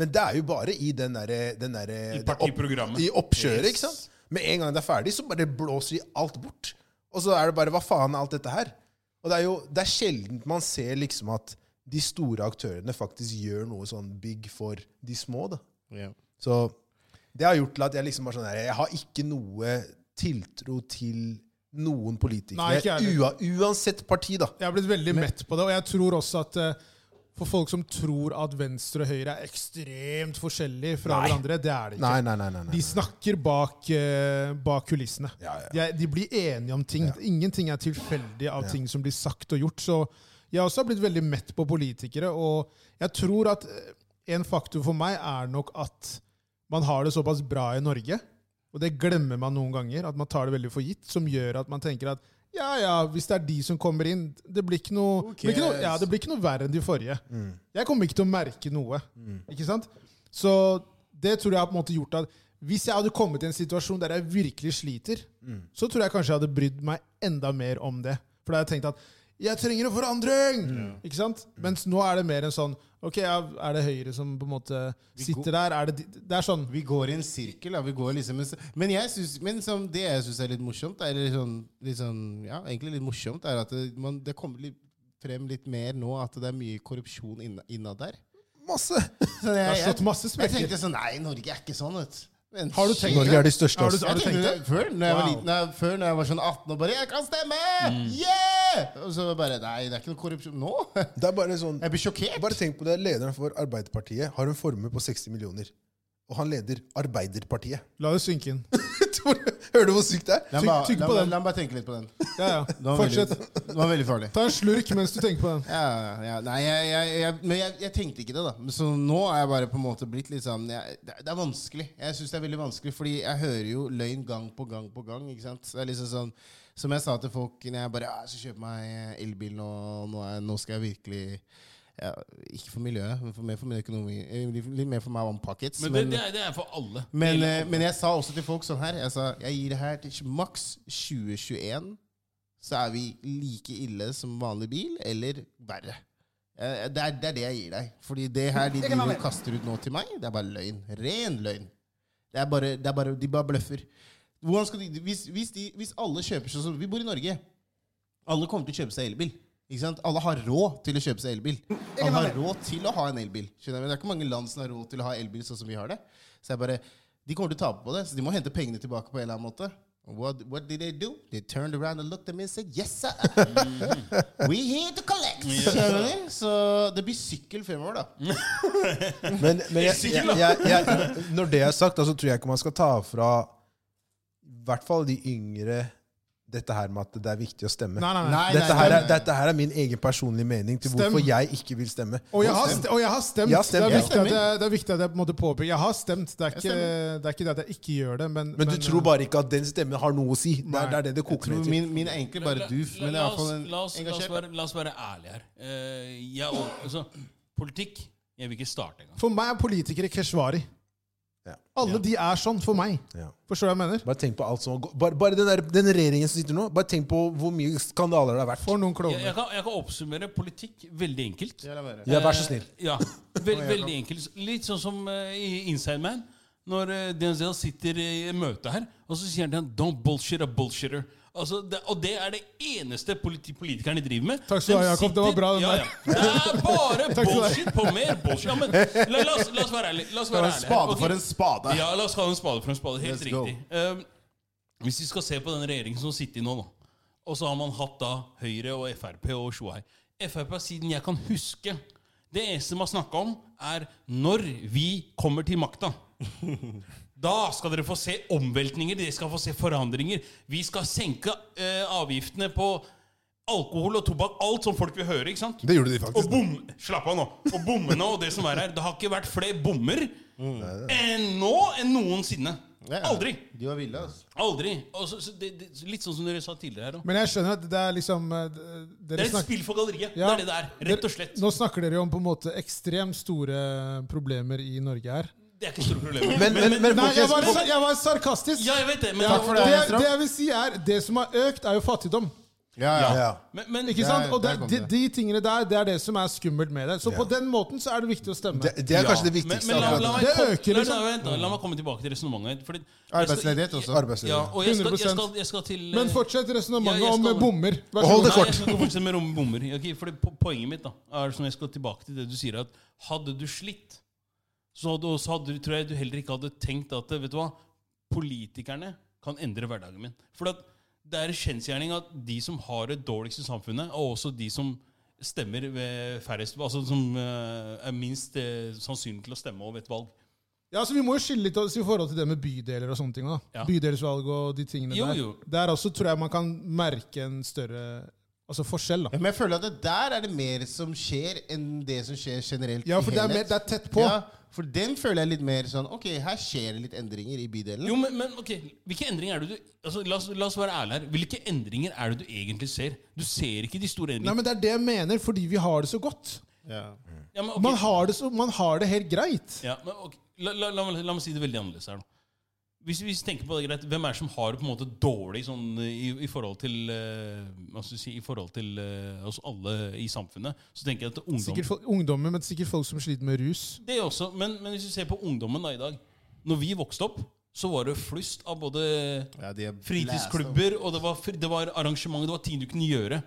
[SPEAKER 2] Men det er jo bare i den derre den derre-
[SPEAKER 3] I
[SPEAKER 2] det opp-
[SPEAKER 3] partiprogrammet.
[SPEAKER 2] i oppkjøret.
[SPEAKER 4] Yes.
[SPEAKER 2] ikke sant? Med en gang det er ferdig, så bare blåser de alt bort. Og så er det bare hva faen er alt dette her? Og det er jo det er sjelden man ser liksom at de store aktørene faktisk gjør noe sånn big for de små. da.
[SPEAKER 4] Ja.
[SPEAKER 2] Så det har gjort til at jeg liksom bare sånn her, jeg har ikke noe tiltro til noen
[SPEAKER 1] Nei,
[SPEAKER 2] politikere.
[SPEAKER 1] ikke jeg
[SPEAKER 2] ua, uansett parti, da.
[SPEAKER 1] Jeg har blitt veldig mett på det, og jeg tror også at eh, for folk som tror at venstre og høyre er ekstremt forskjellige fra
[SPEAKER 2] Nei.
[SPEAKER 1] hverandre, det er det ikke.
[SPEAKER 2] Nei, nei, nei. nei, nei.
[SPEAKER 1] De snakker bak, eh, bak kulissene.
[SPEAKER 2] Ja, ja.
[SPEAKER 1] De, er, de blir enige om ting. Ingenting er tilfeldig av ting som blir sagt og gjort. Så jeg også har blitt veldig mett på politikere, og jeg tror at eh, en faktor for meg er nok at man har det såpass bra i Norge, og det glemmer man noen ganger, at man tar det veldig for gitt, som gjør at man tenker at ja, ja, hvis det er de som kommer inn Det blir ikke noe, det blir ikke noe,
[SPEAKER 4] cares?
[SPEAKER 1] ja, det blir ikke noe verre enn de forrige. Jeg kommer ikke til å merke noe. Ikke sant? Så det tror jeg har på en måte gjort at hvis jeg hadde kommet i en situasjon der jeg virkelig sliter, så tror jeg kanskje jeg hadde brydd meg enda mer om det. For da hadde jeg tenkt at jeg trenger en forandring! Ikke sant? Mens nå er det mer en sånn Ok, ja, er det Høyre som på en måte sitter der? Er det, de- det er sånn
[SPEAKER 4] Vi går i en sirkel. Da. Vi går liksom en, s- men jeg synes, men som det jeg syns er litt morsomt, er litt sånn, litt sånn, ja, egentlig litt morsomt, er at det, man, det kommer litt frem litt mer nå at det er mye korrupsjon inna- innad der.
[SPEAKER 2] Masse!
[SPEAKER 4] Så jeg,
[SPEAKER 1] har slått masse
[SPEAKER 4] jeg,
[SPEAKER 1] sprekker.
[SPEAKER 4] tenkte sånn Nei, Norge er ikke sånn, vet du. Men
[SPEAKER 1] Har du tenkt
[SPEAKER 2] Norge er de største.
[SPEAKER 1] Har du,
[SPEAKER 2] altså.
[SPEAKER 1] har du
[SPEAKER 4] Jeg
[SPEAKER 1] tenkt det?
[SPEAKER 4] tenkte Før, når jeg var
[SPEAKER 1] Wow.
[SPEAKER 4] liten, nei, før når jeg var sånn 18 og bare 'Jeg kan stemme!'
[SPEAKER 2] Mm.
[SPEAKER 4] Yeah! Og så bare Nei, det er ikke noe korrupsjon nå.
[SPEAKER 2] Det er bare sånn
[SPEAKER 4] Jeg blir sjokkert.
[SPEAKER 2] Bare tenk på det. Lederen for Arbeiderpartiet har en formue på 60 millioner. Og han leder Arbeiderpartiet.
[SPEAKER 1] La det synke inn.
[SPEAKER 2] Hører du hvor sykt det er?
[SPEAKER 4] La meg
[SPEAKER 1] Tygg-
[SPEAKER 4] bare-
[SPEAKER 1] tygg
[SPEAKER 4] la
[SPEAKER 1] på
[SPEAKER 4] meg-
[SPEAKER 1] den.
[SPEAKER 4] La meg bare tenke litt på den.
[SPEAKER 1] Ja, ja.
[SPEAKER 4] Den var
[SPEAKER 1] Fortsett.
[SPEAKER 4] veldig, den var veldig farlig.
[SPEAKER 1] Ta en slurk mens du tenker på
[SPEAKER 3] liksom.
[SPEAKER 1] den.
[SPEAKER 4] Ja, ja, nei, jeg, jeg, jeg, men jeg, jeg tenkte ikke det, da. Men Så nå er jeg bare på en måte blitt litt sånn jeg, det, det er vanskelig. Jeg syns det er veldig vanskelig, fordi jeg hører jo løgn gang på gang på gang. Ikke sant? Så Det er liksom sånn Som jeg sa til folk når jeg bare ja, Jeg skal kjøpe meg elbil nå, nå, er, nå skal jeg virkelig ja, Ikke for miljøet, men for mer for min økonomi. eh, Litt mer for meg one pockets.
[SPEAKER 3] Men det, det, er, det er for alle.
[SPEAKER 4] Men,
[SPEAKER 3] Hele-
[SPEAKER 4] eh, men jeg sa også til folk sånn her Jeg sa jeg gir det her til maks 2021, så er vi like ille som vanlig bil, eller verre. Eh, Det er, det er det jeg gir deg. Fordi det her de driver og kaster ut nå til meg, det er bare løgn. Ren løgn. Det er bare, det er bare, de bare bløffer. Hvordan skal de, hvis, hvis, de, hvis alle kjøper sånn som Vi bor i Norge. Alle kommer til å kjøpe seg elbil. Ikke sant? Alle har råd til å kjøpe seg elbil. Alle har råd til å ha en elbil. Skjønner du? Det er ikke mange land som har råd til å ha elbil sånn som vi har det. Så jeg bare, De kommer til å tape på det, så de må hente pengene tilbake på en eller annen måte. What, what did they do? They turned around and looked at me and said, yes, sir. We here to collect. Skjønner du? Så det blir sykkel fremover, da.
[SPEAKER 2] Men, men jeg, jeg, jeg, jeg, når det er sagt, da, så tror jeg ikke man skal ta fra i hvert fall de yngre dette her med at det er viktig å stemme.
[SPEAKER 1] Nei, nei, nei.
[SPEAKER 4] Nei,
[SPEAKER 2] Dette
[SPEAKER 4] nei,
[SPEAKER 2] her
[SPEAKER 4] nei,
[SPEAKER 2] er, dette her er min egen personlige mening til
[SPEAKER 1] Stem.
[SPEAKER 2] hvorfor jeg ikke vil stemme.
[SPEAKER 1] Og jeg har, st og jeg har stemt.
[SPEAKER 2] Jeg har stemt,
[SPEAKER 1] det, er
[SPEAKER 2] ja.
[SPEAKER 1] viktig at jeg, det er viktig at jeg på en måte påpeker. Jeg har stemt. Det er, ikke,
[SPEAKER 4] stemmer.
[SPEAKER 1] det er ikke det at jeg ikke gjør det, men
[SPEAKER 2] Men du
[SPEAKER 1] men,
[SPEAKER 2] tror
[SPEAKER 1] eh,
[SPEAKER 2] bare ikke at den stemmen har noe å si. Det
[SPEAKER 1] Nei.
[SPEAKER 2] er, det er det det koker ned
[SPEAKER 4] Tror
[SPEAKER 2] til.
[SPEAKER 4] min, min er egentlig bare doof, men det er i
[SPEAKER 3] La- la-
[SPEAKER 4] hvert fall en
[SPEAKER 3] la oss, la, oss, la, oss
[SPEAKER 4] engasjert.
[SPEAKER 3] være, la oss være ærlige her. Eh, jeg, og- altså, politikk Jeg vil ikke starte engang.
[SPEAKER 1] For meg er politikere keshvari.
[SPEAKER 2] Ja.
[SPEAKER 1] Alle de er sånn for meg.
[SPEAKER 2] Ja.
[SPEAKER 1] Forstår du hva jeg mener?
[SPEAKER 2] Bare tenk på alt som har gått- bare, bare den, der, den regjeringen som sitter nå, bare tenk på hvor mye skandaler det har vært.
[SPEAKER 1] For noen
[SPEAKER 3] Jeg, jeg,
[SPEAKER 1] klovner.
[SPEAKER 3] kan, jeg kan oppsummere politikk veldig enkelt.
[SPEAKER 4] Ja, la være.
[SPEAKER 2] Ja, vær så snill.
[SPEAKER 3] Eh, Ja, vel- Veldig enkelt. Litt sånn som eh, i Inside Man. Når eh, Denzel sitter i møte her, og så sier han til han 'Don't bullshit a bullshitter'. Altså, det, og det er det eneste politi politikerne driver med.
[SPEAKER 1] Takk skal du
[SPEAKER 3] De
[SPEAKER 1] ha, Jakob. Det var bra, den der.
[SPEAKER 3] ja, ja. Det er
[SPEAKER 1] Takk
[SPEAKER 3] bare
[SPEAKER 1] skal du ha.
[SPEAKER 3] bullshit på mer bullshit. Ja, men la, la, oss, la oss være ærlige. La oss
[SPEAKER 4] Det var en
[SPEAKER 3] være ærlige her.
[SPEAKER 4] spade
[SPEAKER 3] Ok.
[SPEAKER 4] for en spade.
[SPEAKER 3] Ja, la oss kalle det en spade for en spade. Helt
[SPEAKER 4] Let's go.
[SPEAKER 3] riktig. Ehm, hvis vi skal se på den regjeringen som sitter i nå, da. Og så har man hatt da Høyre og Frp og Sjohei. Frp har siden jeg kan huske Det eneste man har snakka om, er når vi kommer til makta. Da skal dere få se omveltninger, dere skal få se forandringer. Vi skal senke eh, avgiftene på alkohol og tobakk. Alt som folk vil høre. ikke sant?
[SPEAKER 2] Det gjorde de faktisk.
[SPEAKER 3] Og bom, slapp av nå. Og bommene og det som er her. Det har ikke vært flere bommer enn nå enn noensinne.
[SPEAKER 4] Ja.
[SPEAKER 3] Aldri.
[SPEAKER 4] De var ville, altså.
[SPEAKER 3] Aldri. Og så, så det, det, litt sånn som dere sa tidligere her òg.
[SPEAKER 1] Men jeg skjønner at det er liksom eh, d-
[SPEAKER 3] Det
[SPEAKER 1] dere
[SPEAKER 3] er et
[SPEAKER 1] snakker,
[SPEAKER 3] spill for galleriet.
[SPEAKER 1] Ja.
[SPEAKER 3] Det er det det er. Rett og slett.
[SPEAKER 1] Nå snakker dere jo om på en måte ekstremt store eh, problemer i Norge her.
[SPEAKER 3] Det er ikke store problemer.
[SPEAKER 2] Men, men, men,
[SPEAKER 1] Nei, jeg var,
[SPEAKER 2] folkens,
[SPEAKER 1] jeg var sarkastisk.
[SPEAKER 3] Ja, jeg vet det, men,
[SPEAKER 1] Ja,
[SPEAKER 4] Takk for
[SPEAKER 1] det,
[SPEAKER 4] det,
[SPEAKER 1] det,
[SPEAKER 4] Strøm.
[SPEAKER 1] jeg vil si er, det som har økt, er jo fattigdom.
[SPEAKER 4] Ja, ja.
[SPEAKER 2] ja.
[SPEAKER 3] men, men
[SPEAKER 1] Ikke
[SPEAKER 4] Ja,
[SPEAKER 1] sant? Og
[SPEAKER 4] der
[SPEAKER 1] det,
[SPEAKER 4] kom
[SPEAKER 1] de,
[SPEAKER 4] det.
[SPEAKER 1] de tingene der, det er det som er skummelt med det. Så på den måten så er det viktig å stemme.
[SPEAKER 2] Det, det er kanskje det
[SPEAKER 3] men,
[SPEAKER 2] viktigste.
[SPEAKER 3] men la,
[SPEAKER 2] akkurat
[SPEAKER 3] la,
[SPEAKER 2] nå.
[SPEAKER 3] meg,
[SPEAKER 1] Det
[SPEAKER 3] kom-
[SPEAKER 1] øker,
[SPEAKER 3] la-
[SPEAKER 1] liksom.
[SPEAKER 3] la- vent da, la meg komme tilbake til resonnementet. fordi-
[SPEAKER 4] Arbeidsledighet også.
[SPEAKER 2] Arbeidslivet.
[SPEAKER 3] Ja, og jeg skal, jeg,
[SPEAKER 1] 100%.
[SPEAKER 3] skal, jeg skal til eh,
[SPEAKER 1] Men fortsett resonnementet
[SPEAKER 3] Ja, jeg skal-
[SPEAKER 1] om bommer. Vær
[SPEAKER 2] Og hold det
[SPEAKER 1] så god.
[SPEAKER 3] Nei, jeg
[SPEAKER 2] kort.
[SPEAKER 3] skal ikke fortsette med rom- bommer. Ok, for det, po- poenget mitt da, er som jeg skal tilbake til det du sier, at hadde du slitt, så hadde, og så hadde, du- tror jeg du heller ikke hadde tenkt at vet du hva, politikerne kan endre hverdagen min. For at det er en kjensgjerning at de som har det dårligst i samfunnet, og også de som stemmer ved færrest, altså som eh, er minst eh, sannsynlig til å stemme over et valg
[SPEAKER 1] Ja, så Vi må jo skille litt også i forhold til det med bydeler og sånne ting. da.
[SPEAKER 3] Ja.
[SPEAKER 1] Bydelsvalg og de tingene
[SPEAKER 3] Jo,
[SPEAKER 1] der.
[SPEAKER 3] jo.
[SPEAKER 1] Der også tror jeg man kan merke en større altså forskjell. da.
[SPEAKER 4] Men jeg føler at det der er det mer som skjer, enn det som skjer generelt.
[SPEAKER 1] Ja,
[SPEAKER 4] i
[SPEAKER 1] for det er, mer,
[SPEAKER 4] helhet.
[SPEAKER 1] det er tett på.
[SPEAKER 4] Ja, for den føler jeg litt mer sånn Ok, her skjer det litt endringer i bydelen.
[SPEAKER 3] Jo, men, men ok, hvilke endringer er det du altså, la, oss, la oss være ærlige her. Hvilke endringer er det du egentlig ser? Du ser ikke de store
[SPEAKER 1] Nei,
[SPEAKER 3] endringene.
[SPEAKER 1] men Det er det jeg mener, fordi vi har det så godt.
[SPEAKER 4] Ja.
[SPEAKER 3] ja, men, ok.
[SPEAKER 1] Man har det, så, man har det helt greit.
[SPEAKER 3] Ja, men ok, la, la, la, meg- la meg si det veldig annerledes her nå. Hvis vi tenker på det greit, Hvem er det som har det på en måte dårlig sånn, i, i forhold til, eh, hva skal jeg si, i forhold til eh, oss alle i samfunnet? Så tenker jeg at ungdom
[SPEAKER 1] Sikkert fol- ungdommer, men sikkert folk som sliter med rus.
[SPEAKER 3] Det også, men, men hvis du ser på ungdommen da i dag Når vi vokste opp, så var det flust av både
[SPEAKER 4] Ja, de er
[SPEAKER 3] fritidsklubber og det var, fri- det var arrangement, det var ting du kunne gjøre.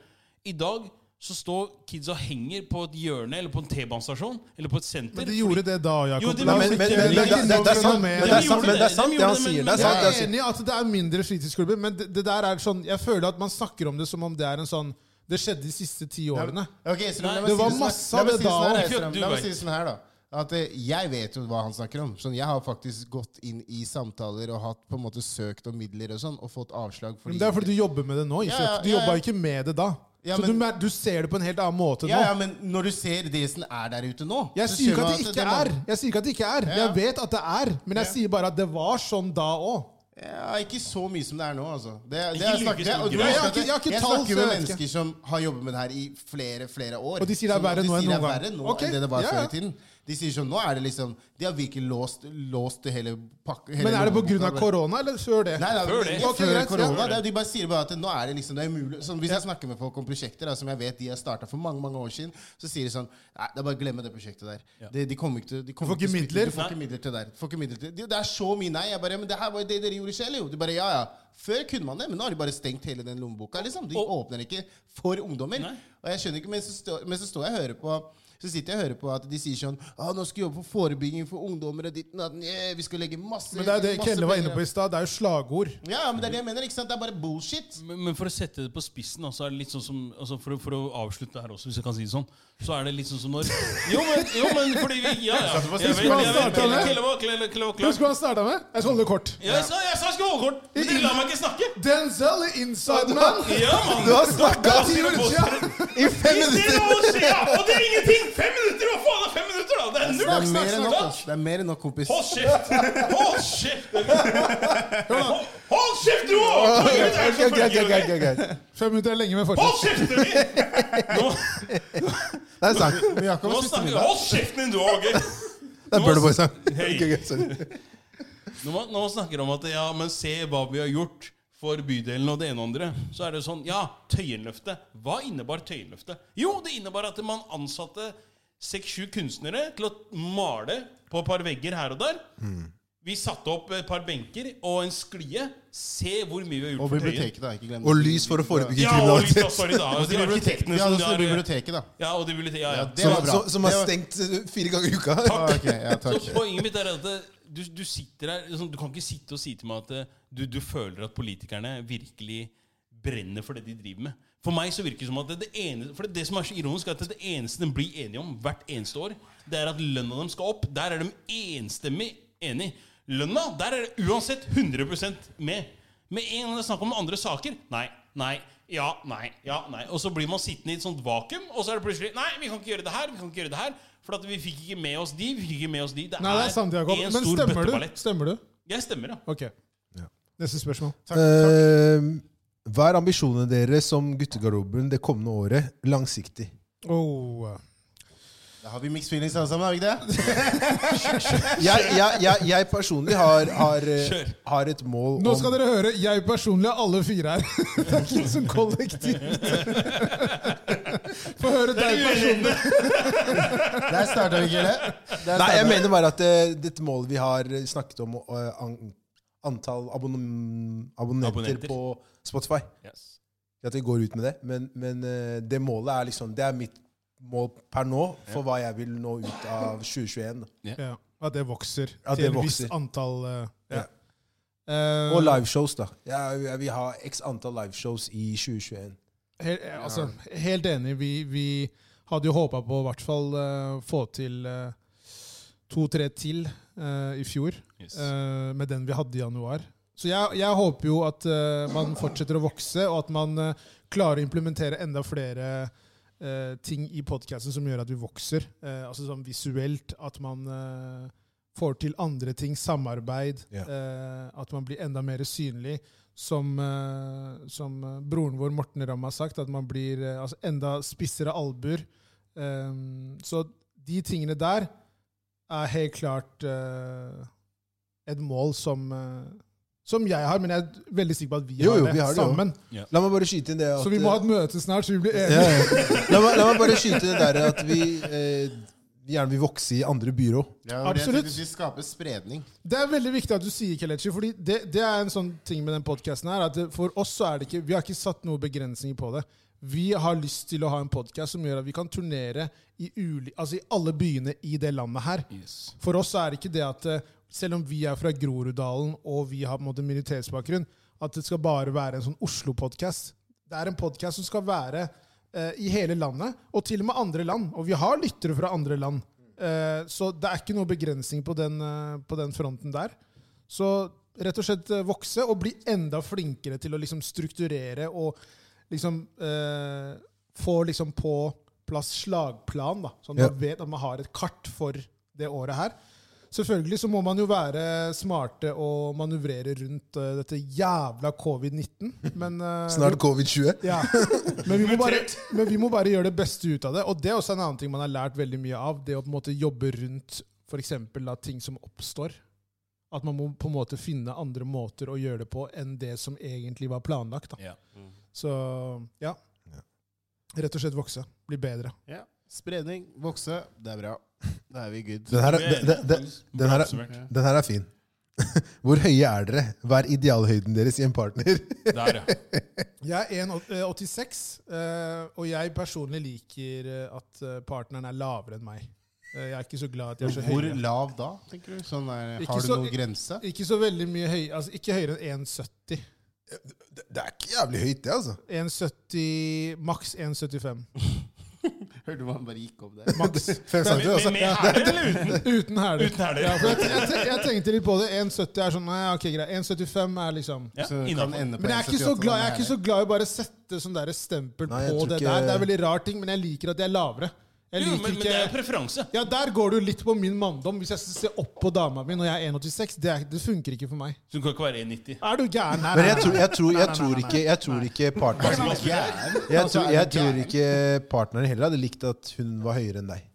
[SPEAKER 3] I dag så står kidsa og henger på et hjørne eller på en T-banestasjon eller på et senter.
[SPEAKER 1] Men de gjorde det da, Jakob.
[SPEAKER 3] Jo, de-
[SPEAKER 1] La oss
[SPEAKER 2] Men, men, men,
[SPEAKER 1] ikke-
[SPEAKER 2] men, det- det- det- det er sant,
[SPEAKER 1] fenomen.
[SPEAKER 2] men det er sant, men det er sant det han sier. Det er sant, det han
[SPEAKER 1] Jeg
[SPEAKER 2] sier.
[SPEAKER 1] er enig i at det er mindre fritidsklubber, men det, det der er sånn Jeg føler at man snakker om det som om det er en sånn Det skjedde de siste ti årene.
[SPEAKER 4] Ok, så la
[SPEAKER 3] Nei,
[SPEAKER 4] meg
[SPEAKER 3] det
[SPEAKER 4] si
[SPEAKER 1] var
[SPEAKER 4] sånn-
[SPEAKER 1] masse
[SPEAKER 4] la
[SPEAKER 1] av
[SPEAKER 4] meg
[SPEAKER 1] det
[SPEAKER 4] si
[SPEAKER 1] da
[SPEAKER 4] sånn her,
[SPEAKER 1] også.
[SPEAKER 3] Ikke at
[SPEAKER 4] Estrøm.
[SPEAKER 3] du
[SPEAKER 4] La meg si
[SPEAKER 3] vet.
[SPEAKER 4] sånn her, da. At eh, jeg vet jo hva han snakker om. Sånn, jeg har faktisk gått inn i samtaler og hatt på en måte søkt om midler og sånn, og fått avslag fordi
[SPEAKER 1] Men det er fordi du jobber med det nå. Ikke?
[SPEAKER 4] Ja, ja,
[SPEAKER 1] sant? Du
[SPEAKER 4] ja, ja.
[SPEAKER 1] jobba ikke med det da.
[SPEAKER 4] Ja,
[SPEAKER 1] så du,
[SPEAKER 4] men-
[SPEAKER 1] mer- du ser det på en helt annen måte nå.
[SPEAKER 4] ja, ja, men når du ser det som er der ute nå
[SPEAKER 1] Jeg
[SPEAKER 4] så
[SPEAKER 1] sier ikke
[SPEAKER 4] skjønner
[SPEAKER 1] at det ikke er.
[SPEAKER 4] man-
[SPEAKER 1] Jeg sier ikke at det ikke er.
[SPEAKER 4] ja.
[SPEAKER 1] Jeg vet at det er, men jeg
[SPEAKER 4] Ja.
[SPEAKER 1] sier bare at det var sånn da òg.
[SPEAKER 4] Ja, ikke så mye som det er nå, altså. Det, det
[SPEAKER 3] Ikke
[SPEAKER 4] jeg,
[SPEAKER 3] like
[SPEAKER 4] snakker,
[SPEAKER 3] stor
[SPEAKER 4] og du
[SPEAKER 3] grad.
[SPEAKER 4] vet
[SPEAKER 3] Jeg
[SPEAKER 1] har
[SPEAKER 4] at
[SPEAKER 1] ikke- jeg har ikke
[SPEAKER 4] jeg
[SPEAKER 1] tall, så
[SPEAKER 4] snakker
[SPEAKER 1] jeg
[SPEAKER 4] med
[SPEAKER 1] vet
[SPEAKER 4] mennesker som har jobbet med det her i flere flere år.
[SPEAKER 1] Og de sier det er
[SPEAKER 4] Som-
[SPEAKER 1] verre nå enn
[SPEAKER 4] de sier det
[SPEAKER 1] noen
[SPEAKER 4] er
[SPEAKER 1] gang.
[SPEAKER 4] verre nå
[SPEAKER 1] Ok,
[SPEAKER 4] enn det det var
[SPEAKER 1] ja,
[SPEAKER 4] før
[SPEAKER 1] ja.
[SPEAKER 4] i tiden. De sier sånn, nå er det liksom De har virkelig låst, låst hele pakka.
[SPEAKER 1] Men er det pga. korona eller før det?
[SPEAKER 4] Nei, nei,
[SPEAKER 3] Før det.
[SPEAKER 4] ja,
[SPEAKER 1] Ok, greit, ja.
[SPEAKER 4] før korona. Det er, de bare sier bare at nå er det liksom det er umulig. Sånn, hvis jeg snakker med folk om prosjekter da, som jeg vet de har starta for mange mange år siden, så sier de sånn Nei, det er bare å glemme det prosjektet der. Det, de kommer ikke til de
[SPEAKER 1] Du får
[SPEAKER 4] kommer
[SPEAKER 1] ikke
[SPEAKER 4] til å spytte-
[SPEAKER 1] midler.
[SPEAKER 4] Du får ikke midler til det der. Du Får ikke midler til. Det, det er så mye nei. Jeg bare Men det her var jo det dere gjorde selv, jo. De bare Ja, ja. Før kunne man det, men nå har de bare stengt hele den lommeboka. liksom. De
[SPEAKER 3] Og-
[SPEAKER 4] åpner ikke for ungdommer.
[SPEAKER 3] Nei.
[SPEAKER 4] Og jeg skjønner ikke, men så, står, men så står jeg og hører på så sitter jeg og hører på at de sier sånn ah, 'Nå skal vi jobbe for forebygging for ungdommer.' og ditt, og datt. Yeah, 'Vi skal legge masse
[SPEAKER 1] Men det er det
[SPEAKER 4] masse
[SPEAKER 1] Kelle var inne
[SPEAKER 4] penger.»
[SPEAKER 1] på i stad. Det er jo slagord.
[SPEAKER 4] Ja, men det er det jeg mener. ikke sant? Det er bare bullshit.
[SPEAKER 3] Men, men for å sette det på spissen, altså, er det litt sånn som, altså, for, å- for å avslutte her også, hvis jeg kan si det sånn, så er det litt sånn som når Jo, men, jo, men fordi vi Ja, ja. Jeg vet, jeg vet, jeg vet, Klevå, Klevå, Klevå, Klevå.
[SPEAKER 1] Husk hva han starta med? Jeg skal holde det kort.
[SPEAKER 3] Ja, jeg sa jeg sa jeg skulle holde kort, men dere la meg ikke snakke!
[SPEAKER 1] Denzel er inside man!
[SPEAKER 3] Ja, mann!
[SPEAKER 2] Du har snakka
[SPEAKER 1] Hva sier du, Chia?
[SPEAKER 2] i fem
[SPEAKER 3] Det er
[SPEAKER 2] minutter!
[SPEAKER 3] noe å se, ja! Og det er ingenting! Fem minutter! Hva faen er fem minutter, da? Det er
[SPEAKER 4] Det er
[SPEAKER 3] null
[SPEAKER 4] mer
[SPEAKER 3] snakk,
[SPEAKER 4] enn
[SPEAKER 3] snakk,
[SPEAKER 4] nok,
[SPEAKER 3] snakk!
[SPEAKER 4] ass. Det er mer enn nok, kompis.
[SPEAKER 3] Hold kjeft! Hold kjeft! Hold- Hold kjeft, du òg!
[SPEAKER 2] Ok, ok, ok, ok, ok.
[SPEAKER 1] Fem minutter er lenge, men
[SPEAKER 3] Hold
[SPEAKER 1] fortsatt.
[SPEAKER 3] kjeften din! Nå,
[SPEAKER 2] Det er en sang.
[SPEAKER 4] Men Jakob,
[SPEAKER 3] nå
[SPEAKER 4] hva spiste
[SPEAKER 3] snakker
[SPEAKER 4] vi
[SPEAKER 3] vi
[SPEAKER 4] da?
[SPEAKER 3] Hold kjeften din, du òg!
[SPEAKER 2] Det er Bird Boy-sang.
[SPEAKER 3] Hei.
[SPEAKER 2] Ok, ok, sorry.
[SPEAKER 3] Når man, når man snakker om at ja, men se hva vi har gjort for bydelen og det ene og andre, så er det sånn Ja, Tøyenløftet. Hva innebar Tøyenløftet? Jo, det innebar at man ansatte seks-sju kunstnere til å male på et par vegger her og der.
[SPEAKER 4] Mm.
[SPEAKER 3] Vi satte opp et par benker og en sklie. Se hvor mye vi har gjort
[SPEAKER 4] Og
[SPEAKER 3] for Tøyen.
[SPEAKER 4] biblioteket, da. Ikke glem det.
[SPEAKER 2] Og lys for å forebygge
[SPEAKER 3] Ja, og litt, da,
[SPEAKER 2] kriminalitet.
[SPEAKER 3] sorry, da.
[SPEAKER 4] Og
[SPEAKER 3] De arkitektene
[SPEAKER 4] biblioteket. Ja,
[SPEAKER 3] som
[SPEAKER 4] det står
[SPEAKER 3] de har
[SPEAKER 4] biblioteket, da.
[SPEAKER 3] Ja, og de biblioteket. Ja,
[SPEAKER 4] Ja,
[SPEAKER 3] ja.
[SPEAKER 4] det
[SPEAKER 2] Som,
[SPEAKER 4] var bra.
[SPEAKER 2] som, som har
[SPEAKER 4] Det var-
[SPEAKER 2] stengt eh, fire ganger i uka.
[SPEAKER 4] Ah, ok, ja,
[SPEAKER 3] Så
[SPEAKER 4] takk.
[SPEAKER 3] poenget mitt er at eh, du, du sitter her liksom, Du kan ikke sitte og si til meg at eh, du, du føler at politikerne virkelig brenner for det de driver med. For meg så virker det som at det, det ene, For det som er så ironisk, er at det eneste de blir enige om hvert eneste år, det er at lønna dem skal opp. Der er de enstemmig enige. Lønna, der er det uansett 100 med. Med en gang det er snakk om andre saker Nei, nei, ja, nei, ja, nei. Og så blir man sittende i et sånt vakuum, og så er det plutselig Nei, vi kan ikke gjøre det her, vi kan ikke gjøre det her. For at vi fikk ikke med oss de, vi fikk ikke med oss de. Det
[SPEAKER 1] Nei, det er sant, Jakob.
[SPEAKER 3] en
[SPEAKER 1] Men
[SPEAKER 3] stor
[SPEAKER 1] stemmer du?
[SPEAKER 3] bøtteballett.
[SPEAKER 1] Stemmer du?
[SPEAKER 3] Jeg stemmer, ja.
[SPEAKER 1] Ok. Neste spørsmål.
[SPEAKER 2] Eh, Hva er ambisjonene deres som guttegarderoben det kommende året, langsiktig?
[SPEAKER 1] Oh.
[SPEAKER 4] Da har vi mixed feelings alle sammen, har vi ikke det?
[SPEAKER 2] Jeg, jeg, jeg, jeg personlig har, har, eh,
[SPEAKER 3] Kjør.
[SPEAKER 2] har et mål
[SPEAKER 1] Nå skal dere høre. Jeg personlig er alle fire her. Det er ikke som kollektiv. Få høre
[SPEAKER 3] Det
[SPEAKER 1] deg
[SPEAKER 3] er
[SPEAKER 1] personlig.
[SPEAKER 3] uenig.
[SPEAKER 4] Der starta vi, Gille.
[SPEAKER 2] Nei, jeg mener bare at eh, dette målet vi har eh, snakket om, eh, an- antall abonn- abonnenter,
[SPEAKER 3] Abonnenter.
[SPEAKER 2] på Spotify
[SPEAKER 3] Yes.
[SPEAKER 2] At vi går ut med det. Men, men eh, det målet er liksom Det er mitt mål per nå for hva jeg vil nå ut av 2021. da.
[SPEAKER 1] Ja, at det vokser
[SPEAKER 2] At
[SPEAKER 1] til
[SPEAKER 2] det
[SPEAKER 1] et visst
[SPEAKER 2] vokser.
[SPEAKER 1] antall eh, ja.
[SPEAKER 2] Ja.
[SPEAKER 1] Eh,
[SPEAKER 2] Og liveshows, da. Ja, jeg vil ha x antall liveshows i 2021.
[SPEAKER 1] Helt, altså, helt enig. Vi, vi hadde jo håpa på i hvert fall eh, få til eh, to-tre til eh, i fjor,
[SPEAKER 3] Yes.
[SPEAKER 1] eh, med den vi hadde i januar. Så jeg, jeg håper jo at eh, man fortsetter å vokse, og at man eh, klarer å implementere enda flere eh, ting i podkasten som gjør at vi vokser. Eh, altså sånn visuelt, at man eh, får til andre ting, samarbeid,
[SPEAKER 2] Ja.
[SPEAKER 1] eh, at man blir enda mer synlig. Som, eh, som eh, broren vår Morten Ramm har sagt, at man blir eh, altså enda spissere albuer. Eh, så de tingene der er helt klart eh, et mål som eh, som jeg har, men jeg er veldig sikker på at vi
[SPEAKER 2] Jo,
[SPEAKER 1] har
[SPEAKER 2] jo,
[SPEAKER 1] det
[SPEAKER 2] vi har det jo.
[SPEAKER 1] sammen.
[SPEAKER 2] La meg bare skyte inn det at eh,
[SPEAKER 1] så vi må ha et møte snart, så vi blir enige.
[SPEAKER 2] ja, ja. la, meg, la meg bare skyte det der at vi eh, vi gjerne vil vokse i andre byrå.
[SPEAKER 4] Ja, men jeg
[SPEAKER 1] Absolutt.
[SPEAKER 4] tenkte Vi skaper spredning.
[SPEAKER 1] Det er veldig viktig at du sier Kelechi, fordi det, det er en sånn ting med den podkasten her. at det- For oss så er det ikke Vi har ikke satt noen begrensninger på det. Vi har lyst til å ha en podkast som gjør at vi kan turnere i, uli, altså i alle byene i det landet her.
[SPEAKER 3] Yes.
[SPEAKER 1] For oss så er det ikke det at eh, selv om vi er fra Groruddalen og vi har på en måte minoritetsbakgrunn, at det skal bare være en sånn Oslo-podkast. Det er en podkast som skal være eh, i hele landet, og til og med andre land. Og vi har lyttere fra andre land. Eh, så det er ikke noe begrensning på den, eh, på den fronten der. Så rett og slett eh, vokse og bli enda flinkere til å liksom strukturere og liksom eh, få liksom på plass slagplan, da. Sånn at
[SPEAKER 2] Ja.
[SPEAKER 1] man vet at man har et kart for det året her. Selvfølgelig så må man jo være smarte og manøvrere rundt eh, dette jævla covid-19, men eh,
[SPEAKER 2] Snart covid-20.
[SPEAKER 1] ja. Men vi, må bare, men vi må bare gjøre det beste ut av det. Og det er også en annen ting man har lært veldig mye av. Det å på en måte jobbe rundt f.eks. ting som oppstår. At man må på en måte finne andre måter å gjøre det på enn det som egentlig var planlagt. Da.
[SPEAKER 3] Ja.
[SPEAKER 1] Så ja. Rett og slett vokse. Bli bedre.
[SPEAKER 4] Ja. Spredning, vokse, det er bra. Da er vi good.
[SPEAKER 2] Den her, er- den, den, den, den, her, er-
[SPEAKER 3] Oppsummert.
[SPEAKER 2] den her er fin. Hvor høye er dere? Hva er idealhøyden deres i en partner?
[SPEAKER 3] Der, ja.
[SPEAKER 1] Jeg er 1,86, eh, og jeg personlig liker eh, at eh, partneren er lavere enn meg. Eh, Jeg er ikke så glad at jeg er så høy.
[SPEAKER 4] Hvor lav da, tenker du? Sånn er,
[SPEAKER 1] Ikke
[SPEAKER 4] har du
[SPEAKER 1] så-
[SPEAKER 4] noen grense?
[SPEAKER 1] Ikke så veldig mye høy, altså ikke høyere enn 1,70.
[SPEAKER 2] Det, det er ikke jævlig høyt, det, altså.
[SPEAKER 1] 1,70 Maks 1,75.
[SPEAKER 4] Hørte du hva han bare gikk opp der?
[SPEAKER 1] Maks.
[SPEAKER 2] Fem
[SPEAKER 3] Med,
[SPEAKER 2] centimeter,
[SPEAKER 3] med,
[SPEAKER 2] altså.
[SPEAKER 3] med hæler eller uten?
[SPEAKER 1] Uten hæler.
[SPEAKER 3] Uten hæler.
[SPEAKER 1] Ja, for jeg, jeg, te- jeg tenkte litt på det. 1,70 er sånn Nei, ok, greit. 1,75 er liksom
[SPEAKER 3] Ja,
[SPEAKER 4] Så det kan
[SPEAKER 3] innenfor.
[SPEAKER 4] ende på
[SPEAKER 1] Men jeg er ikke så
[SPEAKER 4] 1,78,
[SPEAKER 1] glad Jeg
[SPEAKER 4] men
[SPEAKER 1] er ikke så glad i å bare sette sånn der stempel
[SPEAKER 2] Nei, jeg
[SPEAKER 1] på
[SPEAKER 2] tror
[SPEAKER 1] det
[SPEAKER 2] ikke-
[SPEAKER 1] der. Det er veldig rar ting, men jeg liker at jeg er lavere. Jeg
[SPEAKER 3] Jo, men,
[SPEAKER 1] liker
[SPEAKER 3] men det er
[SPEAKER 1] ikke
[SPEAKER 3] preferanse.
[SPEAKER 1] ja, Der går det jo litt på min manndom. Hvis jeg ser opp på dama mi når jeg er 1,86, det, er- det funker ikke for meg.
[SPEAKER 3] Så du kan ikke være 1,90.
[SPEAKER 1] Er du gæren? Nei,
[SPEAKER 2] Men
[SPEAKER 1] nei,
[SPEAKER 2] jeg tror, jeg tror, jeg
[SPEAKER 1] Nei, nei, nei,
[SPEAKER 2] tror
[SPEAKER 1] nei,
[SPEAKER 2] ikke, jeg tror ikke partneren
[SPEAKER 4] er gæren.
[SPEAKER 2] jeg
[SPEAKER 4] Altså, er
[SPEAKER 2] tror,
[SPEAKER 4] du
[SPEAKER 2] jeg tror
[SPEAKER 4] gæren?
[SPEAKER 2] ikke partneren heller hadde likt at hun var høyere enn deg.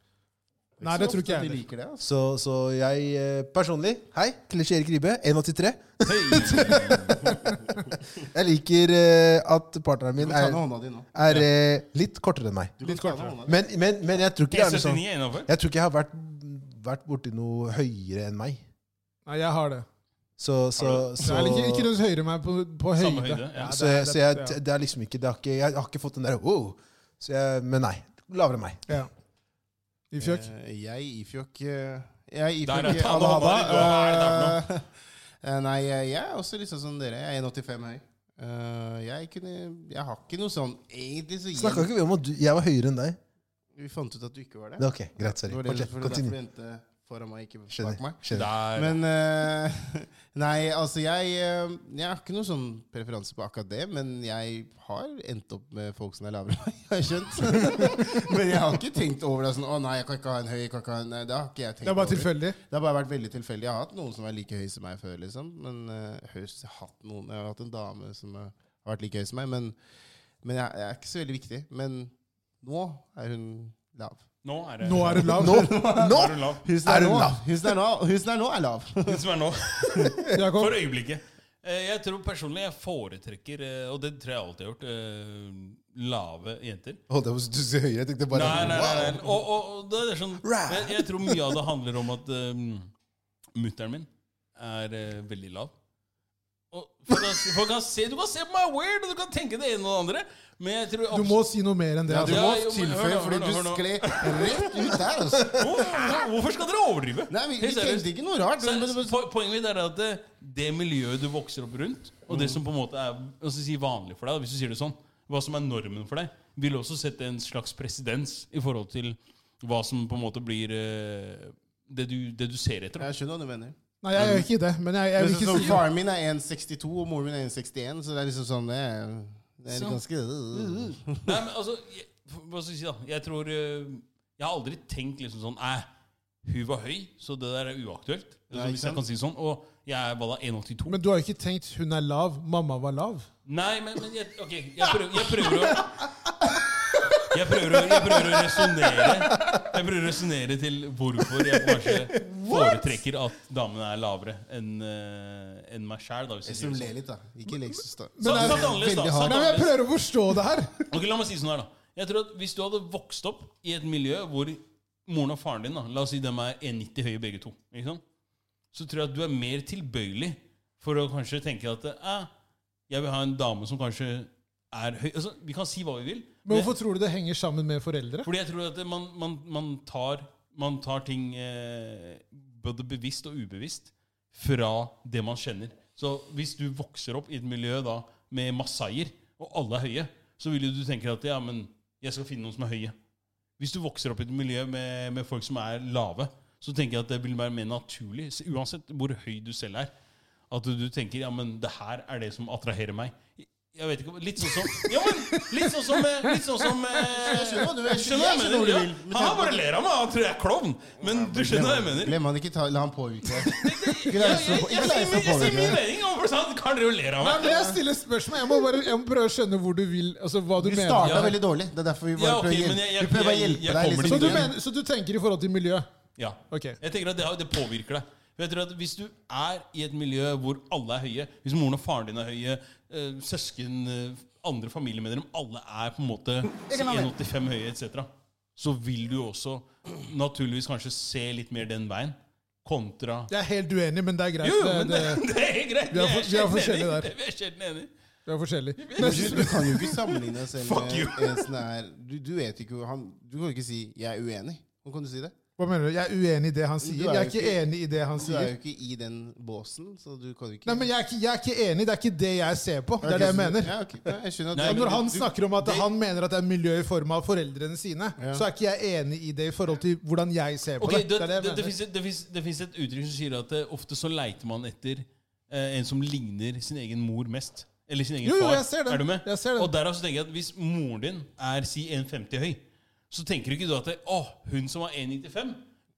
[SPEAKER 1] nei. nei, det tror ikke jeg
[SPEAKER 4] De
[SPEAKER 1] heller.
[SPEAKER 4] liker det, altså.
[SPEAKER 2] Så, så jeg eh, personlig Hei, Klisjé Erik Ribe, 1,83. Jeg liker eh, at partneren
[SPEAKER 4] Du
[SPEAKER 2] min
[SPEAKER 4] kan ta
[SPEAKER 2] er,
[SPEAKER 4] ned hånda di nå.
[SPEAKER 2] er eh, litt kortere enn meg.
[SPEAKER 4] Du kan
[SPEAKER 1] Litt
[SPEAKER 4] ta ned
[SPEAKER 1] kortere.
[SPEAKER 4] hånda di.
[SPEAKER 2] Men, men, men jeg tror ikke det er noe sånn
[SPEAKER 3] 1,79
[SPEAKER 1] liksom-
[SPEAKER 3] er innafor.
[SPEAKER 2] Jeg tror ikke jeg har vært, vært borti noe høyere enn meg.
[SPEAKER 1] Nei, jeg har det.
[SPEAKER 2] Så, så,
[SPEAKER 1] Så
[SPEAKER 2] så,
[SPEAKER 1] jeg liker ikke noe høyere enn meg på, på høyde.
[SPEAKER 3] Samme høyde, ja.
[SPEAKER 1] det
[SPEAKER 2] så,
[SPEAKER 1] er-
[SPEAKER 2] jeg, så
[SPEAKER 1] det-
[SPEAKER 2] jeg, det er liksom ikke, det har ikke Jeg har ikke fått den der wow. Så jeg, men nei. Lavere enn meg.
[SPEAKER 1] Ja. I fjøk.
[SPEAKER 4] Eh, Jeg ifjokk eh, Jeg
[SPEAKER 3] Der
[SPEAKER 4] ifjokk
[SPEAKER 3] er ta
[SPEAKER 4] Anna
[SPEAKER 3] hånda
[SPEAKER 4] Hada.
[SPEAKER 3] di, du. Hva er det der
[SPEAKER 4] Eh, eh, Nei, jeg jeg er også litt sånn som dere. Jeg er 1,85 høy. Eh, Jeg kunne Jeg har ikke noe sånn Egentlig så
[SPEAKER 2] Snakka ikke vi om at du, jeg var høyere enn deg?
[SPEAKER 4] Vi fant ut at du ikke var
[SPEAKER 2] Det
[SPEAKER 4] det.
[SPEAKER 2] er ok, Greit,
[SPEAKER 4] Det
[SPEAKER 2] sorry.
[SPEAKER 4] var det,
[SPEAKER 2] Fortsett.
[SPEAKER 4] for det er derfor du
[SPEAKER 2] Continue.
[SPEAKER 4] endte foran meg, ikke bak
[SPEAKER 2] Skjønner.
[SPEAKER 4] meg.
[SPEAKER 2] skjønner.
[SPEAKER 3] Der.
[SPEAKER 4] Men eh, Nei, altså jeg eh, Jeg har ikke noe sånn preferanse på akkurat det, men jeg har endt opp med folk som er lavere enn meg, har jeg skjønt. men jeg har ikke tenkt over det sånn Å nei, jeg kan ikke ha en høy, jeg kan ikke ha en Nei, Det har ikke jeg tenkt
[SPEAKER 1] Det er bare
[SPEAKER 4] over.
[SPEAKER 1] tilfeldig.
[SPEAKER 4] Det har bare vært veldig tilfeldig. Jeg har hatt noen som er like høy som meg før, liksom. Men eh, høyst, jeg, har hatt noen, jeg har hatt en dame som eh, har vært like høy som meg, men, men jeg, jeg er ikke så veldig viktig. Men nå er hun lav.
[SPEAKER 3] Nå er det
[SPEAKER 1] Nå er det lav.
[SPEAKER 2] Nå! Nå!
[SPEAKER 3] er du lav.
[SPEAKER 4] Hun som
[SPEAKER 2] Er
[SPEAKER 4] er,
[SPEAKER 2] hun
[SPEAKER 4] nå,
[SPEAKER 2] lav?
[SPEAKER 4] Hun som er, nå, hun som er nå, er lav.
[SPEAKER 3] Hun som er nå.
[SPEAKER 1] Jakob.
[SPEAKER 3] For øyeblikket. Eh, Jeg tror personlig jeg foretrekker, eh, og det tror jeg alltid jeg har gjort, eh, lave jenter.
[SPEAKER 2] Holdt jeg på å si du sier høyere? Jeg tenkte bare
[SPEAKER 3] Nei, nei, nei, nei.
[SPEAKER 2] wow.
[SPEAKER 3] Og, og, og det er sånn
[SPEAKER 2] Rah.
[SPEAKER 3] jeg, jeg tror mye av det handler om at um, mutter'n min er eh, veldig lav. Og folk kan, folk kan se, du kan se på meg weird, og du kan tenke det ene og det andre, men jeg
[SPEAKER 1] Du
[SPEAKER 3] tror
[SPEAKER 1] må si noe mer enn det.
[SPEAKER 4] Ja, du
[SPEAKER 1] Altså.
[SPEAKER 3] Ja, jo,
[SPEAKER 4] må
[SPEAKER 3] men hør
[SPEAKER 4] tilføye,
[SPEAKER 3] nå,
[SPEAKER 4] fordi
[SPEAKER 3] hør nå,
[SPEAKER 4] du
[SPEAKER 3] hør nå.
[SPEAKER 4] skled rett ut der. altså.
[SPEAKER 3] Hvorfor, hvorfor skal dere overdrive?
[SPEAKER 4] Nei, vi, vi
[SPEAKER 3] Helt seriøst.
[SPEAKER 4] tenkte ikke noe rart.
[SPEAKER 3] Så,
[SPEAKER 4] Men, men,
[SPEAKER 3] så,
[SPEAKER 4] men,
[SPEAKER 3] po- poenget mitt er at det, det miljøet du vokser opp rundt, og
[SPEAKER 4] Mm.
[SPEAKER 3] det som på en måte er hva skal jeg si, vanlig for deg, da, hvis du sier det sånn, hva som er normen for deg, vil også sette en slags presedens i forhold til hva som på en måte blir eh, det du, det du ser etter. da.
[SPEAKER 4] jeg skjønner hva du mener.
[SPEAKER 1] Nei, jeg gjør ikke det. Men jeg, jeg
[SPEAKER 4] Men
[SPEAKER 1] vil
[SPEAKER 4] så,
[SPEAKER 1] ikke
[SPEAKER 4] så,
[SPEAKER 1] si
[SPEAKER 4] faren min er 1,62, og moren min er 1,61, så det er liksom sånn Det er, det er
[SPEAKER 3] Så.
[SPEAKER 4] ganske øh,
[SPEAKER 3] Nei, men altså, jeg, hva skal jeg si da? Jeg tror eh, Jeg har aldri tenkt liksom sånn Æh, hun var høy, så det der er
[SPEAKER 4] Nei,
[SPEAKER 3] uaktuelt. Altså,
[SPEAKER 4] ikke
[SPEAKER 3] hvis
[SPEAKER 4] sant?
[SPEAKER 3] jeg kan si det sånn. Og jeg er bare 1,82.
[SPEAKER 1] Men du har jo ikke tenkt 'hun er lav', 'mamma var lav'?
[SPEAKER 3] Nei, men, men jeg, ok, jeg prøver, jeg prøver å jeg prøver, å- jeg prøver å resonnere Jeg prøver å resonnere til hvorfor jeg kanskje foretrekker at damene er lavere enn eh, enn meg sjæl. da, hvis jeg
[SPEAKER 4] Jeg som
[SPEAKER 3] sier det
[SPEAKER 4] ler
[SPEAKER 3] sånn.
[SPEAKER 4] litt, da. Ikke lek så Sånn. sta-
[SPEAKER 3] Satt satt annerledes, da.
[SPEAKER 4] Veldig
[SPEAKER 1] Nei,
[SPEAKER 4] hard.
[SPEAKER 3] Satt
[SPEAKER 1] men jeg
[SPEAKER 3] annerledes.
[SPEAKER 1] prøver å forstå det her!
[SPEAKER 3] Ok, La meg si det sånn her, da. Jeg tror at Hvis du hadde vokst opp i et miljø hvor moren og faren din da, La oss si de er 1,90 høye begge to. Ikke sant? Så tror jeg at du er mer tilbøyelig for å kanskje tenke at eh, jeg vil ha en dame som kanskje er høy. Altså, vi kan si hva vi vil.
[SPEAKER 1] Men hvorfor tror du det henger sammen med foreldre?
[SPEAKER 3] Fordi jeg tror at man, man, man, tar, man tar ting eh, både bevisst og ubevisst fra det man kjenner. Så hvis du vokser opp i et miljø da med masaier, og alle er høye, så vil jo du tenke at ja, men jeg skal finne noen som er høye. Hvis du vokser opp i et miljø med, med folk som er lave, så tenker jeg at det vil være mer naturlig, så uansett hvor høy du selv er, at du tenker ja, men det her er det som attraherer meg. Jeg vet ikke, om- Litt sånn som Ja, men litt sånn som eh, Litt sånn som eh,
[SPEAKER 4] Jeg skjønner hva du- jeg skjønner-
[SPEAKER 3] Skjønner hva
[SPEAKER 4] jeg
[SPEAKER 3] jeg
[SPEAKER 4] skjønner
[SPEAKER 3] mener?
[SPEAKER 4] hvor du
[SPEAKER 3] Ja.
[SPEAKER 4] vil. Men
[SPEAKER 3] Han
[SPEAKER 4] tenk-
[SPEAKER 3] bare ler av meg, han tror jeg er klovn. Men du skjønner hva jeg mener?
[SPEAKER 4] Glem han, ikke ta, la han påvirke deg. Ikke
[SPEAKER 3] Jeg,
[SPEAKER 4] la
[SPEAKER 3] jeg,
[SPEAKER 4] oss
[SPEAKER 3] jeg,
[SPEAKER 4] få-
[SPEAKER 3] jeg,
[SPEAKER 4] ikke la oss få
[SPEAKER 3] sier min- jeg sier min
[SPEAKER 4] påvirke deg.
[SPEAKER 3] mening, og for sånn kan dere jo ler av
[SPEAKER 1] Nei,
[SPEAKER 3] meg.
[SPEAKER 1] men jeg stiller spørsmål. Jeg må, bare, jeg må prøve å skjønne hvor du vil Altså hva du
[SPEAKER 4] Vi
[SPEAKER 1] mener.
[SPEAKER 4] starta
[SPEAKER 3] Ja.
[SPEAKER 4] veldig dårlig. Det er derfor vi bare
[SPEAKER 3] Ja, ok,
[SPEAKER 4] prøver å
[SPEAKER 3] men
[SPEAKER 4] hjelpe,
[SPEAKER 3] jeg- jeg-
[SPEAKER 4] vi prøver å
[SPEAKER 3] jeg-
[SPEAKER 4] hjelpe
[SPEAKER 3] jeg
[SPEAKER 4] deg.
[SPEAKER 3] kommer
[SPEAKER 4] Liksom.
[SPEAKER 1] Så
[SPEAKER 3] dit
[SPEAKER 1] du,
[SPEAKER 3] igjen.
[SPEAKER 1] mener, så du tenker i forhold til miljø?
[SPEAKER 3] Ja.
[SPEAKER 1] Ok.
[SPEAKER 3] Jeg tenker at det, har- det påvirker deg. For Jeg tror at Hvis du er i et miljø hvor alle er høye, hvis moren og faren din er høye, eh, søsken, eh, andre familiemedlemmer, alle er på en måte si, 1,85 høye etc., så vil du også naturligvis kanskje se litt mer den veien, kontra
[SPEAKER 1] Jeg er helt uenig, men det er greit.
[SPEAKER 3] Jo, jo,
[SPEAKER 1] det,
[SPEAKER 3] men det,
[SPEAKER 1] det,
[SPEAKER 3] det er greit.
[SPEAKER 1] Vi er for- vi er
[SPEAKER 3] sjelden
[SPEAKER 1] forskjellige
[SPEAKER 3] enig.
[SPEAKER 1] der.
[SPEAKER 3] Vi er sjelden enige.
[SPEAKER 1] det er forskjellig.
[SPEAKER 4] Du,
[SPEAKER 1] Neste,
[SPEAKER 4] du kan jo ikke sammenligne deg selv
[SPEAKER 3] Fuck
[SPEAKER 4] med
[SPEAKER 3] you.
[SPEAKER 4] en som er du, du vet ikke hvor han Du kan jo ikke si 'jeg er uenig'. Hvordan kan du si det?
[SPEAKER 1] hva mener du? Jeg er uenig i det han sier.
[SPEAKER 4] Du er
[SPEAKER 1] Jeg er
[SPEAKER 4] jo
[SPEAKER 1] ikke
[SPEAKER 4] ikke-
[SPEAKER 1] enig i det han
[SPEAKER 4] Du er
[SPEAKER 1] sier.
[SPEAKER 4] jo ikke i den båsen, så du kan jo ikke
[SPEAKER 1] Nei, men jeg er, ikke, jeg er ikke enig. Det er ikke det jeg ser på. Det
[SPEAKER 4] Ok,
[SPEAKER 1] er det jeg
[SPEAKER 4] så-
[SPEAKER 1] mener.
[SPEAKER 4] Ja, ok. Nei, jeg skjønner at
[SPEAKER 3] Nei,
[SPEAKER 1] Og
[SPEAKER 4] men
[SPEAKER 1] når
[SPEAKER 4] du-
[SPEAKER 1] han
[SPEAKER 4] du-
[SPEAKER 1] snakker om at
[SPEAKER 4] det-
[SPEAKER 1] han mener at det er miljø i form av foreldrene sine,
[SPEAKER 4] Ja.
[SPEAKER 1] så er ikke jeg enig i det i forhold til hvordan jeg ser på
[SPEAKER 3] Ok,
[SPEAKER 1] det.
[SPEAKER 3] det,
[SPEAKER 1] Det er
[SPEAKER 3] det,
[SPEAKER 1] det jeg
[SPEAKER 3] det,
[SPEAKER 1] mener.
[SPEAKER 3] finnes et- det, finnes, det finnes et uttrykk som sier at eh, ofte så leiter man etter eh, en som ligner sin egen mor mest. Eller sin egen
[SPEAKER 1] Jo, jo,
[SPEAKER 3] far.
[SPEAKER 1] jeg ser den.
[SPEAKER 3] Er du med?
[SPEAKER 1] Jeg ser den.
[SPEAKER 3] Og derav så tenker jeg at hvis moren din er si 1,50 høy, så tenker du ikke du at det, Åh, hun som var 1,95,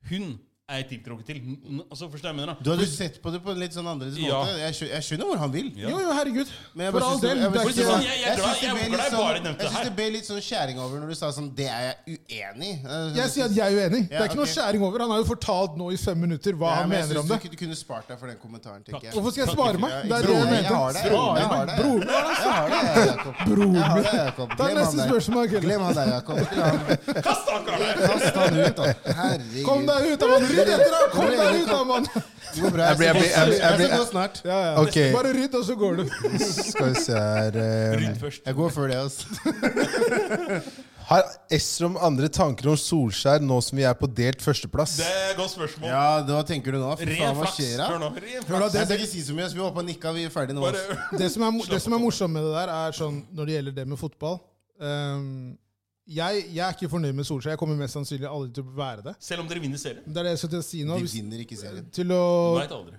[SPEAKER 3] hun er jeg tiltrukket til. N- Altså, forstår jeg hva jeg mener
[SPEAKER 4] Du
[SPEAKER 3] da?
[SPEAKER 4] hadde sett på det på en litt sånn annerledes
[SPEAKER 3] Ja.
[SPEAKER 4] måte. Jeg skjønner, jeg skjønner hvor han vil.
[SPEAKER 1] Jo, jo, herregud.
[SPEAKER 4] Men jeg
[SPEAKER 1] For
[SPEAKER 4] bare
[SPEAKER 1] all
[SPEAKER 4] synes det-
[SPEAKER 1] del. Det
[SPEAKER 4] jeg
[SPEAKER 1] er
[SPEAKER 4] bare synes
[SPEAKER 1] ikke
[SPEAKER 3] sånn, jeg- jeg er
[SPEAKER 4] jeg
[SPEAKER 3] glad-
[SPEAKER 4] synes det ble
[SPEAKER 3] jeg er
[SPEAKER 4] litt
[SPEAKER 3] glad jeg bare
[SPEAKER 4] sånn-
[SPEAKER 3] nevnte
[SPEAKER 4] Jeg
[SPEAKER 3] det
[SPEAKER 4] syns
[SPEAKER 3] her.
[SPEAKER 4] det ble litt sånn skjæring over når du sa sånn Det er jeg uenig i.
[SPEAKER 1] Jeg sier at jeg er uenig. Det er
[SPEAKER 4] Ja,
[SPEAKER 1] ikke noe
[SPEAKER 4] ok.
[SPEAKER 1] skjæring over. Han har jo fortalt nå i fem minutter hva
[SPEAKER 4] Ja,
[SPEAKER 1] han
[SPEAKER 4] men jeg
[SPEAKER 1] mener
[SPEAKER 4] synes
[SPEAKER 1] om det.
[SPEAKER 4] Du, kunne- du kunne spart deg for den kommentaren, tenker jeg.
[SPEAKER 1] Hvorfor skal jeg svare meg? Det er det
[SPEAKER 4] Broren,
[SPEAKER 1] jeg
[SPEAKER 4] jeg har
[SPEAKER 1] mente.
[SPEAKER 4] det.
[SPEAKER 1] Svare
[SPEAKER 4] Jeg
[SPEAKER 1] meg.
[SPEAKER 4] har det.
[SPEAKER 1] Broren min.
[SPEAKER 4] Jeg har det, Jakob.
[SPEAKER 1] Broren
[SPEAKER 4] Jeg har
[SPEAKER 1] min.
[SPEAKER 4] det, Jakob.
[SPEAKER 1] Ta
[SPEAKER 4] Glem
[SPEAKER 1] neste
[SPEAKER 4] han der.
[SPEAKER 1] spørsmål, Kelle.
[SPEAKER 4] Glem han der, Jakob. Ikke la han-
[SPEAKER 3] Kast ankeret!
[SPEAKER 4] Kast han ut, da. Herregud.
[SPEAKER 1] Kom deg ut, da, mann! Rydd etter ham! Kom deg ut, da, mann!
[SPEAKER 4] Det går bra.
[SPEAKER 2] Jeg blir- jeg blir- jeg blir- jeg
[SPEAKER 4] Jeg
[SPEAKER 2] blir-
[SPEAKER 4] skal gå snart.
[SPEAKER 1] Ja, ja.
[SPEAKER 2] Ok.
[SPEAKER 1] Bare rydd, og så går du.
[SPEAKER 2] Skal vi se her eh,
[SPEAKER 3] Rydd først.
[SPEAKER 4] Jeg går før det, altså.
[SPEAKER 2] Har Esrom andre tanker om Solskjær nå som vi er på delt førsteplass?
[SPEAKER 3] Det er et godt spørsmål.
[SPEAKER 4] Ja, da tenker du nå. Fy faen,
[SPEAKER 3] Ren
[SPEAKER 4] hva
[SPEAKER 3] flaks.
[SPEAKER 4] skjer da?
[SPEAKER 3] Hør nå. Ren
[SPEAKER 1] Hør da,
[SPEAKER 3] flaks.
[SPEAKER 4] Jeg skal ikke si så mye. Vi hoppa nikka, vi er ferdige nå.
[SPEAKER 3] Bare,
[SPEAKER 4] ass.
[SPEAKER 1] Det som er, mo- det som er morsomt med det der, er sånn når det gjelder det med fotball ehm, jeg, jeg er ikke fornøyd med Solskjær. Jeg kommer mest sannsynlig aldri til å være det.
[SPEAKER 3] selv om dere vinner serien.
[SPEAKER 1] Det er det jeg skal til å si nå.
[SPEAKER 4] De
[SPEAKER 1] Hvis,
[SPEAKER 4] vinner ikke serien.
[SPEAKER 1] til å,
[SPEAKER 3] Veit aldri.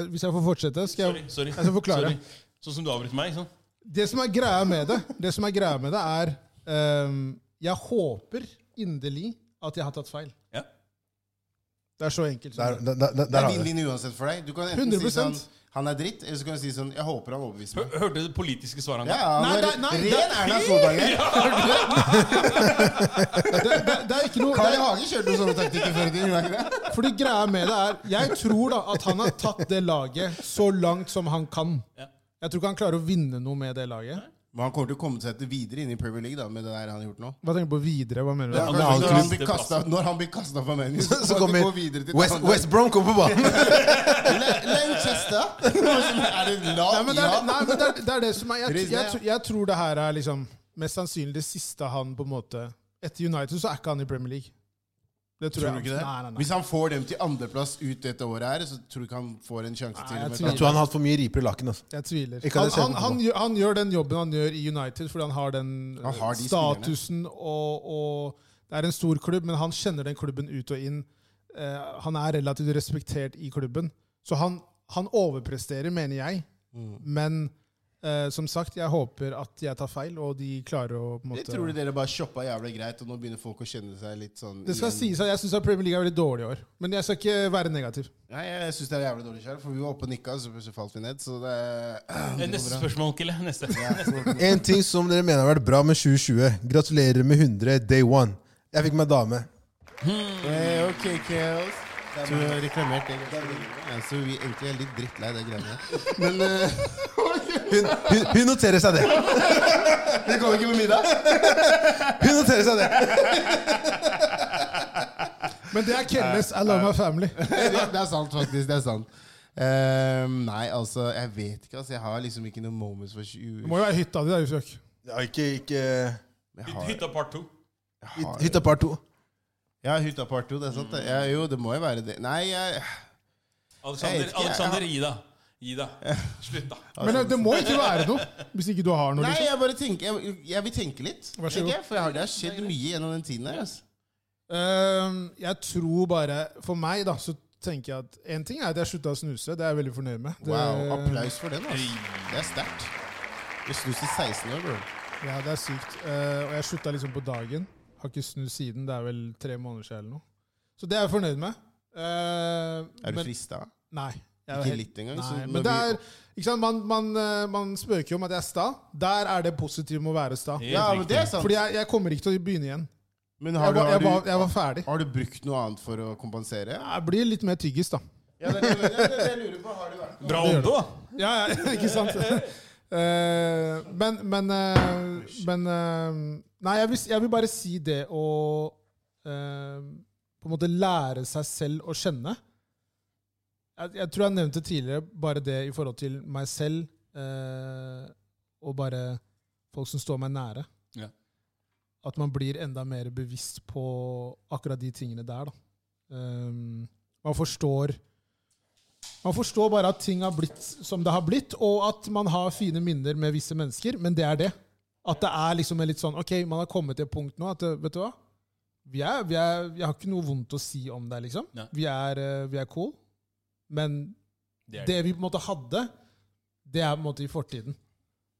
[SPEAKER 1] eh, hvis jeg får fortsette, skal
[SPEAKER 3] Sorry.
[SPEAKER 1] jeg
[SPEAKER 3] sorry.
[SPEAKER 1] skal forklare.
[SPEAKER 3] Sorry. Sånn som du avbryter meg. Sånn.
[SPEAKER 1] Det som er greia med det, det som er greia med det, er ehm, Jeg håper inderlig at jeg har tatt feil.
[SPEAKER 3] Ja.
[SPEAKER 1] Det er så enkelt. som
[SPEAKER 2] Der,
[SPEAKER 1] det.
[SPEAKER 2] der, der, der,
[SPEAKER 4] Det er
[SPEAKER 2] har vi det.
[SPEAKER 4] vinn-vinn uansett for deg. Du kan enten si
[SPEAKER 1] 100%.
[SPEAKER 4] sånn Han er dritt, eller så kan du si sånn Jeg håper han overbeviser meg.
[SPEAKER 3] Hør- Hørte du det politiske svaret han
[SPEAKER 4] Ja,
[SPEAKER 3] ga?
[SPEAKER 4] han
[SPEAKER 1] Nei,
[SPEAKER 4] var
[SPEAKER 1] nei, nei, det-
[SPEAKER 4] ren Erna Solberg.
[SPEAKER 1] Det, det, det er ikke noe det
[SPEAKER 4] Carl I.
[SPEAKER 1] er,
[SPEAKER 4] Hagen kjørte noen sånne taktikker før i tiden. gjorde han ikke det?
[SPEAKER 1] Fordi greia med det er Jeg tror da at han har tatt det laget så langt som han kan.
[SPEAKER 3] Ja.
[SPEAKER 1] Jeg tror ikke han klarer å vinne noe med det laget.
[SPEAKER 4] Men han kommer til å komme seg til videre inn i Premier League da, med det der han har gjort nå.
[SPEAKER 1] Hva tenker du på videre? Hva mener du?
[SPEAKER 2] Ja,
[SPEAKER 4] Kanskje
[SPEAKER 2] men han
[SPEAKER 4] når,
[SPEAKER 2] kunne-
[SPEAKER 4] han blir kastet, når han blir kasta fra Menu, så, kommer han
[SPEAKER 2] Så
[SPEAKER 4] til å
[SPEAKER 2] kommer
[SPEAKER 4] gå videre til
[SPEAKER 2] West, West Brom kommer på banen!
[SPEAKER 4] Le- Lancaster! er det et lag?
[SPEAKER 1] Nei, men det er, nei, men det, er, det er det som er jeg,
[SPEAKER 4] Rizne,
[SPEAKER 1] jeg, tr- jeg tror det her er liksom mest sannsynlig det siste han på en måte Etter United så er ikke han i Premier League. Det tror,
[SPEAKER 4] Tror du
[SPEAKER 1] jeg.
[SPEAKER 4] ikke det?
[SPEAKER 1] Nei, nei, nei.
[SPEAKER 4] Hvis han får dem til andreplass ut dette året, her, så tror du ikke han får en sjanse
[SPEAKER 1] Nei,
[SPEAKER 4] til.
[SPEAKER 1] jeg
[SPEAKER 4] med-
[SPEAKER 1] tviler.
[SPEAKER 2] Jeg tror han har hatt for mye riper i laken. Altså.
[SPEAKER 1] Jeg tviler.
[SPEAKER 2] Ikke
[SPEAKER 1] Han,
[SPEAKER 2] hadde sett
[SPEAKER 1] han,
[SPEAKER 2] den
[SPEAKER 1] han,
[SPEAKER 2] på.
[SPEAKER 1] gjør, han gjør den jobben han gjør i United, fordi han har den eh,
[SPEAKER 4] Han har de
[SPEAKER 1] statusen og, og Det er en stor klubb, men han kjenner den klubben ut og inn. Eh, han er relativt respektert i klubben. Så han, han overpresterer, mener jeg. Men eh, som sagt, jeg håper at jeg tar feil, og de klarer å på en
[SPEAKER 4] Jeg
[SPEAKER 1] måte
[SPEAKER 4] tror dere bare shoppa jævlig greit, og nå begynner folk å kjenne seg litt sånn
[SPEAKER 1] Det skal
[SPEAKER 4] igjen.
[SPEAKER 1] sies at jeg syns Premier League er veldig dårlig i år. Men jeg skal ikke være negativ.
[SPEAKER 4] Nei, jeg syns det er jævlig dårlig selv, for vi var oppe og nikka, så plutselig falt vi ned. Så det
[SPEAKER 3] Eh, Neste spørsmål, Kille. Neste. Neste.
[SPEAKER 2] En ting som dere mener har vært bra med 2020. Gratulerer med 100 day one. Jeg fikk meg dame.
[SPEAKER 4] hey, OK, Chaos. Du har reklamert det. Ja, så vi egentlig er litt drittlei det greiene her. Men eh,
[SPEAKER 2] Hun, hun, hun noterer seg det!
[SPEAKER 4] det kommer ikke på middag.
[SPEAKER 2] Hun noterer seg det!
[SPEAKER 1] Men det er Kelles. I love my family.
[SPEAKER 4] det, det er sant, faktisk. Det er sant. Ehm, nei, altså, jeg vet ikke. Altså, jeg har liksom ikke noen moments for 20
[SPEAKER 1] Det må jo være hytta di, da, Yusuf.
[SPEAKER 2] Ja, ikke, ikke
[SPEAKER 4] Jeg
[SPEAKER 3] Hyt-
[SPEAKER 4] har,
[SPEAKER 3] Hytta part to.
[SPEAKER 2] hyt- Hytta par to.
[SPEAKER 4] jeg har hytta part 2, det er sant. det. Ja, jo, det må jo være det. Nei, jeg Jeg
[SPEAKER 3] Alexander,
[SPEAKER 4] vet ikke, jeg-
[SPEAKER 3] Alexander gi deg. Gi deg. Slutt, da.
[SPEAKER 1] Men det, det må ikke være noe, hvis ikke du har noe.
[SPEAKER 4] Nei,
[SPEAKER 1] liksom.
[SPEAKER 4] jeg bare tenker Jeg, jeg vil tenke litt.
[SPEAKER 1] Vær så god.
[SPEAKER 4] tenker jeg, For jeg har, det har skjedd mye gjennom den tiden her. Altså.
[SPEAKER 1] Ehm, jeg tror bare For meg, da, så tenker jeg at én ting er at jeg slutta å snuse. Det er jeg veldig fornøyd med. Det,
[SPEAKER 4] Wow, Applaus for den. Altså. Det er sterkt. Du snus i 16 år, bro.
[SPEAKER 1] Ja, det er sykt. Eh, og jeg slutta liksom på dagen. Har ikke snust siden. Det er vel tre måneder siden eller noe. Så det er jeg fornøyd med. Eh,
[SPEAKER 4] Er du
[SPEAKER 1] men-
[SPEAKER 4] frista?
[SPEAKER 1] Nei. jeg er
[SPEAKER 4] Ikke
[SPEAKER 1] helt-
[SPEAKER 4] litt engang? så
[SPEAKER 1] Nei,
[SPEAKER 4] når
[SPEAKER 1] men det
[SPEAKER 4] vi-
[SPEAKER 1] er, ikke sant, man, man, eh, man spøker jo om at jeg er sta. Der er det positive med å være sta.
[SPEAKER 3] Helt
[SPEAKER 4] Ja, men det er
[SPEAKER 3] riktig.
[SPEAKER 4] sant.
[SPEAKER 1] Fordi jeg, jeg kommer ikke til å begynne igjen.
[SPEAKER 4] men
[SPEAKER 1] Jeg
[SPEAKER 4] har,
[SPEAKER 1] var, jeg
[SPEAKER 4] du,
[SPEAKER 1] var,
[SPEAKER 4] har,
[SPEAKER 1] jeg var ferdig.
[SPEAKER 4] du, har du brukt noe annet for å kompensere?
[SPEAKER 1] Jeg blir litt mer tyggis, da.
[SPEAKER 4] Ja, det, det, det, det, det lurer jeg på. Har du vært
[SPEAKER 3] Bra
[SPEAKER 1] Det gjør
[SPEAKER 3] ånde, da.
[SPEAKER 1] Ja, ja, ikke sant? Eh, men men, eh, men eh, Nei, jeg vil, jeg vil bare si det å eh, På en måte lære seg selv å kjenne. Jeg, jeg tror jeg nevnte tidligere bare det i forhold til meg selv eh, og bare folk som står meg nære.
[SPEAKER 3] Ja.
[SPEAKER 1] At man blir enda mer bevisst på akkurat de tingene der. Da. Eh, man forstår man forstår bare at ting har blitt som det har blitt, og at man har fine minner med visse mennesker, men det er det. At det er liksom en litt sånn Ok, man har kommet til et punkt nå at eh, Vet du hva? Vi er, vi er, jeg har ikke noe vondt å si om deg, liksom.
[SPEAKER 3] Nei.
[SPEAKER 1] Vi er, eh, vi er cool. Men
[SPEAKER 3] Det er
[SPEAKER 1] det vi på en måte hadde, det er på en måte i fortiden.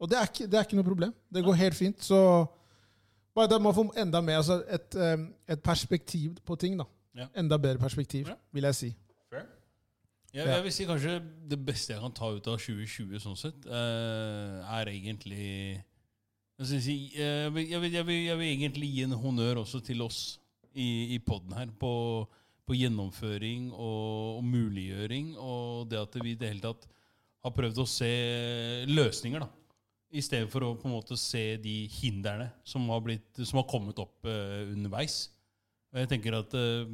[SPEAKER 1] Og det er ikke, det er ikke noe problem. Det går helt fint. Så bare da må man få enda mer altså et, eh, et perspektiv på ting, da.
[SPEAKER 3] Ja.
[SPEAKER 1] Enda bedre perspektiv,
[SPEAKER 3] Ja.
[SPEAKER 1] vil jeg si.
[SPEAKER 3] Fair. Jeg, jeg vil si kanskje det beste jeg kan ta ut av 2020 sånn sett, eh, er egentlig Hva skal jeg si, eh, jeg, vil, jeg, vil, jeg, vil, jeg vil egentlig gi en honnør også til oss i, i poden her på, på gjennomføring og, og muliggjøring, og det at vi i det hele tatt har prøvd å se løsninger, da. I stedet for å på en måte se de hindrene som har, blitt, som har kommet opp eh, underveis. Og jeg tenker at eh,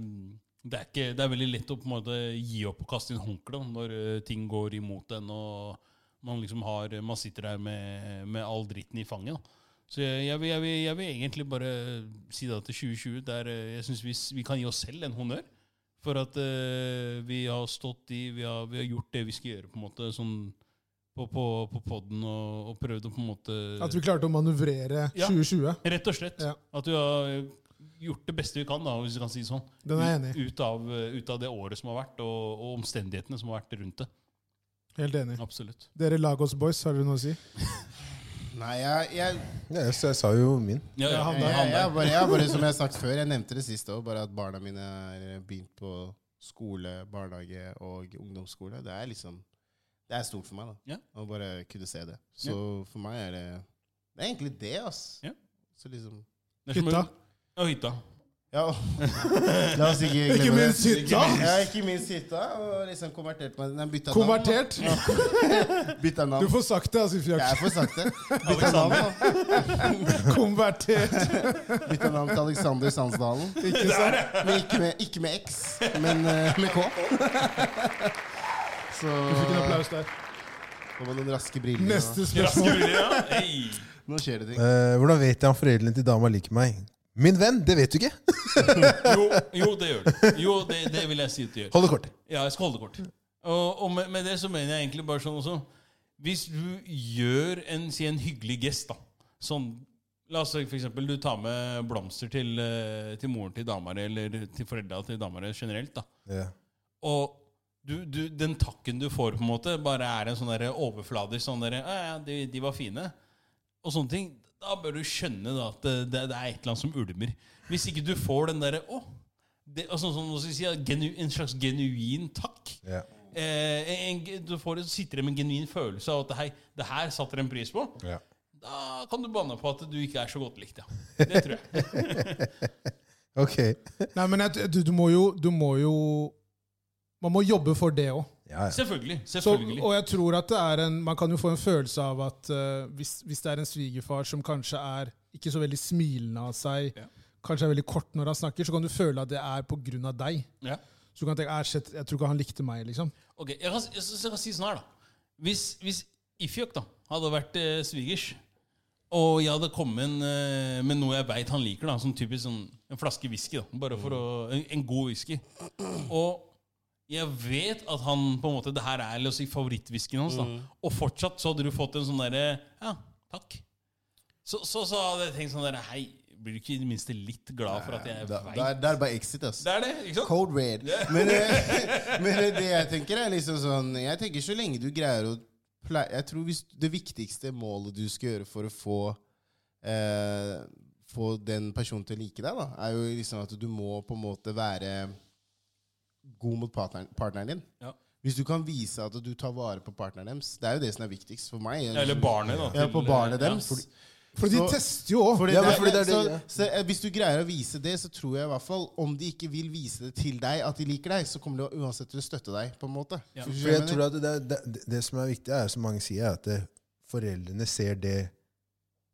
[SPEAKER 3] det, er ikke, det er veldig lett å på en måte gi opp og kaste inn håndkleet når eh, ting går imot en, og man, liksom har, man sitter der med, med all dritten i fanget. Da. Så jeg, jeg, vil, jeg, vil, jeg vil egentlig bare si da til 2020 der eh, jeg syns vi, s- vi kan gi oss selv en honnør for at eh, vi har stått i vi har, vi har gjort det vi skal gjøre, på en måte sånn på, på, på poden og, og prøvd å på en måte
[SPEAKER 1] At vi klarte å manøvrere
[SPEAKER 3] Ja.
[SPEAKER 1] 2020.
[SPEAKER 3] Rett og slett.
[SPEAKER 1] Ja.
[SPEAKER 3] At vi har gjort det beste vi kan, da, hvis vi kan si det sånn.
[SPEAKER 1] Den er jeg enig i.
[SPEAKER 3] Ut, ut, av, eh, ut av det året som har vært, og, og omstendighetene som har vært rundt det.
[SPEAKER 1] Helt enig.
[SPEAKER 3] Absolutt.
[SPEAKER 1] Dere Lagos boys, har dere noe å si?
[SPEAKER 4] Nei, jeg, jeg,
[SPEAKER 2] Ja, så jeg sa jo min.
[SPEAKER 3] Ja,
[SPEAKER 1] Ja,
[SPEAKER 3] ja,
[SPEAKER 1] han
[SPEAKER 4] jeg,
[SPEAKER 1] der,
[SPEAKER 4] jeg, jeg, bare, jeg bare, Som jeg har sagt før, jeg nevnte det sist òg, bare at barna mine har eh, begynt på skole, barnehage og ungdomsskole. Det er liksom Det er stort for meg, da.
[SPEAKER 3] Ja.
[SPEAKER 4] Å bare kunne se det. Så for meg er det Det er egentlig det, ass.
[SPEAKER 3] Ja.
[SPEAKER 4] Så liksom
[SPEAKER 3] Det er som-
[SPEAKER 1] Hytta.
[SPEAKER 3] Ja, hytta.
[SPEAKER 4] Ja, Ja, La oss ikke glemme
[SPEAKER 1] Ikke minst
[SPEAKER 4] det.
[SPEAKER 1] hytta!
[SPEAKER 4] Ja, ikke minst hytta. Og liksom konvertert meg. Nei, bytta
[SPEAKER 1] Konvertert?
[SPEAKER 4] navn. Bytta
[SPEAKER 1] Du
[SPEAKER 4] navn.
[SPEAKER 1] får sagt det, altså, Fjak.
[SPEAKER 4] Jeg får sagt det. Bytta navn,
[SPEAKER 3] Alexander.
[SPEAKER 4] da.
[SPEAKER 1] Konvertert.
[SPEAKER 4] bytta navn til Alexander Sandsdalen.
[SPEAKER 1] Ikke sant?
[SPEAKER 4] Men ikke med, ikke med X, men eh, med K. Så
[SPEAKER 1] Du fikk en applaus der.
[SPEAKER 4] får man den raske brillene.
[SPEAKER 1] Neste
[SPEAKER 3] Raske
[SPEAKER 1] spørsmål.
[SPEAKER 3] briller, ja. Hey.
[SPEAKER 4] og- Nå skjer det ting.
[SPEAKER 2] Eh, hvordan vet jeg om foreldrene til dama liker meg? Min venn, det vet du ikke.
[SPEAKER 3] Jo, jo, det gjør det. Jo, det, det vil jeg si at det gjør.
[SPEAKER 2] Hold det kort.
[SPEAKER 3] Ja, jeg skal holde kort. Og, og med, med det så mener jeg egentlig bare sånn også Hvis du gjør en, si en hyggelig gest, da Sånn La oss si for eksempel du tar med blomster til, eh, til moren til dama di, eller til foreldra til dama di generelt, da.
[SPEAKER 2] Ja.
[SPEAKER 3] Og du, du, den takken du får, på en måte, bare er en sånn derre overfladisk sånn derre «Ja, ja, de, de var fine. Og sånne ting. Da bør du skjønne da, at det, det, det er et eller annet som ulmer. Hvis ikke du får den derre Å! Det, altså, sånn, hva skal jeg si, ja, genu, en slags genuin takk.
[SPEAKER 2] Ja.
[SPEAKER 3] Eh, en, du får, sitter med en genuin følelse av at hei, det her satte dere en pris på.
[SPEAKER 2] Ja.
[SPEAKER 3] Da kan du banne på at du ikke er så godt likt, ja. Det tror jeg.
[SPEAKER 2] Ok.
[SPEAKER 1] Nei, men jeg, du, du, må jo, du må jo Man må jobbe for det òg.
[SPEAKER 2] Ja, ja.
[SPEAKER 3] Selvfølgelig.
[SPEAKER 1] Så,
[SPEAKER 3] selvfølgelig.
[SPEAKER 1] og jeg tror at det er en, Man kan jo få en følelse av at eh, hvis, hvis det er en svigerfar som kanskje er ikke så veldig smilende av seg,
[SPEAKER 3] Ja.
[SPEAKER 1] kanskje er veldig kort når han snakker, så kan du føle at det er pga. deg.
[SPEAKER 3] ja.
[SPEAKER 1] Så du kan tenke, «Æ, shit, jeg tror ikke han likte meg, liksom.
[SPEAKER 3] Ok, jeg kan, jeg, synes jeg kan si sånn her, da. Hvis, hvis Ifjøk da hadde vært eh, svigers, og jeg hadde kommet inn, eh, med noe jeg veit han liker, da som typisk sånn, en flaske whisky, da bare for å, en, en god whisky Og jeg vet at han på en måte det her er la oss si, favorittwhiskyen hans,
[SPEAKER 4] Mm.
[SPEAKER 3] da og fortsatt så hadde du fått en sånn derre Ja, takk. Så, så, så hadde jeg tenkt sånn derre Hei, blir du ikke i det minste litt glad for at jeg
[SPEAKER 4] Da,
[SPEAKER 3] veit
[SPEAKER 4] da, er- da er det bare exit, ass.
[SPEAKER 3] Det er det, ikke sant?
[SPEAKER 4] Code red. Men, eh, men eh, det jeg tenker, er liksom sånn Jeg tenker så lenge du greier å pleie Jeg tror hvis det viktigste målet du skal gjøre for å få eh, Få den personen til å like deg, da, er jo liksom at du må på en måte være god mot partneren, partneren din.
[SPEAKER 3] Ja.
[SPEAKER 4] Hvis du kan vise at du tar vare på partneren deres, det er jo det som er viktigst for meg.
[SPEAKER 3] Eller barnet, da.
[SPEAKER 4] ja, på
[SPEAKER 3] til- eh,
[SPEAKER 4] barnet
[SPEAKER 3] ja.
[SPEAKER 4] deres.
[SPEAKER 1] For de
[SPEAKER 4] Så-
[SPEAKER 1] tester jo òg.
[SPEAKER 4] Fordi
[SPEAKER 2] Ja,
[SPEAKER 4] det,
[SPEAKER 2] men
[SPEAKER 4] er-
[SPEAKER 2] fordi det er
[SPEAKER 4] så,
[SPEAKER 2] det, ja.
[SPEAKER 4] så, eh, hvis du greier å vise det, så tror jeg i hvert fall Om de ikke vil vise det til deg, at de liker deg, så kommer de å- uansett til å støtte deg. på en måte
[SPEAKER 3] Ja.
[SPEAKER 4] Skjønner
[SPEAKER 2] For jeg
[SPEAKER 4] du?
[SPEAKER 2] tror at det, det, det, det som er viktig, er som mange sier, at eh, foreldrene ser det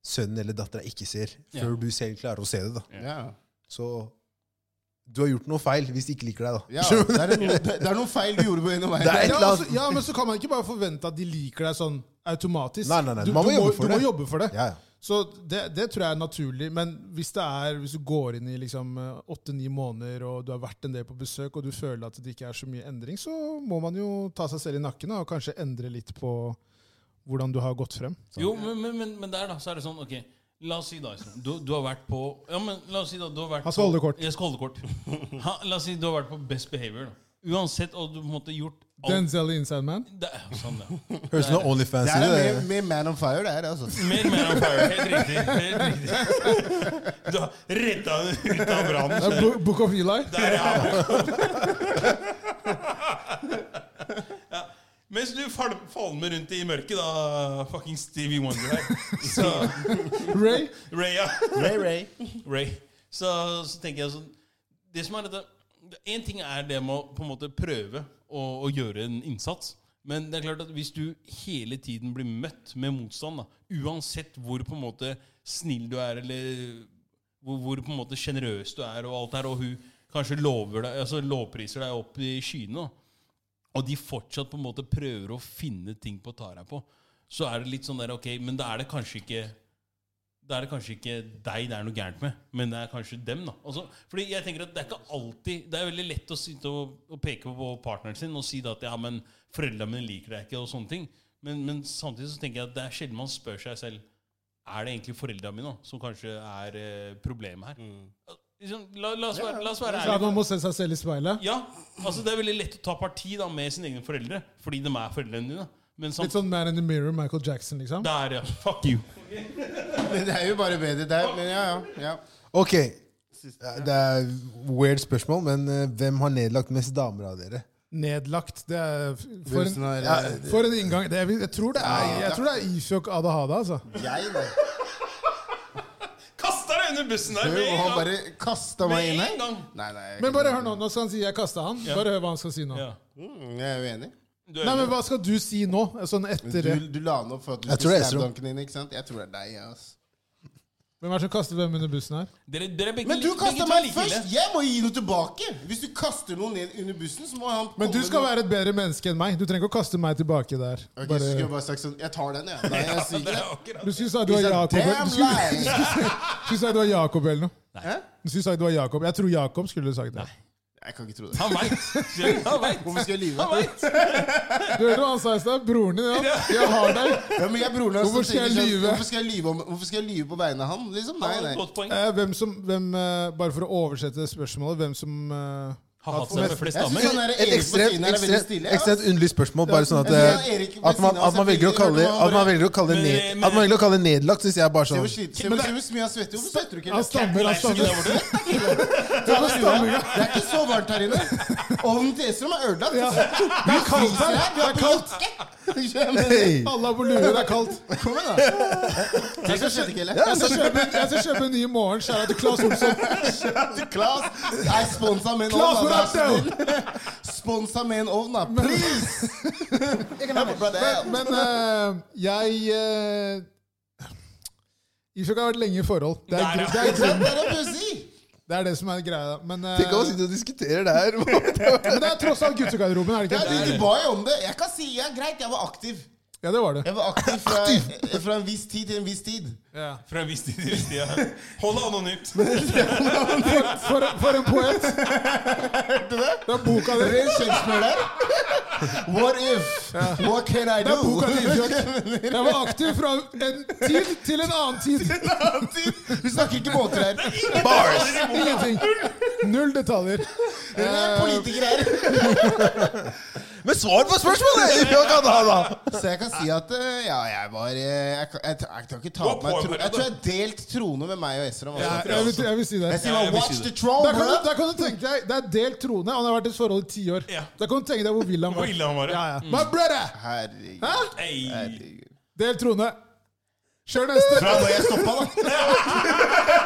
[SPEAKER 2] sønnen eller dattera ikke ser, før
[SPEAKER 3] Ja.
[SPEAKER 2] du selv klarer å se det. da.
[SPEAKER 4] ja.
[SPEAKER 2] Så du har gjort noe feil hvis de ikke liker deg, da.
[SPEAKER 4] Ja, det, er noe, det, det er noe feil du gjorde på en av
[SPEAKER 2] Det er
[SPEAKER 4] veien.
[SPEAKER 2] et
[SPEAKER 1] Ja,
[SPEAKER 2] eller
[SPEAKER 1] altså,
[SPEAKER 2] annet.
[SPEAKER 1] ja, men så kan man ikke bare forvente at de liker deg sånn automatisk.
[SPEAKER 2] Nei, nei, nei,
[SPEAKER 1] Du,
[SPEAKER 2] man må
[SPEAKER 1] du,
[SPEAKER 2] jobbe for
[SPEAKER 1] du
[SPEAKER 2] det.
[SPEAKER 1] må jobbe for det.
[SPEAKER 2] Ja, ja.
[SPEAKER 1] Så det, det tror jeg er naturlig. Men hvis, det er, hvis du går inn i liksom åtte-ni måneder, og du har vært en del på besøk, og du føler at det ikke er så mye endring, så må man jo ta seg selv i nakken da, og kanskje endre litt på hvordan du har gått frem.
[SPEAKER 3] Jo, men, men, men, men der da, så er det sånn, ok La oss si da, Island, du, du har vært på Ja, men la oss si da, du har vært
[SPEAKER 1] Han skal
[SPEAKER 3] på-
[SPEAKER 1] holde kort.
[SPEAKER 3] Jeg skal holde kort ha, La oss si du har vært på Best Behavior da. Uansett, og du på en måte gjort alt
[SPEAKER 1] Denzel i Inside Man.
[SPEAKER 3] det, er- Sånn ja
[SPEAKER 2] Høres ut som Onlyfans.
[SPEAKER 4] Det
[SPEAKER 2] i
[SPEAKER 4] her er
[SPEAKER 2] Altså, det.
[SPEAKER 4] mer, mer Man on Fire, det her. altså
[SPEAKER 3] Mer, mer on fire, helt riktig, helt riktig. Du har redda den ut av
[SPEAKER 1] Det er
[SPEAKER 3] brannen
[SPEAKER 1] Bo- Book of Eli.
[SPEAKER 3] Der ja Ja mens du fal- falmer rundt i mørket da, fucking Stevie Wonder her, så,
[SPEAKER 1] Ray.
[SPEAKER 3] Ray, ja.
[SPEAKER 4] Ray Ray.
[SPEAKER 3] Ray. Så, så tenker jeg sånn Det som er dette Én ting er det med å på en måte prøve å, å gjøre en innsats. Men det er klart at hvis du hele tiden blir møtt med motstand, da, uansett hvor på en måte snill du er, eller hvor, hvor på en måte sjenerøs du er, og alt det her, og hun kanskje lover deg, altså lovpriser deg opp i skyene, da, og de fortsatt på en måte prøver å finne ting på å ta deg på, så er det litt sånn der Ok, men da er det kanskje ikke da er det kanskje ikke deg det er noe gærent med, men det er kanskje dem. da altså, Fordi jeg tenker at Det er ikke alltid Det er veldig lett å sitte og, og peke på partneren sin og si da at ja, men foreldrene mine liker deg ikke, og sånne ting. Men, men samtidig så tenker jeg at det er sjelden man spør seg selv Er det egentlig foreldrene mine da, som kanskje er eh, problemet her. Liksom, La, la, oss være, la oss være
[SPEAKER 1] Mm. Ja,
[SPEAKER 3] ærlige.
[SPEAKER 1] man må se seg selv i speilet.
[SPEAKER 3] Ja, altså Det er veldig lett å ta parti da med sine egne foreldre, fordi de er foreldrene dine. Men
[SPEAKER 1] Litt
[SPEAKER 3] samtidig
[SPEAKER 1] sånn Man in the Mirror, Michael Jackson, liksom.
[SPEAKER 3] Der, ja. Fuck you.
[SPEAKER 4] Men det er jo bare bedre der. Men ja, ja. ja.
[SPEAKER 2] Ok, Ja, det er weird spørsmål, men eh, hvem har nedlagt mest damer av dere?
[SPEAKER 1] Nedlagt. Det er for
[SPEAKER 4] Hvem
[SPEAKER 1] en,
[SPEAKER 4] som er,
[SPEAKER 2] Ja,
[SPEAKER 4] eh,
[SPEAKER 1] for en inngang. Det er, jeg tror det er, jeg tror det er Ifjok Adahada, altså.
[SPEAKER 4] jeg, da.
[SPEAKER 3] Kaster deg under bussen der
[SPEAKER 4] Jo,
[SPEAKER 3] med en
[SPEAKER 4] han
[SPEAKER 3] gang.
[SPEAKER 4] bare kasta meg
[SPEAKER 3] Med
[SPEAKER 4] inn her.
[SPEAKER 3] en gang.
[SPEAKER 4] Nei, nei, jeg
[SPEAKER 1] Men
[SPEAKER 4] kan
[SPEAKER 1] bare
[SPEAKER 4] ikke-
[SPEAKER 1] hør nå, nå skal han si 'jeg kasta han'.
[SPEAKER 3] Ja.
[SPEAKER 1] Bare hør hva han skal si nå.
[SPEAKER 3] Ja.
[SPEAKER 4] Mm, Jeg er uenig.
[SPEAKER 3] Du er
[SPEAKER 1] Nei, men
[SPEAKER 3] enig.
[SPEAKER 1] Hva skal du si nå? Sånn etter det.
[SPEAKER 4] Du, du la den opp for at du
[SPEAKER 2] Jeg tror
[SPEAKER 4] skulle
[SPEAKER 2] det er
[SPEAKER 4] stabbe
[SPEAKER 2] Esrom.
[SPEAKER 4] dunken din, ikke sant? Jeg tror det er deg, ass.
[SPEAKER 1] Hvem er det som kaster hvem under bussen her?
[SPEAKER 3] Dere, dere er begge,
[SPEAKER 4] Men du
[SPEAKER 3] begge to
[SPEAKER 4] kasta
[SPEAKER 3] er
[SPEAKER 4] meg
[SPEAKER 3] like ille.
[SPEAKER 4] først! Jeg må gi noe tilbake! Hvis du kaster noen ned under bussen, så må han
[SPEAKER 1] Men du
[SPEAKER 4] komme
[SPEAKER 1] skal
[SPEAKER 4] med-
[SPEAKER 1] være et bedre menneske enn meg. Du trenger ikke å kaste meg tilbake der.
[SPEAKER 4] Ok, så skulle
[SPEAKER 1] Bare,
[SPEAKER 4] jeg bare sagt sånn Jeg tar den, jeg. Nei, jeg sier ikke
[SPEAKER 3] Det er
[SPEAKER 4] det.
[SPEAKER 3] akkurat.
[SPEAKER 1] du skulle sagt du var
[SPEAKER 4] He's a
[SPEAKER 1] Jakob eller-
[SPEAKER 4] damn
[SPEAKER 1] du skulle-
[SPEAKER 4] liar.
[SPEAKER 1] du skulle skulle sagt du var Jakob eller noe.
[SPEAKER 4] Hæ?
[SPEAKER 1] Du skulle sagt du var Jakob. Jeg tror Jakob skulle sagt det.
[SPEAKER 4] Jeg kan ikke tro det.
[SPEAKER 3] Han veit. Han veit.
[SPEAKER 4] Hvorfor skal jeg lyve?
[SPEAKER 3] Han vet.
[SPEAKER 1] Du hørte hva han sa i stad? Broren din, ja. Jeg har deg.
[SPEAKER 4] Ja, men jeg er broren hans.
[SPEAKER 1] Hvorfor
[SPEAKER 4] så
[SPEAKER 1] skal jeg
[SPEAKER 4] tenker sånn,
[SPEAKER 1] lyve?
[SPEAKER 4] Hvorfor skal jeg lyve, om, hvorfor skal jeg lyve på vegne av han? Liksom? Nei,
[SPEAKER 3] Han har et
[SPEAKER 4] nei.
[SPEAKER 3] Godt poeng.
[SPEAKER 1] Eh, Hvem som, hvem, eh, bare for å oversette det spørsmålet, hvem som eh,
[SPEAKER 3] Har hatt seg med flest
[SPEAKER 4] Jeg synes
[SPEAKER 3] damer.
[SPEAKER 4] han er
[SPEAKER 2] Et
[SPEAKER 4] Erik på siden
[SPEAKER 2] ekstremt,
[SPEAKER 4] her er veldig
[SPEAKER 2] ekstremt,
[SPEAKER 4] stille. ja.
[SPEAKER 2] ekstremt underlig spørsmål. Bare sånn at,
[SPEAKER 4] Jeg synes
[SPEAKER 2] eh,
[SPEAKER 4] Erik ved
[SPEAKER 2] at, man,
[SPEAKER 4] siden av
[SPEAKER 2] at man
[SPEAKER 4] oss er
[SPEAKER 2] velger å
[SPEAKER 4] veldig-
[SPEAKER 2] kalle
[SPEAKER 4] hørte man
[SPEAKER 2] at man velger å kalle
[SPEAKER 3] Men-
[SPEAKER 2] ned,
[SPEAKER 3] men-
[SPEAKER 2] at man velger å kalle nedlagt, syns jeg er bare
[SPEAKER 4] Se
[SPEAKER 2] sånn.
[SPEAKER 4] hvor sliten- se hvor- se hvor mye han svetter. Hvorfor svetter du ikke?
[SPEAKER 1] Han
[SPEAKER 4] eller?
[SPEAKER 1] stammer, han
[SPEAKER 3] Leipzig
[SPEAKER 1] stammer.
[SPEAKER 3] der borte.
[SPEAKER 4] Det er ikke så varmt her inne. Ovnen til Esrom er ødelagt.
[SPEAKER 1] Ja.
[SPEAKER 4] Det er kaldt her. Vi er på jakke.
[SPEAKER 2] Hey.
[SPEAKER 1] Alle har på lue, det er kaldt.
[SPEAKER 4] Kom igjen, da. Det skal skje ikke heller.
[SPEAKER 1] Jeg skal kjøpe, jeg skal kjøpe en ny i morgen. Kjære til Claes Olsson.
[SPEAKER 4] Klas er sponsa med en
[SPEAKER 1] Klas,
[SPEAKER 4] ovn. da.
[SPEAKER 1] hvor er
[SPEAKER 4] Vær så snill. Sponsa med en ovn, da. Please! Men-
[SPEAKER 1] Men eh, jeg uh, Ishok har vært lenge i forhold. Det er,
[SPEAKER 3] Der,
[SPEAKER 1] gru-
[SPEAKER 3] ja.
[SPEAKER 1] det er,
[SPEAKER 4] Det
[SPEAKER 1] grunn-
[SPEAKER 4] er å pussy!
[SPEAKER 1] det, er det som er greia. Men, eh,
[SPEAKER 2] Tenk om man sitter og diskuterer det her.
[SPEAKER 1] men det er tross alt guttegarderoben, er det
[SPEAKER 4] Ja,
[SPEAKER 1] ikke?
[SPEAKER 4] de, de ba jo om det. Jeg kan si ja, greit, jeg var aktiv.
[SPEAKER 1] Ja, det var det.
[SPEAKER 4] Jeg var aktiv fra, fra en viss tid til en viss tid.
[SPEAKER 1] Ja.
[SPEAKER 3] Fra en viss tid til en viss tid. ja. Hold det anonymt.
[SPEAKER 1] For, for, for en poet! Hørte du
[SPEAKER 4] det?
[SPEAKER 1] Det er boka
[SPEAKER 4] Det
[SPEAKER 1] di.
[SPEAKER 4] er en Shakespeare der. What if? What can I
[SPEAKER 1] Det er boka
[SPEAKER 4] do?
[SPEAKER 1] til Ishok. Jeg var aktiv fra en tid til en annen tid.
[SPEAKER 4] Vi snakker ikke båter her.
[SPEAKER 2] Bars!
[SPEAKER 1] Ingenting. Null detaljer.
[SPEAKER 4] Eh, Det er politikere her.
[SPEAKER 2] Men svar på spørsmålet! Ja, kan ha, da.
[SPEAKER 4] Så jeg kan si at eh, ja, jeg var eh, Jeg, kan- jeg, jeg, jeg, jeg,
[SPEAKER 3] Du
[SPEAKER 4] meg,
[SPEAKER 3] var på
[SPEAKER 4] tro,
[SPEAKER 3] en
[SPEAKER 4] jeg tror jeg
[SPEAKER 3] periode.
[SPEAKER 4] delt trone med meg og Esrom.
[SPEAKER 1] Ja,
[SPEAKER 4] Altså.
[SPEAKER 1] jeg, vil, jeg vil si det.
[SPEAKER 4] Jeg sier
[SPEAKER 3] Ja, jeg
[SPEAKER 4] bare
[SPEAKER 3] vil si
[SPEAKER 4] watch
[SPEAKER 3] det.
[SPEAKER 4] the throne,
[SPEAKER 1] Der kan, du,
[SPEAKER 4] bro!
[SPEAKER 1] der kan du tenke deg, Det er delt trone. Han har vært i et forhold i ti år.
[SPEAKER 3] Ja.
[SPEAKER 1] Da kan du tenke deg hvor vill han var. Mm.
[SPEAKER 3] Hvor ille han var,
[SPEAKER 1] ja,
[SPEAKER 3] ja.
[SPEAKER 1] ja. My brother!
[SPEAKER 4] Herregud.
[SPEAKER 1] Hæ?
[SPEAKER 3] Hey.
[SPEAKER 4] Herregud.
[SPEAKER 1] Delt trone. Kjør neste.
[SPEAKER 4] Da må jeg stoppa, da.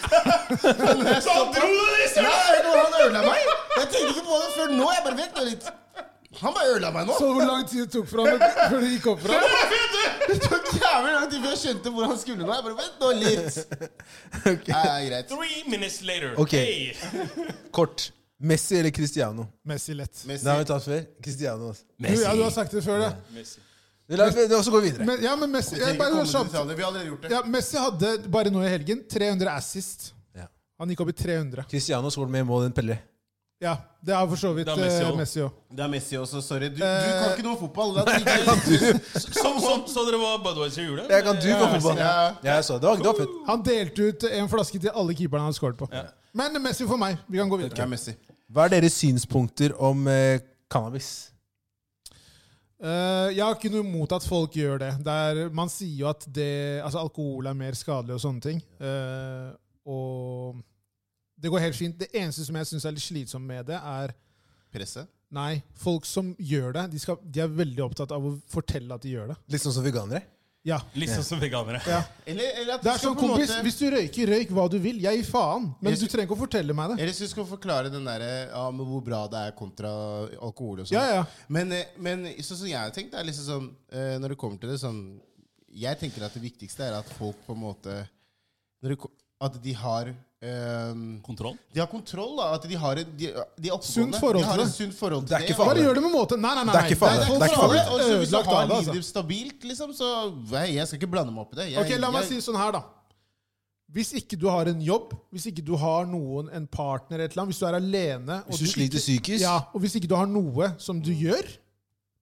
[SPEAKER 3] Så han dro det, liksom!
[SPEAKER 4] Ja, er det noe han ødela meg? Jeg tenkte ikke på det før nå. Jeg bare vent nå litt. Han bare ødela meg nå.
[SPEAKER 1] Så hvor lang tid det tok for han før det gikk opp for ham?
[SPEAKER 4] Det tok jævlig lang tid før jeg skjønte hvor han skulle nå. Jeg bare vent nå litt. Ja, ja, greit.
[SPEAKER 3] Three minutes later.
[SPEAKER 2] Ok.
[SPEAKER 3] Hey.
[SPEAKER 2] Kort. Messi eller Cristiano?
[SPEAKER 1] Messi lett.
[SPEAKER 2] Det har vi tatt før. Cristiano. altså.
[SPEAKER 1] Du, ja, du har sagt det før, det.
[SPEAKER 3] Messi.
[SPEAKER 2] Vi lar det også gå videre.
[SPEAKER 1] Men, ja, men Messi
[SPEAKER 4] Vi
[SPEAKER 1] jeg,
[SPEAKER 4] trenger ikke
[SPEAKER 1] bare,
[SPEAKER 4] komme
[SPEAKER 1] hør
[SPEAKER 4] til
[SPEAKER 1] kjapt.
[SPEAKER 4] detaljer. Vi har allerede gjort det.
[SPEAKER 1] ja, Messi hadde bare nå i helgen 300 assist.
[SPEAKER 2] Ja.
[SPEAKER 1] Han gikk opp i 300.
[SPEAKER 2] Cristiano skåret mer mål enn Pelle.
[SPEAKER 1] Ja, Det er for så vidt
[SPEAKER 3] Det er Messi
[SPEAKER 1] eh,
[SPEAKER 3] også.
[SPEAKER 1] Messi òg.
[SPEAKER 4] Det er Messi også. Sorry. Du, du
[SPEAKER 1] Eh.
[SPEAKER 4] kan ikke noe om fotball. Da tenker jeg-
[SPEAKER 3] Så, så, så dere hva Budwiser gjorde?
[SPEAKER 2] Jeg kan du på
[SPEAKER 3] Ja,
[SPEAKER 2] fotball.
[SPEAKER 4] Ja.
[SPEAKER 2] Ja, jeg så det. Det var- Det var fett.
[SPEAKER 1] Han delte ut en flaske til alle keeperne han skåret på. Men Messi for meg. Vi kan gå videre.
[SPEAKER 4] Det er Messi.
[SPEAKER 2] Hva er deres synspunkter om eh, cannabis?
[SPEAKER 1] Eh, jeg har ikke noe imot at folk gjør det. det er, man sier jo at det, altså alkohol er mer skadelig og sånne ting. Eh, og det går helt fint. Det eneste som jeg syns er litt slitsomt med det, er
[SPEAKER 4] Presset.
[SPEAKER 1] Nei, folk som gjør det, de, skal, de er veldig opptatt av å fortelle at de gjør det.
[SPEAKER 2] Litt sånn som veganere?
[SPEAKER 1] Ja.
[SPEAKER 3] Litt sånn som veganere.
[SPEAKER 4] Eller, eller at du
[SPEAKER 1] Det er
[SPEAKER 4] skal
[SPEAKER 1] sånn,
[SPEAKER 4] på en
[SPEAKER 1] kompis,
[SPEAKER 4] måte-
[SPEAKER 1] hvis du røyker, røyk hva du vil. Jeg gir faen. Men
[SPEAKER 4] Jeg
[SPEAKER 1] du
[SPEAKER 4] skulle-
[SPEAKER 1] trenger ikke å fortelle meg det.
[SPEAKER 4] Eller hvis du skal forklare den der, ja, men hvor bra det er kontra alkohol og sånn.
[SPEAKER 1] Ja, ja.
[SPEAKER 4] Men, eh, men sånn som jeg har tenkt, det er liksom sånn eh, Når det kommer til det sånn Jeg tenker at det viktigste er at folk på en måte når det, ko- At de har eh,
[SPEAKER 3] Kontroll.
[SPEAKER 4] De har kontroll, da. At de har et de, de er oppegående.
[SPEAKER 1] Sunt forhold
[SPEAKER 4] de har
[SPEAKER 1] til
[SPEAKER 4] et
[SPEAKER 1] det.
[SPEAKER 4] sunt forhold
[SPEAKER 2] Det er
[SPEAKER 4] til
[SPEAKER 2] ikke farlig.
[SPEAKER 1] Bare gjør det med måte. Nei, nei, nei.
[SPEAKER 2] Det er ikke farlig.
[SPEAKER 4] Nei, det er
[SPEAKER 1] Folk
[SPEAKER 2] Det
[SPEAKER 4] ikke
[SPEAKER 2] er
[SPEAKER 4] farlig.
[SPEAKER 1] er
[SPEAKER 4] Og
[SPEAKER 2] farlig.
[SPEAKER 4] så hvis du
[SPEAKER 1] ødelagt
[SPEAKER 4] har
[SPEAKER 1] av det.
[SPEAKER 4] livet
[SPEAKER 1] Altså.
[SPEAKER 4] ditt stabilt, liksom, så nei, Jeg skal ikke blande meg opp i det. Jeg,
[SPEAKER 1] Ok, La meg si
[SPEAKER 4] jeg,
[SPEAKER 1] sånn her, da. Hvis ikke du har en jobb, hvis ikke du har noen, en partner, et eller annet, hvis du er alene og
[SPEAKER 2] Hvis du sliter
[SPEAKER 1] ikke,
[SPEAKER 2] psykisk?
[SPEAKER 1] ja, Og hvis ikke du har noe som du gjør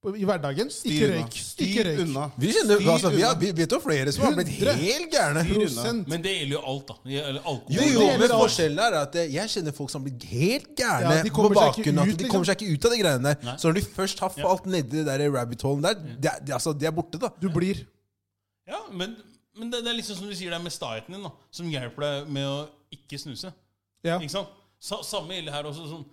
[SPEAKER 1] på- i hverdagen, ikke
[SPEAKER 4] styr unna.
[SPEAKER 1] røyk. Ikke
[SPEAKER 4] Styr
[SPEAKER 1] røyk.
[SPEAKER 4] unna.
[SPEAKER 2] Vi kjenner,
[SPEAKER 4] Styr
[SPEAKER 2] altså, vi har
[SPEAKER 4] unna.
[SPEAKER 2] vi vet jo flere som har blitt
[SPEAKER 1] Hundre.
[SPEAKER 2] helt gærne.
[SPEAKER 4] Styr unna.
[SPEAKER 1] Prosent.
[SPEAKER 3] Men det gjelder jo alt, da. Eller alkohol.
[SPEAKER 2] Jo, jo, men forskjellen er at eh, jeg kjenner folk som blir helt gærne
[SPEAKER 1] Ja, de
[SPEAKER 2] på
[SPEAKER 1] kommer seg ikke
[SPEAKER 2] bakgrunn av
[SPEAKER 1] ut, liksom.
[SPEAKER 2] at de kommer seg ikke ut av de greiene der.
[SPEAKER 3] Nei.
[SPEAKER 2] Så når de først har falt nedi det der rabbit holen der, de, er- de, altså, de er borte, da.
[SPEAKER 1] Du blir.
[SPEAKER 3] Ja, men, men det, det er liksom som du sier, det er med staheten din da, som hjelper deg med å ikke snuse.
[SPEAKER 1] Ja.
[SPEAKER 3] Ikke sant? Sa, samme gjelder her også. Sånn.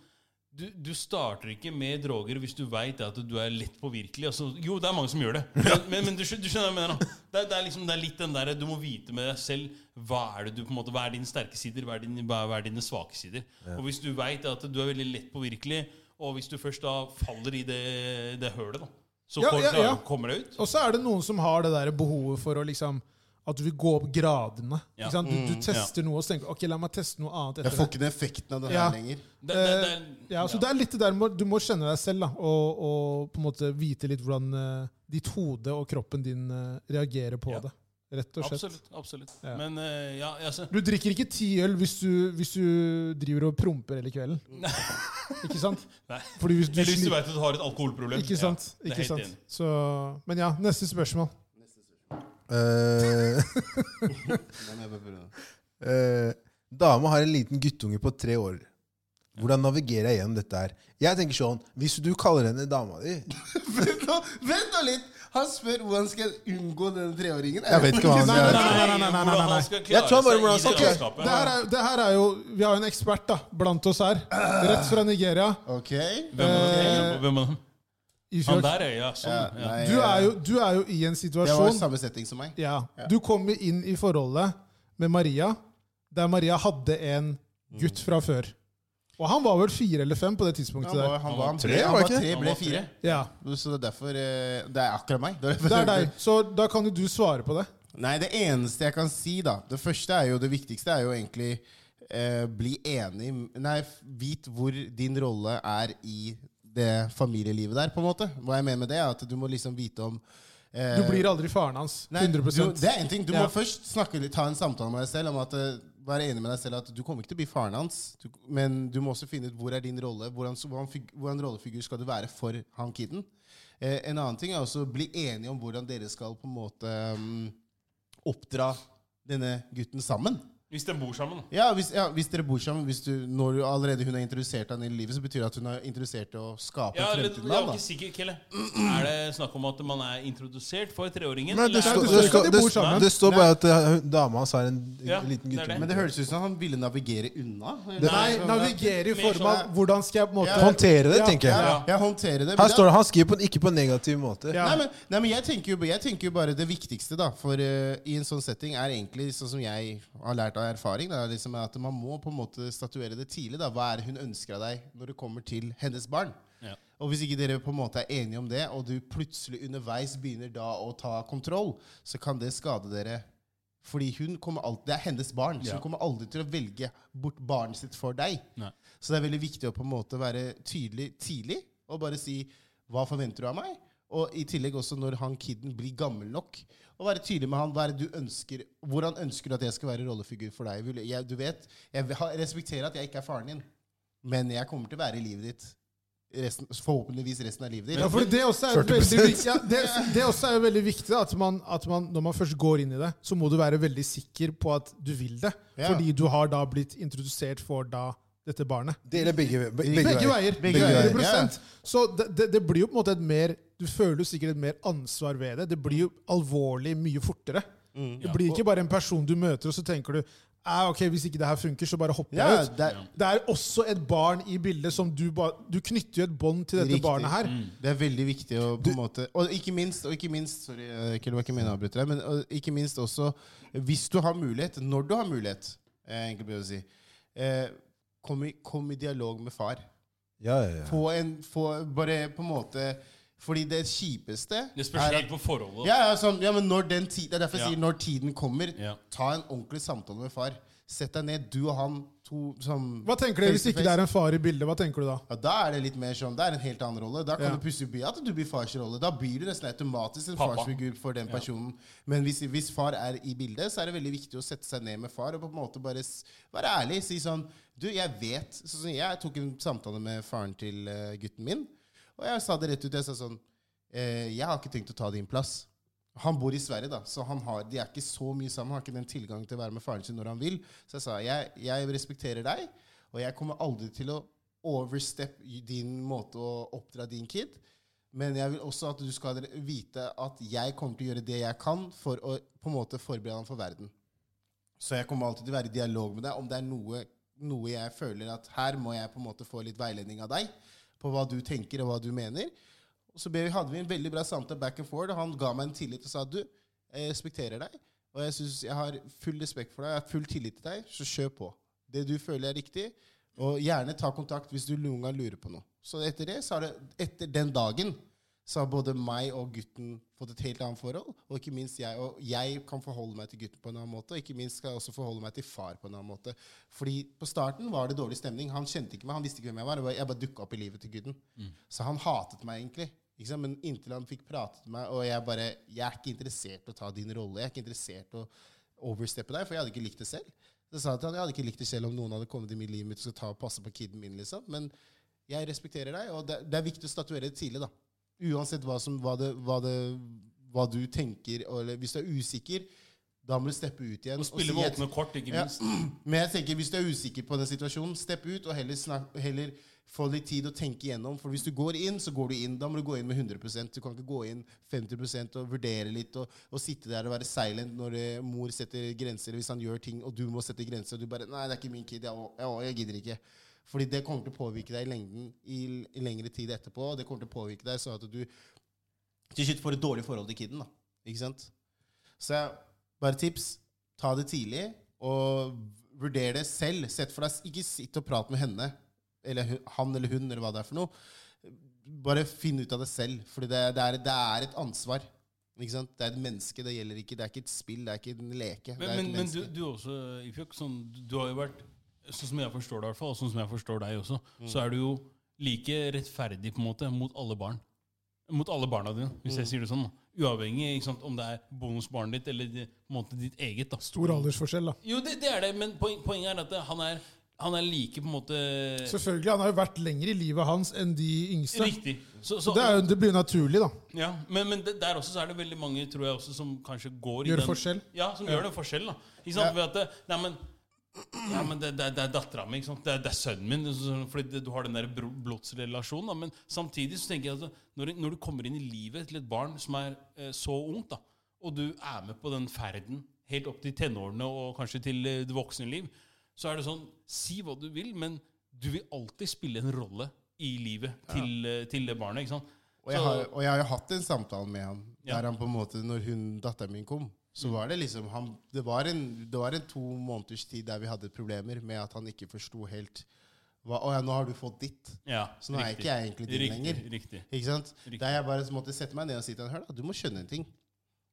[SPEAKER 3] du, du starter ikke med droger hvis du veit at du er lett påvirkelig. Altså, jo, det er mange som gjør det, men, men, men du, skjø- du skjønner hva jeg mener. da. Det, er- det, er liksom, det er litt den der, Du må vite med deg selv hva er det du på en måte, hva er dine sterke sider, hva er, din, hva, hva er dine svake sider. Og Hvis du veit at du er veldig lett påvirkelig, og hvis du først da faller i det, det hølet, da, så
[SPEAKER 1] Ja,
[SPEAKER 3] får-
[SPEAKER 1] ja, ja.
[SPEAKER 3] klarer- kommer det ut.
[SPEAKER 1] Og så er det noen som har det der behovet for å liksom at du vil gå opp gradene.
[SPEAKER 3] Ja.
[SPEAKER 1] Ikke sant? Du, du tester noe og så tenker du, ok, la meg teste noe annet
[SPEAKER 4] Jeg
[SPEAKER 1] etter
[SPEAKER 4] får
[SPEAKER 1] det.
[SPEAKER 4] ikke den effekten av det
[SPEAKER 1] Ja.
[SPEAKER 4] her lenger.
[SPEAKER 3] Det, det, det, er-
[SPEAKER 1] Eh, ja, så det er litt det der med- Du må kjenne deg selv da, og, og på en måte vite litt hvordan eh, ditt hode og kroppen din eh, reagerer på
[SPEAKER 3] Ja.
[SPEAKER 1] det. Rett og slett.
[SPEAKER 3] Absolutt. absolutt.
[SPEAKER 1] Ja.
[SPEAKER 3] Men eh, ja, altså,
[SPEAKER 1] Du drikker ikke ti øl hvis du, hvis du driver og promper hele kvelden. ikke sant?
[SPEAKER 3] Nei.
[SPEAKER 1] Fordi hvis du,
[SPEAKER 3] Eller hvis du
[SPEAKER 1] sli-
[SPEAKER 3] veit at du har et alkoholproblem.
[SPEAKER 1] Ikke sant?
[SPEAKER 3] Ja, det er
[SPEAKER 1] ikke
[SPEAKER 3] helt
[SPEAKER 1] sant?
[SPEAKER 3] enig.
[SPEAKER 1] Så, men ja, neste spørsmål.
[SPEAKER 2] Eh,
[SPEAKER 4] Da må jeg bare prøve.
[SPEAKER 2] Eh, dama har en liten guttunge på tre år. Hvordan navigerer jeg gjennom dette her? Jeg tenker sånn, Hvis du kaller henne dama di
[SPEAKER 4] Vent nå, vent nå litt! Han spør hvordan skal jeg unngå denne treåringen.
[SPEAKER 2] Jeg vet ikke hva han
[SPEAKER 1] Nei,
[SPEAKER 2] gjør.
[SPEAKER 1] nei, nei, nei, nei, nei,
[SPEAKER 3] Hvordan
[SPEAKER 1] nei.
[SPEAKER 3] han skal
[SPEAKER 2] Jeg tror
[SPEAKER 3] klare
[SPEAKER 2] han bare
[SPEAKER 3] seg
[SPEAKER 2] hvordan
[SPEAKER 3] i det
[SPEAKER 2] han skal-
[SPEAKER 3] landskapet.
[SPEAKER 1] Det her, er, det her er jo, Vi har jo en ekspert da, blant oss her. Rett fra Nigeria.
[SPEAKER 4] Ok.
[SPEAKER 3] Hvem er det? Hvem er det? Han
[SPEAKER 1] Isak,
[SPEAKER 3] der er ja,
[SPEAKER 4] Ja,
[SPEAKER 3] sånn. Ja.
[SPEAKER 4] nei,
[SPEAKER 1] Eh, Du er jo, du er jo i en
[SPEAKER 4] Det var
[SPEAKER 1] situasjon
[SPEAKER 4] samme setting som meg.
[SPEAKER 1] ja, Du kommer inn i forholdet med Maria, der Maria hadde en
[SPEAKER 4] Mm.
[SPEAKER 1] gutt fra før. Og han var vel fire eller fem på det tidspunktet
[SPEAKER 4] Han var,
[SPEAKER 1] der.
[SPEAKER 4] han var, han
[SPEAKER 2] tre,
[SPEAKER 4] ble, han
[SPEAKER 2] var
[SPEAKER 4] var
[SPEAKER 2] ikke det?
[SPEAKER 4] tre,
[SPEAKER 3] Han
[SPEAKER 4] ble
[SPEAKER 3] var
[SPEAKER 4] fire.
[SPEAKER 1] Ja,
[SPEAKER 4] Så det er derfor eh, Det er akkurat meg.
[SPEAKER 1] Det er deg. Så da kan jo du svare på det.
[SPEAKER 4] Nei, det eneste jeg kan si, da Det første er jo det viktigste er jo egentlig eh, bli enig Nei, f- vit hvor din rolle er i det familielivet der, på en måte. Hva jeg mener med det, er at du må liksom vite om eh,
[SPEAKER 1] Du blir aldri faren hans.
[SPEAKER 4] Nei, du,
[SPEAKER 1] 100
[SPEAKER 4] det er en ting. Du
[SPEAKER 1] Ja.
[SPEAKER 4] må først snakke, litt- ta en samtale med deg selv om at eh, Være enig med deg selv at du kommer ikke til å bli faren hans, du, men du må også finne ut hvor er din rolle. Hvordan, hvordan, fig- hvordan rollefigur skal du være for han kiden? Eh, en annen ting er også å bli enige om hvordan dere skal på en måte mm, oppdra denne gutten sammen.
[SPEAKER 3] Hvis de bor sammen.
[SPEAKER 4] Ja, hvis, ja, hvis dere bor sammen hvis du, Når du allerede hun har introdusert han i livet, så betyr det at hun er interessert i å skape
[SPEAKER 3] Ja, eller,
[SPEAKER 4] fremtiden
[SPEAKER 3] jeg er
[SPEAKER 4] av
[SPEAKER 3] ikke
[SPEAKER 4] ham.
[SPEAKER 3] sikker, Kelle. Er det snakk om at man er introdusert for treåringen?
[SPEAKER 2] Men det,
[SPEAKER 3] eller er
[SPEAKER 2] står-
[SPEAKER 1] det
[SPEAKER 2] det,
[SPEAKER 1] ikke
[SPEAKER 2] står-
[SPEAKER 1] at de
[SPEAKER 2] det,
[SPEAKER 1] bor sammen?
[SPEAKER 2] det står bare at eh, hun- dama hans har en
[SPEAKER 3] Ja,
[SPEAKER 2] liten
[SPEAKER 3] det er
[SPEAKER 2] guttunge.
[SPEAKER 4] Men det høres ut som han ville navigere unna.
[SPEAKER 1] Nei, navigere i
[SPEAKER 3] Mer
[SPEAKER 1] form av
[SPEAKER 4] sånn-
[SPEAKER 1] hvordan skal jeg på en måte
[SPEAKER 2] Håndtere det,
[SPEAKER 1] Ja.
[SPEAKER 2] tenker jeg.
[SPEAKER 4] Ja, jeg håndterer det. men
[SPEAKER 2] Her
[SPEAKER 4] det-
[SPEAKER 2] står det, Han skriver på en ikke på en negativ måte.
[SPEAKER 1] Ja.
[SPEAKER 4] Nei, men, nei, men jeg, tenker jo, jeg tenker jo bare det viktigste da, for eh, i en sånn setting er egentlig sånn som jeg har lært av erfaring, da, liksom er at man må på en måte statuere det tidlig. Da. Hva er det hun ønsker av deg når det kommer til hennes barn?
[SPEAKER 3] Ja.
[SPEAKER 4] Og hvis ikke dere på en måte er enige om det, og du plutselig underveis begynner da å ta kontroll, så kan det skade dere. Fordi hun kommer alltid, det er hennes barn, så
[SPEAKER 3] Ja.
[SPEAKER 4] hun kommer aldri til å velge bort barnet sitt for deg.
[SPEAKER 3] Nei.
[SPEAKER 4] Så det er veldig viktig å på en måte være tydelig tidlig og bare si hva forventer du av meg? Og i tillegg også når han kiden blir gammel nok, å være tydelig med han. Hva er det du ønsker, hvordan ønsker du at jeg skal være rollefigur for deg? Vil- Jeg, du vet, jeg har- respekterer at jeg ikke er faren din, men jeg kommer til å være i livet ditt. Resten, forhåpentligvis resten av livet ditt.
[SPEAKER 1] Ja, for det også er veldig viktig, ja, det, det også er veldig viktig da, at, man, at man, når man først går inn i det, så må du være veldig sikker på at du vil det.
[SPEAKER 4] Ja.
[SPEAKER 1] Fordi du har da blitt introdusert for da dette barnet.
[SPEAKER 2] Det gjelder begge, be- begge,
[SPEAKER 1] Begge veier.
[SPEAKER 2] veier.
[SPEAKER 4] Begge
[SPEAKER 2] veier,
[SPEAKER 1] 100%. Så det, det, det blir jo på en måte et mer Du føler jo sikkert et mer ansvar ved det. Det blir jo alvorlig mye fortere. Det blir ikke bare en person du møter, og så tenker du «Ah, ok, hvis ikke det her funker, så bare hopper
[SPEAKER 4] Ja,
[SPEAKER 1] jeg ut.
[SPEAKER 4] det,
[SPEAKER 1] Det er også et barn i bildet som du ba, Du knytter jo et bånd til dette
[SPEAKER 4] Riktig. Mm.
[SPEAKER 1] barnet her.
[SPEAKER 3] Mm.
[SPEAKER 4] Det er veldig viktig å på en måte Og ikke minst, og ikke minst Sorry, eh, Kjell, det var ikke min avbryter deg. Men og ikke minst også, hvis du har mulighet, når du har mulighet, eh, egentlig bør jeg si, eh, kom, i, kom i dialog med far.
[SPEAKER 2] Ja, ja, ja.
[SPEAKER 4] Få en få, Bare på en måte Fordi det kjipeste
[SPEAKER 3] Det spørs helt på forholdet.
[SPEAKER 4] ja, ja, sånn, ja, men når den tid, Det er derfor jeg
[SPEAKER 3] Ja.
[SPEAKER 4] sier når tiden kommer,
[SPEAKER 3] Ja.
[SPEAKER 4] ta en ordentlig samtale med far. Sett deg ned, du og han to som
[SPEAKER 1] Hva tenker dere hvis ikke det er en far i bildet? Hva tenker du da?
[SPEAKER 4] ja, Da er det litt mer sånn, det er en helt annen rolle. Da kan
[SPEAKER 1] Ja.
[SPEAKER 4] det plutselig bli at du blir fars rolle. Da blir du nesten automatisk en
[SPEAKER 3] Pappa.
[SPEAKER 4] farsfigur for den personen. Men hvis, hvis far er i bildet, så er det veldig viktig å sette seg ned med far og på en måte bare s- være ærlig. Si sånn Du, jeg vet sånn, som Jeg tok en samtale med faren til eh, gutten min, og jeg sa det rett ut. Jeg sa sånn eh, Jeg har ikke tenkt å ta din plass. Han bor i Sverige, da, så han har, de er ikke så mye sammen. Han har ikke den tilgangen til å være med faren sin når han vil. Så jeg sa jeg, jeg respekterer deg, og jeg kommer aldri til å overstep i din måte å oppdra din kid. Men jeg vil også at du skal vite at jeg kommer til å gjøre det jeg kan for å på en måte forberede han for verden. Så jeg kommer alltid til å være i dialog med deg om det er noe noe jeg føler at her må jeg på en måte få litt veiledning av deg på hva du tenker og hva du mener. Og så ble vi, hadde vi en veldig bra samtale back and forth, og han ga meg en tillit og sa du, jeg respekterer deg, og jeg synes jeg har full respekt for deg, jeg har full tillit til deg, så kjør på. Det du føler er riktig, og gjerne ta kontakt hvis du noen gang lurer på noe. Så etter det, så har det, etter den dagen, så har både meg og gutten fått et helt annet forhold, og ikke minst jeg, og jeg kan forholde meg til gutten på en annen måte, og ikke minst skal jeg også forholde meg til far på en annen måte. Fordi på starten var det dårlig stemning, han kjente ikke meg, han visste ikke hvem jeg var, jeg bare, jeg bare dukket opp i livet til gutten. Så han hatet meg egentlig. Ikke sant? Men inntil han fikk pratet med meg, og jeg bare, jeg er ikke interessert i å ta din rolle, jeg er ikke interessert i å oversteppe deg, for jeg hadde ikke likt det selv. Så sa jeg til han, jeg hadde ikke likt det selv om noen hadde kommet i mitt liv mitt og skulle ta og passe på kiden min, liksom. Men jeg respekterer deg, og det, det er viktig å statuere det tidlig, da. Uansett hva, som, hva, det, hva, det, hva du tenker, og- eller hvis du er usikker, da må du steppe ut igjen.
[SPEAKER 3] Og spille
[SPEAKER 4] si
[SPEAKER 3] med
[SPEAKER 4] at-
[SPEAKER 3] åpne kort, ikke
[SPEAKER 4] Ja.
[SPEAKER 3] minst.
[SPEAKER 4] men jeg tenker, hvis du er usikker på den situasjonen, stepp ut og heller, snak, heller få litt tid å tenke igjennom. For hvis du går inn, så går du inn. Da må du gå inn med 100 Du kan ikke gå inn 50 og vurdere litt og, og sitte der og være silent når eh, mor setter grenser, eller hvis han gjør ting, og du må sette grenser, og du bare 'Nei, det er ikke min kid. Jeg, å- jeg, å- jeg gidder ikke'. Fordi det kommer til å påvirke deg i lengden i, i lengre tid etterpå. Og det kommer til å påvirke deg sånn at du til slutt får et dårlig forhold til kiden. da. Ikke sant? Så jeg- bare tips. Ta det tidlig, og vurder det selv. Sett for deg, Ikke sitt og prat med henne, eller hu- han eller hun, eller hva det er for noe. Bare finn ut av det selv, for det, er- det, er- det er et ansvar. Ikke sant? Det er et menneske det gjelder ikke. Det er ikke et spill, det er ikke en leke. det
[SPEAKER 3] Men,
[SPEAKER 4] er et
[SPEAKER 3] men, men du,
[SPEAKER 4] menneske.
[SPEAKER 3] du også, Ifjok, sånn, du har jo vært Sånn som jeg forstår deg, i hvert fall, og sånn som jeg forstår deg også, så er du jo like rettferdig på en måte mot alle barn. Mot alle barna dine, hvis jeg sier det sånn. da. Uavhengig ikke sant, om det er bonusbarnet ditt eller det- på en måte ditt eget. da.
[SPEAKER 1] Stor aldersforskjell, da.
[SPEAKER 3] Jo, det, det er det, men poen, poenget er at det- han er, han er like på en måte
[SPEAKER 1] Selvfølgelig, Han har jo vært lenger i livet hans enn de yngste.
[SPEAKER 3] Riktig. Så,
[SPEAKER 1] Så
[SPEAKER 3] så,
[SPEAKER 1] det, er, jo- det blir jo naturlig, da.
[SPEAKER 3] Ja, men, men det- der også så er det veldig mange tror jeg også som kanskje går
[SPEAKER 1] Gjør
[SPEAKER 3] i den,
[SPEAKER 1] forskjell?
[SPEAKER 3] Ja, som gjør det forskjell. da Ikke sant? Ved at det, Nei, men, ja, men det, det, det er dattera mi, ikke sant? Det, er, det er sønnen min. så- Fordi det, du har den der bro- blodsrelasjonen. Da. Men samtidig så tenker jeg at når, når du kommer inn i livet til et barn som er eh, så ungt, da og du er med på den ferden helt opp til tenårene og kanskje til eh, det voksne liv, så er det sånn Si hva du vil, men du vil alltid spille en rolle i livet til, eh, til det barnet. ikke sant?
[SPEAKER 4] Og jeg,
[SPEAKER 3] Så-
[SPEAKER 4] har, og jeg har jo hatt en samtale med han
[SPEAKER 3] Ja. Mm.
[SPEAKER 4] der han på en måte, når hun, datteren min kom, så var det liksom han, det, var en, det var en to måneders tid der vi hadde problemer med at han ikke forsto helt hva, Å ja, nå har du fått ditt.
[SPEAKER 3] Ja,
[SPEAKER 4] Så nå er
[SPEAKER 3] riktig.
[SPEAKER 4] ikke jeg egentlig din
[SPEAKER 3] riktig,
[SPEAKER 4] lenger.
[SPEAKER 3] Riktig.
[SPEAKER 4] Ikke sant? Der jeg bare måtte sette meg ned og si til han, hør da, du må skjønne en ting.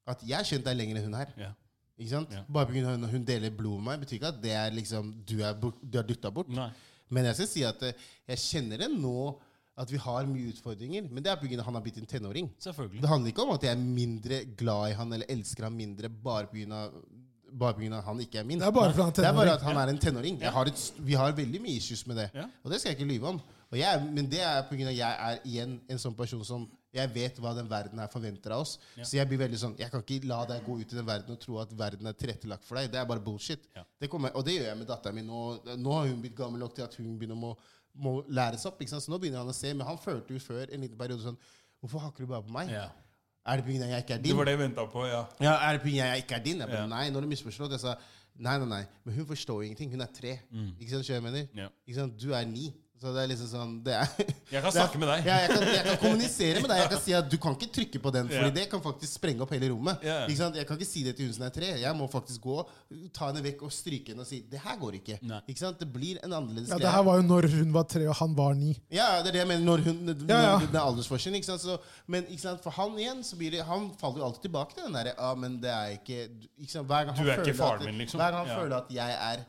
[SPEAKER 4] At jeg har skjønt deg lenger enn hun her.
[SPEAKER 3] Ja.
[SPEAKER 4] Ikke sant?
[SPEAKER 3] Ja.
[SPEAKER 4] Bare pga. at hun- hun deler blod med meg, betyr ikke at det er liksom, du er, bort, du er dytta bort.
[SPEAKER 3] Nei.
[SPEAKER 4] Men jeg skal si at eh, jeg kjenner det nå at vi har mye utfordringer. Men det er pga. at han har blitt en tenåring.
[SPEAKER 3] Selvfølgelig.
[SPEAKER 4] Det handler ikke om at jeg er mindre glad i han eller elsker han mindre bare pga. Bare pga. at han ikke er min.
[SPEAKER 1] Det er bare fordi han er
[SPEAKER 4] Det er
[SPEAKER 1] tenåring.
[SPEAKER 4] bare at han er en tenåring. Jeg har et, st- vi har veldig mye issues med det.
[SPEAKER 3] Ja.
[SPEAKER 4] Og det skal jeg ikke lyve om. Og jeg, er- men det er pga. at jeg er igjen en sånn person som jeg vet hva den verden her forventer av oss. Så jeg blir veldig sånn Jeg kan ikke la deg gå ut i den verden og tro at verden er tilrettelagt for deg. Det er bare bullshit.
[SPEAKER 3] Ja.
[SPEAKER 4] Det kommer, og det gjør jeg med datteren min nå. Nå har hun blitt gammel nok til at hun begynner å må, må læres opp. Ikke sant? Så nå begynner han å se. Men han følte jo før en liten periode sånn Hvorfor hakker du bare på meg?
[SPEAKER 3] Ja.
[SPEAKER 4] Er det pga. jeg ikke er din?
[SPEAKER 3] Det var det jeg venta på, ja.
[SPEAKER 4] Ja, er det på grunn av jeg ikke er din? Jeg bare,
[SPEAKER 3] Ja.
[SPEAKER 4] Nei, nå har du misforstått. Jeg sa nei, nei, nei. Men hun forstår jo ingenting. Hun er tre. Ikke sant, skjønner du hva jeg mener?
[SPEAKER 3] Mm. Ja.
[SPEAKER 4] Ikke sant, Du er ni. Så det er liksom sånn det er,
[SPEAKER 3] Jeg kan
[SPEAKER 4] det er-
[SPEAKER 3] snakke med deg.
[SPEAKER 4] Ja, jeg kan, jeg kan kommunisere med deg. Jeg kan si at du kan ikke trykke på den, Fordi
[SPEAKER 3] Ja.
[SPEAKER 4] det kan faktisk sprenge opp hele rommet.
[SPEAKER 3] Ja.
[SPEAKER 4] Ikke sant, Jeg kan ikke si det til hun som er tre. Jeg må faktisk gå, ta henne vekk og stryke henne og si det her går ikke.
[SPEAKER 3] Nei.
[SPEAKER 4] Ikke sant, Det blir en annerledes
[SPEAKER 1] Ja,
[SPEAKER 4] greie.
[SPEAKER 1] Det her var jo når hun var tre og han var ni.
[SPEAKER 4] Ja, det er det jeg mener. Når hun,
[SPEAKER 1] Ja, ja.
[SPEAKER 4] Når den er aldersforskjellen. Ikke sant? Så, men ikke sant? for han igjen, så blir det, han faller jo alltid tilbake til den derre Ja, men det er ikke, ikke sant? Hver gang han
[SPEAKER 3] Du er ikke
[SPEAKER 4] føler
[SPEAKER 3] faren
[SPEAKER 4] at,
[SPEAKER 3] min, liksom.
[SPEAKER 4] Hver gang han
[SPEAKER 3] Ja.
[SPEAKER 4] føler at jeg er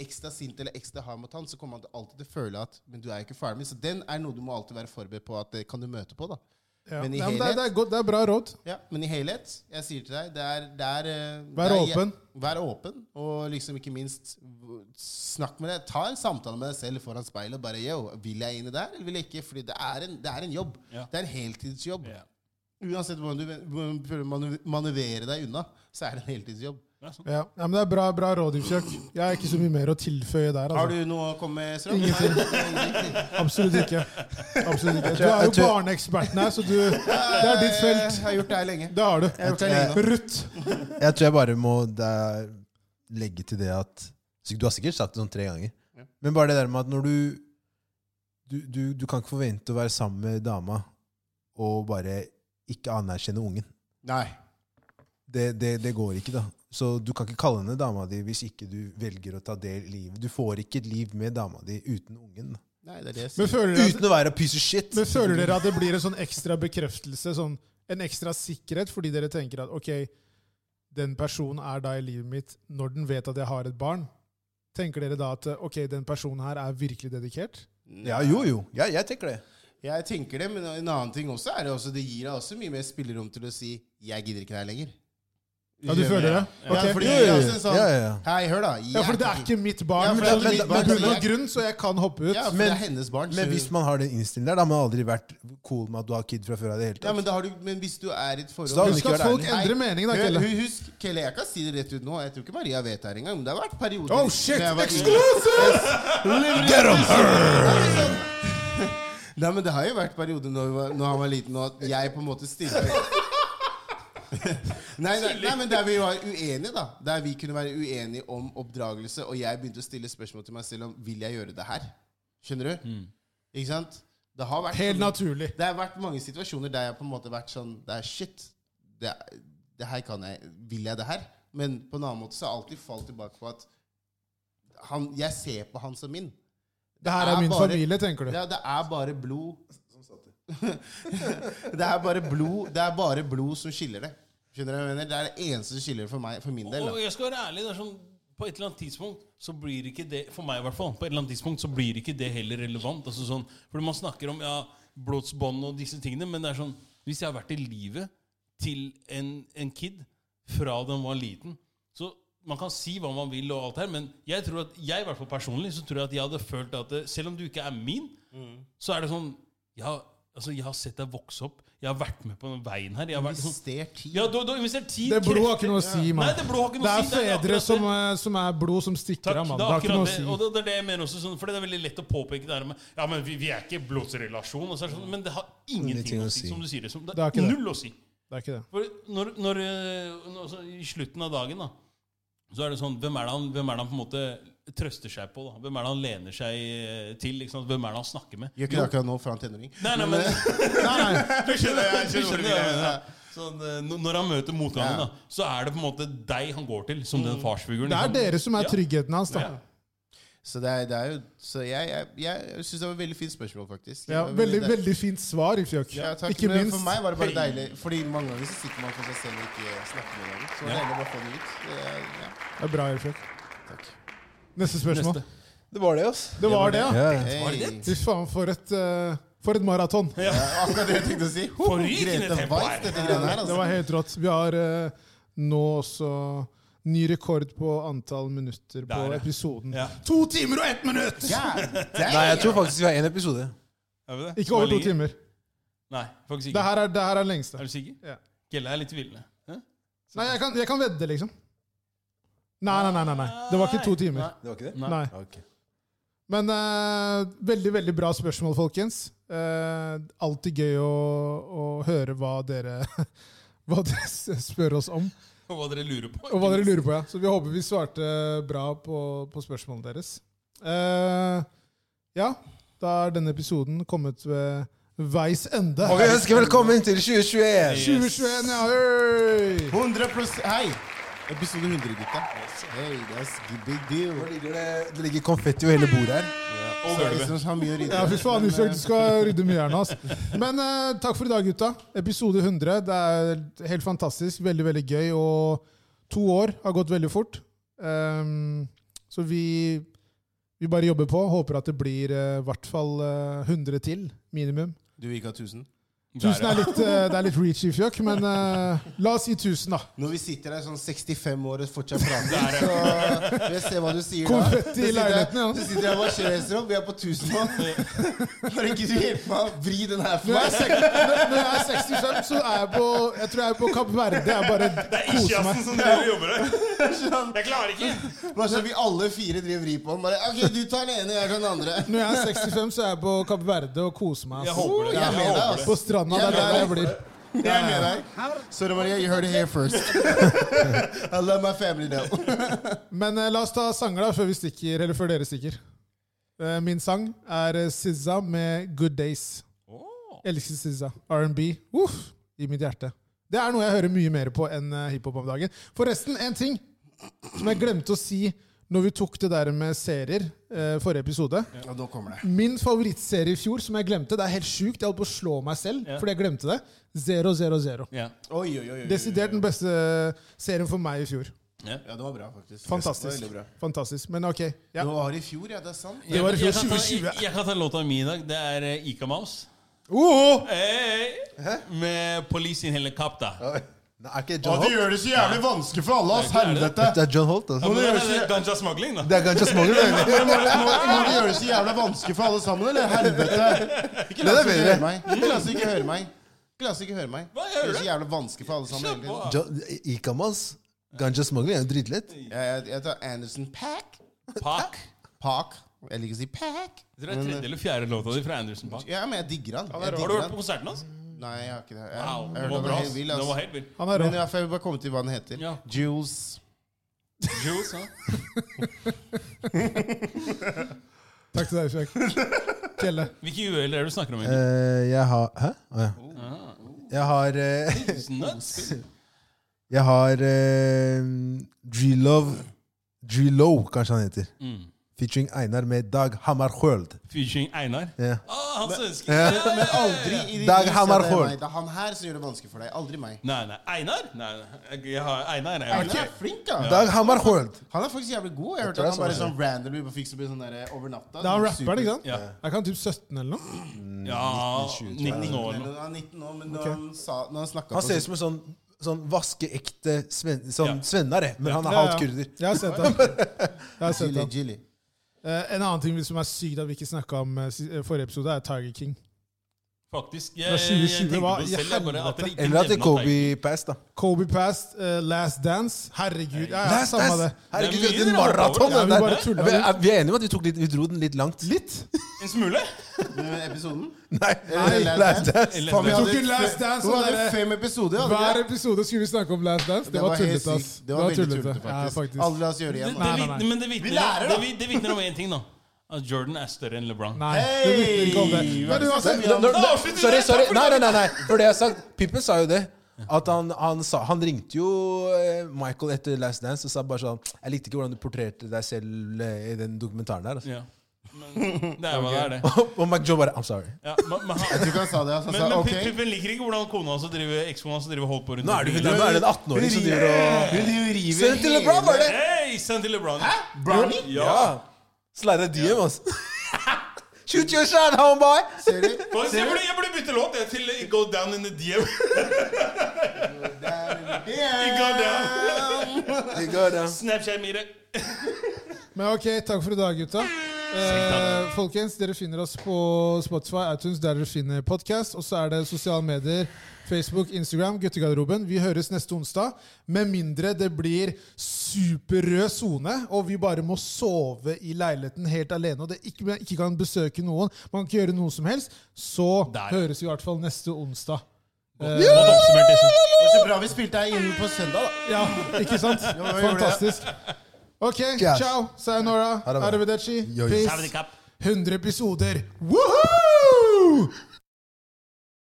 [SPEAKER 4] ekstra sint eller ekstra hard mot han, så kommer han til alltid til å føle at Men du er ikke faren min. Så den er noe du må alltid være forberedt på at det kan du møte på, da.
[SPEAKER 1] Ja.
[SPEAKER 4] Men i
[SPEAKER 1] Ja, men det, er,
[SPEAKER 4] helhet-
[SPEAKER 1] det, er godt, det er bra råd.
[SPEAKER 4] Ja, men i helhet, jeg sier til deg, det er, det er eh,
[SPEAKER 1] Vær
[SPEAKER 4] det er,
[SPEAKER 1] åpen.
[SPEAKER 4] Vær åpen, og liksom ikke minst v- snakk med deg. Ta en samtale med deg selv foran speilet. og Bare yo, vil jeg inn i det her, eller vil jeg ikke? Fordi det er en, det er en jobb.
[SPEAKER 3] Ja.
[SPEAKER 4] Det er en heltidsjobb.
[SPEAKER 3] Ja.
[SPEAKER 4] Uansett hvordan du hvordan du prøver å manu- manøvrere deg unna, så er det en heltidsjobb.
[SPEAKER 3] Det er sant.
[SPEAKER 1] Ja, ja men Det er bra, bra råd, Ifjok. Jeg har ikke så mye mer å tilføye der.
[SPEAKER 4] Har
[SPEAKER 1] Altså.
[SPEAKER 4] du noe å komme med, Strøm? Ingenting.
[SPEAKER 1] Absolutt ikke. Absolutt ikke. Du er jo
[SPEAKER 2] jeg tror-
[SPEAKER 1] barneeksperten her, så du, det er ditt felt.
[SPEAKER 4] Jeg har gjort det her lenge.
[SPEAKER 1] Det har du.
[SPEAKER 4] Jeg har gjort det her lenge nå.
[SPEAKER 1] Ruth.
[SPEAKER 2] altså, Jeg tror jeg bare må da legge til det at Du har sikkert sagt det sånn tre ganger,
[SPEAKER 3] Ja.
[SPEAKER 2] Men bare det der med at når du du, du du kan ikke forvente å være sammen med dama og bare ikke anerkjenne ungen.
[SPEAKER 4] Nei.
[SPEAKER 2] Det, det, det går ikke, da. Så du kan ikke kalle henne dama di hvis ikke du velger å ta del i livet. Du får ikke et liv med dama di uten ungen. da.
[SPEAKER 4] Nei, det er det jeg
[SPEAKER 1] Men
[SPEAKER 4] sier.
[SPEAKER 1] føler, dere at,
[SPEAKER 2] Uten å være a piece of shit!
[SPEAKER 1] men føler dere at det blir en sånn ekstra bekreftelse, sånn, en ekstra sikkerhet, fordi dere tenker at ok, den personen er da i livet mitt når den vet at jeg har et barn? Tenker dere da at ok, den personen her er virkelig dedikert?
[SPEAKER 2] Ja, jo, jo. Ja, jeg tenker det.
[SPEAKER 4] Jeg tenker det, men en annen ting også er det også, det gir deg også mye mer spillerom til å si 'jeg gidder ikke det her lenger'.
[SPEAKER 1] Ja, du føler det?
[SPEAKER 4] Ja,
[SPEAKER 1] Ok.
[SPEAKER 4] fordi
[SPEAKER 2] Jo,
[SPEAKER 4] det er
[SPEAKER 2] jo,
[SPEAKER 4] også en sånn
[SPEAKER 2] ja, ja, ja.
[SPEAKER 4] Hei, hør, da.
[SPEAKER 1] Ja, for
[SPEAKER 4] jeg-
[SPEAKER 1] det er ikke mitt
[SPEAKER 4] Ja,
[SPEAKER 1] barn,
[SPEAKER 4] for
[SPEAKER 1] men
[SPEAKER 4] det er
[SPEAKER 1] det
[SPEAKER 4] mitt
[SPEAKER 1] er
[SPEAKER 4] barn.
[SPEAKER 1] av bunn og grunn, så jeg kan hoppe ut.
[SPEAKER 4] Ja, for
[SPEAKER 2] Men-
[SPEAKER 4] det er hennes barn.
[SPEAKER 2] Men
[SPEAKER 4] så-
[SPEAKER 2] hvis man har den innstillingen der, da har man aldri vært cool med at du har kid fra før av i det hele
[SPEAKER 4] ja,
[SPEAKER 2] tatt.
[SPEAKER 4] men, da har du, men hvis du er i et forhold
[SPEAKER 2] Så da har hun
[SPEAKER 1] Husk at folk endrer mening, da, Kelle.
[SPEAKER 4] Hør, Husk, Kelle, jeg kan si det rett ut nå. Jeg tror ikke Maria vet det her engang. Men det har vært perioder
[SPEAKER 1] Oh, shit!
[SPEAKER 4] når jeg var yngre.
[SPEAKER 2] Get him!
[SPEAKER 4] Nei, men det har jo vært perioder når, vi var- når han var liten, og at jeg på en måte stilte Nei, nei, nei, men der vi var uenige, da. Der vi kunne være uenige om oppdragelse, og jeg begynte å stille spørsmål til meg selv om vil jeg gjøre det her. Skjønner du? Ikke sant? Det har vært
[SPEAKER 1] Mm. Helt naturlig.
[SPEAKER 4] Det har vært mange situasjoner der jeg på en måte har vært sånn Det er shit. Det, er- det her kan jeg. Vil jeg det her? Men på en annen måte så har jeg alltid falt tilbake på at han, jeg ser på han som min.
[SPEAKER 1] Det her er min familie, tenker du.
[SPEAKER 4] Ja, det er bare blod Det er bare blod Det er bare blod som skiller det. Skjønner du hva jeg mener? Det er det eneste som skiller det for meg, for min del.
[SPEAKER 3] Og
[SPEAKER 4] Da.
[SPEAKER 3] jeg skal være ærlig, det er sånn på et eller annet tidspunkt så blir ikke det For meg i hvert fall. På et eller annet tidspunkt så blir ikke det heller relevant. Altså sånn, fordi man snakker om ja, blodsbånd og disse tingene, men det er sånn Hvis jeg har vært i livet til en, en kid fra den var liten Så man kan si hva man vil, og alt her, men jeg tror at, jeg i hvert fall personlig så tror jeg at jeg hadde følt at eh, selv om du ikke er min,
[SPEAKER 1] Mm.
[SPEAKER 3] så er det sånn jeg har, altså, jeg har sett deg vokse opp. Jeg har vært med på den veien her. Jeg har vært sånn,
[SPEAKER 4] Investert tid.
[SPEAKER 3] ja, du, du har investert tid,
[SPEAKER 1] Det blodet har ikke noe å si,
[SPEAKER 3] Nei,
[SPEAKER 1] mann.
[SPEAKER 3] det blod har ikke
[SPEAKER 1] Det
[SPEAKER 3] noe å
[SPEAKER 1] er
[SPEAKER 3] si. akkurat
[SPEAKER 1] fedre
[SPEAKER 3] det.
[SPEAKER 1] som, eh, som er blod som stikker
[SPEAKER 3] Takk,
[SPEAKER 1] av, mann.
[SPEAKER 3] det
[SPEAKER 1] Det
[SPEAKER 3] er
[SPEAKER 1] har ikke noe
[SPEAKER 3] akkurat
[SPEAKER 1] å
[SPEAKER 3] det.
[SPEAKER 1] si.
[SPEAKER 3] Og det, det er det jeg mener også, sånn, for det er veldig lett å påpeke det her med Ja, men vi, vi er ikke i blodsrelasjon, og så er det sånn, men det har ingenting å si, som du sier. Liksom. Det
[SPEAKER 1] Det er
[SPEAKER 3] er
[SPEAKER 1] ikke det.
[SPEAKER 3] null å si.
[SPEAKER 1] Det er ikke det.
[SPEAKER 3] For når, når, øh, når altså, I slutten av dagen, da, så er det sånn Hvem er det han, hvem er det han på en måte trøster seg på? da? Hvem er det han lener seg øh, til? Ikke sant? Hvem er det han snakker med?
[SPEAKER 4] Gjør ikke det akkurat nå, for han er tenåring.
[SPEAKER 3] Nei, nei, men Du skjønner,
[SPEAKER 4] jeg
[SPEAKER 3] du
[SPEAKER 4] skjønner
[SPEAKER 3] skjønner
[SPEAKER 4] hvor du
[SPEAKER 3] hva jeg
[SPEAKER 4] vil.
[SPEAKER 3] mener. Sånn, eh, n- når han møter motgangen,
[SPEAKER 4] Ja.
[SPEAKER 3] da, så er det på en måte deg han går til, som den farsfiguren.
[SPEAKER 1] Mm. Det er
[SPEAKER 3] liksom.
[SPEAKER 1] dere som er
[SPEAKER 3] Ja.
[SPEAKER 1] tryggheten hans, da.
[SPEAKER 3] Ja.
[SPEAKER 4] Så, det er, det er jo, så jeg, jeg, jeg syns det var et veldig fint spørsmål, faktisk. Det
[SPEAKER 1] Ja,
[SPEAKER 4] var
[SPEAKER 1] veldig,
[SPEAKER 4] det-
[SPEAKER 1] veldig fint svar, Ifjok.
[SPEAKER 4] Ja, takk.
[SPEAKER 1] Ikke
[SPEAKER 4] men
[SPEAKER 1] minst.
[SPEAKER 4] For meg var det bare
[SPEAKER 3] Hei.
[SPEAKER 4] deilig. Fordi mange ganger så sitter man for seg selv og ikke snakker med hverandre. Så det er deilig å bare få det ut. Det er, ja.
[SPEAKER 1] Det er bra, Ifjok.
[SPEAKER 4] Takk.
[SPEAKER 1] Neste spørsmål.
[SPEAKER 3] Neste.
[SPEAKER 2] Det var det, ass.
[SPEAKER 1] Det var det, ja.
[SPEAKER 2] Ja.
[SPEAKER 4] Hey.
[SPEAKER 3] Var det det?
[SPEAKER 1] Fy faen, for et, eh, for et maraton.
[SPEAKER 3] Ja.
[SPEAKER 4] Akkurat det jeg tenkte å si. Ho,
[SPEAKER 3] Forrykende
[SPEAKER 4] Grete
[SPEAKER 3] tempo
[SPEAKER 4] Weiss,
[SPEAKER 3] her.
[SPEAKER 4] dette greiene her,
[SPEAKER 1] Det var
[SPEAKER 4] altså.
[SPEAKER 1] helt rått. Vi har eh, nå også ny rekord på antall minutter på
[SPEAKER 3] Der, ja.
[SPEAKER 1] episoden.
[SPEAKER 3] Ja.
[SPEAKER 1] To timer og ett minutt!
[SPEAKER 4] God damn!
[SPEAKER 2] Nei, jeg tror faktisk vi har én episode.
[SPEAKER 3] Er vi det?
[SPEAKER 1] Ikke over to
[SPEAKER 3] Ligger?
[SPEAKER 1] timer.
[SPEAKER 3] Nei, faktisk
[SPEAKER 1] Det
[SPEAKER 3] ikke.
[SPEAKER 1] her er, det her er den lengste.
[SPEAKER 3] Er du sikker?
[SPEAKER 1] Ja.
[SPEAKER 3] Gelle er litt villende. Hæ?
[SPEAKER 1] Nei, jeg kan, jeg kan vedde, liksom. Nei, nei, nei, nei, nei. Det var ikke to timer.
[SPEAKER 2] Det var ikke det?
[SPEAKER 3] Nei.
[SPEAKER 1] Nei.
[SPEAKER 2] Ok.
[SPEAKER 1] Men eh, veldig, veldig bra spørsmål, folkens. Eh, alltid gøy å, å høre hva dere, hva dere s- spør oss om.
[SPEAKER 3] Og hva dere lurer på.
[SPEAKER 1] Og hva dere lurer på, ja. Så vi håper vi svarte bra på, på spørsmålene deres. Eh, ja, da er denne episoden kommet ved veis ende.
[SPEAKER 2] Og vi ønsker velkommen til 2021!
[SPEAKER 1] 2021, ja! Øy!
[SPEAKER 4] 100 Hei! Episode 100, gutta. Hey, that's a big deal.
[SPEAKER 2] Nå ligger det, det ligger konfetti over hele bordet her.
[SPEAKER 4] Så
[SPEAKER 3] Og
[SPEAKER 4] er det
[SPEAKER 3] gulvet.
[SPEAKER 4] som har mye å rydde.
[SPEAKER 1] Ja, fy faen,
[SPEAKER 4] Men,
[SPEAKER 1] Isak,
[SPEAKER 4] eh,
[SPEAKER 1] du skal rydde mye her nå. ass. Men eh, takk for i dag, gutta. Episode 100. Det er helt fantastisk. Veldig, veldig gøy. Og to år har gått veldig fort. Ehm, så vi, vi bare jobber på. Håper at det blir eh, i hvert fall eh, 100 til, minimum.
[SPEAKER 4] Du vil ikke ha 1000?
[SPEAKER 1] Tusen er litt, eh, det er litt reach i fjøk, men eh, la oss si 1000, da.
[SPEAKER 4] Når vi sitter her sånn 65 år og fortsatt prater, så vil jeg se hva du sier da.
[SPEAKER 1] Konfetti i
[SPEAKER 4] Så sitter jeg-
[SPEAKER 1] leiligheten, ja.
[SPEAKER 4] Så sitter jeg og bare reiser opp. Vi er på 1000 nå. Bare ikke du hjelper meg å vri den her for
[SPEAKER 1] Når jeg
[SPEAKER 4] meg.
[SPEAKER 1] er, sek- når- når jeg er 65, så er jeg på Jeg tror jeg er på Kapp Verde. Jeg bare
[SPEAKER 3] Det er ikke
[SPEAKER 1] koser meg.
[SPEAKER 3] jassen som driver og jobber her. Jeg klarer ikke.
[SPEAKER 4] Bare så vi alle fire driver og vrir på den. Bare OK, du tar den ene, jeg tar den andre.
[SPEAKER 1] Når jeg er 65, så er jeg på Kapp Verde og koser meg.
[SPEAKER 3] Jeg
[SPEAKER 1] ass.
[SPEAKER 3] håper det.
[SPEAKER 4] Jeg er med
[SPEAKER 3] Jeg
[SPEAKER 4] deg,
[SPEAKER 3] håper det.
[SPEAKER 1] På stranda. Det er der jeg blir.
[SPEAKER 4] Jeg er med deg. Sorry, Maria. You heard it here first. I love my family now.
[SPEAKER 1] Men eh, la oss ta sanger, da, før vi stikker. Eller før dere stikker. Eh, Min sang er eh, SZA med 'Good Days'.
[SPEAKER 3] Åh.
[SPEAKER 1] Elsker SZA. R&B. Uff, I mitt hjerte. Det er noe jeg hører mye mer på enn eh, hiphop om dagen. Forresten, en ting som jeg glemte å si når vi tok det der med serier eh, forrige episode.
[SPEAKER 4] Og da kommer det.
[SPEAKER 1] Min favorittserie i fjor som jeg glemte, det er helt sjukt, jeg holdt på å slå meg selv
[SPEAKER 3] Ja.
[SPEAKER 1] fordi jeg glemte det, 000.
[SPEAKER 3] Ja.
[SPEAKER 4] Oi, oi, oi, oi. oi.
[SPEAKER 1] Desidert den beste eh, serien for meg i fjor.
[SPEAKER 3] Ja.
[SPEAKER 4] Ja, det var bra, faktisk. Det var
[SPEAKER 1] Fantastisk.
[SPEAKER 4] veldig bra.
[SPEAKER 1] Fantastisk. Men ok. Ja.
[SPEAKER 4] Det var i fjor, ja. Det er sant.
[SPEAKER 1] Det var i
[SPEAKER 3] Jeg
[SPEAKER 1] fjor
[SPEAKER 3] kan ta-
[SPEAKER 1] 2020.
[SPEAKER 3] Jeg, jeg kan ta låta mi i dag. Det er eh, Ika Mouse.
[SPEAKER 1] Oh!
[SPEAKER 3] Hey. Med Police in Helicopter.
[SPEAKER 2] Nei, er ikke John Holt?
[SPEAKER 4] gjør det så jævlig vanskelig for alle, ass! Helvete!
[SPEAKER 2] Det er John Holt, altså.
[SPEAKER 3] Men det er- det er Ganja smuggling, da.
[SPEAKER 2] Det er ganske smålig, det.
[SPEAKER 4] Må, må, må du gjøre det så jævla vanskelig for alle sammen, eller? Helvete! Ikke la
[SPEAKER 2] Det er
[SPEAKER 4] oss ikke
[SPEAKER 2] bedre.
[SPEAKER 4] høre meg. Ikke la oss ikke høre meg. Ikke la oss ikke høre meg.
[SPEAKER 3] Hva gjør
[SPEAKER 4] Det er
[SPEAKER 3] du?
[SPEAKER 4] så jævla vanskelig for alle sammen.
[SPEAKER 1] sånn
[SPEAKER 3] Kjør
[SPEAKER 4] egentlig.
[SPEAKER 3] på.
[SPEAKER 2] John- Ikamas. Ganja smuggling er jo dritlett.
[SPEAKER 4] Jeg, jeg, jeg tar Anderson Pack.
[SPEAKER 3] Park.
[SPEAKER 4] Park. Jeg liker å si Pack.
[SPEAKER 3] Jeg tror det er tredje eller fjerde låta di fra Anderson Park.
[SPEAKER 4] Ja, men jeg digger han. Jeg
[SPEAKER 3] Har du
[SPEAKER 4] digger
[SPEAKER 3] hørt
[SPEAKER 4] han.
[SPEAKER 3] på konserten hans?
[SPEAKER 4] Nei, jeg har ikke det. Jeg,
[SPEAKER 3] Wow,
[SPEAKER 4] jeg
[SPEAKER 3] det
[SPEAKER 4] hørte
[SPEAKER 3] var
[SPEAKER 4] han
[SPEAKER 3] bra.
[SPEAKER 4] var
[SPEAKER 3] ass.
[SPEAKER 4] helt vill,
[SPEAKER 3] Det var
[SPEAKER 4] ass.
[SPEAKER 3] helt vilt.
[SPEAKER 1] Han er
[SPEAKER 4] Men
[SPEAKER 1] rå.
[SPEAKER 4] i hvert fall, jeg vil bare komme til hva den heter.
[SPEAKER 3] Ja.
[SPEAKER 4] Jules.
[SPEAKER 3] Jules, ja.
[SPEAKER 1] Takk til deg, Fjell. Kjelle.
[SPEAKER 3] Hvilke uhell er det du snakker om? egentlig?
[SPEAKER 2] Eh, jeg har Hæ? Å ja. Jeg har eh,
[SPEAKER 3] Nuts.
[SPEAKER 2] Jeg har eh, Drillov Drillow, kanskje han heter. Featuring Einar med Dag Hammarskjöld.
[SPEAKER 3] Featuring Einar.
[SPEAKER 2] Ja.
[SPEAKER 3] Ah, han svenske.
[SPEAKER 2] Ja.
[SPEAKER 4] Men aldri i ditt liv, så er
[SPEAKER 2] Dag
[SPEAKER 4] det
[SPEAKER 2] Hammarskjöld.
[SPEAKER 4] meg. Det er han her som gjør det vanskelig for deg. Aldri meg.
[SPEAKER 3] Nei, nei. Einar? Nei, nei. Jeg har Einar. Jeg
[SPEAKER 4] Han
[SPEAKER 3] har
[SPEAKER 4] er flink, da.
[SPEAKER 2] Dag Hammarskjöld!
[SPEAKER 4] Han er faktisk jævlig god. Jeg hørte
[SPEAKER 2] tror
[SPEAKER 4] at han
[SPEAKER 2] jeg
[SPEAKER 4] bare
[SPEAKER 2] så
[SPEAKER 4] sånn randomly bare fikk så mye sånn der over natta.
[SPEAKER 1] Det er han
[SPEAKER 4] Sånn
[SPEAKER 1] rapperen, ikke sant?
[SPEAKER 3] Ja.
[SPEAKER 1] Er ikke han typ 17 eller noe?
[SPEAKER 3] ja 19 år eller
[SPEAKER 4] Men
[SPEAKER 3] noe.
[SPEAKER 4] Han er 19 nå, men da han, sa, når han snakka
[SPEAKER 2] Han ser ut som en sånn, sånn vaskeekte sven, sånn
[SPEAKER 3] Ja.
[SPEAKER 2] svennare, men han
[SPEAKER 1] Ja,
[SPEAKER 2] er
[SPEAKER 1] ja.
[SPEAKER 2] halvt kurder.
[SPEAKER 1] Jeg har sett han. Jeg har sett
[SPEAKER 4] Jilly,
[SPEAKER 1] han.
[SPEAKER 4] Jilly.
[SPEAKER 1] Eh, en annen ting som er sykt at vi ikke snakka om eh, si- eh, forrige episode, er Tiger King.
[SPEAKER 3] Faktisk. eh,
[SPEAKER 1] Fra
[SPEAKER 3] Jeg,
[SPEAKER 1] 2020,
[SPEAKER 3] jeg tenkte
[SPEAKER 1] hva
[SPEAKER 3] på det
[SPEAKER 1] i
[SPEAKER 3] selv. Jeg bare,
[SPEAKER 1] helvete?
[SPEAKER 3] at dere ikke
[SPEAKER 2] Eller at det
[SPEAKER 3] nevner Tiger King.
[SPEAKER 2] er Kobe Pass, da.
[SPEAKER 1] Kobe Past, eh, Last Dance. Herregud. Ja, ja,
[SPEAKER 2] Last
[SPEAKER 1] samme
[SPEAKER 2] Dance!
[SPEAKER 1] det.
[SPEAKER 2] Herregud,
[SPEAKER 3] Det er
[SPEAKER 2] det
[SPEAKER 3] mye
[SPEAKER 2] er en
[SPEAKER 3] dere hopper
[SPEAKER 2] maraton!
[SPEAKER 3] over.
[SPEAKER 1] Ja,
[SPEAKER 2] den
[SPEAKER 1] vi
[SPEAKER 2] der.
[SPEAKER 1] bare tuller
[SPEAKER 2] vi,
[SPEAKER 1] litt.
[SPEAKER 2] er, vi er enige om at vi, tok litt, vi dro den litt langt.
[SPEAKER 1] Litt.
[SPEAKER 3] En smule?
[SPEAKER 4] Men episoden?
[SPEAKER 2] Nei,
[SPEAKER 4] Eller Last
[SPEAKER 2] Last
[SPEAKER 4] Dance.
[SPEAKER 2] Dance.
[SPEAKER 3] Eller-
[SPEAKER 1] Faen, vi
[SPEAKER 4] Vi
[SPEAKER 1] tok
[SPEAKER 4] hadde-
[SPEAKER 1] en Last Dance.
[SPEAKER 4] Hun
[SPEAKER 1] og
[SPEAKER 4] hadde
[SPEAKER 1] der-
[SPEAKER 4] fem episoder. hadde
[SPEAKER 1] Hver
[SPEAKER 4] vi ikke?
[SPEAKER 1] episode skulle vi snakke om Last Dance. Det var
[SPEAKER 4] helt
[SPEAKER 1] tullete, ass.
[SPEAKER 4] sykt. Det var veldig
[SPEAKER 1] Ja,
[SPEAKER 4] tullete, faktisk.
[SPEAKER 1] faktisk.
[SPEAKER 4] Aldri la oss gjøre
[SPEAKER 3] Det,
[SPEAKER 4] igjen. da.
[SPEAKER 3] det,
[SPEAKER 1] Nei, nei, nei.
[SPEAKER 3] vitner- men det vitner,
[SPEAKER 4] Vi lærer, da.
[SPEAKER 3] det vi- Det vitner om én ting, da. At Jordan er større enn LeBron.
[SPEAKER 1] Nei, det
[SPEAKER 4] Hey!
[SPEAKER 1] vitner ikke om det. Men uansett,
[SPEAKER 2] Når- når-
[SPEAKER 3] Da avslutter vi
[SPEAKER 2] Sorry,
[SPEAKER 3] det.
[SPEAKER 2] sorry.
[SPEAKER 3] Takk for
[SPEAKER 2] Nei,
[SPEAKER 3] det.
[SPEAKER 2] nei, nei. nei. For det jeg har sagt, Pippen sa jo det. At han, han, sa, han ringte jo eh, Michael etter Last Dance og sa bare sånn Jeg likte ikke hvordan du portretterte deg selv eh, i den dokumentaren der. Altså.
[SPEAKER 3] Ja. Men det er hva det er, det.
[SPEAKER 2] og Mike Joe bare I'm sorry.
[SPEAKER 3] Ja, men, men, han,
[SPEAKER 4] Jeg tror ikke han sa det. altså.
[SPEAKER 3] men,
[SPEAKER 4] Han
[SPEAKER 3] men
[SPEAKER 4] sa
[SPEAKER 3] Pip-
[SPEAKER 4] ok.
[SPEAKER 3] Pippen liker ikke hvordan kona hans og driver ekskona hans og driver holdt på rundt
[SPEAKER 2] Nå er det jo
[SPEAKER 3] omkring.
[SPEAKER 2] nå er det en 18-åring som driver og
[SPEAKER 4] Hun driver og river
[SPEAKER 2] Send til LeBron, var det?
[SPEAKER 3] Hei, send til LeBron. Hæ?
[SPEAKER 4] Brownie?
[SPEAKER 3] Ja.
[SPEAKER 2] Slide deg DM, altså. Shoot your shot, homeboy!
[SPEAKER 4] Ser du?
[SPEAKER 3] Hva, Jeg burde, jeg burde bytte låt jeg, til Go Down in the DM.
[SPEAKER 4] Yeah.
[SPEAKER 3] Go down.
[SPEAKER 2] You got him.
[SPEAKER 3] Snapchat meeting.
[SPEAKER 1] Men ok, takk for i dag, gutta. Eh, folkens, dere finner oss på Spotify, iTunes, der dere finner podkast. Og så er det sosiale medier, Facebook, Instagram, Guttegarderoben. Vi høres neste onsdag. Med mindre det blir superrød sone, og vi bare må sove i leiligheten helt alene, og det ikke, man ikke kan besøke noen, man kan ikke gjøre noe som helst, så
[SPEAKER 3] Der.
[SPEAKER 1] høres vi i hvert fall neste onsdag.
[SPEAKER 3] Godt oppsummert, liksom.
[SPEAKER 4] Det var Så bra vi spilte her inne på søndag, da.
[SPEAKER 1] Ja, ikke sant?
[SPEAKER 4] vi gjorde det.
[SPEAKER 1] Fantastisk. Ok,
[SPEAKER 2] Yes.
[SPEAKER 1] ciao. Sayonara.
[SPEAKER 2] Ha det bra.
[SPEAKER 1] Arrivederci.
[SPEAKER 2] Yo, yo.
[SPEAKER 1] Peace.
[SPEAKER 3] Saudi Cup.
[SPEAKER 1] 100 episoder. Woohoo!